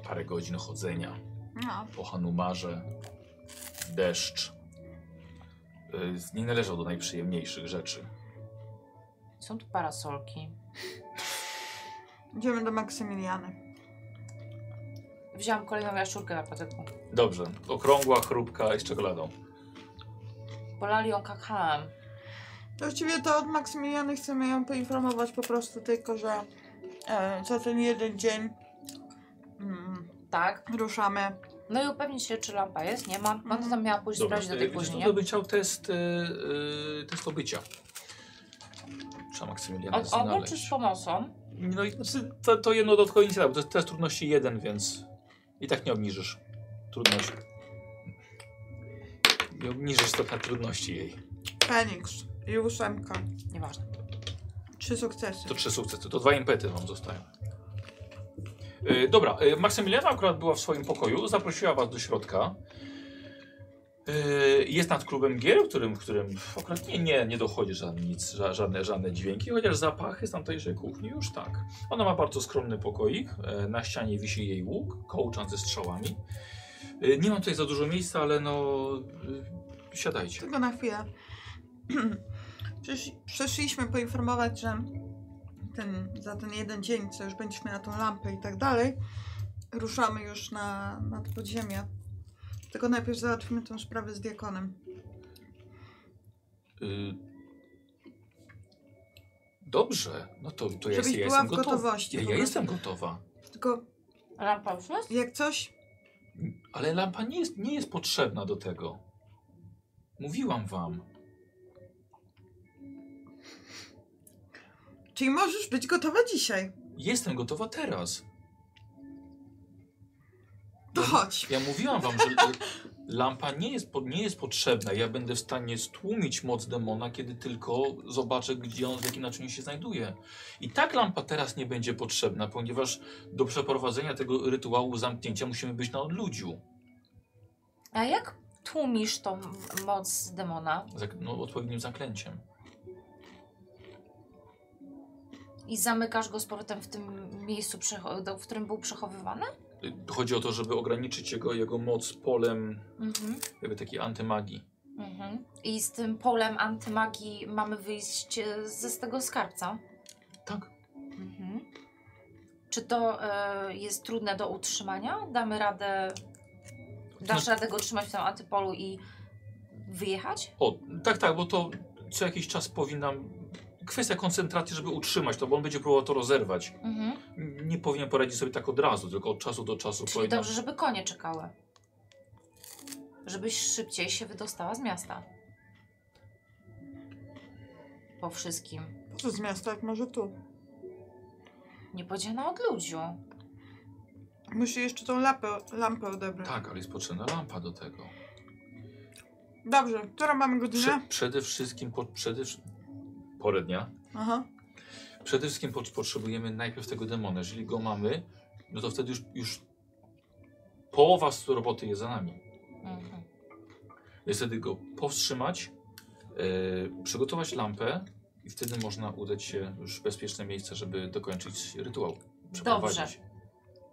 Parę godzin chodzenia. No. po Hanumarze, deszcz. Y, Nie należał do najprzyjemniejszych rzeczy. Są tu parasolki. Idziemy do Maksymiliany. Wziąłam kolejną jaszczurkę na patyku. Dobrze, okrągła, chrupka i z czekoladą. Polali ją kakałem. Właściwie to od Maksymiliany chcemy ją poinformować po prostu tylko, że e, za ten jeden dzień mm, Tak. ruszamy. No i upewnić się, czy lampa jest, nie ma. Ona tam miała pójść Mhm. Dobra, sprawdzić do tej y, wiesz, później, to nie? by chciał test, y, y, test obycia. Trzeba Maksymiliana Od ogół czy znaleźć. z pomocą? No i znaczy, to, to jedno dodatkowe inicjatywa, bo to jest test trudności jeden, więc i tak nie obniżysz trudności. Nie obniżysz stopnia trudności jej. Feniks i ósemka. Nieważne. Trzy sukcesy. To trzy sukcesy, to dwa impety wam zostają. E, dobra, e, Maksymiliana akurat była w swoim pokoju, zaprosiła was do środka. E, jest nad klubem gier, w którym, w którym akurat nie, nie, nie dochodzi żadne, nic, ża- żadne, żadne dźwięki, chociaż zapachy z tamtejszej kuchni już tak. Ona ma bardzo skromny pokoik, e, na ścianie wisi jej łuk, kołczan ze strzałami. E, nie mam tutaj za dużo miejsca, ale no... E, siadajcie. Tylko na chwilę. Przysz, przyszliśmy poinformować, że ten, za ten jeden dzień, co już będziemy na tą lampę i tak dalej, ruszamy już na, na podziemia. Tylko najpierw załatwimy tą sprawę z diakonem. E, Dobrze, no to, to ja, Żebyś ja była jestem w gotowa. gotowości. Ja, po ja prostu. jestem gotowa, Tylko Lampa już jest? jak coś, ale lampa nie jest, nie jest potrzebna do tego. Mówiłam wam. czyli możesz być gotowa dzisiaj. Jestem gotowa teraz. No. To chodź. Ja mówiłam wam, że e, lampa nie jest, po- nie jest potrzebna. Ja będę w stanie stłumić moc demona, kiedy tylko zobaczę, gdzie on, w jakim naczyniu się znajduje. I tak lampa teraz nie będzie potrzebna, ponieważ do przeprowadzenia tego rytuału zamknięcia musimy być na odludziu. A jak tłumisz tą m- moc demona Zak- No, odpowiednim zaklęciem. i zamykasz go z powrotem w tym miejscu, przecho- do- w którym był przechowywany? E, Chodzi o to, żeby ograniczyć jego, jego moc polem Mhm. jakby takiej antymagii. Mhm. I z tym polem antymagii mamy wyjść e, ze z tego skarbca? Tak. Mhm. Czy to e, jest trudne do utrzymania? Damy radę No. Dasz radę go trzymać w tym antypolu i wyjechać? O, tak, tak, bo to co jakiś czas powinnam. Kwestia koncentracji, żeby utrzymać to, bo on będzie próbował to rozerwać. Mhm. Nie powinien poradzić sobie tak od razu, tylko od czasu do czasu Czyli powinnam- dobrze, żeby konie czekały. Żebyś szybciej się wydostała z miasta. Po wszystkim. Po co z miasta, jak może tu? Niepodzielna od ludziu. Musi jeszcze tą lampę, lampę odebrać. Tak, ale jest potrzebna lampa do tego. Dobrze, którą mamy Prze No. godzinę? przede wszystkim, po, przede, wsz- porę dnia. Aha. Przede wszystkim pot- potrzebujemy najpierw tego demona. Jeżeli go mamy, no to wtedy już, już połowa z roboty jest za nami. Mhm. Więc wtedy go powstrzymać, e, przygotować lampę i wtedy można udać się już w bezpieczne miejsce, żeby dokończyć rytuał. przeprowadzić.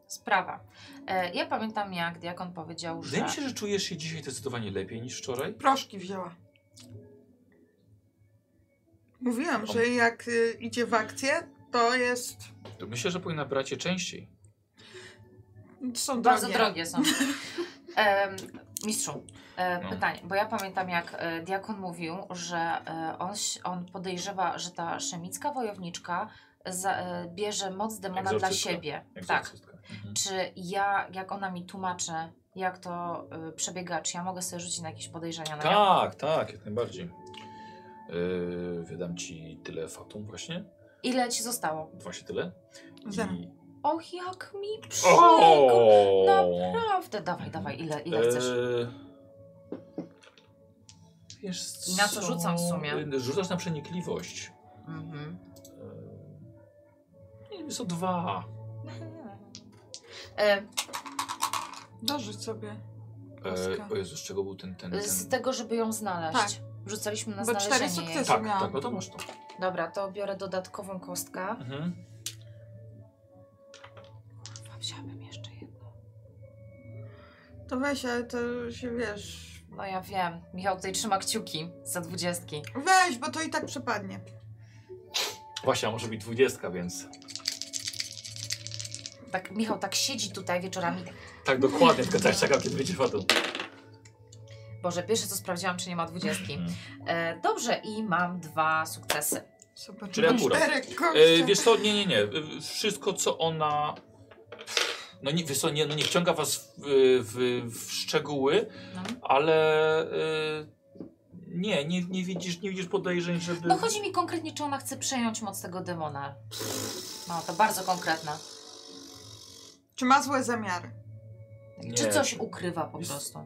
Sprawa. E, ja pamiętam jak diakon powiedział, że... Wydaje mi się, że czujesz się dzisiaj zdecydowanie lepiej niż wczoraj. Proszki wzięła. Mówiłam, że jak y, idzie w akcję, to jest... To myślę, że powinna brać je częściej. Są Bardzo drogie. drogie są. Em, mistrzu, e, No. pytanie, bo ja pamiętam jak e, diakon mówił, że e, on, ś- on podejrzewa, że ta szemicka wojowniczka za, e, bierze moc demona dla Egzorcystka. siebie. Jak Tak. egzorcystka. Mhm. Czy ja, jak ona mi tłumaczy, jak to y, przebiega, czy ja mogę sobie rzucić na jakieś podejrzenia na nią? Tak, tak, jak najbardziej. Yy, wydam ci tyle fatum właśnie. Ile ci zostało? Właśnie tyle. Zero. I... Och, jak mi przykro. O! Naprawdę, dawaj, dawaj, ile, ile chcesz? Eee, Wiesz, I na co rzucam w sumie? Eee, Rzucasz na przenikliwość. Mhm. Eee, są dwa. E, Dorzuć sobie. Eee, Kostka. o Jezu, z czego był ten... ten, Tak, ten... Y, z tego, żeby ją znaleźć. Tak. Rzucaliśmy na Bo cztery znalezienie sukcesy. jej. Tak, miałam. tak, no to masz to. Dobra, to biorę dodatkową kostkę. Mhm. Chyba Wziąłabym jeszcze jedną. To weź, ale to się wiesz... No ja wiem. Michał tutaj trzyma kciuki za dwudziestki. Weź, bo to i tak przepadnie. Właśnie, a może być dwudziestka, więc... Tak, Michał tak siedzi tutaj wieczorami. tak- Tak, dokładnie, tylko też czekam, kiedy będzie fatum. Boże, pierwsze co sprawdziłam, czy nie ma dwudziestki. Mhm. E, dobrze, i mam dwa sukcesy. Super. Czyli akurat. Cztery E, kości. wiesz co, nie, nie, nie. E, Wszystko, co ona... No nie, wiesz co, nie, no nie wciąga was w, w, w szczegóły, No. ale... E, nie, nie, nie widzisz, nie widzisz podejrzeń, żeby... No chodzi mi konkretnie, czy ona chce przejąć moc tego demona. No, to bardzo konkretne. Czy ma złe zamiary? Nie. Czy coś ukrywa po Jest- prostu.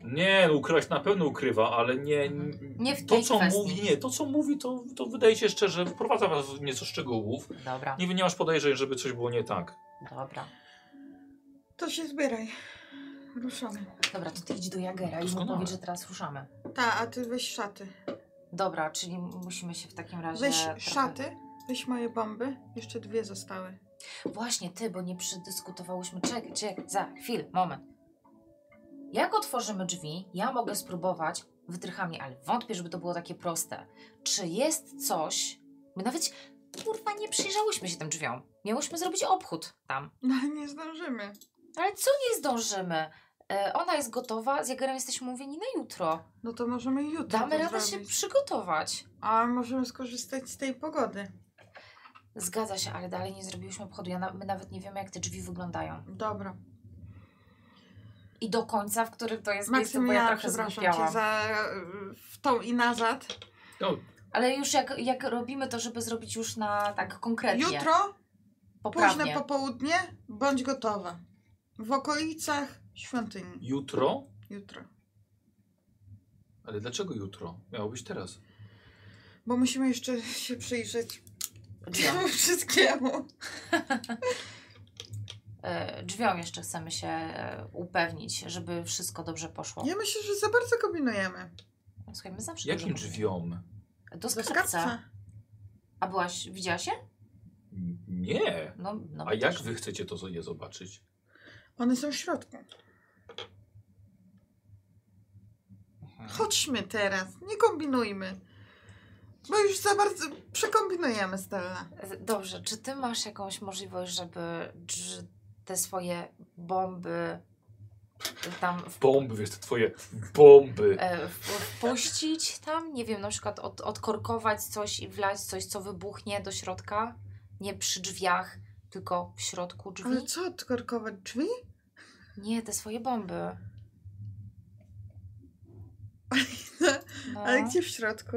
Nie, ukrywać na pewno ukrywa, ale nie... Mhm. Nie w To tej co kwestii. mówi, nie, to co mówi, to, to wydaje się szczerze, wprowadza was w nieco szczegółów. Dobra, Nie, nie masz podejrzeń, żeby coś było nie tak. dobra. To się zbieraj. Ruszamy. Dobra, to ty idź do Jagera i mu Doskonale. powiedz, że teraz ruszamy. Ta, a ty weź szaty. Dobra, czyli musimy się w takim razie... Weź trochę- szaty, weź moje bomby. Jeszcze dwie zostały. Właśnie ty, bo nie przedyskutowałyśmy. Czekaj, czekaj, za chwilę, moment. Jak otworzymy drzwi, ja mogę spróbować wytrychami, ale wątpię, żeby to było takie proste. Czy jest coś... My nawet, kurwa, nie przyjrzałyśmy się tym drzwiom. Miałyśmy zrobić obchód tam. No nie zdążymy. Ale co nie zdążymy? E, ona jest gotowa, z Jagerem jesteśmy umówieni na jutro. No to możemy jutro. Damy to radę się zrobić. przygotować. A możemy skorzystać z tej pogody. Zgadza się, ale dalej nie zrobiłyśmy obchodu. Ja na, my nawet nie wiemy, jak te drzwi wyglądają. Dobra. I do końca, w którym to jest miejsce, bo ja Maksymiliana, trochę przepraszam zgubiałam. cię za y, w tą i nazad. No, Ale już jak, jak robimy to, żeby zrobić już na tak konkretnie, Jutro, późne poprawnie. popołudnie, bądź gotowa. W okolicach świątyni. jutro Jutro. Ale dlaczego jutro? Miało być teraz. Bo musimy jeszcze się przyjrzeć Drzwiom. wszystkiemu. E, drzwiom jeszcze chcemy się e, upewnić, żeby wszystko dobrze poszło. Ja myślę, że za bardzo kombinujemy. Słuchaj, my zawsze Jakim dużo mówimy. drzwiom? Do Do skarbca. skarbca. A byłaś, widziałaś się? N- Nie. No, no A jak wy chcecie to sobie zobaczyć? One są w środku. Mhm. Chodźmy teraz, nie kombinujmy. Bo już za bardzo przekombinujemy, Stella. e, Dobrze, czy ty masz jakąś możliwość, żeby drz- te swoje bomby tam w, Bomby, wiesz, te twoje bomby. e, w, wpuścić tam, nie wiem, na przykład od, odkorkować coś i wlać coś, co wybuchnie do środka, nie przy drzwiach, tylko w środku Ale drzwi. co, odkorkować drzwi? Nie, te swoje bomby. No. Ale gdzie w środku?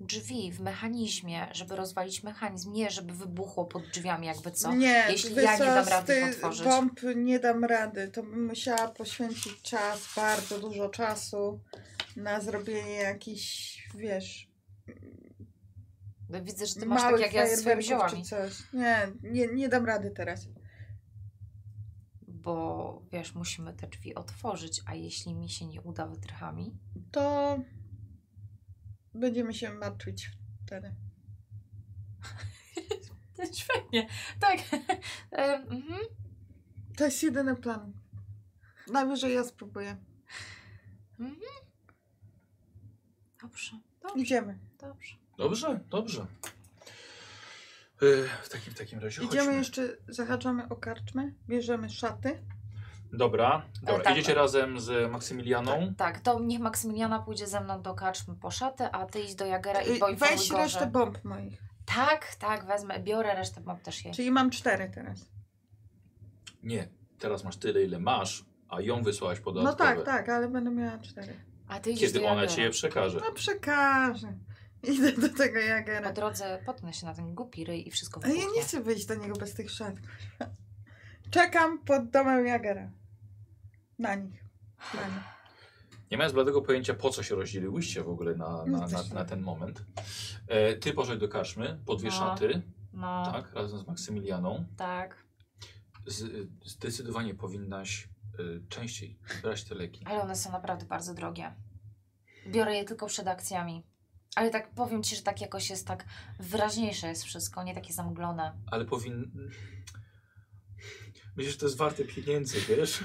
Drzwi w mechanizmie, żeby rozwalić mechanizm, nie żeby wybuchło pod drzwiami jakby co. Nie, Jeśli ja nie wyso- dam z rady tych otworzyć. bomb nie dam rady, to bym musiała poświęcić czas, bardzo dużo czasu na zrobienie jakichś, wiesz, No Widzę, że ty masz tak małych jak ja ze swoimi fajerwerków czy ziołami. coś. Nie, nie, nie dam rady teraz. Bo wiesz, musimy te drzwi otworzyć, a jeśli mi się nie uda wytrychami, To będziemy się martwić wtedy. to świetnie. Tak. Em, mhm. To jest jedyny plan. Najwyżej ja spróbuję. Dobrze, dobrze, Idziemy. dobrze. Dobrze, dobrze. Yy, w takim, w takim razie Idziemy chodźmy. jeszcze, zahaczamy o karczmę, bierzemy szaty. Dobra, dobra. E, tak. idziecie razem z Maksymilianą. Tak, to niech Maksymiliana pójdzie ze mną do karczmy po szaty, a ty idź do Jagera i I boj Weź go, resztę że... bomb moich. Tak, tak, wezmę, biorę resztę, mam też jej. Czyli mam cztery teraz. Nie, teraz masz tyle, ile masz, a ją wysłałaś po No dodatkowe. tak, tak, ale będę miała cztery. A ty idziesz Kiedy do ona Jagera. ci je przekaże. No przekażę. Idę do tego Po Jagera. drodze potnę się na ten głupi ryj i wszystko Ale ja wybuchnie. nie chcę wyjść do niego bez tych szat. kurwa. Czekam pod domem Jagera. Na nich. Na nich. Nie mając bladego pojęcia, po co się rozdzieliłyście w ogóle na, na, na, na ten moment. E, ty poszedł do karczmy, po dwie No. szaty, No, tak. tak, razem z Maksymilianą. tak. Z, zdecydowanie powinnaś y, częściej brać te leki. Ale one są naprawdę bardzo drogie. Biorę je tylko przed akcjami. Ale tak powiem ci, że tak jakoś jest tak wyraźniejsze jest wszystko, nie takie zamglone. Ale powin... Myślisz, że to jest warte pieniędzy, wiesz?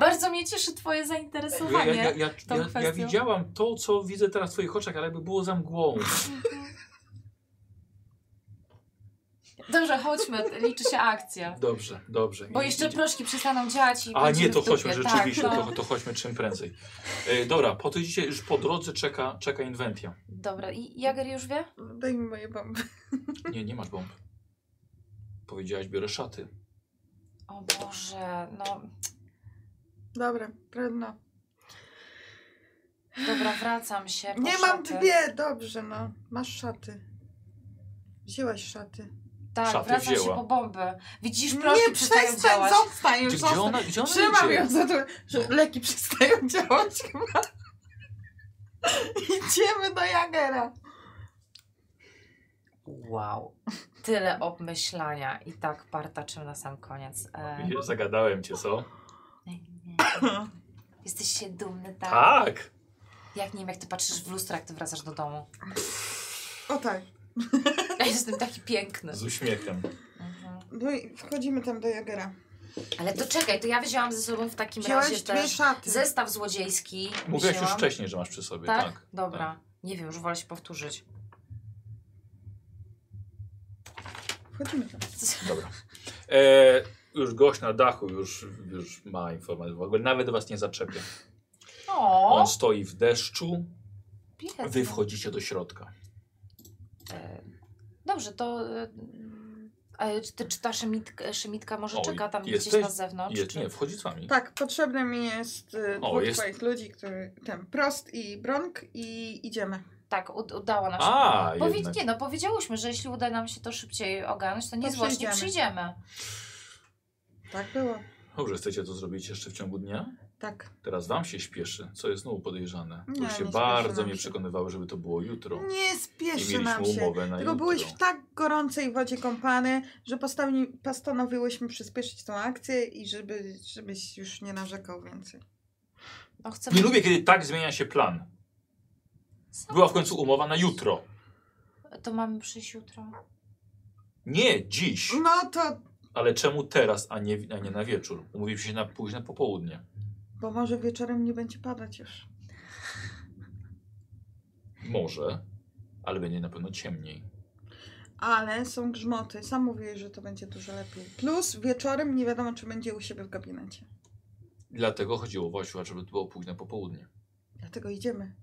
Bardzo mnie cieszy twoje Ja, ja, ja, zainteresowanie. ja, tą ja, ja kwestią. widziałam to, co widzę teraz w twoich oczach, ale jakby było za mgłą. Dobrze, chodźmy, liczy się akcja. Dobrze, dobrze. Bo I- jeszcze idzie- proszki przestaną działać i A nie, będziemy to w dupie. chodźmy rzeczywiście, Tak, no. to, to chodźmy czym prędzej. E, dobra, po to dzisiaj już po drodze czeka, czeka inwentia. Dobra, i Jager już wie? Daj mi moje bomby. Nie, nie masz bomb. Powiedziałaś, biorę szaty. O Boże, no Dobra, trudno. dobra, wracam się. po Nie mam szaty. dwie, dobrze no. Masz szaty. Wzięłaś szaty. Tak, Szaty wracam wzięła. się po bombę. Widzisz, proszki Nie, przestają przestań, działać. zostań już, Gdzie, gdzie zostań. ona, gdzie ona Trzymam idzie? ją za to, że leki przestają działać chyba. Idziemy do Jagera. Wow. Tyle obmyślania i tak partaczył na sam koniec. E, Widzisz, Zagadałem cię, co? jesteś się dumny, tak? Tak! Jak nie wiem, jak ty patrzysz w lustro, jak ty wracasz do domu. O tak. Ja jestem taki piękny. Tak, Z uśmiechem. Mhm. No i wchodzimy tam do Jagera. Ale to czekaj, to ja wzięłam ze sobą w takim Wziąłeś razie dwie ten szaty. zestaw złodziejski. Mówiłaś już wzięłam. wcześniej, że masz przy sobie. Tak? Tak. Dobra. Nie wiem, już wolę się powtórzyć. Wchodzimy tam. Dobra. E, już gość na dachu już, już ma informację. W ogóle nawet was nie zaczepia. O, On stoi w deszczu. biedny. Wy wchodzicie do środka. E, Dobrze, to... e, E, czy, ty- czy ta szemit- szemitka może O, czeka tam jesteś- gdzieś na zewnątrz? Jest, nie, wchodzi z wami. Tak, potrzebny mi jest y, O, dwóch jest- twoich ludzi, który ten prost i bronk i idziemy. Tak, ud- udała nam się. A, Powiedz, jednak. nie, no powiedziałyśmy, że jeśli uda nam się to szybciej ogarnąć, to niezwłocznie przyjdziemy. przyjdziemy. Tak było. Dobrze, chcecie to zrobić jeszcze w ciągu dnia? Tak. Teraz wam się śpieszy, co jest znowu podejrzane. Nie, już się nie bardzo spieszy nam mnie się. przekonywały, żeby to było jutro. Nie I spieszy mieliśmy nam się. umowę na Tylko jutro. byłeś w tak gorącej wodzie kąpany, że postawi- postanowiłyśmy przyspieszyć tą akcję i żeby, żebyś już nie narzekał więcej. No, chcemy... Nie lubię, kiedy tak zmienia się plan. Sam- Była w końcu umowa na jutro. To mamy przyjść jutro. Nie dziś. No to, Ale czemu teraz, a nie, a nie na wieczór? Umówiliśmy się na późne popołudnie. bo może wieczorem nie będzie padać już. Może, ale będzie na pewno ciemniej. Ale są grzmoty. Sam mówiłeś, że to będzie dużo lepiej. Plus wieczorem nie wiadomo, czy będzie u siebie w gabinecie. Dlatego chodziło właśnie, żeby to było późne popołudnie. Dlatego idziemy.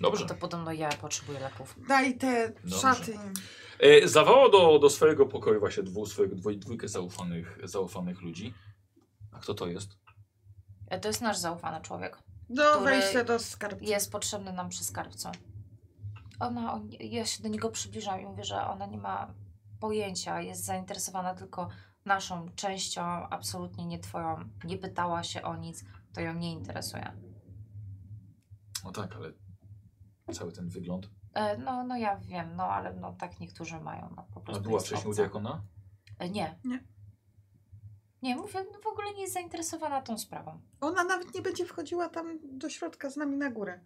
Dobrze. No To podobno ja potrzebuję leków. Daj te Dobrze. szaty. im. E, zawołał do, do swojego pokoju właśnie dwóch, swojego, dwój, dwójkę zaufanych, zaufanych ludzi. A kto to jest? E, To jest nasz zaufany człowiek. Do Który- wejścia do skarbca. Jest potrzebny nam przy skarbcu. Ona, on, ja się do niego przybliżam i mówię, że ona nie ma pojęcia, jest zainteresowana tylko naszą częścią, absolutnie nie twoją. Nie pytała się o nic, to ją nie interesuje. No tak, ale cały ten wygląd. E, No, no ja wiem, no ale no, tak niektórzy mają. No, po A prostu była jest wcześniej u obca. diakona? E, Nie. Nie. Nie, mówię, no w ogóle nie jest zainteresowana tą sprawą. Ona nawet nie będzie wchodziła tam do środka z nami na górę.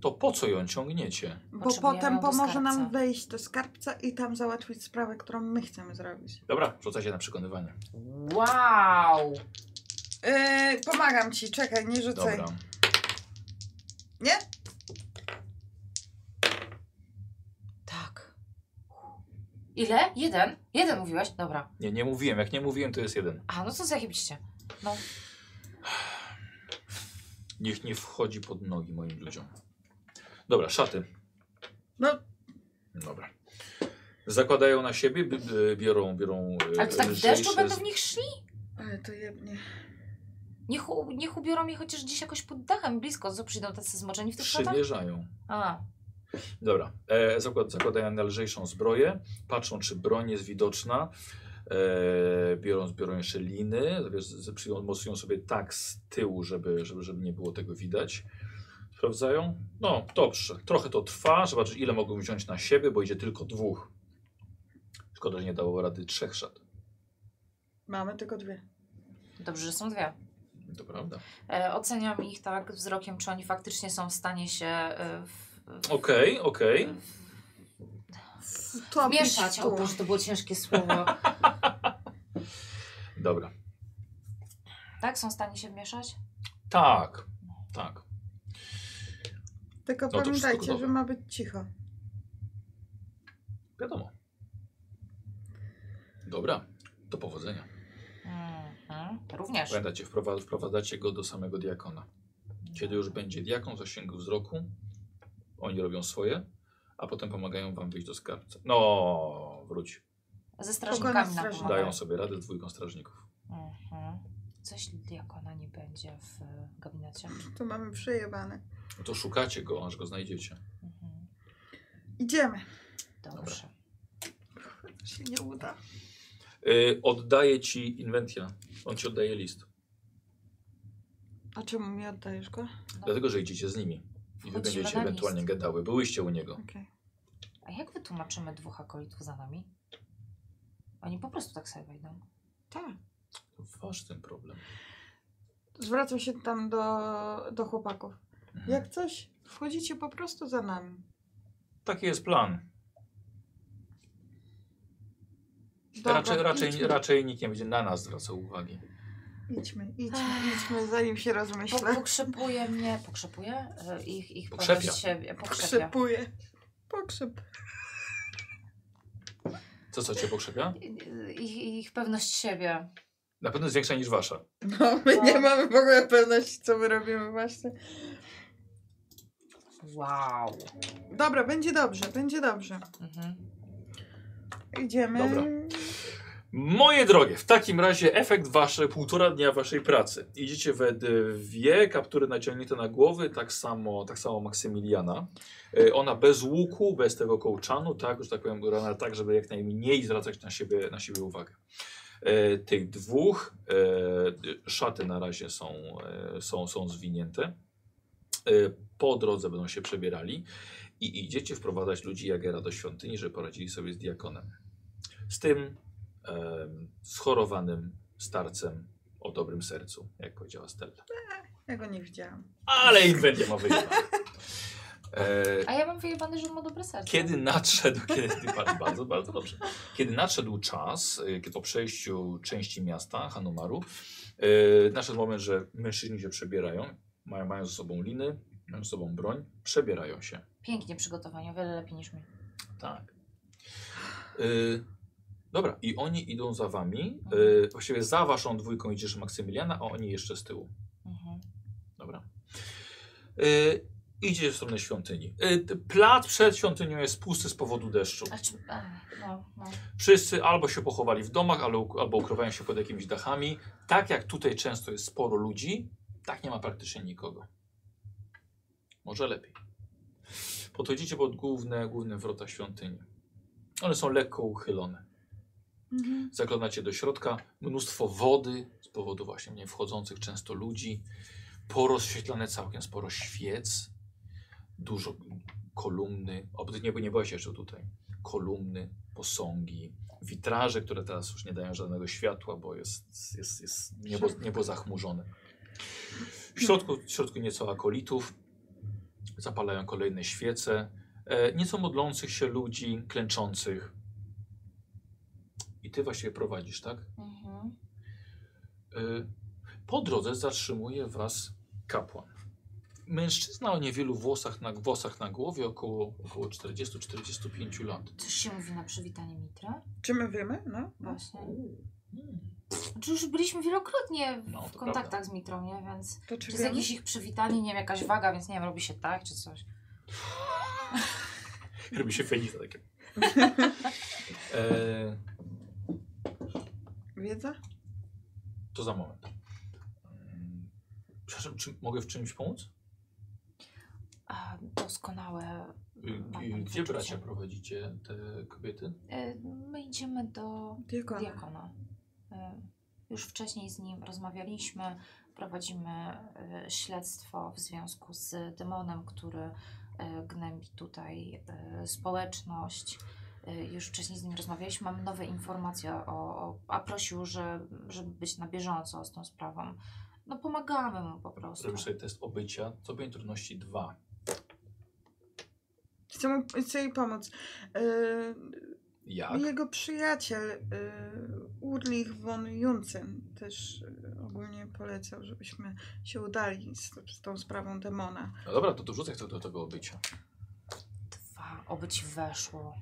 To po co ją ciągniecie? Bo Potrzebujemy potem do pomoże nam skarbca. wejść do skarbca i tam załatwić sprawę, którą my chcemy zrobić. Dobra, rzucajcie na przekonywanie. Wow! Yy, pomagam ci, czekaj, nie rzucaj. Dobra. Nie? Tak. Ile? Jeden? Jeden mówiłeś? Dobra. Nie, nie mówiłem. Jak nie mówiłem, to jest jeden. A, no co zajebiście. Niech nie wchodzi pod nogi moim ludziom. Dobra, szaty. No. Dobra. Zakładają na siebie, bi- bi- biorą, biorą. e, Ale to tak w lżejsze deszczu będą w nich szli? Ale to jebnie. Niech, u- niech ubiorą mnie chociaż gdzieś jakoś pod dachem blisko, co przyjdą tacy zmoczeni w tych szatach? Przymierzają. A, Dobra, e, zakład, zakładają na lżejszą zbroję, patrzą czy broń jest widoczna, e, biorą, biorą jeszcze liny, wiesz, z- przyją- mocują sobie tak z tyłu, żeby, żeby, żeby nie było tego widać. Sprawdzają? No, dobrze. Trochę to trwa, zobaczyć ile mogą wziąć na siebie, bo idzie tylko dwóch. Szkoda, że nie dało rady trzech szat. Mamy tylko dwie. dobrze, że są dwie. To prawda. E, oceniam ich tak wzrokiem, czy oni faktycznie są w stanie się e, w, w, Okej, okej. Topić mieszać. O tu. Boże, to było ciężkie słowo. Dobra. tak, są w stanie się mieszać? Tak, tak. Tylko No to wszystko pamiętajcie, gotowe. że ma być cicho. Wiadomo. Dobra, do powodzenia. Mhm. Również. Pamiętacie, wprowa- wprowadzacie go do samego diakona. Kiedy już będzie diakon w zasięgu wzroku, oni robią swoje, a potem pomagają wam wyjść do skarbca. No, wróć. Ze Pokoju strażnikami nam strażników. pomagają. Dają sobie radę z dwójką strażników. Mhm. Coś diakona nie będzie w e, gabinecie. Tu mamy przejebane. No to szukacie go, aż go znajdziecie. Mhm. Idziemy. Dobrze. Się nie uda. Yy, oddaję ci inwentia. On ci oddaje list. A czemu mi oddajesz go? Dlatego, że idziecie z nimi. I wy Wchodzimy będziecie na ewentualnie list. gadały. Byłyście u niego. Okej. A jak wytłumaczymy dwóch akolitów za nami? Oni po prostu tak sobie wejdą. Tak. To wasz ten problem. Zwracam się tam do, do chłopaków. Mhm. Jak coś, wchodzicie po prostu za nami. Taki jest plan. Dobra, Raczej, raczej, idźmy, raczej nikt nie będzie na nas zwracał uwagi. idźmy, idźmy, idźmy, zanim się Po, rozmyślę. pokrzepuje mnie, pokrzepuje E, ich, ich Pokrzepia. pewność siebie, pokrzepia. Pokrzepuję. Pokrzep. Co, co cię pokrzepia? Ich, ich pewność siebie. Na pewno jest większa niż wasza. No, my nie mamy w ogóle pewności, co my robimy właśnie. Wow. Dobra, będzie dobrze, będzie dobrze. Mhm. Idziemy. Dobra. Moje drogie, w takim razie efekt wasze półtora dnia waszej pracy. Idziecie we dwie kaptury naciągnięte na głowy, tak samo, tak samo Maksymiliana. E, Ona bez łuku, bez tego kołczanu, tak, że tak powiem, rana tak, żeby jak najmniej zwracać na siebie, na siebie uwagę. E, Tych dwóch e, szaty na razie są, e, są, są zwinięte. E, Po drodze będą się przebierali i idziecie wprowadzać ludzi Jagera do świątyni, żeby poradzili sobie z diakonem. Z tym, em, schorowanym starcem o dobrym sercu, jak powiedziała Stella. Ja go nie widziałam. Ale im będzie ma wyjebane. E, A ja mam wyjebane, że on ma dobre serce. kiedy nadszedł, kiedy, bardzo, bardzo, bardzo dobrze. Kiedy nadszedł czas, e, kiedy po przejściu części miasta Hanumaru, e, nadszedł moment, że mężczyźni się przebierają, mają, mają ze sobą liny, mają ze sobą broń, przebierają się. Pięknie przygotowanie, o wiele lepiej niż mi. Tak. Y, E, Dobra, i oni idą za wami. E, właściwie za waszą dwójką idziesz Maksymiliana, a oni jeszcze z tyłu. Mhm. Dobra. E, idziesz w stronę świątyni. E, t- plac przed świątynią jest pusty z powodu deszczu. A czy, a, no, no. Wszyscy albo się pochowali w domach, albo, albo ukrywają się pod jakimiś dachami. Tak jak tutaj często jest sporo ludzi, tak nie ma praktycznie nikogo. Może lepiej. Podchodzicie pod główne, główne wrota świątyni. One są lekko uchylone. Mhm. Zaglądacie do środka. Mnóstwo wody z powodu właśnie nie wchodzących często ludzi. Porozświetlane całkiem sporo świec. Dużo kolumny. Oby nie, nie byłaś jeszcze tutaj. Kolumny, posągi, witraże, które teraz już nie dają żadnego światła, bo jest, jest, jest niebo, niebo zachmurzone. W środku, w środku nieco akolitów. Zapalają kolejne świece. E, nieco modlących się ludzi, klęczących. I ty właściwie prowadzisz, tak? Mhm. Y, Po drodze zatrzymuje was kapłan. Mężczyzna o niewielu włosach na, włosach na głowie, około, około 40-45 lat. Coś się mówi na przywitanie Mitra? Czy my wiemy? No. Właśnie. Mm. Czy już byliśmy wielokrotnie w No, to kontaktach prawda. z Mitrą, nie? Więc To czy czy jest wiemy? jakieś ich przywitanie, nie wiem, jakaś waga, więc nie wiem, robi się tak czy coś. Robi się feliza takie. e, Wiedza? to za moment. Mm, Przepraszam, czy mogę w czymś pomóc? A, doskonałe. Y, y, Gdzie bracia prowadzicie te kobiety? E, My idziemy do Tylko. diakona. E, Już wcześniej z nim rozmawialiśmy. Prowadzimy e, śledztwo w związku z demonem, który e, gnębi tutaj e, społeczność. E, Już wcześniej z nim rozmawialiśmy. Mam nowe informacje o, o, a prosił, że, żeby być na bieżąco z tą sprawą. No pomagamy mu po prostu. Zrobisz sobie test obycia. Stopień trudności 2. Chcę, mu, chcę jej pomóc. Yy, Jak? Jego przyjaciel yy, Urlich von Juncen też yy, ogólnie polecał, żebyśmy się udali z, z tą sprawą demona. No dobra, to dorzucę to do tego obycia. Dwa, oby ci weszło.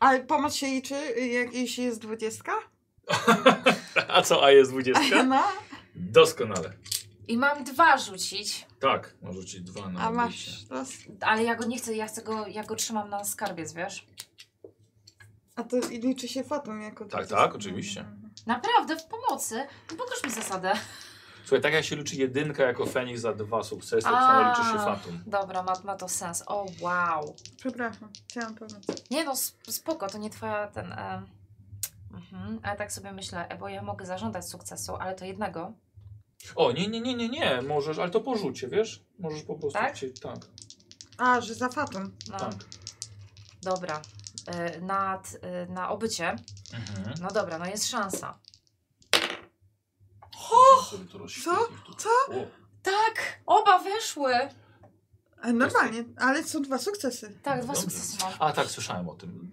Ale pomoc się liczy, yy, jak jeśli jest dwudziestka? A co, a jest 20? No, Doskonale. I mam dwa rzucić, Tak, możesz rzucić dwa na a obycie. masz raz. ale ja go nie chcę, ja chcę go, ja go trzymam na skarbiec, wiesz? A to i liczy się fatum jako Tak, dwudziestka. No, tak, oczywiście. Naprawdę, w pomocy. No pokaż mi zasadę. Słuchaj, tak jak się liczy jedynka jako Feniks za dwa sukcesy, tak A. samo liczy się Fatum. Dobra, ma, ma to sens. O, wow. Przepraszam, chciałam pomóc. Nie no, sp- spoko, to nie twoja ten... E... Mhm, ale tak sobie myślę, e, bo ja mogę zażądać sukcesu, ale to jednego. O, nie, nie, nie, nie, nie, możesz, ale to porzucie, wiesz? Możesz po prostu Tak? chcieć, tak, A, że za fatum. E, No, tak. dobra. E, nad, e, na obycie. Mhm. No dobra, no jest szansa. Co? Co? Tak, oba weszły. E, Normalnie, ale są dwa sukcesy. Tak, dwa Dobrze. sukcesy mam. A tak, słyszałem o tym.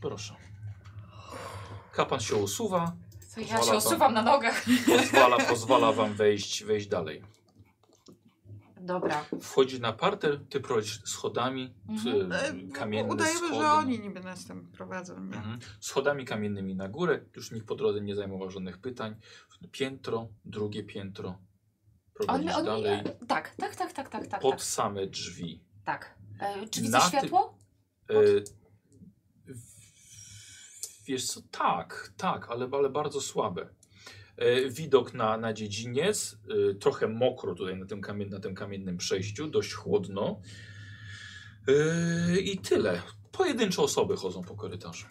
Proszę. Kapłan się usuwa, To ja Pozwala się to. osuwam na nogach. pozwala, pozwala wam wejść, wejść dalej. Dobra. Wchodzi na parter, ty prowadzisz schodami, ty, E, Mm, kamienne Udajemy, schody. że oni niby nas tam prowadzą, nie? Mhm. Schodami kamiennymi na górę, już nikt po drodze nie zajmował żadnych pytań. Piętro, drugie piętro. Prowadzisz On, on, dalej tak, tak, tak, tak, tak, tak. pod tak. same drzwi. tak. E, czy widzę Na ty- światło? E, w- wiesz co, tak, tak, ale, ale bardzo słabe. E, widok na, na dziedziniec, e, trochę mokro tutaj na tym, kamien, na tym kamiennym przejściu, dość chłodno. E, I tyle. Pojedyncze osoby chodzą po korytarzu.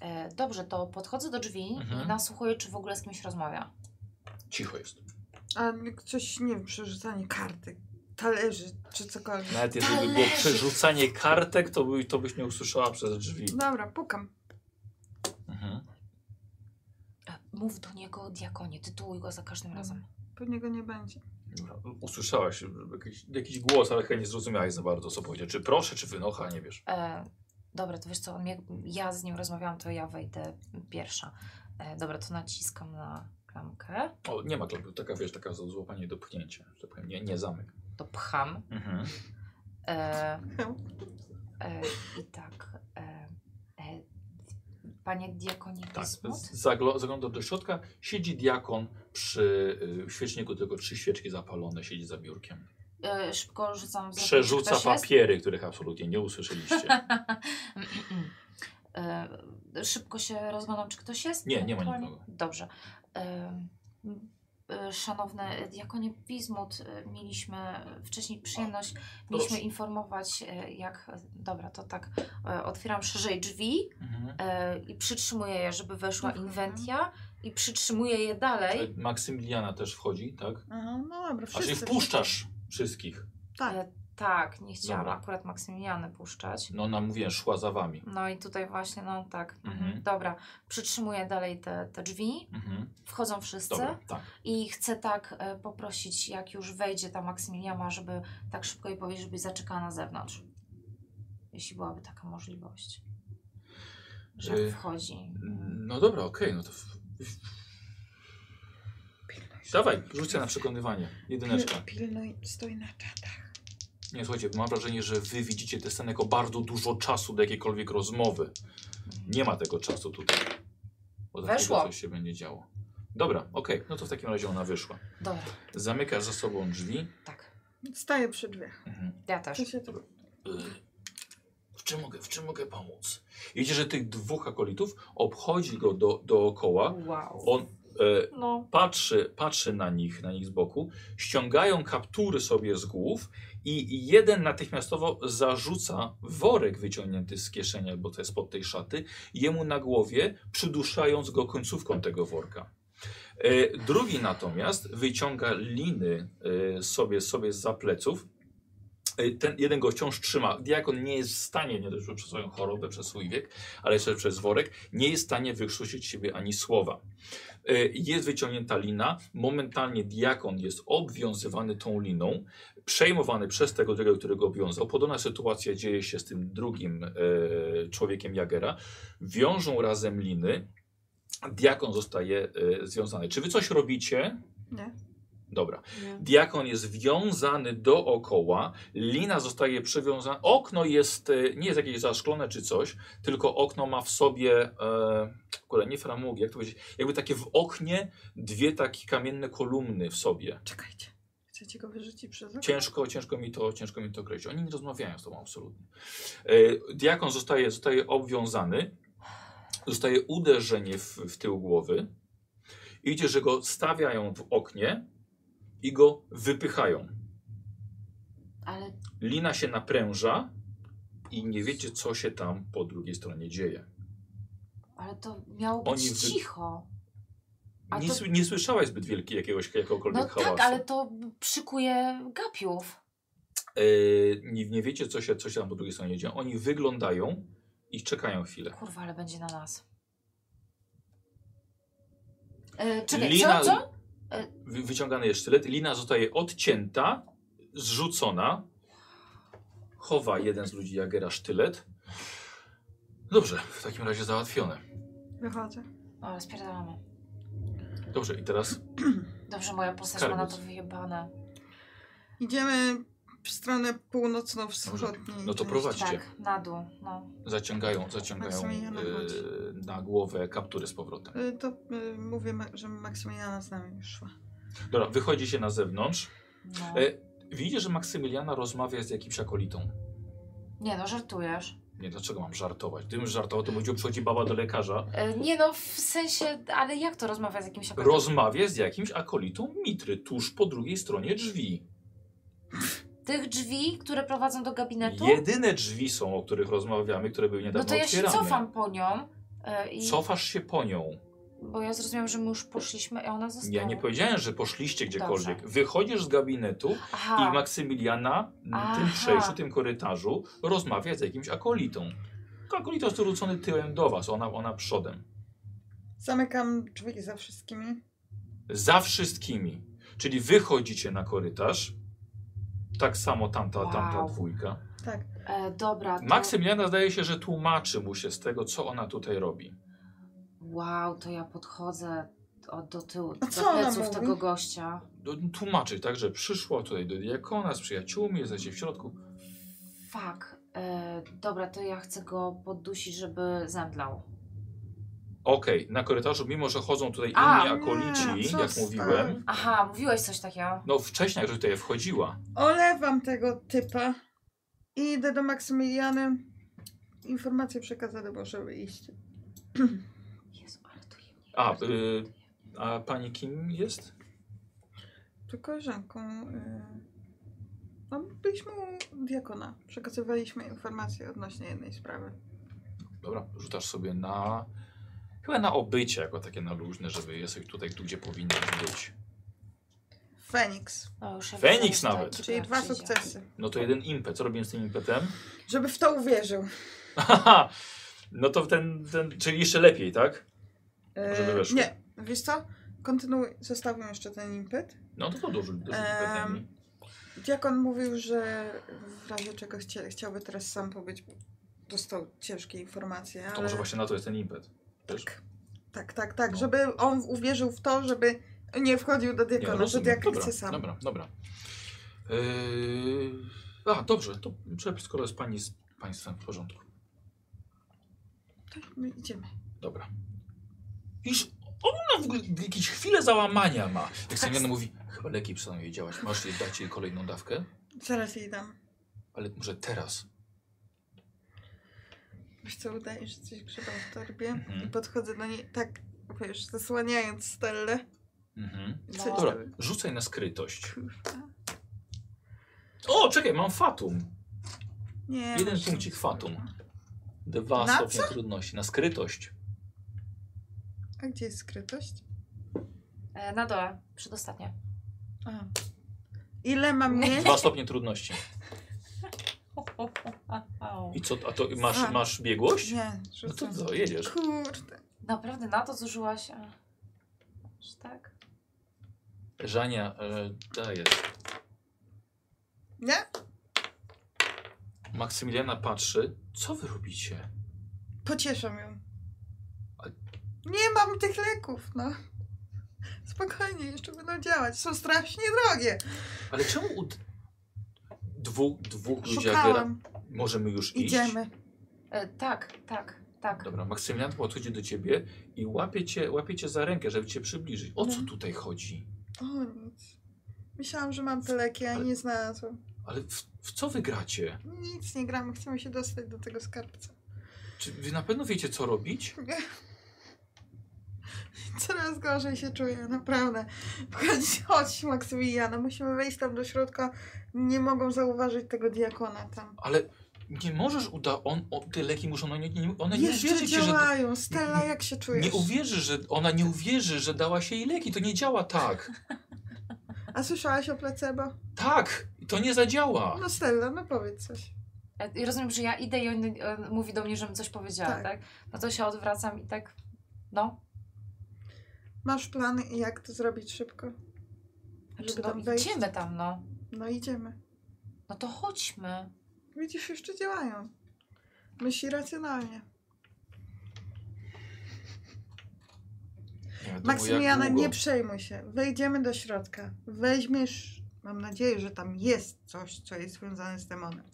E, dobrze, to podchodzę do drzwi Mhm. i nasłuchuję, czy w ogóle z kimś rozmawia. Cicho jest. A coś, nie wiem, przerzucanie karty, talerzy czy cokolwiek. Nawet jeżeli by było Talerzyk. przerzucanie kartek, to, by, to byś nie usłyszała przez drzwi. Dobra, pukam. Mhm. E, Mów do niego, diakonie, tytułuj go za każdym razem. Pewnie go nie będzie. Dobra. Usłyszałaś jakiś, jakiś głos, ale chyba nie zrozumiałeś za bardzo, co powiedział. Czy proszę, czy wynocha, nie wiesz. E, dobra, to wiesz co, on jak ja z nim rozmawiałam, to ja wejdę pierwsza. E, dobra, to naciskam na klamkę, O, nie ma klamki, taka wiesz, taka za złapanie do pchnięcia, że tak powiem, nie, nie zamek. to pcham. Mhm. E, e, I tak. E, e, Panie diakonie Tak, Bismut? z- zaglo- zaglądam do środka, siedzi diakon przy y, świeczniku, tylko trzy świeczki zapalone, siedzi za biurkiem. E, szybko rzucam wzrokiem, czy Przerzuca ktoś jest? papiery, których absolutnie nie usłyszeliście. Mm, E, Szybko się rozglądam, czy ktoś jest? Nie, nie ma Ewentualnie? nikogo. Dobrze. E, e, Szanowny diakonie Bismut, e, mieliśmy wcześniej przyjemność, mieliśmy informować e, jak... Dobra, to tak, e, otwieram szerzej drzwi Mhm. e, i przytrzymuję je, żeby weszła Mhm. inwentia i przytrzymuję je dalej. E, Maksymiliana też wchodzi, tak? Aha, no dobra, A czyli wszyscy. wpuszczasz wszystkich. Tak. E, Tak, nie chciałam Dobra. akurat Maksymiliany puszczać. No ona mówię, szła za wami. No i tutaj właśnie, no tak. Mhm. Dobra, przytrzymuję dalej te, te drzwi, Mhm. wchodzą wszyscy Dobra, tak. i chcę tak e, poprosić, jak już wejdzie ta Maksymiliana, żeby tak szybko jej powiedzieć, żeby zaczekała na zewnątrz. Jeśli byłaby taka możliwość. Że Y, jak wchodzi. No dobra, okej, no to... w- Dawaj, rzucę na przekonywanie. Jedyneczka. Pil, pilnuj, stój na czatach. Nie, słuchajcie, mam wrażenie, że wy widzicie tę scenę jako bardzo dużo czasu do jakiejkolwiek rozmowy. Nie ma tego czasu tutaj. Bo za Weszło. chwilę Coś się będzie działo. Dobra, okej, no to w takim razie ona wyszła. Dobra, Zamyka za sobą drzwi. tak. Staję przy drzwiach. Mhm. Ja też. Co się tu... Y, W czym mogę, w czym mogę pomóc? Widzicie, że tych dwóch akolitów obchodzi go do, dookoła. Wow. On e, No. patrzy, patrzy na nich, na nich z boku, ściągają kaptury sobie z głów i jeden natychmiastowo zarzuca worek wyciągnięty z kieszeni albo to jest pod tej szaty jemu na głowie, przyduszając go końcówką tego worka. E, drugi natomiast wyciąga liny e, sobie, sobie za pleców. E, Ten jeden go wciąż trzyma. Diakon nie jest w stanie, nie dość że przez swoją chorobę, przez swój wiek, ale jeszcze przez worek, nie jest w stanie wykrztusić z siebie ani słowa. E, Jest wyciągnięta lina, momentalnie diakon jest obwiązywany tą liną, przejmowany przez tego drugiego, który go obwiązał. Podobna sytuacja dzieje się z tym drugim e, człowiekiem Jagera. Wiążą razem liny, diakon zostaje e, związany. Czy wy coś robicie? Nie. Dobra. Diakon jest wiązany dookoła, lina zostaje przywiązana. Okno jest, e, nie jest jakieś zaszklone czy coś, tylko okno ma w sobie, e, kurde, nie framugi, jak to powiedzieć, jakby takie w oknie dwie takie kamienne kolumny w sobie. Czekajcie. Chcecie go wyrzucić przez okno? Ciężko, ciężko mi to, ciężko mi to określić. Oni nie rozmawiają z tobą absolutnie. E, diakon zostaje, zostaje obwiązany, zostaje uderzenie w, w tył głowy. Idzie, że go stawiają w oknie i go wypychają. Ale Lina się napręża i nie wiecie, co się tam po drugiej stronie dzieje. Ale to miało być Oni wy- cicho. A Nie, to- sły- nie słyszałaś zbyt wielki jakiegoś jakiegokolwiek No hałasu. tak, ale to przykuje gapiów. Yy, nie, nie wiecie, co się, co się tam po drugiej stronie dzieje. Oni wyglądają i czekają chwilę. Kurwa, ale będzie na nas. E, czekaj, Lina- E, co? co? Wy, wyciągany jest sztylet, lina zostaje odcięta, zrzucona. Chowa jeden z ludzi Jagera sztylet. Dobrze, w takim razie załatwione. Wychodzę. O, spierdalamy. Dobrze, i teraz Dobrze, moja postać Skarbiec. ma na to wyjebane. Idziemy w stronę północno-wschodniej. No to części. prowadźcie. Tak, na dół. No. zaciągają, zaciągają Maksymiliana, chodź. yy, na głowę kaptury z powrotem. Y, To y, mówię, ma- że Maksymiliana z nami już szła. Dobra, wychodzi się na zewnątrz. no. E, Widzisz, że Maksymiliana rozmawia z jakimś akolitą. Nie no, żartujesz. Nie, dlaczego mam żartować? Gdybym żartował, to będzie przychodzi baba do lekarza. E, nie no, w sensie, ale jak to rozmawia z jakimś aktorem? Rozmawia z jakimś akolitą Mitry, tuż po drugiej stronie drzwi. Tych drzwi, które prowadzą do gabinetu? Jedyne drzwi są, o których rozmawiamy, które były niedawno No to ja się otwierane. cofam po nią. E, i, Cofasz się po nią. Bo ja zrozumiałam, że my już poszliśmy i ona została. Ja nie powiedziałem, że poszliście gdziekolwiek. Wychodzisz z gabinetu Aha. i Maksymiliana na tym Aha. przejściu, tym korytarzu rozmawia z jakimś akolitą. Akolita jest zwrócony tyłem do was, ona, ona przodem. Zamykam drzwi za wszystkimi. Za wszystkimi. Czyli wychodzicie na korytarz. Tak samo tamta, tamta Wow. dwójka. Tak. E, dobra. To... Maksymiliana zdaje się, że tłumaczy mu się z tego, co ona tutaj robi. Wow, to ja podchodzę od, do tyłu, A do co ona pleców mówi? tego gościa. Do- Tłumaczy, tak, że przyszła tutaj do diakona z przyjaciółmi, jesteście w środku. Fuck. E, dobra, to ja chcę go poddusić, żeby zemdlał. Okej, na korytarzu, mimo że chodzą tutaj inni A, akolici, co jak z mówiłem, tym? Aha, mówiłeś coś takiego. no wcześniej, że tutaj wchodziła. Olewam tego typa i idę do Maksymiliany. Informacje przekazane, możemy iść. Jezu, ale to jemnie. A, y, a pani kim jest? To koleżanką. y, No, byliśmy u diakona. Przekazywaliśmy informacje odnośnie jednej sprawy. Dobra, rzucasz sobie na... Chyba na obycie, jako takie na luźne, żeby jesteś tutaj, tu gdzie powinien być. Feniks. No, już ja Feniks wiedziałam, że to nawet. ekipa Czyli dwa tak przyjdzie. sukcesy. No to jeden impet. Co robiłem z tym impetem? Żeby w to uwierzył. Haha, no to ten, ten... Czyli jeszcze lepiej, tak? Żeby E, weszło. nie, wiesz co? Kontynuuj, zostawiam jeszcze ten impet. No to to dużo, dużo Em, impetami. Diakon mówił, że w razie czego chcie, chciałby teraz sam pobyć, bo dostał ciężkie informacje. Ale... To może właśnie na to jest ten impet. Też. Tak, tak, tak, tak No. żeby on uwierzył w to, żeby nie wchodził do Nie, no diakona, że rozumiem. diakon dobra, chce sam. Dobra, dobra. Yy... A, dobrze, to przepis, skoro jest pani z państwem w porządku. Tak, my idziemy. Dobra. Iż ona w ogóle jakieś chwile załamania ma. Jak Samiana mówi, chyba leki przestaną jej działać. Masz jej dać jej kolejną dawkę? Zaraz jej dam. Ale może teraz. Wiesz co, udaje, że coś grzebam w torbie Mhm. i podchodzę do niej tak, wiesz, zasłaniając Stellę. Mhm. Co No. jest Dobra, to? rzucaj na skrytość. Kurwa. O, czekaj, mam fatum. Nie. no, Jeden punkcik fatum. Dwa Na stopnie trudności. Na skrytość. A gdzie jest skrytość? E, Na dole, przedostatnie. Aha. Ile mam mieć? Dwa stopnie trudności. Au. I co, a to masz, A. masz biegłość? Nie, No to rzucam. co, jedziesz. Kurde. Naprawdę na to zużyłaś? A, aż tak? Żania, e, dajesz. Nie? Maksymiliana patrzy. Co wy robicie? Pocieszam ją. A- Nie mam tych leków, no. Spokojnie, jeszcze będą działać. Są strasznie drogie. Ale czemu u d- dwóch, dwóch ludzi Agera- Szukałam. Możemy już iść? Idziemy. E, tak, tak, tak. Dobra, Maksymilian podchodzi do ciebie i łapie cię, łapie cię za rękę, żeby cię przybliżyć. O co Mhm. tutaj chodzi? O nic. Myślałam, że mam te leki, a nie znalazłam. Ale w, w co wy gracie? Nic nie gramy, chcemy się dostać do tego skarbca. Czy wy na pewno wiecie, co robić? Coraz gorzej się czuję, naprawdę. Chodź, chodź Maksymiliana, musimy wejść tam do środka. Nie mogą zauważyć tego diakona tam. Ale nie możesz uda... On, o, te leki muszą... One No nie, one nie Jeszcze uwierzy ci, że... działają. Stella, jak się czujesz? Nie uwierzy, że... Ona nie uwierzy, że dała się jej leki. To nie działa tak. A słyszałaś o placebo? Tak! To nie zadziała. No Stella, no powiedz coś. E, I rozumiem, że ja idę i on e, mówi do mnie, żebym coś powiedziała, Tak. tak. No to się odwracam i tak, no. Masz plan, jak to zrobić szybko? Znaczy, Żeby no tam wejść? idziemy tam, no. No idziemy. No to chodźmy. Widzisz, jeszcze działają. Myśli racjonalnie. Nie wiadomo, Maksymiliana, jak długo. nie przejmuj się. Wejdziemy do środka. Weźmiesz, mam nadzieję, że tam jest coś, co jest związane z demonem.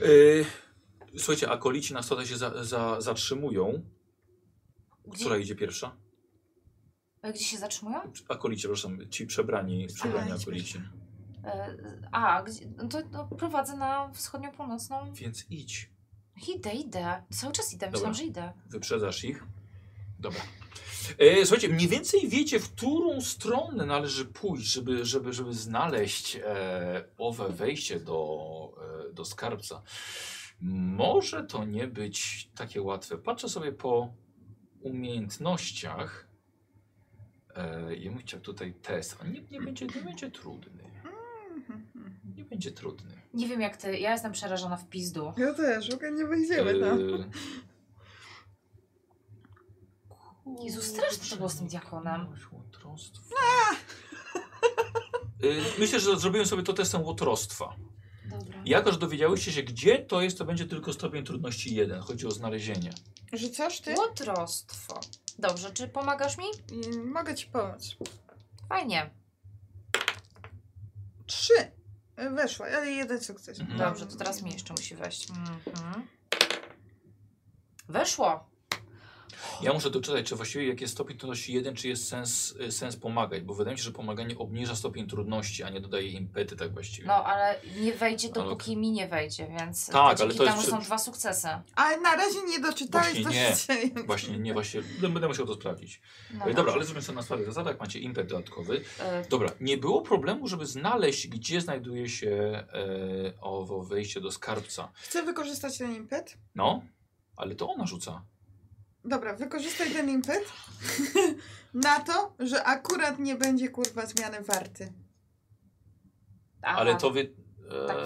Y, Słuchajcie, akolici na stole się za, za, zatrzymują. Gdzie, Która idzie pierwsza? e, gdzie się zatrzymują? Akolici, przepraszam, ci przebrani, przebrani Akolici. akolici. E, A, gdzie, no to no, prowadzę na wschodnio-północną. Więc idź, Idę, idę. Cały czas idę, myślałam, Dobra. że idę. wyprzedzasz ich. Dobra. E, słuchajcie, mniej więcej wiecie, w którą stronę należy pójść, żeby, żeby, żeby znaleźć e, owe wejście do, e, do skarbca. Może to nie być takie łatwe. Patrzę sobie po umiejętnościach. E, ja bym chciał tutaj test, ale nie, nie, będzie, nie będzie trudny. Mhm. Nie będzie trudny. Nie wiem jak ty, ja jestem przerażona w pizdu. Ja też, w ogóle nie wejdziemy tam. E, Jezu, straszne to było z tym diakonem. Łotrostwo. Y, Myślę, że zrobiłem sobie to testem łotrostwa. Dobra. Jako, że dowiedziałyście się, gdzie to jest, to będzie tylko stopień trudności 1. Chodzi o znalezienie. Rzucasz ty? Łotrostwo. Dobrze, czy pomagasz mi? I mogę ci pomóc. Fajnie. Trzy. Weszła, ale jeden sukces. Mhm. Dobrze, to teraz mi jeszcze musi wejść. Mhm. Weszło. Ja muszę doczytać, czy właściwie jak jest stopień trudności 1, czy jest sens, y, sens pomagać, bo wydaje mi się, że pomaganie obniża stopień trudności, a nie dodaje impety tak właściwie. No, ale nie wejdzie, Ale- dopóki mi nie wejdzie, więc Tak, dzięki ale to jest temu przy- są dwa sukcesy. Ale na razie nie doczytałeś, Właśnie to nie. się dzieje. Właśnie, nie, właśnie, no, będę musiał to sprawdzić. No, E, Dobra, ale zrobimy sobie na starych zasadach, macie impet dodatkowy. E, Dobra, nie było problemu, żeby znaleźć, gdzie znajduje się e, owo wejście do skarbca. Chcę wykorzystać ten impet. No, ale to ona rzuca. Dobra, wykorzystaj ten impet na to, że akurat nie będzie kurwa zmiany warty. Aha, Ale to wy... Tak. E,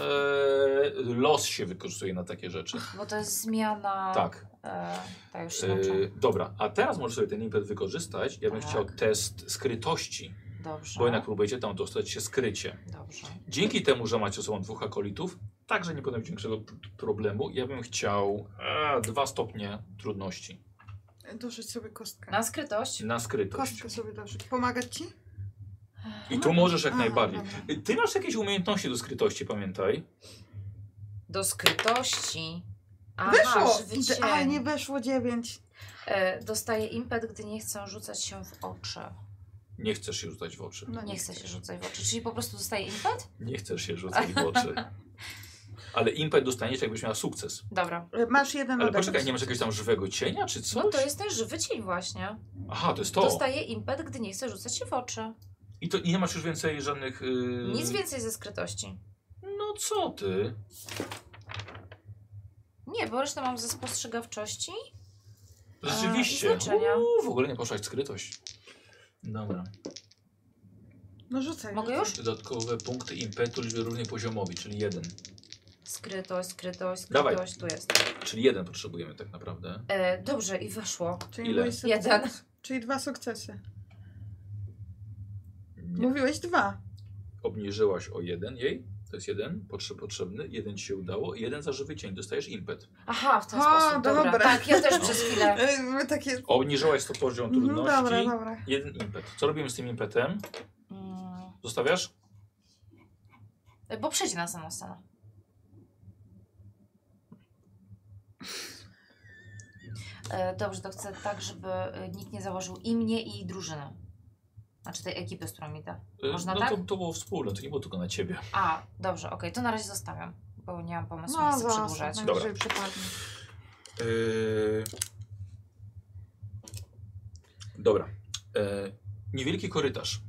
los się wykorzystuje na takie rzeczy. Bo to jest zmiana... Tak. E, tak, już się E, nauczyłam. dobra, a teraz możesz sobie ten impet wykorzystać. Ja bym Tak. chciał test skrytości, Dobrze, bo jednak próbujecie tam dostać się skrycie. dobrze. Dzięki temu, że macie ze sobą dwóch akolitów, także nie powinno być większego p- problemu. Ja bym chciał e, dwa stopnie trudności Dorzuć sobie kostkę. Na skrytość? na skrytość. Kostkę sobie dorzuć. Pomagać ci? I tu możesz jak A, najbardziej. dobra. Ty masz jakieś umiejętności do skrytości, pamiętaj. Do skrytości. Aha, Weszło! żywy cień. Ale nie weszło dziewięć. E, dostaję impet, gdy nie chcę rzucać się w oczy. Nie chcesz się rzucać w oczy. No Nie chcę się rzucać w oczy, czyli po prostu dostaję impet? Nie chcesz się rzucać w oczy. Ale impet dostaniesz, jakbyś miała sukces. No Dobra. E, Masz jeden Ale ode mnie. poczekaj, nie masz jakiegoś tam żywego cienia czy coś? No to jest ten żywy cień właśnie. Aha, to jest to. Dostaję impet, gdy nie chcę rzucać się w oczy. I to i nie masz już więcej żadnych. Yy... Nic więcej ze skrytości. No co ty? Nie, bo resztę mam ze spostrzegawczości. i Rzeczywiście. znaczenia. Uuu, w ogóle nie poszłaś w skrytość. Dobra. No rzucaj. Mogę już? Dodatkowe punkty impetu liczby równej poziomowi, czyli jeden. Skrytość, skrytość, Dawaj. skrytość, tu jest. Czyli jeden potrzebujemy tak naprawdę. E, dobrze, i weszło. Czyli Ile? mój sukces. Jeden. Czyli dwa sukcesy. Nie. Mówiłeś dwa. Obniżyłaś o jeden jej. To jest jeden potrze- potrzebny. Jeden ci się udało. Jeden za żywy cień. Dostajesz impet. Aha, w ten O, sposób. Dobra. dobra. Tak, ja też przez chwilę. E, my Takie... Obniżyłaś to poziom Mhm, trudności. Dobra, dobra. Jeden impet. Co robimy z tym impetem? Mm, Zostawiasz? E, bo przejdzie na samą scenę. E, dobrze, to chcę tak, żeby e, nikt nie założył i mnie, i drużyny. Znaczy tej ekipy, z którą idę. Y, Można no tak? to, to było wspólne, to nie było tylko na ciebie. A, dobrze, okej, to na razie zostawiam, bo nie mam pomysłu, nie No chcę przedłużać. zaraz, najwyżej przypadnie. Yy... Dobra. Yy, niewielki korytarz.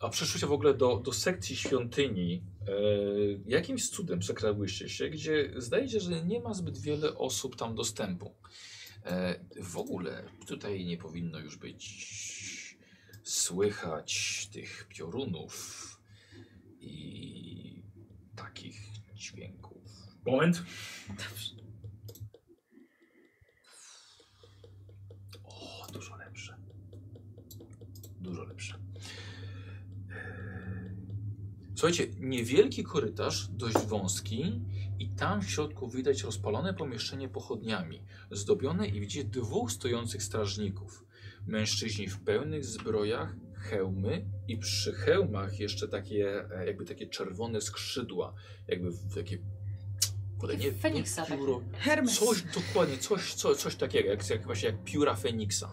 A przeszłyście w ogóle do, do sekcji świątyni. Yy, jakimś cudem przekrałyście się, gdzie zdaje się, że nie ma zbyt wiele osób tam dostępu. Yy, w ogóle tutaj nie powinno już być słychać tych piorunów i takich dźwięków. Moment. O, dużo lepsze. Dużo lepsze. Eee, Słuchajcie, niewielki korytarz, dość wąski i tam w środku widać rozpalone pomieszczenie pochodniami, zdobione i widzicie dwóch stojących strażników. Mężczyźni w pełnych zbrojach, hełmy i przy hełmach jeszcze takie e, jakby takie czerwone skrzydła, jakby w- takie... kurde, Takie feniksa takie. pióro- Hermes. Coś dokładnie, coś, coś, coś takiego, jak, jak właśnie jak pióra Feniksa.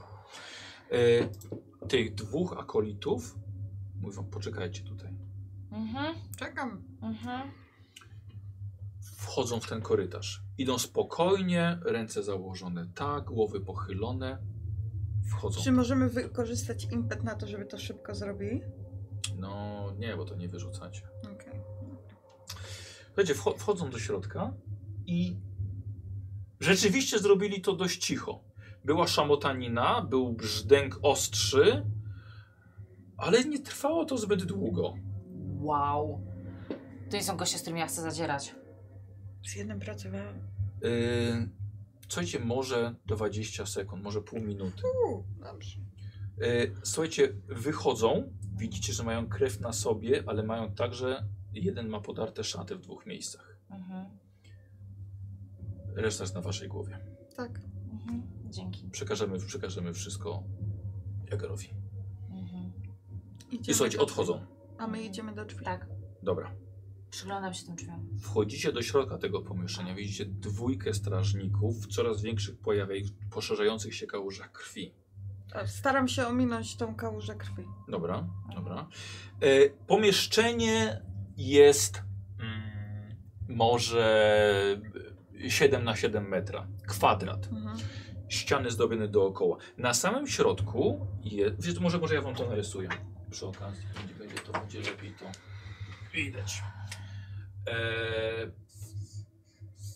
E, tych dwóch akolitów mówią, poczekajcie tutaj. Mhm, Czekam. mhm. Wchodzą w ten korytarz. Idą spokojnie, ręce założone tak, głowy pochylone. Wchodzą. Czy możemy wykorzystać impet na to, żeby to szybko zrobili? No nie, bo to nie wyrzucacie. Okej. Słuchajcie, wcho- wchodzą do środka i rzeczywiście zrobili to dość cicho. Była szamotanina, był brzdęk ostrzy, ale nie trwało to zbyt długo. Wow. To nie są goście, z którymi ja chcę zadzierać. Z jednym pracowałam. Yy, słuchajcie, może 20 sekund, może pół minuty. Uuu, dobrze. Yy, słuchajcie, wychodzą, widzicie, że mają krew na sobie, ale mają także, jeden ma podarte szaty w dwóch miejscach. Mhm, Reszta jest na waszej głowie. Tak. mhm. Dzięki. Przekażemy, przekażemy wszystko Jagerowi. Mhm. I Idziemy słuchajcie, do- odchodzą. A my idziemy do drzwi. Tak. Dobra. Przyglądam się tym drzwiom. Wchodzicie do środka tego pomieszczenia. Widzicie dwójkę strażników w coraz większych pojawia poszerzających się kałużach krwi. Staram się ominąć tą kałużę krwi. Dobra, dobra. E, pomieszczenie jest mm, może 7 na 7 metra. Kwadrat. Mhm. Ściany zdobione dookoła. Na samym środku jest. Wiesz, może, może ja wam to narysuję. Przy okazji będzie, będzie to będzie lepiej to widać. E,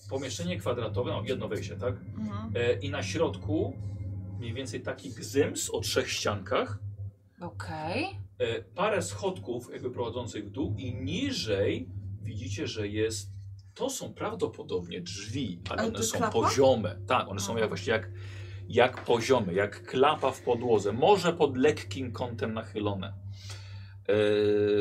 pomieszczenie kwadratowe, no, jedno wejście, tak? Mhm. E, I na środku mniej więcej taki gzyms o trzech ściankach. Okej. E, parę schodków jakby prowadzących w dół i niżej widzicie, że jest to są prawdopodobnie drzwi, ale Ale one to są klapa? poziome. Tak, one są Aha. jak właśnie jak, jak poziome, jak klapa w podłodze, może pod lekkim kątem nachylone.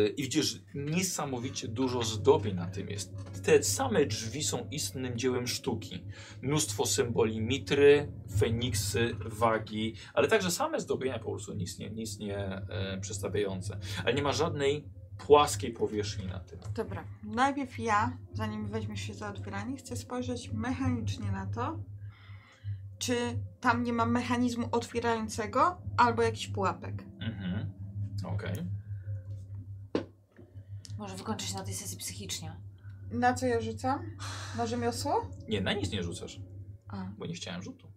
E, I widzisz, niesamowicie dużo zdobień na tym jest. Te same drzwi są istnym dziełem sztuki. Mnóstwo symboli mitry, feniksy, wagi, ale także same zdobienia po prostu nic nie, nic nie e, przestawiające. Ale nie ma żadnej płaskiej powierzchni na tym. Dobra, najpierw ja, zanim weźmiesz się za otwieranie, chcę spojrzeć mechanicznie na to, czy tam nie ma mechanizmu otwierającego albo jakichś pułapek. Mhm. Okej. Może wykończy się na tej sesji psychicznie. Na co ja rzucam? Na rzemiosło? Nie, na nic nie rzucasz, A, okej. bo nie chciałem rzutu.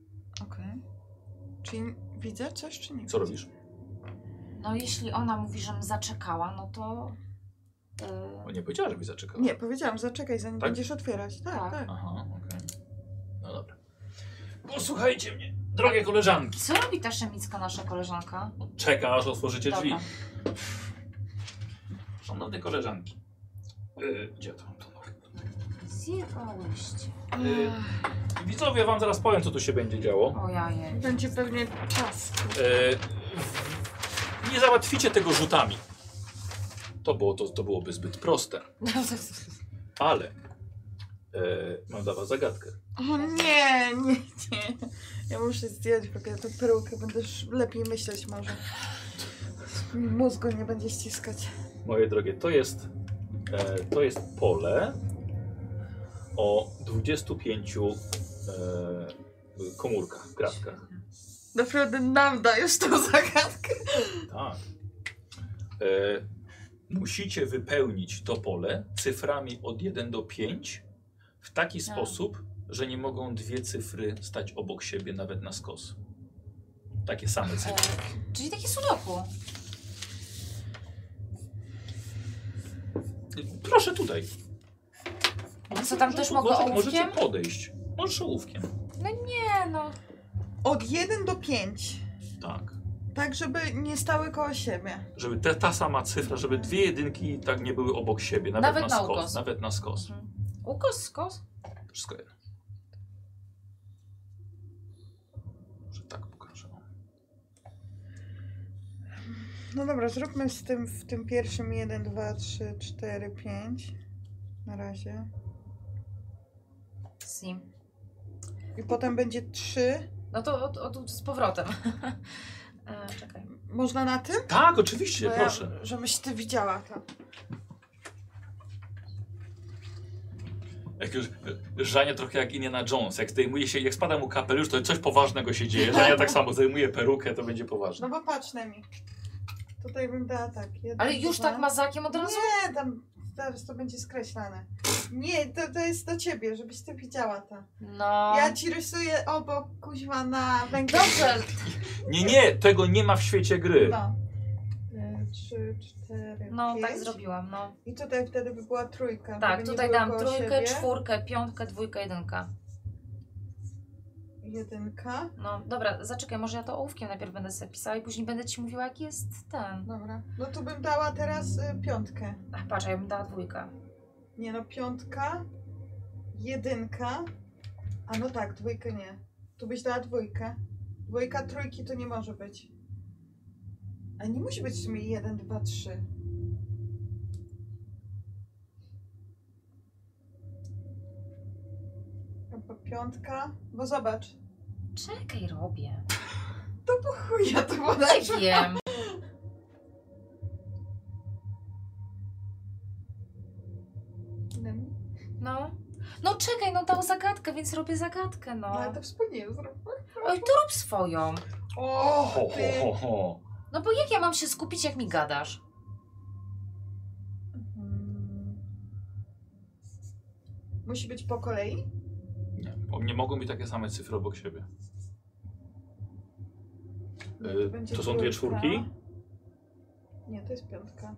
Czy widzę coś, czy nie Co widzę? robisz? No jeśli ona mówi, żem zaczekała, no to... y, Bo No, nie powiedziała, żebyś zaczekał. Nie, powiedziałam, zaczekaj, zanim Tak? będziesz otwierać. Tak, Tak. tak. Aha, okej. No dobra. Posłuchajcie mnie, drogie koleżanki. y, No, Co robi ta szemicka nasza koleżanka? Czeka, aż otworzycie drzwi. Dobra. Szanowne koleżanki. Yy, gdzie ja to mam to? Zjebałyście. Yy, widzowie, wam zaraz powiem, co tu się będzie działo. O jaje. Będzie pewnie czas. E, nie załatwicie tego rzutami. To, było, to, to byłoby zbyt proste. Ale e, mam dla was zagadkę. O nie, nie, nie. Ja muszę zdjąć w ogóle tę perukę, będę już lepiej myśleć może. Mi Mózgu nie będzie ściskać. Moje drogie, to jest, e, to jest pole o 25 e, komórkach, kratkach. Naprawdę nam dajesz tą zagadkę. Tak. E, musicie wypełnić to pole cyframi od 1 do 5 w taki Tak. sposób, że nie mogą dwie cyfry stać obok siebie nawet na skos. Takie same E, cyfry. czyli takie sudoku. Proszę tutaj. Co Tak. tam też mogę Może- Możecie ołówkiem? podejść. Możesz ołówkiem. Nie no. Od 1 do 5. Tak. Tak, żeby nie stały koło siebie. Żeby te, ta sama cyfra, żeby dwie jedynki tak nie były obok siebie. Nawet, Nawet na na skos. ukos. Nawet na skos. Tak, Ukos, skos. Wszystko jedno. Może tak pokażę. No dobra, zróbmy z tym w tym pierwszym 1, 2, 3, 4, 5. Na razie. Sim. I potem będzie 3. No to od, od, z powrotem. e, czekaj. Można na tym? Tak, oczywiście, Bo proszę. No Ja, żebyś ty widziała to. Jak już Żania trochę jak Indiana Jones. Jak zdejmuje się, jak spada mu kapelusz, to coś poważnego się dzieje. Żania tak samo zdejmuje perukę, to będzie poważne. No bo patrz na mi. Tutaj bym dała tak. Jeden, Ale już dwa. tak mazakiem od razu? Nie, tam zaraz to będzie skreślane. Nie, to, to jest do ciebie, żebyś ty widziała to. No. Ja ci rysuję obok kuźwa na węgiel. Dobrze. Nie, nie, tego nie ma w świecie gry. No. E, Trzy, cztery, No, pięć. tak zrobiłam, no. I tutaj wtedy by była trójka. Tak, żeby nie tutaj były dam koło trójkę, siebie. czwórkę, piątkę, dwójkę, jedynkę. Jedynka. No, dobra, zaczekaj, może ja to ołówkiem najpierw będę sobie pisała i później będę ci mówiła, jaki jest ten. Dobra. No tu bym dała teraz y, piątkę. Ach, patrz, a ja bym dała dwójkę. Nie no, piątka, jedynka. A no tak, dwójkę nie. Tu byś dała dwójkę. Dwójka, trójki to nie może być. A nie musi być w sumie jeden, dwa, trzy. Albo piątka, bo zobacz. Czekaj, robię. To po chuja to Nie bodajże. wiem. No. No czekaj, no dał zagadkę, więc robię zagadkę, no. No, ale to wspólnie zrobię. Oj, to rób swoją. Ho, O, ho, ty. ho, ho. No bo jak ja mam się skupić, jak mi gadasz? Mm. Musi być po kolei? Nie, bo nie mogą być takie same cyfry obok siebie. No, Y, będzie to są dwie czwórka. czwórki? Nie, to jest piątka.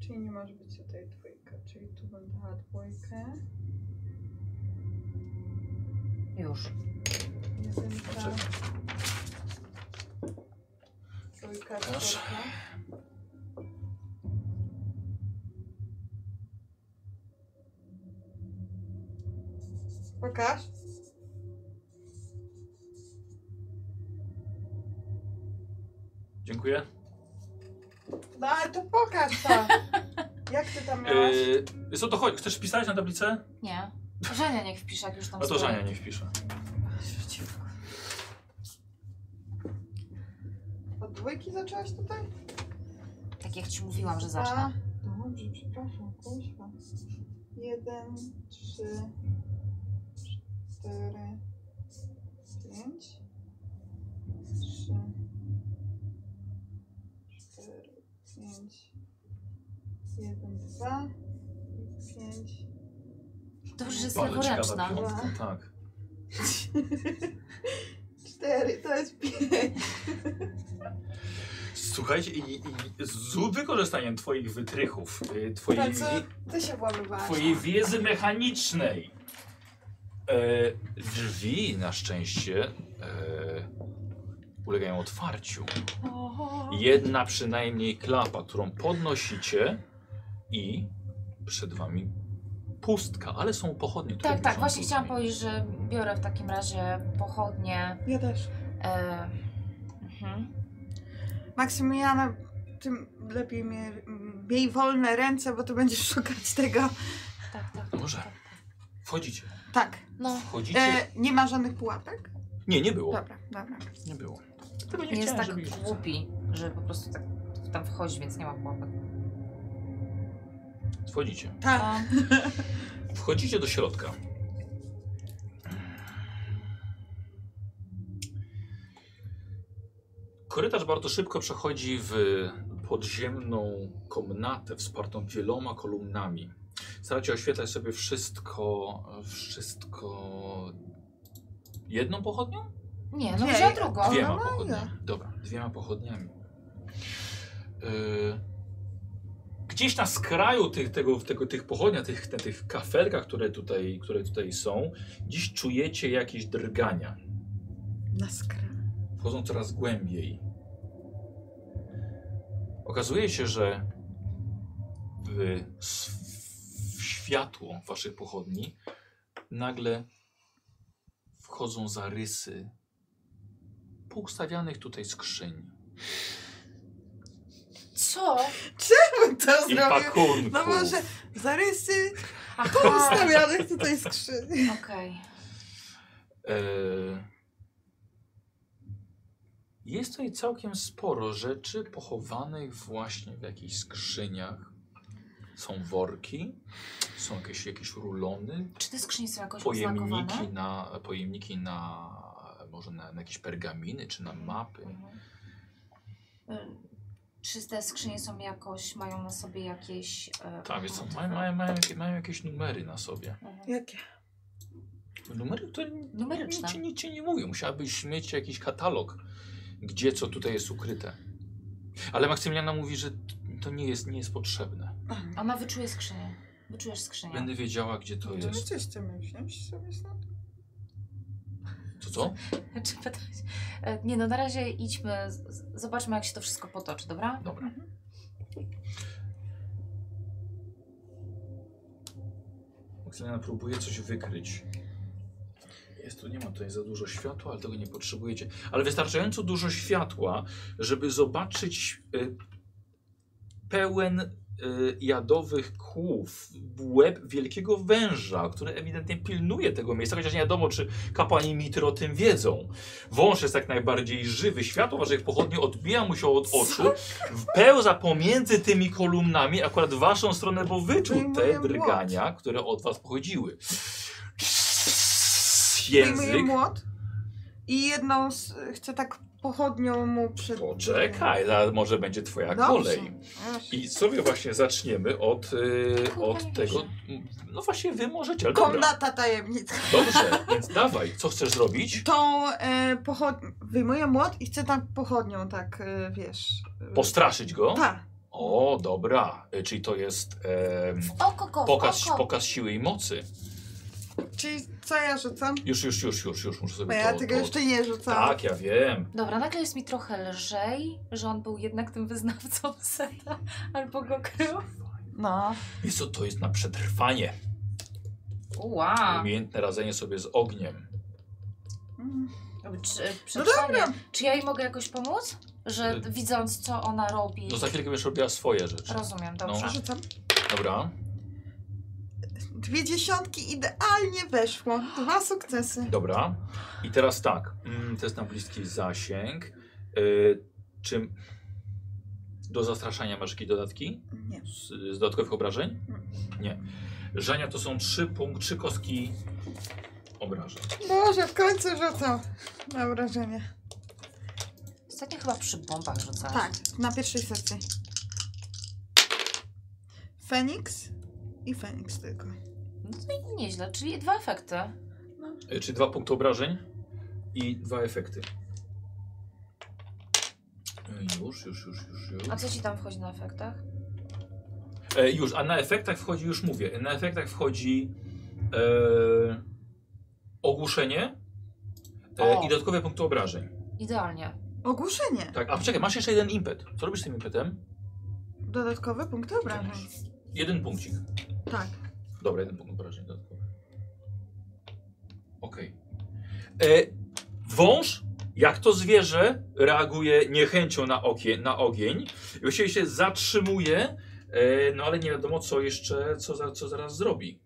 Czyli nie może być tutaj dwójka, czyli tu bym dała dwójkę. Już. Jedynka. Znaczy- Trójka, Aż. czwórka. Pokaż. Dziękuję. No ale to pokaż to. Jak ty tam miałaś? Yy, wiesz co to chodzi? Chcesz pisać na tablicę? No, Nie. Żenia niech wpisze, jak już tam A No stoi. to Żania nie wpisze. Od dwójki zaczęłaś tutaj? Tak jak ci mówiłam, że zacznę. A, Dobrze, przepraszam, kuźwa. Jeden, trzy, cztery, pięć, trzy, cztery, pięć, jeden, dwa, i pięć, Dobrze, że jest Ale leworęczna. ciekawa piątka, tak. cztery, to jest pięć. Słuchajcie, i, i z wykorzystaniem twoich wytrychów, y, twojej, Tak, co? wi- Ty się włamywałaś. twojej wiedzy mechanicznej, e, drzwi na szczęście e, ulegają otwarciu. Jedna przynajmniej klapa, którą podnosicie i przed wami pustka, ale są pochodnie. które Tak, tak, wiszą właśnie tutaj. chciałam powiedzieć, że biorę w takim razie pochodnie. Ja też. E, mhm. Maksymiliana, tym lepiej mnie, miej wolne ręce, bo ty będziesz szukać tego. Tak, tak. No może. tak, tak. Wchodzicie. Tak. No, Wchodzicie. E, nie ma żadnych pułapek? Nie, nie było. Dobra, dobra. Nie było. nie jest tak żeby ich rzucać. głupi, że po prostu tak tam wchodzi, więc nie ma pułapek. Wchodzicie. Tak. No, Wchodzicie do środka. Korytarz bardzo szybko przechodzi w podziemną komnatę wspartą wieloma kolumnami. Staracie oświetlać sobie wszystko, wszystko jedną pochodnią? nie, no Nie, wzięła drugą. Dwiema normalnie. pochodniami. Dobra, dwiema pochodniami. Yy, gdzieś na skraju tych, tego, tego, tych pochodnia, tych, te, tych kafelkach, które tutaj, które tutaj są, dziś czujecie jakieś drgania. Na skrę. Wchodzą coraz głębiej. Okazuje się, że w, w światło waszych pochodni nagle wchodzą zarysy poustawianych tutaj skrzyń. Co? To i zrobił. pakunków. No może zarysy Aha, poustawianych tutaj skrzyni. okej. E, Jest tutaj całkiem sporo rzeczy pochowanych właśnie w jakichś skrzyniach. Są worki, są jakieś, jakieś rulony, Czy te skrzynie są jakoś oznakowane? pojemniki na, pojemniki na może na, na jakieś pergaminy czy na mapy. Mhm. Y, Czy te skrzynie są jakoś, mają na sobie jakieś... e, Tak, więc są, motywy? mają, mają, mają, jakie- mają jakieś numery na sobie. Mhm. Jakie? Numery, które Numeryczne. nic, ci- nic ci nie mówią. Musiałabyś mieć jakiś katalog, gdzie co tutaj jest ukryte. Ale Maksymiliana mówi, że t- to nie jest, nie jest potrzebne. Ona wyczuje skrzynię. Wyczujesz skrzynię. Będę wiedziała, gdzie no, to No To my jest. coś chcemy wziąć sobie stąd? Co co? Czy pytać? E, Nie no, na razie idźmy, z- z- zobaczmy jak się to wszystko potoczy, dobra? Dobra. Maksymiliana próbuje coś wykryć. Jest tu, nie ma tutaj za dużo światła, ale tego nie potrzebujecie. Ale wystarczająco dużo światła, żeby zobaczyć y, pełen y, jadowych kłów, łeb wielkiego węża, który ewidentnie pilnuje tego miejsca, chociaż nie wiadomo, czy kapłani mitry o tym wiedzą. Wąż jest jak najbardziej żywy, światło waszych pochodni odbija mu się od oczu, pełza pomiędzy tymi kolumnami, akurat w waszą stronę, bo wyczuł Wyjmuję te młot. drgania, które od was pochodziły. Wyjmuję Język. młot i jedną z, chcę tak pochodnią mu przy... Poczekaj, zaraz może będzie twoja Dobrze. kolej. Wiesz. I sobie właśnie zaczniemy od, y, od tego. No właśnie, wy możecie, ale dobra. Komnata tajemnic. Dobrze, więc dawaj, co chcesz zrobić? Tą e, pochodnią... Wyjmuję młot i chcę tam pochodnią tak, e, wiesz... e, Postraszyć go? Tak. O, dobra, Y, czyli to jest em, Oko, oko, pokaz, oko. pokaz siły i mocy. Czyli co ja rzucam? Już, już, już, już, już muszę Bo sobie ja to, tego to... jeszcze nie rzucałam. Tak, ja wiem. Dobra, nagle jest mi trochę lżej, że on był jednak tym wyznawcą Seta, albo go krył. No. I co to jest na przetrwanie? Ła. Umiejętne radzenie sobie z ogniem. Mm. Czy, No przetrwanie. dobra. Czy ja jej mogę jakoś pomóc? Że Y- widząc, co ona robi. No za chwilkę będziesz robiła swoje rzeczy. Rozumiem, No, dobrze. Rzucam. dobra. Dwie dziesiątki idealnie weszło. Dwa sukcesy. Dobra. I teraz tak. Mm, Test na bliski zasięg. Y, czym do zastraszania masz jakieś dodatki? Nie. Z, z dodatkowych obrażeń? Nie. Żania to są trzy punkt, trzy kostki obrażeń. Boże, w końcu rzucam. Mam wrażenie. Ostatnio chyba przy bombach rzucałam. Tak, na pierwszej sesji. Feniks i Feniks tylko. Nieźle, czyli dwa efekty. Y, Czyli dwa punkty obrażeń i dwa efekty. Y, Już, już, już, już, już. A co ci tam wchodzi na efektach? E, już, a na efektach wchodzi, już mówię, na efektach wchodzi e, ogłuszenie e, O. i dodatkowe punkty obrażeń. Idealnie. Ogłuszenie. Tak, a czekaj, masz jeszcze jeden impet. Co robisz z tym impetem? Dodatkowe punkty obrażeń. Jeden punkcik. Tak. Dobra, jeden punkt obrażeń dodatkowy. Okej. E, Wąż, jak to zwierzę, reaguje niechęcią na, okie, na ogień. I Właściwie się zatrzymuje, e, no ale nie wiadomo co jeszcze, co, za, co zaraz zrobi.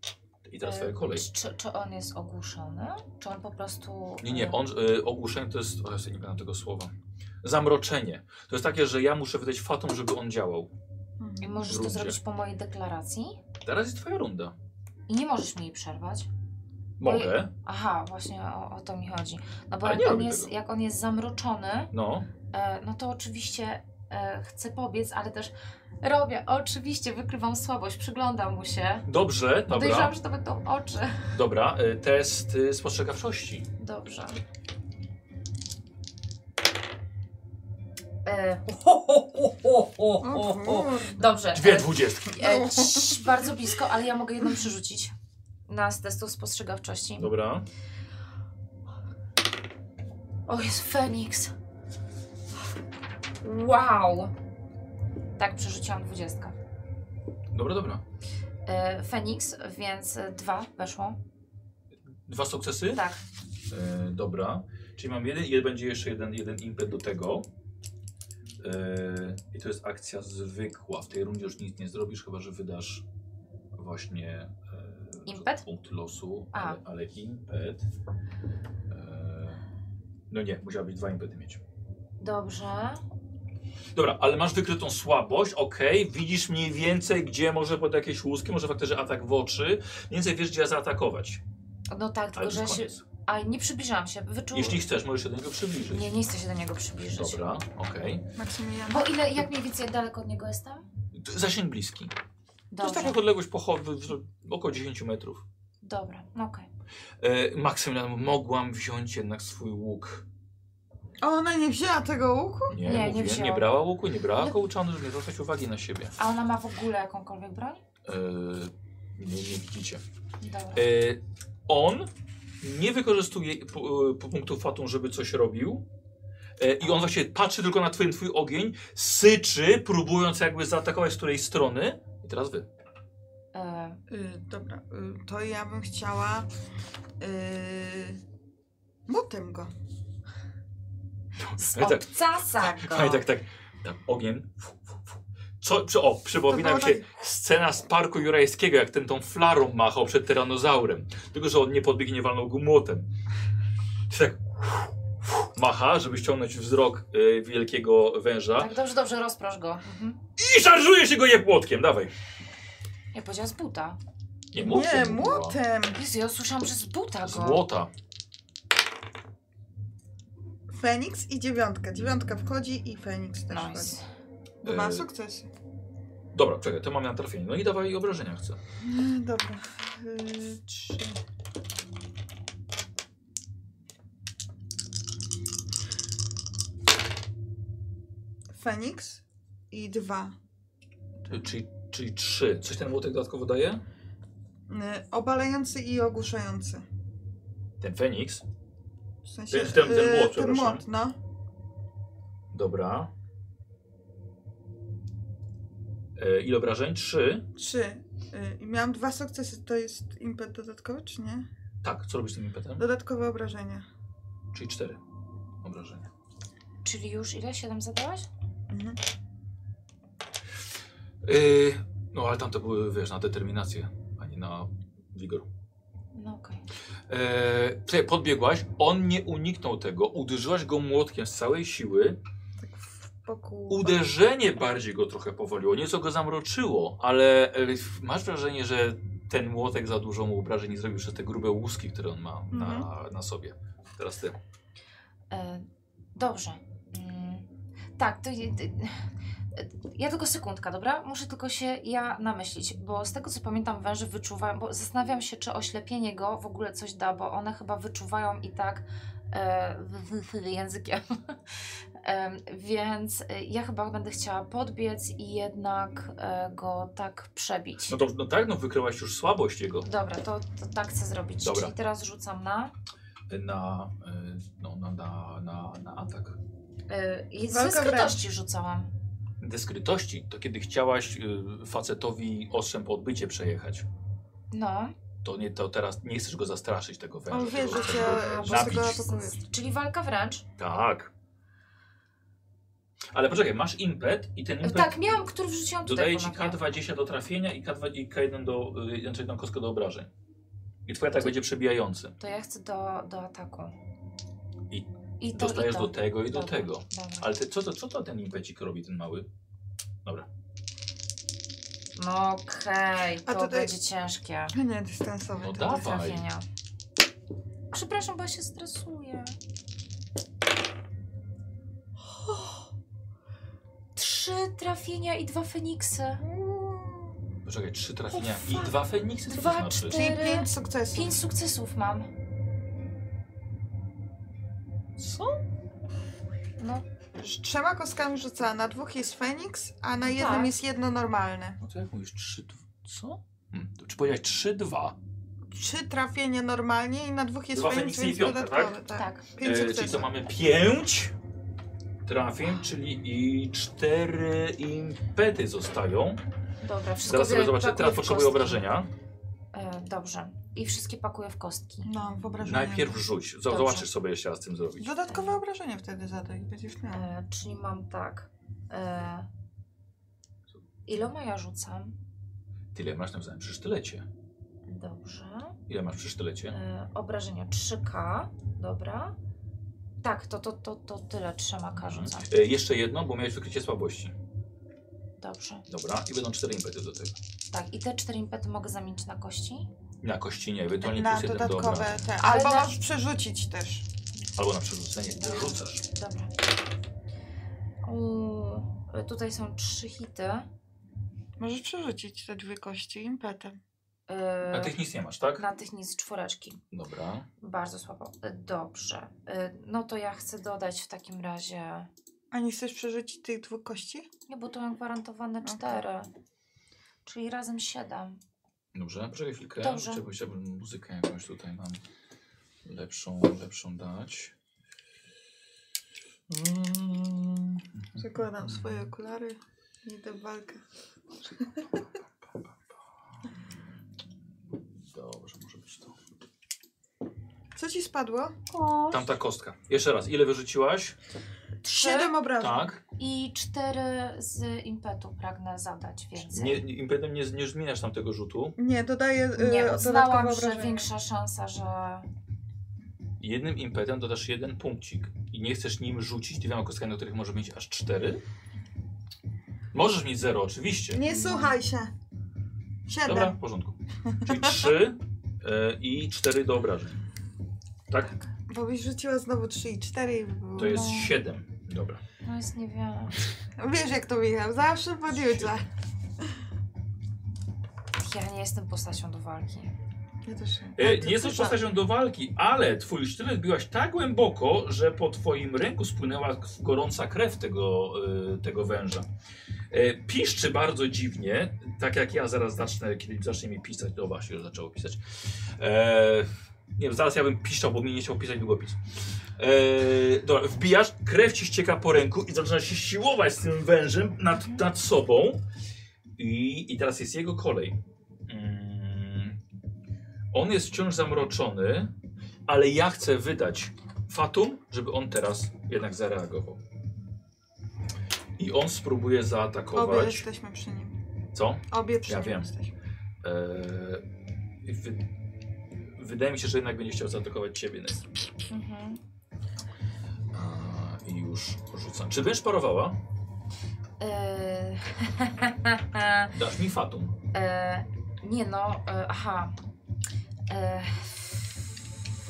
I E, teraz twoja kolej. Y, Czy- Czy, czy on jest ogłuszony? Czy on po prostu. Nie, nie, on, y, ogłuszenie to jest. O, ja sobie nie pamiętam tego słowa. Zamroczenie. To jest takie, że ja muszę wydać fatum, żeby on działał. I Mhm. Możesz Rundzie. to zrobić po mojej deklaracji? Teraz jest twoja runda. I nie możesz mi jej przerwać. Mogę. Aha, właśnie o, o to mi chodzi. No bo Ale nie jak on, robię jest, tego. jak on jest zamroczony, No. e, no to oczywiście e, chcę pobiec, ale też robię. Oczywiście wykrywam słabość, przyglądam mu się. Dobrze, dobra. Podejrzewam, że to będą oczy. Dobra, y, test y, spostrzegawczości. Dobrze. E, ho, ho, ho, ho, ho, O, ho, ho. kurde. Dobrze. Dwie e, dwudziestki. E, cii, bardzo blisko, ale ja mogę jedną przerzucić. Na z testów spostrzegawczości. Dobra. O, jest Feniks. Wow. Tak, przerzuciłam dwudziestkę. Dobra, dobra. E, Feniks, więc e, dwa weszło. Dwa sukcesy? Tak. E, dobra. Czyli mam jeden, jeden będzie jeszcze jeden, jeden impet do tego. E, I to jest akcja zwykła. W tej rundzie już nic nie zrobisz, chyba że wydasz właśnie e, Impet? punkt losu, A. ale, ale impet. E, no nie, musiałabyś dwa impety mieć. Dobrze. Dobra, ale masz wykrytą słabość, okej, widzisz mniej więcej, gdzie może pod jakieś łuski, może faktycznie atak w oczy, mniej więcej wiesz, gdzie zaatakować. No tak, Ale tylko to że ja jest się. koniec. A nie przybliżam się. Wyczuł. Jeśli chcesz, możesz się do niego przybliżyć. Nie, nie chcę się do niego przybliżyć. Dobra, okej. Maksymilian. Bo ile, jak mniej więcej daleko od niego jestem? To Zasięg bliski. To jest Dobrze. taka odległość pochodu w- około 10 metrów. Dobra, no okej. E, Maksymilian, mogłam wziąć jednak swój łuk. A Ona nie wzięła tego łuku? Nie, Nie, nie mówiłem, nie, wzięłam. brała łuku, nie brała No- kołczanu, żeby nie zwracać uwagi na siebie. A ona ma w ogóle jakąkolwiek broń? E, nie, nie widzicie. Dobra. E, on nie wykorzystuje pu- e, punktu fatum, żeby coś robił. E, I on właśnie patrzy tylko na twój, twój ogień, syczy, próbując jakby zaatakować z której strony. I teraz wy. E, Y, dobra, y, to ja bym chciała... Y, młotem go. Ale tak, Obcasa go. Tak. No ale tak, tak. Tam ogień. tak, Fu, fu, fu. Co, przy- o, przypomina To mi było się scena z Parku Jurajskiego, jak ten tą flarą machał przed tyranozaurem. Tylko, że on nie podbiegnie walnął go młotem. To Tak macha, żeby ściągnąć wzrok y, wielkiego węża Tak, dobrze, dobrze, rozprosz go. Mhm. i szarżuje się go je młotkiem, dawaj. Ja powiedziałam z buta. Nie, Nie, młotem. była. młotem. Jezu, ja usłyszałam, że z buta Z go. młota. Feniks i dziewiątka. Dziewiątka wchodzi i Feniks też wchodzi. Nice. Bo ma Y, sukces. Dobra, czekaj, to mam na trafienie. No i dawaj obrażenia chcę. Mm, Dobra. Y, Trzy. Feniks i dwa. Y, Czyli, czyli trzy. Coś ten młotek dodatkowo daje? Y, Obalający i ogłuszający. Ten Feniks. W sensie, Ten- ten- ten y, młot, ten przepraszam. młot, no. Dobra. E, ile obrażeń? Trzy. Trzy. Y, I miałam dwa sukcesy, to jest impet dodatkowy, czy nie? Tak, co robisz z tym impetem? Dodatkowe obrażenia. Czyli cztery obrażenia. Czyli już ile? Siedem zadałaś? Mhm. Yy, no ale tamte były, wiesz, na determinację, a nie na wigor. No okej. Yy, słuchaj, podbiegłaś, on nie uniknął tego, uderzyłaś go młotkiem z całej siły, Tak w boku. Uderzenie bardziej go trochę powoliło, nieco go zamroczyło, ale e, masz wrażenie, że ten młotek za dużo mu obrażeń nie zrobił przez te grube łuski, które on ma na, na sobie. Teraz ty. E, Dobrze. Mm, Tak, to. je- ty- Ja tylko sekundka, dobra? Muszę tylko się ja namyślić, bo z tego co pamiętam, węże wyczuwają, bo zastanawiam się, czy oślepienie go w ogóle coś da, bo one chyba wyczuwają i tak e, językiem. Em, Więc e, ja chyba będę chciała podbiec i jednak e, go tak przebić. No to no tak, no wykryłaś już słabość jego Dobra, to, to tak chcę zrobić. Dobra. Czyli teraz rzucam na. na, e, no, na, na, na, na atak. e, i Ze Walka wręcz. skrytości rzucałam. Dyskrytości to kiedy chciałaś e, facetowi ostrzem po odbycie przejechać. No. To, nie, to teraz nie chcesz go zastraszyć, tego węża. On wie, tylko że chcesz cię go po prostu nabić. go atakuje. Czyli walka wręcz. Tak. Ale poczekaj, masz impet i ten impet Tak, miałam, który wrzuciłam No tutaj. Dodaję ci ponownie. K20 do trafienia i K2 i K1 do, y, znaczy jedną kostkę do obrażeń. I twój atak będzie przebijający. To ja chcę do, do ataku. I I to, Dostajesz i to. do tego i do Dobra, tego. Dobra. Ale ty, co, to, co to ten impecik robi, ten mały? No okej, A to tutaj- będzie ciężkie. Nie, dystansowy. No to da. Do Dawaj. trafienia. Przepraszam, bo ja się stresuję. Trzy trafienia i dwa feniksy. Poczekaj, trzy trafienia O, fuck. i dwa feniksy co to Dwa, znaczy? cztery. Czyli pięć sukcesów. Pięć sukcesów mam. Co? No, Z trzema kostkami rzucała, na dwóch jest Feniks, a na jednym tak. jest jedno normalne. No to jak mówisz, trzy, dw... co? Hmm. to Czy powiedziałeś trzy, dwa? Trzy trafienia normalnie i na dwóch jest Dwa Feniks, Feniksy i więc piątka, dodatkowy. Tak. tak. Pięć E, czyli to sukcesów. mamy pięć trafień, czyli i cztery impety zostają. Dobra, wszystko Zaraz sobie biorę- zobaczę, pakuję teraz w potrzebuję kostki. obrażenia. E, dobrze. I wszystkie pakuję w kostki. No, wyobrażenie. Najpierw rzuć, Zo- Dobrze. zobaczysz sobie jeszcze raz z tym zrobić. Dodatkowe obrażenie wtedy zadaj, będziesz miał. E, czyli mam tak. E, iloma ja rzucam? Tyle masz na przy sztylecie. Dobrze. Ile masz przy sztylecie? E, obrażenia 3K. Dobra. Tak, to, to, to, to tyle trzema K rzucam. E, jeszcze jedno, bo miałeś wykrycie słabości. Dobrze. Dobra, i będą cztery impety do tego. Tak, i te cztery impety mogę zamienić na kości? Na kościnie, ewentualnie Na plus jeden do dodatkowe obrażeń. te. Ale Albo na- możesz przerzucić też. Albo na przerzucenie. Ty rzucasz. Dobra. Uuu, e, tutaj są trzy hity. Możesz przerzucić te dwie kości impetem. E, Na tych nic nie masz, tak? na tych nic czwóreczki. Dobra. Bardzo słabo. E, Dobrze. E, No to ja chcę dodać w takim razie. A nie chcesz przerzucić tych dwóch kości? Nie, bo to mam gwarantowane Okej. cztery. Czyli razem siedem. Dobrze, poczekaj chwilkę. Dobrze. Czekaj, chciałbym muzykę jakąś tutaj mam lepszą, lepszą dać. Mm. Zakładam swoje okulary i idę w walkę. Dobrze, może być to. Co ci spadło? Tamta kostka. Jeszcze raz, ile wyrzuciłaś? Siedem obrażeń. Tak. I cztery z impetu pragnę zadać więcej. Nie, nie- impetem nie, nie zmieniasz tamtego rzutu. Nie, dodaję y, Nie, uznałam, że obrażenia. większa szansa, że Jednym impetem dodasz jeden punkcik. I nie chcesz nim rzucić dwiema kostkami, do których może mieć aż cztery? Możesz mieć zero, oczywiście. Nie słuchaj się. Siedem. Dobra, w porządku. Czyli trzy e, i cztery do obrażeń. Tak? Bo byś rzuciła znowu 3 i 4 i by było. To jest siedem. Dobra. no jest niewiele. Wiesz jak to Michał, zawsze podjutrze. Ja nie jestem postacią do walki. Ja też nie. E, nie jesteś postacią do walki, ale twój sztylet biłaś tak głęboko, że po twoim ręku spłynęła k- gorąca krew tego, e, tego węża. E, piszczy bardzo dziwnie, tak jak ja zaraz zacznę, kiedy zacznie mi pisać, to właśnie już zaczęło pisać. E, nie wiem, zaraz ja bym piszczał, bo mi nie chciał pisać długopis. E, dobra, wbijasz, krew ci ścieka po ręku i zaczynasz się siłować z tym wężem nad, nad sobą. I, I teraz jest jego kolej. Mm. On jest wciąż zamroczony, ale ja chcę wydać Fatum, żeby on teraz jednak zareagował. I on spróbuje Obie zaatakować. jesteśmy przy nim. Co? Obie przy Ja nim wiem. jesteśmy. Eee, wy... Wydaje mi się, że jednak będzie chciał zaatakować ciebie. Ned. Mhm. Eee, I już rzucam. Czy będziesz parowała? E, Yy, Dasz mi Fatum. yy, nie no, yy, aha. E,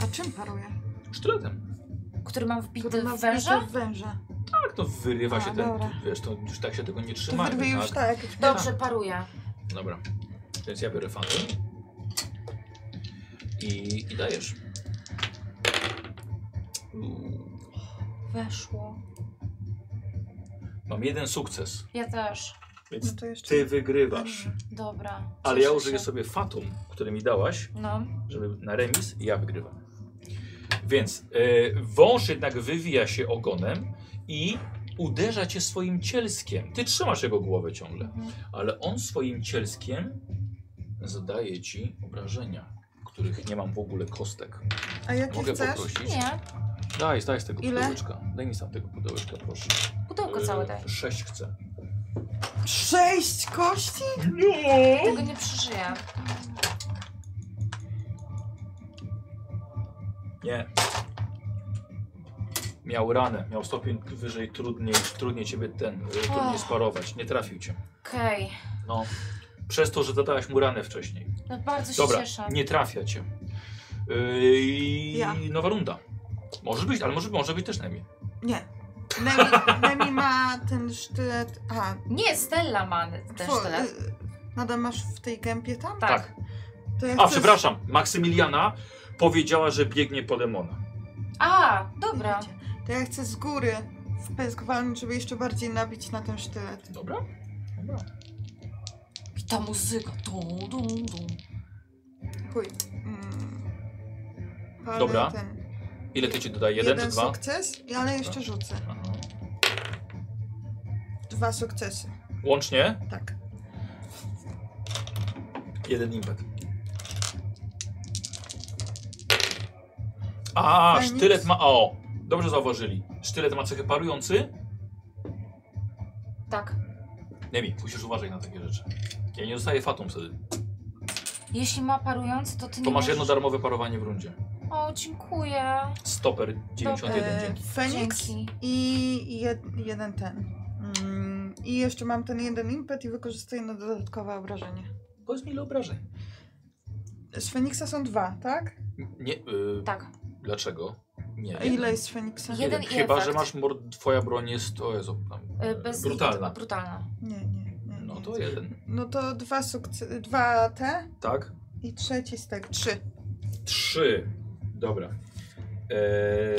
A czym paruje? Sztyletem. Yy, który mam wbity Który ma w węża? wbite węża. Tak, to wyrywa A, się ten. dobra. Wiesz, to już tak się tego nie To trzyma. wyrwie już tak. Dobrze, paruję. Dobra. Więc ja biorę Fatum. I, i dajesz. Uuu, Weszło. Mam jeden sukces, Mm. Ja też. No więc to jeszcze. ty wygrywasz. Dobra. Ale Cieszę ja użyję się. sobie Fatum, który mi dałaś. No. żeby na remis i ja wygrywam. Więc e, wąż jednak wywija się ogonem i uderza cię swoim cielskiem. Ty trzymasz jego głowę ciągle, ale on swoim cielskiem zadaje ci obrażenia, których nie mam w ogóle kostek. A jaki Mogę chcesz? poprosić? Nie. Daj, daj z tego Ile? pudełeczka. Daj mi sam tego pudełeczka, proszę. Pudełko całe daj. E, Sześć chcę. Sześć kości? Tego nie przeżyję. Nie. Miał ranę, miał stopień wyżej, trudniej, trudniej ciebie ten, e, trudniej Och. sparować. Nie trafił cię. Okej. No, przez to, że zadałaś mu ranę wcześniej. No bardzo się Dobra, cieszę. nie trafia cię. Yy, i Ja. nowa runda. Może być, ale może, może być też najmniej. Nie. Nemi, Nemi ma ten sztylet. A, Nie, Stella ma ten two- sztylet. y, Nadal masz w tej gębie tam? Tak. To ja A, chcę- przepraszam, Maksymiliana powiedziała, że biegnie po Lemona. A, dobra. To ja chcę z góry wpysk walnąć, żeby jeszcze bardziej nabić na ten sztylet. Dobra? Dobra. I ta muzyka. Dum, dum, dum. Chuj. Mm. Palę Dobra. Ten. Ile ty ci dodaje? Jeden, czy dwa? sukces, ale jeszcze rzucę. Aha. Dwa sukcesy. Łącznie Tak. jeden impet. A, Fajnie. sztylet ma... O, dobrze zauważyli. Sztylet ma cechę parujący. Tak. Nemi, musisz uważać na takie rzeczy. Ja nie dostaję fatum wtedy. Jeśli ma parujący, to ty To nie masz jedno możesz... darmowe parowanie w rundzie. O, dziękuję. Stoper 91 No dzięki. E, Feniks Dzięki. i jed, jeden ten. Mm, I jeszcze mam ten jeden impet i wykorzystuję na dodatkowe obrażenie. Powiedz mi ile obrażeń. Z Feniksa są dwa, tak? Nie, y, Tak. dlaczego? Nie. A ile jest z Feniksa? Jeden. i Chyba, efekt. że masz mord, twoja broń jest, o Jezu, tam, Y, y, Bez brutalna. Brutalna. Nie, nie, nie. nie. No to Mm. jeden. no to dwa sukcesy, dwa te Tak? i trzeci z tego. Trzy. Trzy. Dobra. Eee,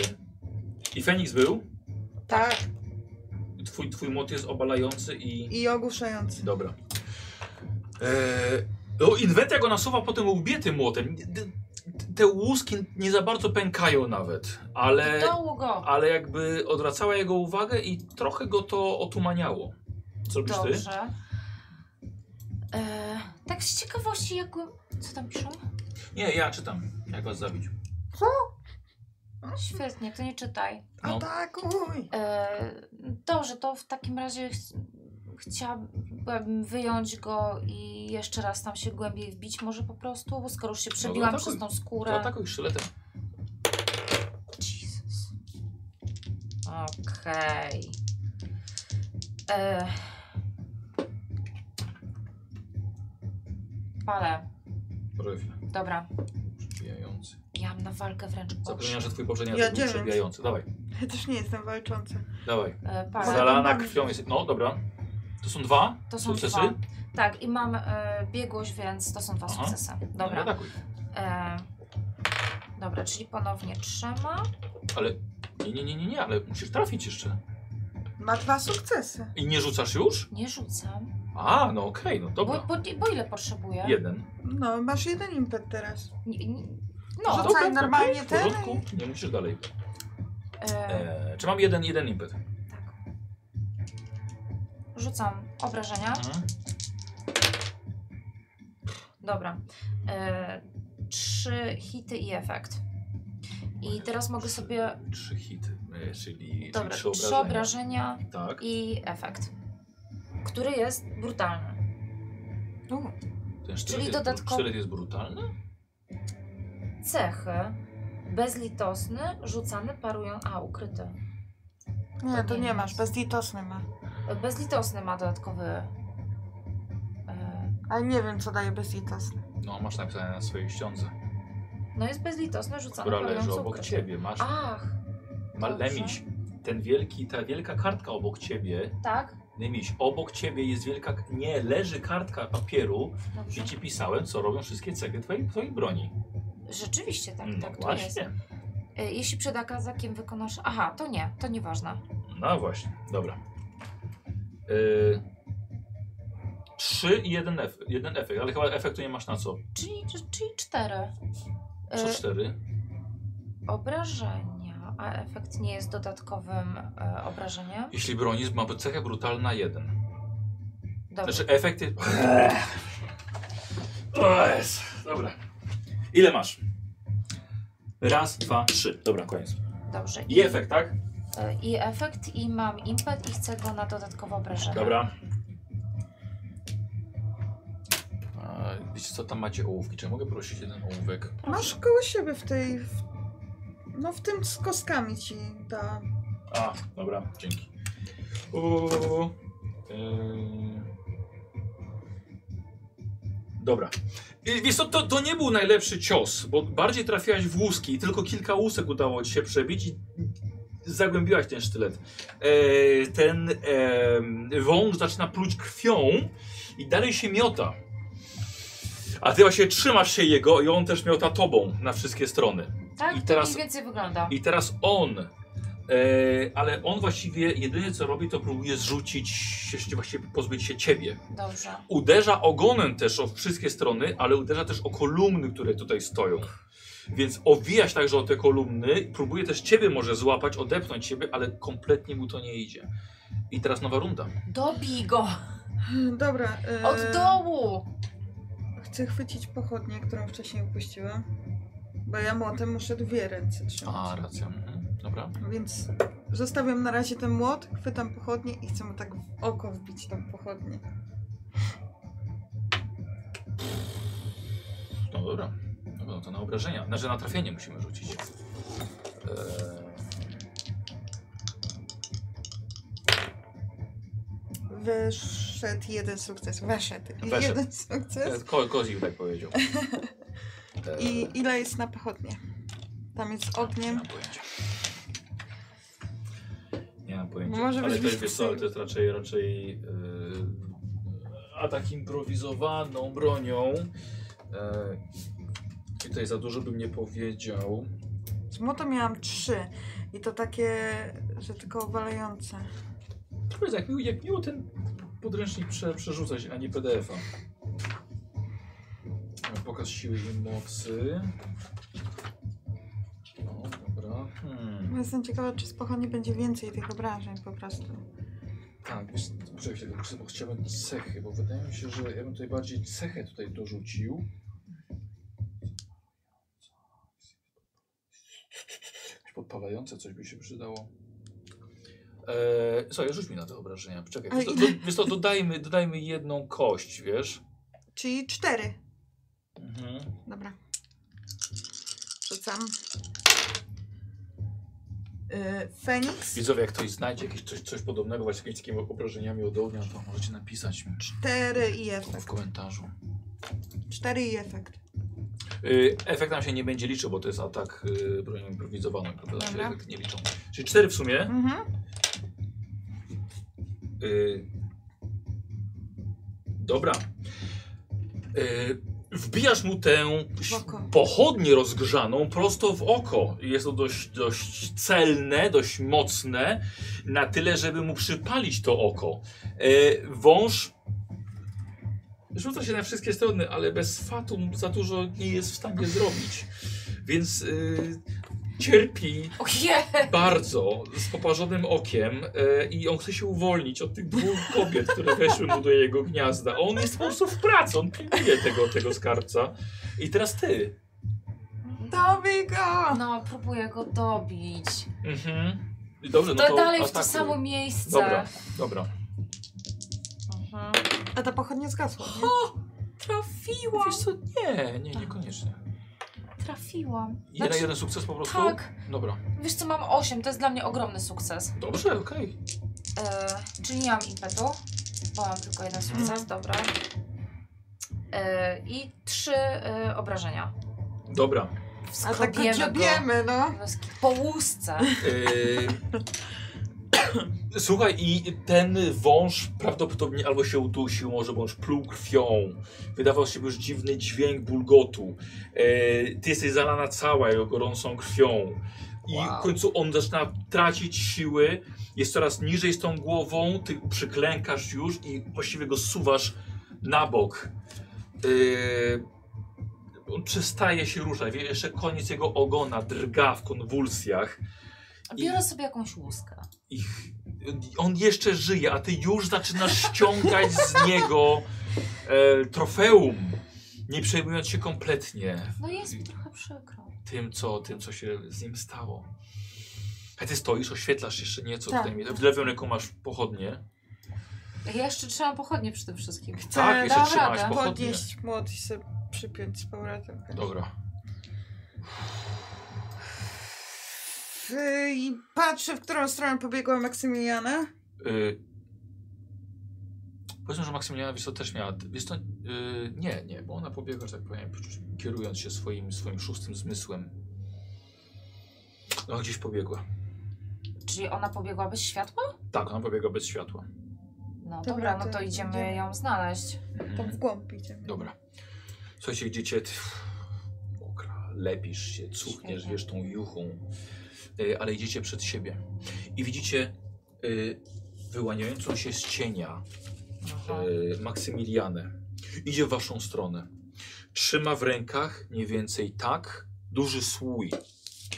I Feniks był? Tak. Twój, twój młot jest obalający i... I ogłuszający. Dobra. Eee, o, Inwenta go nasuwa potem ubiety młotem. Te- Te łuski nie za bardzo pękają nawet, ale... Dołu go. ale jakby odwracała jego uwagę i trochę go to otumaniało. Co robisz ty? Dobrze. E, tak z ciekawości, jak... Co tam piszą? Nie, ja czytam, jak was zabić. Świetnie, to nie czytaj. No. Atakuj! E, dobrze, to w takim razie ch- chciałabym wyjąć go i jeszcze raz tam się głębiej wbić może po prostu, bo skoro już się przebiłam No, atakuj. przez tą skórę. To atakuj sztyletem. Jesus. Okej. E. Palę. Profil Dobra. przebijający. Ja mam na walkę wręcz Zapominam, oczy. że twój poprzedni Ja atak był dziewięć. przebijający. Dawaj, Ja też nie jestem walczący. dawaj. E, Palę. Zalana krwią jest... No, dobra. To są dwa To są sukcesy? dwa. Tak, i mam e, biegłość, więc to są dwa Aha. sukcesy. No, Dobra. atakuj. E, dobra, czyli ponownie trzyma. Ale... Nie, nie, nie, nie, nie, ale musisz trafić jeszcze. Ma dwa sukcesy. I nie rzucasz już? Nie rzucam. A, no okej, no Bo, dobra. bo, bo ile potrzebuję? Jeden. No, masz jeden impet teraz. Nie- nie- No, No, Rzucaj normalnie w ten porządku, nie musisz dalej. Tak. e, Eee, czy mam jeden, jeden impet? tak. Rzucam obrażenia. Mhm. Dobra. E, trzy hity i efekt. I teraz mogę sobie. Trzy hity, e, czyli, Dobra, czyli trzy obrażenia Tak, i efekt, który jest brutalny. U, ten sztylet, czyli jest, dodatkowo- sztylet jest brutalny? Cechy. Bezlitosny, rzucany, parują. A, ukryty. nie, To to nie nie jest. masz, bezlitosny ma. Bezlitosny ma dodatkowy. e, Ale nie wiem, co daje bezlitosny. No, masz napisane na swojej ściądze, No jest bezlitosny, rzucany, która parujący, leży obok ukryty. ciebie. Masz Ach, ma dobrze. lemiś, ten wielki, ta wielka kartka obok ciebie, tak? lemiś, obok ciebie jest wielka, k- nie, leży kartka papieru, No Dobrze. gdzie ci pisałem, co robią wszystkie cechy twojej, twojej broni. Rzeczywiście tak, no tak to jest. właśnie, E, Jeśli przed akazakiem wykonasz. Aha, to nie, to nieważne. no właśnie, dobra. Y... Trzy i jeden, ef- jeden efekt, ale chyba efektu nie masz na co? Czyli, czyli cztery. Co E, cztery? Obrażenia, a efekt nie jest dodatkowym e, obrażeniem. Jeśli broni, ma cechę brutalna jeden. Dobrze. Znaczy efekty. O jest. Dobra. Ile masz? Raz, dwa, trzy. Dobra, koniec. Dobrze. I efekt, tak? e, I efekt, i mam impet, i chcę go na dodatkowe obrażenia. Dobra. A, wiecie co, tam macie ołówki. Czy ja mogę prosić jeden ołówek? Masz koło siebie w tej... W... No w tym z kostkami ci da. A, dobra, dzięki. Uuu. Yy. Dobra. Yy, Wiesz co, to, to nie był najlepszy cios, bo bardziej trafiłaś w łuski i tylko kilka łusek udało ci się przebić i zagłębiłaś ten sztylet. Yy, ten yy, wąż zaczyna pluć krwią i dalej się miota. A ty właśnie trzymasz się jego i on też miota tobą na wszystkie strony. Tak? I I teraz- teraz... Mniej więcej wygląda. I teraz on, e, ale on właściwie jedynie co robi, to próbuje zrzucić, się, właściwie pozbyć się ciebie. Dobrze. Uderza ogonem też o wszystkie strony, ale uderza też o kolumny, które tutaj stoją. Więc owija się także o te kolumny, próbuje też ciebie może złapać, odepchnąć ciebie, ale kompletnie mu to nie idzie. I teraz nowa runda. Dobij go! Dobra. y, Od Eee. dołu! Chcę chwycić pochodnię, którą wcześniej upuściłam. Bo ja młotem muszę dwie ręce trzymać. A, racja. Mhm. Dobra. Więc zostawiam na razie ten młot, chwytam pochodnię i chcę mu tak w oko wbić tą pochodnię. No dobra. Dobra, no to na obrażenia. Znaczy na trafienie musimy rzucić. Eee... Wyszedł jeden sukces. Weszedł. Weszedł. Jeden sukces. Ko Kozik tak powiedział. Eee, I ile jest na pochodnie? Tam jest Nie ogniem. mam pojęcia. Nie mam pojęcia. Może ale być to jest, wiesz co, ale to jest raczej, raczej yy, atak improwizowaną bronią. Yy, I tutaj za dużo bym nie powiedział. Z młotem miałam trzy. I to takie, że tylko obalające. Powiedz, jak miło, jak miło ten podręcznik prze, przerzucać, a nie PDF-a. E, Pokaz siły i mocy. No, dobra. Hmm. Bo No, Jestem ciekawa, czy z pochodni będzie więcej tych obrażeń po prostu. Tak, wiesz, poczekaj chwilę, bo chcę- bo chciałbym cechy, bo wydaje mi się, że ja bym tutaj bardziej cechę tutaj dorzucił. Jakieś podpalające coś by się przydało. Eee, słuchaj, rzuć mi na te obrażenia. Czekaj, Ale wiesz, co, ile? do, wiesz co, dodajmy, dodajmy jedną kość, wiesz? Czyli cztery. Mhm. Dobra. Rzucam. Yy, Feniks. Widzowie, jak ktoś znajdzie jakieś coś, coś podobnego właśnie z jakimiś takimi obrażeniami od ognia, to możecie napisać mi Cztery i w efekt. komentarzu. Cztery i efekt. Y, Efekt nam się nie będzie liczył, bo to jest atak y, bronią improwizowaną, prawda? Się Dobra. efekt nie liczą. Czyli cztery w sumie. Mhm. Y, Dobra. Y, Wbijasz mu tę ś- Oko. pochodnię rozgrzaną prosto w oko. Jest to dość, dość celne, dość mocne, na tyle, żeby mu przypalić to oko. Y, Wąż rzuca się na wszystkie strony, ale bez fatum za dużo nie jest w stanie zrobić. Więc y, cierpi Ojej! bardzo z poparzonym okiem e, i on chce się uwolnić od tych dwóch kobiet, które weszły mu do jego gniazda. A On jest po prostu w pracy, on pilnuje tego, tego skarbca. I teraz ty. Dobij go! No, próbuję go dobić. Mhm. I Dobrze, no to, to dalej w to atakuj. samo miejsce. Dobra, dobra. Mhm. A ta pochodnia zgasła. nie? Trafiłam! Wiesz co, nie, nie, niekoniecznie. Trafiłam. Jeden, Znaczy- jeden sukces po prostu? Tak. Dobra. Wiesz co, mam 8, to jest dla mnie ogromny sukces. Dobrze, okej. E, czyli nie mam impetu, bo mam tylko Mhm. jeden sukces, dobra. E, I trzy e, obrażenia. Dobra. A tak Wskrobiemy go go. dziobiemy, no. Bez ki- Po łusce. Yy, Y, Słuchaj, i ten wąż prawdopodobnie albo się udusił, może wąż pluł krwią. Wydawał się już dziwny dźwięk bulgotu. Yy, ty jesteś zalana cała jego gorącą krwią. I w końcu on zaczyna tracić siły, jest coraz niżej z tą głową, ty przyklękasz już i właściwie go suwasz na bok. Yy, on przestaje się ruszać, wie- jeszcze koniec jego ogona drga w konwulsjach. Biorę sobie jakąś łuskę. I on jeszcze żyje, a ty już zaczynasz ściągać z niego e, trofeum, nie przejmując się kompletnie No jest mi trochę przykro. tym, co, tym, co się z nim stało. A ty stoisz, oświetlasz jeszcze nieco. Tak. Tutaj. mi- W lewym ręku masz pochodnie. Ja jeszcze trzymam pochodnie przy tym wszystkim. Tak, jeszcze dam trzymałaś radę. pochodnie. Podnieść młot i sobie przypiąć z powrotem. Dobra. Yy, I patrzę, w którą stronę pobiegła Maksymiliana. Y, powiedzmy, że Maksymiliana wiesz, to też miała. Wiesz, to, y, nie, nie, bo ona pobiegła, że tak powiem, kierując się swoim, swoim szóstym zmysłem. No, gdzieś pobiegła. Czyli ona pobiegła bez światła? Tak, ona pobiega bez światła. No Dobra, dobra, no to to idziemy idziemy. ją znaleźć. Tam w głąb idziemy. Mhm. Dobra. Słuchajcie, idziecie, ty, mokra, lepisz się, cuchniesz, Świetnie. wiesz tą juchą, y, ale idziecie przed siebie i widzicie y, wyłaniającą się z cienia Aha. y, Maksymilianę. Idzie w waszą stronę. Trzyma w rękach mniej więcej tak duży słój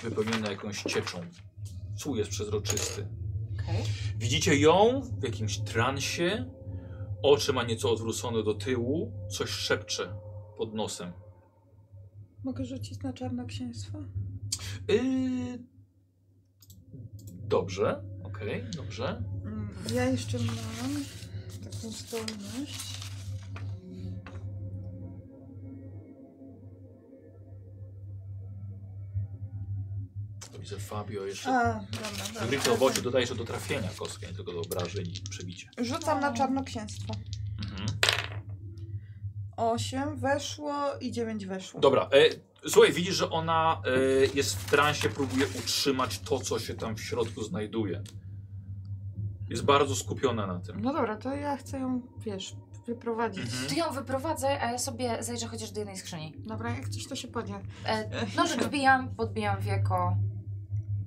wypełniony jakąś cieczą. Słój jest przezroczysty. Okej. Widzicie ją w jakimś transie. Oczy ma nieco odwrócone do tyłu. Coś szepcze pod nosem. Mogę rzucić na czarnoksięstwo? Yy... Dobrze, okej, dobrze. Mm, Ja jeszcze mam taką zdolność. To widzę Fabio jeszcze. A, dobra, dobra. Wygrycie obociu dodajesz do trafienia kostkę, nie tylko do obrażeń i przebicia. Rzucam No. na czarnoksięstwo. Mhm. Osiem weszło i dziewięć weszło. Dobra, e, słuchaj, widzisz, że ona e, jest w transie, próbuje utrzymać to, co się tam w środku znajduje. Jest bardzo skupiona na tym. No dobra, to ja chcę ją, wiesz, wyprowadzić. Mhm. Ty ją wyprowadzaj, a ja sobie zajrzę chociaż do jednej skrzyni. Dobra, jak coś to się podzie. E, nożyk wbijam, podbijam wieko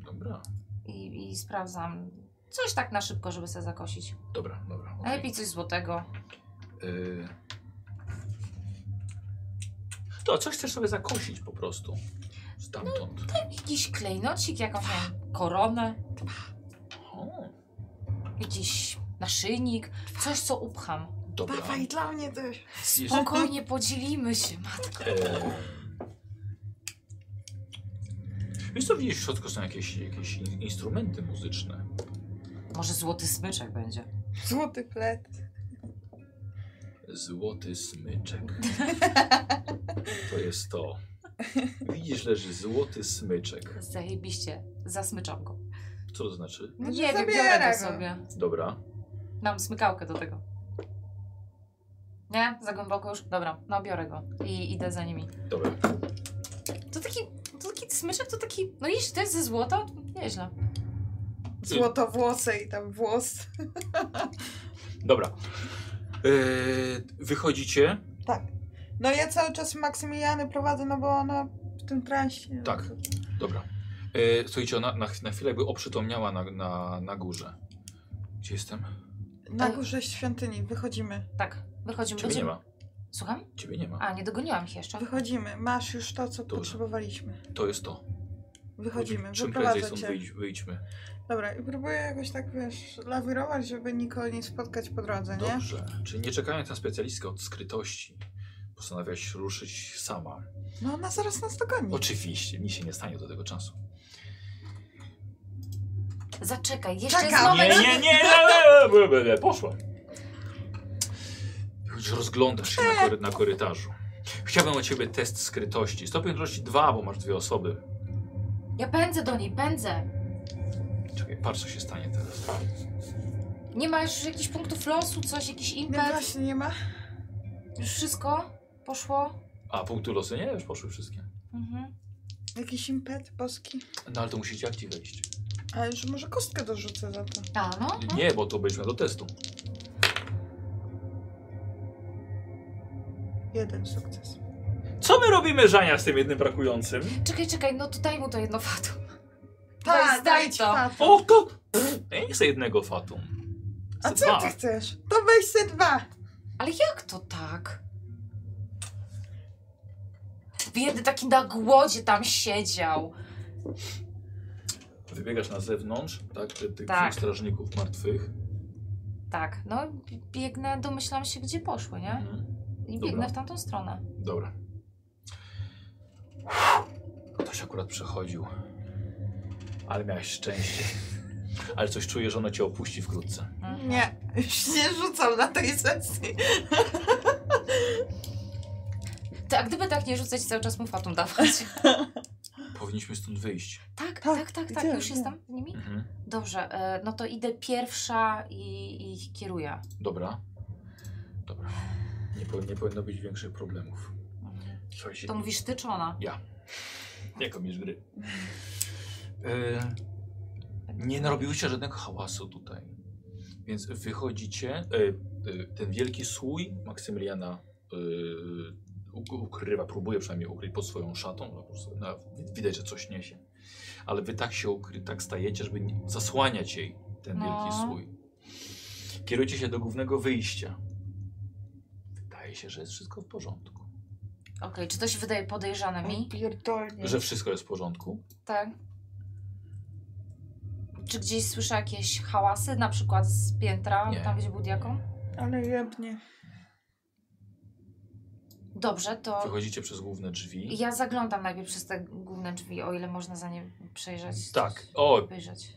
Dobra, i, i sprawdzam. Coś tak na szybko, żeby sobie zakosić. dobra, dobra. okej. Najlepiej coś złotego. Y... To coś chcesz sobie zakosić po prostu. Stamtąd. Jakiś klejnocik, jakąś nie wiem, koronę, O, jakiś naszyjnik, coś co upcham. dobra. Dawaj, dla mnie też. Jest, Spokojnie podzielimy się, matko. e... Wiesz co, widzisz w środku są jakieś, jakieś in- instrumenty muzyczne. Może złoty smyczek będzie. Złoty plet. Złoty smyczek. To jest to. Widzisz, leży złoty smyczek. Zajebiście. Zasmyczam go. Co to znaczy? No to nie wiem, zabiera biorę go go. sobie. Dobra. Mam smykałkę do tego. Nie? Za głęboko już? Dobra, no biorę go i idę za nimi. Dobra. To taki, to taki smyczek, to taki, no jeśli to jest ze złota, to nieźle. Złotowłosy i tam włos. Dobra. Yy, wychodzicie. No ja cały czas Maksymiliany prowadzę, no bo ona w tym transie. Tak. Dobra. Yy, słuchajcie, ona na, na chwilę jakby oprzytomniała na, na, na górze. Gdzie jestem? Na górze świątyni, wychodzimy. Tak, wychodzimy. Ciebie nie będziemy- ma. Słucham? Ciebie nie ma. A, nie dogoniłam ich jeszcze. Wychodzimy. Masz już to, co Dobra. potrzebowaliśmy. To jest to. Czym Wychodzimy, prędzej wyprowadzę stąd cię. wyjdź, wyjdźmy. Dobra, i próbuję jakoś tak, wiesz, lawirować, żeby nikogo nie spotkać po drodze, nie? Dobrze. Czyli nie czekając na specjalistkę od skrytości, postanawiasz ruszyć sama. No ona zaraz nas dogoni. Oczywiście, nic się nie stanie do tego czasu. Zaczekaj, jeszcze jest Czekam. moment. Nie, nie, nie, nie, nie, nie, nie poszła. Choć rozglądasz się na, kory, na korytarzu. Chciałbym od ciebie test skrytości. Stopień trudności 2, bo masz dwie osoby. Ja pędzę do niej, pędzę. Czekaj, patrz co się stanie teraz. Nie ma już jakichś punktów losu, coś, jakiś No impet. właśnie, nie ma? Już wszystko poszło. A, punkty losu? Nie, już poszły wszystkie. Mhm. Jakiś impet boski. No ale to musicie jak ci wejść. A już może kostkę dorzucę za to. A, no. no. Nie, bo to byliśmy do testu. Jeden sukces. Co my robimy, Żania, z tym jednym brakującym? Czekaj, czekaj, no to daj mu to jedno fatum. daj Tak, daj ci to. fatum. O, to... Ja nie chcę jednego fatum. A Chcę co ty chcesz? To weź se dwa. Ale jak to tak? Biedny taki na głodzie tam siedział. Wybiegasz na zewnątrz, tak? Ty, tych Tak. strażników martwych. Tak, no biegnę, domyślam się, gdzie poszły, Tak. nie? Mhm. I Dobra. biegnę w tamtą stronę. Dobra. Ktoś akurat przechodził. Ale miałeś szczęście. Ale coś czuję, że ono cię opuści wkrótce. Mhm. Nie, już nie rzucam na tej sesji. Ty, a gdyby tak nie rzucać, cały czas mu fatum dawać. Powinniśmy stąd wyjść. Tak, Tak, tak, tak, tak. idziemy, Już nie. jestem z nimi? Mhm. Dobrze, e, no to idę pierwsza i i ich kieruję. Dobra. Dobra. Nie, po, nie powinno być większych problemów. Słuchajcie, To mówisz ty czy ona? nie komisz gry. E, nie narobiłyście żadnego hałasu tutaj. Więc wychodzicie. E, e, ten wielki słój Maksymiliana e, u- ukrywa, próbuje przynajmniej ukryć pod swoją szatą. No, po prostu, no, wi- widać, że coś niesie. Ale wy tak się ukry, tak stajecie, żeby nie- zasłaniać jej ten wielki No. słój. Kierujcie się do głównego wyjścia. Wydaje się, że jest wszystko w porządku. Okej, czy to się wydaje podejrzane Mm. mi? Pierdolnie. Że wszystko jest w porządku. Tak. Czy gdzieś słyszę jakieś hałasy, na przykład z piętra, Nie. tam gdzie był diakon? Ale jebnie. Dobrze, to Wychodzicie przez główne drzwi. ja zaglądam najpierw przez te główne drzwi, o ile można za nie przejrzeć. Tak. O, Obejrzeć.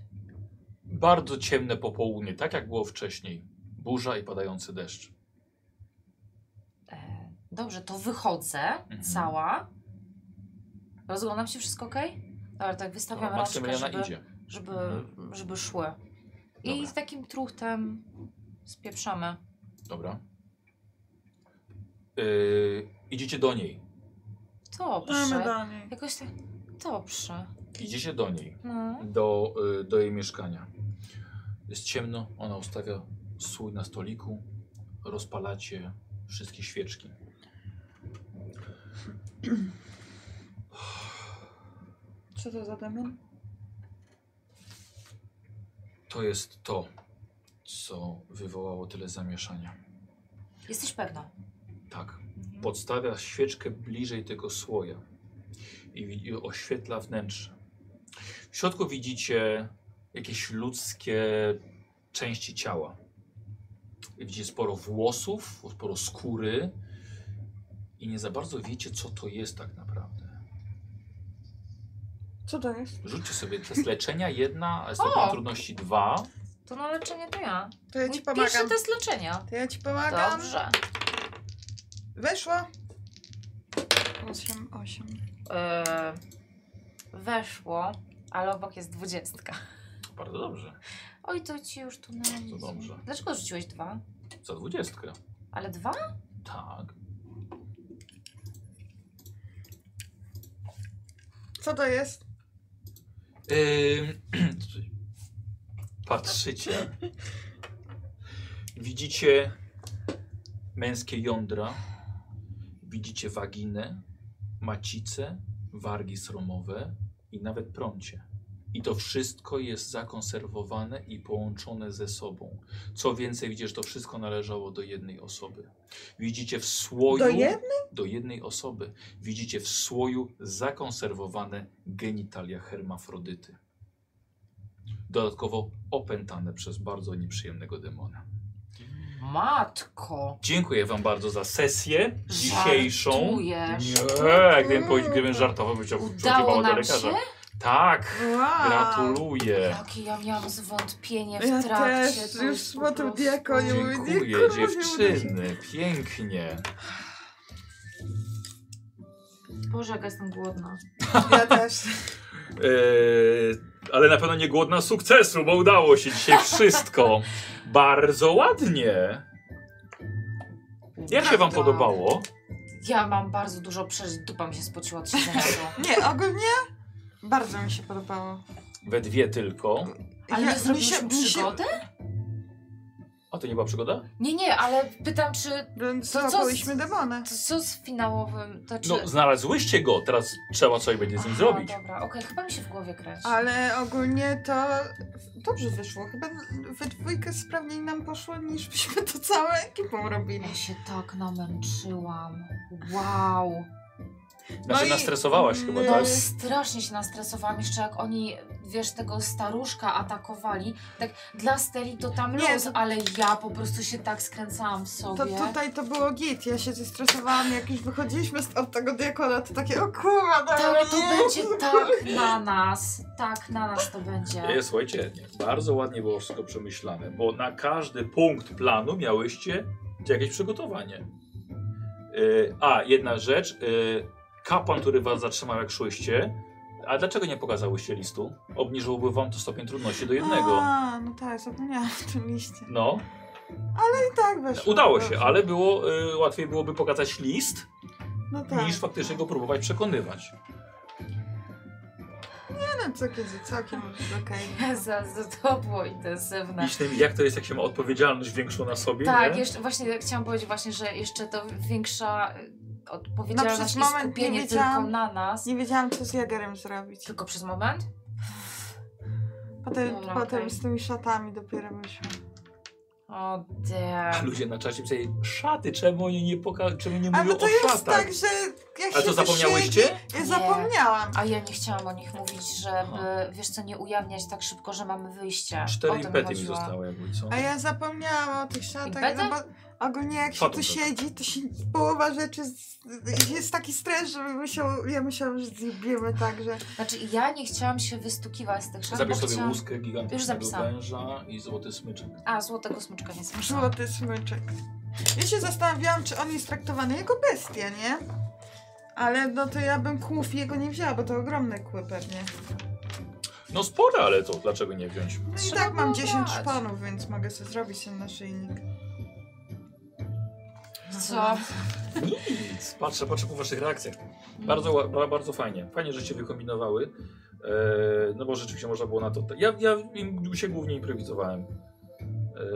bardzo ciemne popołudnie, tak jak było wcześniej. Burza i padający deszcz. E, dobrze, to wychodzę Mhm. cała. Rozglądam się, wszystko ok? Dobra, tak wystawiam rączkę, Maksymiliana żeby, No, idzie. Mhm. żeby, żeby szły. I Dobra. z takim truchtem spieprzamy. Dobra. Yy, idziecie do niej. Mamy Dobrze. do niej. Jakoś tak. Dobrze. Idziecie do niej. No. Do, y, do jej mieszkania. Jest ciemno, ona ustawia słój na stoliku. Rozpalacie wszystkie świeczki. Co to za demon? To jest to, co wywołało tyle zamieszania. Jesteś pewna. Tak. Podstawia świeczkę bliżej tego słoja i, wi- i oświetla wnętrze. W środku widzicie jakieś ludzkie części ciała. I Widzicie sporo włosów, sporo skóry i nie za bardzo wiecie, co to jest tak naprawdę. Co to jest? Rzućcie sobie test leczenia jedna, a stopień O! trudności dwa. To na leczenie to ja. To ja Mój ci pomagam. Pierwszy test leczenia. To ja ci pomagam. Dobrze. Weszło. 8, 8. E, weszło, ale obok jest dwudziestka. Bardzo dobrze. Oj, to ci już tu na nic. dobrze. Dlaczego rzuciłeś dwa? Za dwudziestkę. Ale dwa? Tak. Co to jest? Ym, Patrzycie. Widzicie męskie jądra. Widzicie waginę, macicę, wargi sromowe i nawet prącie. I to wszystko jest zakonserwowane i połączone ze sobą. Co więcej, widzisz, to wszystko należało do jednej osoby. Widzicie w słoju. Do jednej? do jednej osoby. Widzicie w słoju zakonserwowane genitalia hermafrodyty. Dodatkowo opętane przez bardzo nieprzyjemnego demona. Matko. Dziękuję Wam bardzo za sesję dzisiejszą. Żartujesz. Nie, gdybym, Mm. powie- gdybym żartował, bym chciał Udało do nam się? lekarza. Tak, Wow. gratuluję. Jakie ja miałam zwątpienie Ja w trakcie. też, to już po po tym prostu- diakonie mówię, nie, Dziękuję kurwa, nie uda dziewczyny, pięknie. Boże, jaka jestem głodna. się. Ja też. Eee, ale na pewno nie głodna sukcesu, bo udało się dzisiaj wszystko. Bardzo ładnie. Jak się wam Prawda. podobało? Ja mam bardzo dużo przeżyć, dupa mi się spociła od siedzenia tu. Nie, ogólnie bardzo mi się podobało. We dwie tylko. Ale Ja- nie zrobiliśmy przygody? A to nie była przygoda? Nie, nie, ale pytam, czy To co z- co? Byliśmy demony. to co z finałowym, to czy... No, znalazłyście go, teraz trzeba coś będzie z nim Aha, zrobić. Dobra, okej, chyba mi się w głowie kręci. Ale ogólnie to dobrze wyszło. Chyba we dwójkę sprawniej nam poszło niż byśmy to całą ekipą robili. Ja się tak namęczyłam. Wow. Znaczy, No i- nastresowałaś chyba, no No tak? i- strasznie się nastresowałam jeszcze jak oni, wiesz, tego staruszka atakowali. Tak dla Steli to tam Nie, luz, to- ale ja po prostu się tak skręcałam w sobie. To tutaj to było git. Ja się zestresowałam, jak już wychodziliśmy z- od tego diakona, to takie o kurwa, dobra, Tak, to nie. będzie tak na nas. Tak na nas to będzie. Nie, E, słuchajcie, bardzo ładnie było wszystko przemyślane, bo na każdy punkt planu miałyście jakieś przygotowanie. Yy, a, jedna rzecz. Yy, kapłan, który was zatrzymał jak szłyście, a dlaczego nie pokazałyście listu? Obniżyłoby wam to stopień trudności do jednego. A, no tak, zapomniałam o tym liście. No, I tak weszło. udało się, ale było, yy, łatwiej byłoby pokazać list, No tak. niż faktycznie go próbować przekonywać. Nie no, co kiedy, całkiem okej. Za, za to było Tak. intensywne. Licznym, jak to jest, jak się ma odpowiedzialność większą na sobie, Tak, nie? jeszcze właśnie chciałam powiedzieć właśnie, że jeszcze to większa y, No, przez odpowiedzialność i moment nie skupienie tylko wiedziałam. na nas. Nie wiedziałam, co z Jagerem zrobić. Tylko przez moment? Potem, Dobra, potem okej. z tymi szatami dopiero wyszło. O A damn. ludzie na czasie pisali, szaty, czemu oni nie, poka- czemu nie A mówią bo No, to o jest szatach? tak, że jak A się to zapomniałyście? wysiedzie- Ja Nie. zapomniałam. A ja nie chciałam o nich mówić, żeby, wiesz co, nie ujawniać tak szybko, że mamy wyjście. O to Cztery impety mi chodziło. zostały, jakby co. A ja zapomniałam o tych szatach, będę? no bo ogólnie jak się Potem tu będę. siedzi, to się połowa rzeczy z, jest taki stres, że my musiał, ja myślałam, że zjebimy tak, także. Znaczy ja nie chciałam się wystukiwać z tych szat, Zabierz bo sobie chciałam... łuskę Już gigantycznego zapisałam. węża i złoty smyczek. A, złotego smyczka nie słyszałam. Złoty smyczek. Ja się zastanawiałam, czy on jest traktowany jako bestia, nie? Ale no to ja bym kłów jego nie wzięła, bo to ogromne kły pewnie. No spore, ale to dlaczego nie wziąć? No i Trzeba tak mam było 10 brać. szponów, więc mogę sobie zrobić ten naszyjnik. Co? Nic, patrzę, patrzę po waszych reakcjach. Bardzo, ła- ba- bardzo fajnie. Fajnie, że się wykombinowały. E, no bo rzeczywiście można było na to... Ja, ja im- się głównie improwizowałem.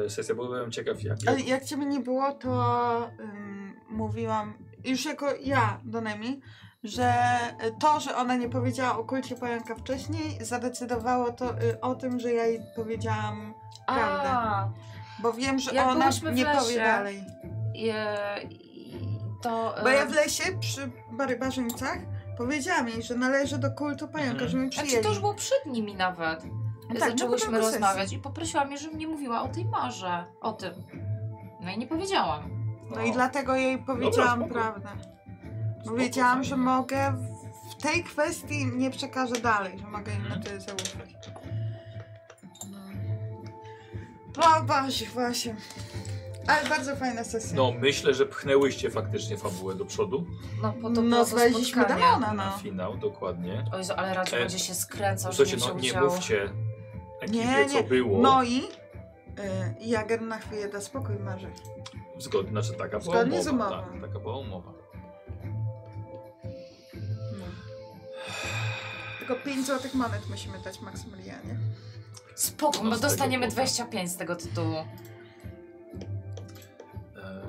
E, sesja, bo byłem ciekaw jak... Ale jak ciebie nie było, to ym, mówiłam, już jako ja do Nemi, że to, że ona nie powiedziała o kulcie pojanka wcześniej, zadecydowało to y, o tym, że ja jej powiedziałam, A, Prawda. bo wiem, że Jak ona byłyśmy w nie powie lesie. dalej. i, i to... Bo ja e, w lesie przy barbarzyńcach powiedziałam jej, że należy do kultu pojanka, Mhm. żeby mi Znaczy przyjęli. to już było przed nimi nawet. No tak, no Zaczęłyśmy potem po sesji. rozmawiać i poprosiłam jej, żebym nie mówiła o tej marze, o tym. No i nie powiedziałam. No i No dlatego jej powiedziałam spoko. prawdę. no, Spoko, Powiedziałam, że fajnie. mogę w- w tej kwestii nie przekażę dalej, że mogę im na tyle zaufać. No, Basiu, właśnie. Ale bardzo fajna sesja. No, myślę, że pchnęłyście faktycznie fabułę do przodu No, po to no było to znaleźliśmy spotkanie. demona, na no. finał, dokładnie. O Jezu, ale raczej E, będzie się skręcał, że Słuchajcie, nie no się nie udziało. mówcie ekipie, Nie, co nie. było. No i y, Jager na chwilę da spokój Marze. Zgodnie, znaczy taka była Zgodnie umowa. z umową. Tak, taka była umowa. Tylko 5 złotych monet musimy dać Maksymilianie. Spoko, No, bo z tego dostaniemy powodu. 25 z tego tytułu. E,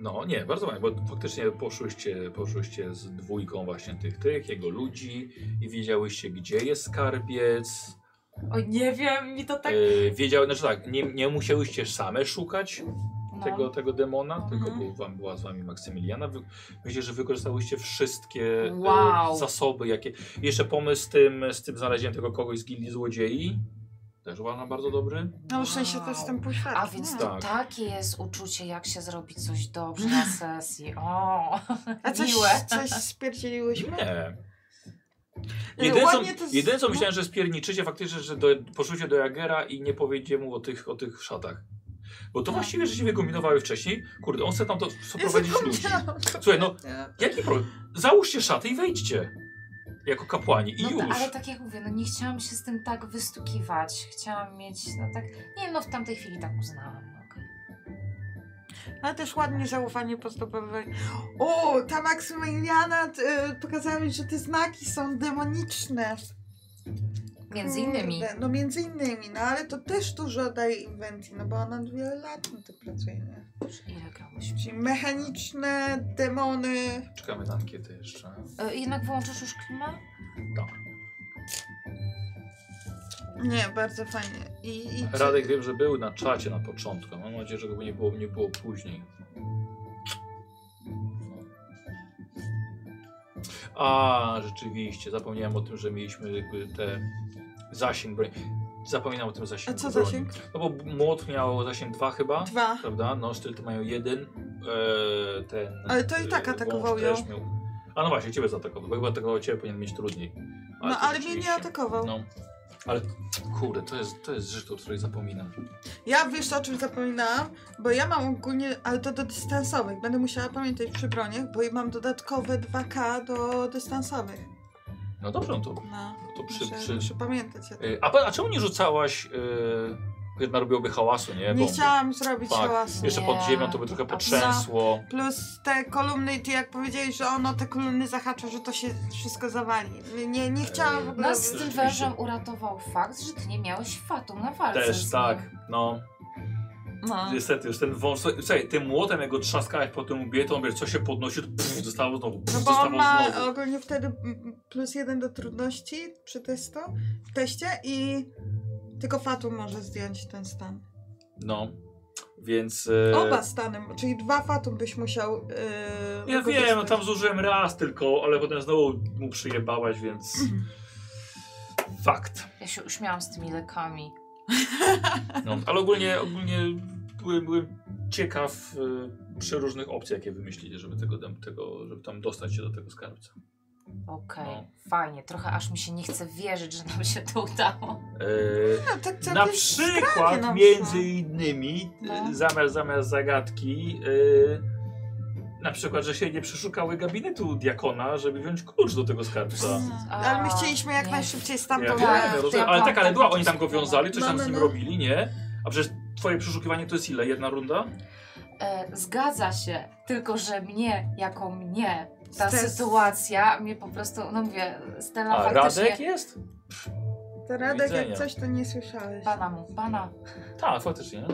No nie, bardzo ładnie, bo faktycznie poszłyście, poszłyście z dwójką właśnie tych, tych, jego ludzi i wiedziałyście, gdzie jest skarbiec. O nie wiem, mi to tak... E, wiedział, znaczy tak, nie, nie musiałyście same szukać tego, tego demona, No. tylko No. Mhm. był wam, była z wami Maksymiliana. Wy, myślę, że wykorzystałyście wszystkie e, Wow. zasoby, jakie... Jeszcze pomysł z tym, z tym znalezieniem tego kogoś z Gildii Złodziei. Też uważam bardzo dobry. No w sensie to jest ten no. półświatek. A więc nie? to Tak. takie jest uczucie, jak się zrobi coś dobrze na sesji. O, A coś, miłe. coś spierdzieliłyśmy? Nie. Nie, Jedyne co, E, ładnie to z- jedyne, co no. myślałem, że spierniczycie faktycznie, że do, poszłyście do Jagera i nie powiedzie mu o tych, o tych szatach. Bo No. to właściwie, że się wykombinowały wcześniej. Kurde, on chce tam to sprowadzić ludzi. zapomniałam. Słuchaj, no jaki problem? Załóżcie szaty i wejdźcie. Jako kapłani i No już. ta, ale tak jak mówię, no nie chciałam się z tym tak wystukiwać. Chciałam mieć, no tak, nie wiem, no w tamtej chwili tak uznałam. no okej. Ale też ładnie zaufanie pozdrowiłeś. O, ta Maksymiliana y, pokazała mi, że te znaki są demoniczne. Między innymi. Kurde, No między innymi, no ale to też dużo daje inwencji, no bo ona wiele lat na tym pracuje, nie? Ile grałyśmy? Czyli mechaniczne demony. Czekamy na ankietę jeszcze. E, jednak wyłączysz już klimę? Nie, bardzo fajnie. I, i Radek wiem, że był na czacie na początku. Mam nadzieję, że go nie było, nie było później. A, rzeczywiście. Zapomniałem o tym, że mieliśmy jakby te zasięg broni. Zapomniałem o tym A zasięgu co broni. zasięg? No bo młot miał zasięg 2 chyba, Dwa. prawda? No, sztylet mają jeden. E, ten, Ale to i tak e, atakował wąż ją. też miał. A no właśnie, ciebie zaatakował. bo Chyba atakował ciebie, powinien mieć trudniej. No to ale mnie nie rzeczywiście- atakował. no. Ale kurde, to jest, to jest rzecz, o której zapominam. Ja wiesz o czym zapominałam? Bo ja mam ogólnie, ale to do dystansowych. Będę musiała pamiętać przy broniach, bo mam dodatkowe 2K do dystansowych. No dobrze, no to, No. to przy... Muszę, przy muszę pamiętać o tym. y, a, pa- a czemu nie rzucałaś... Yy, jedna robiłoby hałasu, nie? Nie Bomby. chciałam zrobić Tak. hałasu. Jeszcze pod Nie. ziemią to by trochę A potrzęsło. Plus te kolumny, i ty jak powiedziałeś, że ono te kolumny zahacza, że to się wszystko zawali. Nie, nie chciałam w ogóle... Nas No, z tym rzeczywiście. wężem uratował fakt, że ty nie miałeś fatu na walce. z Też nim. tak, no. No. Niestety, już ten wąż... słuchaj, Słuchaj, tym młotem jak go trzaskałeś po tym łbie, to on wiesz, co się podnosi, to pff, zostało znowu, pff, No bo zostało on ma znowu. ogólnie wtedy mm, plus jeden do trudności przy testu, w teście i tylko Fatum może zdjąć ten stan. No, więc... e, Oba stany, czyli dwa Fatum byś musiał... Yy, Ja wiem, no tam zużyłem raz tylko, ale potem znowu mu przyjebałaś, więc... Mhm. Fakt. Ja się uśmiałam z tymi lekami. No, ale ogólnie, ogólnie byłem, byłem ciekaw y, przy różnych opcjach, jakie wymyślicie, żeby tego, dem- tego żeby tam dostać się do tego skarbca. Okej, No. fajnie. Trochę aż mi się nie chce wierzyć, że nam się to udało. E, No, tak na całkiem skromnie przykład, nam między szło. innymi, No. y, zamiast, zamiast zagadki, y, na przykład, że się nie przeszukały gabinetu diakona, żeby wziąć klucz do tego skarbca. A, Mm, Ale my chcieliśmy jak Nie. Ja najszybciej wiem, stamtąd... tak, ja rozumiem, tak, ale tak, tak, ale tak, była, tak, oni tam go tak. wiązali, coś No, tam no, z nim no. robili, nie? A przecież twoje przeszukiwanie to jest ile? Jedna runda? E, zgadza się, tylko że mnie, jako mnie, ta Stres. sytuacja mnie po prostu, no mówię, Stella A faktycznie... Radek jest? To Radek, widzenia. jak coś, to nie słyszałeś. Pana mu, pana. Tak, faktycznie.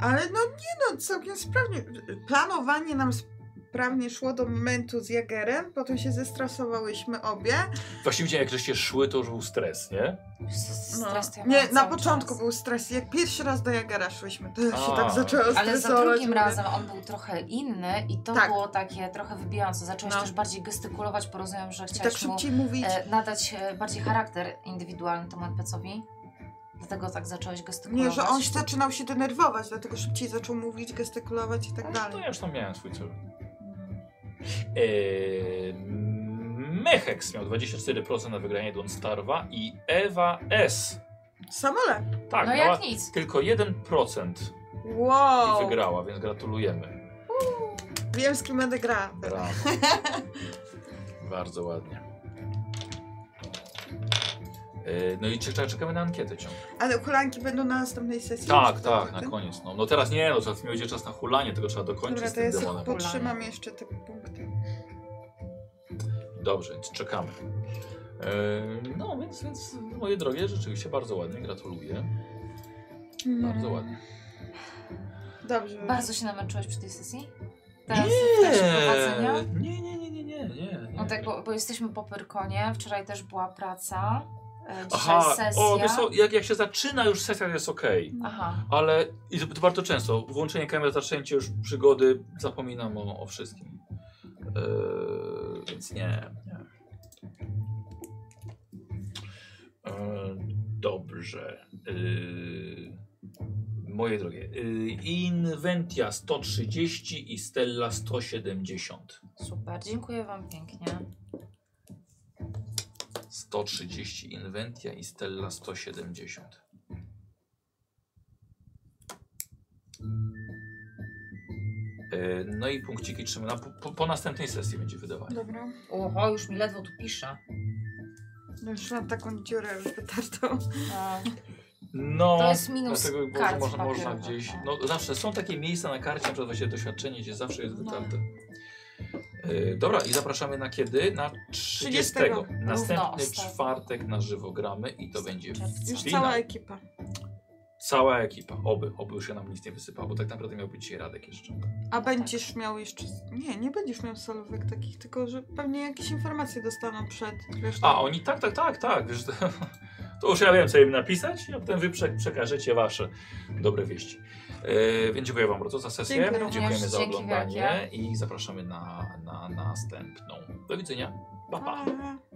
Ale no nie no, całkiem sprawnie. Planowanie nam sprawnie szło do momentu z Jagerem, potem się zestresowałyśmy obie. Właśnie widziałem, jak żeście szły, to już był stres, nie? S- No. Stres to ja nie, miałam na cały początku czas. był stres. Jak pierwszy raz do Jagera szłyśmy, to ja się A. tak zaczęło stresować. Ale za drugim mówię, razem on był trochę inny i to Tak. było takie trochę wybijające. Zacząłeś No. też bardziej gestykulować, bo rozumiem, że I chciałeś tak mu szybciej mówić. e, nadać e, bardziej charakter indywidualny temu NPC-owi. Dlatego tak zacząłeś gestykulować. Nie, że on tak- się zaczynał się denerwować, dlatego szybciej zaczął mówić, gestykulować i tak No, dalej. To ja już tam miałem swój cel. Eee, Mechex miał 24% na wygranie Don Starwa i Ewa S. Samolot. Tak, No miała jak nic. tylko 1% i Wow. wygrała, więc gratulujemy. Wiem, z kim będę grała. Brawo. Bardzo ładnie. E, No i czeka- czekamy na ankietę ciągle. Ale hulanki będą na następnej sesji? Tak, Czy tak, na ten? koniec. No, no teraz nie, no teraz mi będzie czas na hulanie, tego trzeba dokończyć Dobra, z to tym ja sobie demonem. potrzymam jeszcze te punkty. Dobrze, więc czekamy. E, no więc, więc moje drogie, rzeczywiście bardzo ładnie, gratuluję. Bardzo Mm. ładnie. Dobrze. Bardzo się namęczyłaś przy tej sesji? Teraz w trakcie prowadzenia? Nie, nie, nie, nie, nie, nie, nie. No tak, bo, bo jesteśmy po Pyrkonie, wczoraj też była praca, e, dzisiaj Aha, sesja. o, wiesz co, jak, jak się zaczyna już sesja, to jest okej. Mm, Aha, Ale i to, to bardzo często, włączenie kamery, zaczęcie już przygody, zapominam o, o wszystkim. Yy, więc nie. nie. Yy, dobrze. Yy, moje drogie. Yy, Inventia 130 i Stella 170. super, dziękuję wam pięknie. 130 Inventia i Stella 170. E, No i punkciki trzymamy. na- Po, po następnej sesji będzie wydawanie. Dobra. Oho, już mi ledwo tu pisze. No Już mam taką dziurę wytartą. E, No, To jest minus dlatego może- kart można, można papierowych, gdzieś. tak. No zawsze są takie miejsca na karcie, na przykład właśnie doświadczenie, gdzie zawsze No. jest wytarte. E, Dobra, i zapraszamy na kiedy? Na 30. 30. Równo Następny ostatni. czwartek na żywo gramy i to będzie Czerwca. Już finał. cała ekipa. Cała ekipa, oby, oby już się nam nic nie wysypało, bo tak naprawdę miał być dzisiaj Radek jeszcze. Tak. A będziesz miał jeszcze. Nie, nie będziesz miał solówek takich, tylko że pewnie jakieś informacje dostaną przed. Wiesz, A, oni tak, tak, tak, tak, wiesz, to, to już ja wiem, co im napisać, a potem wy prze- przekażecie wasze dobre wieści. E, więc dziękuję wam bardzo za sesję, Dziękuję również, dziękujemy za dzięki oglądanie wielkie. i zapraszamy na, na następną. Do widzenia, pa, pa. Pa.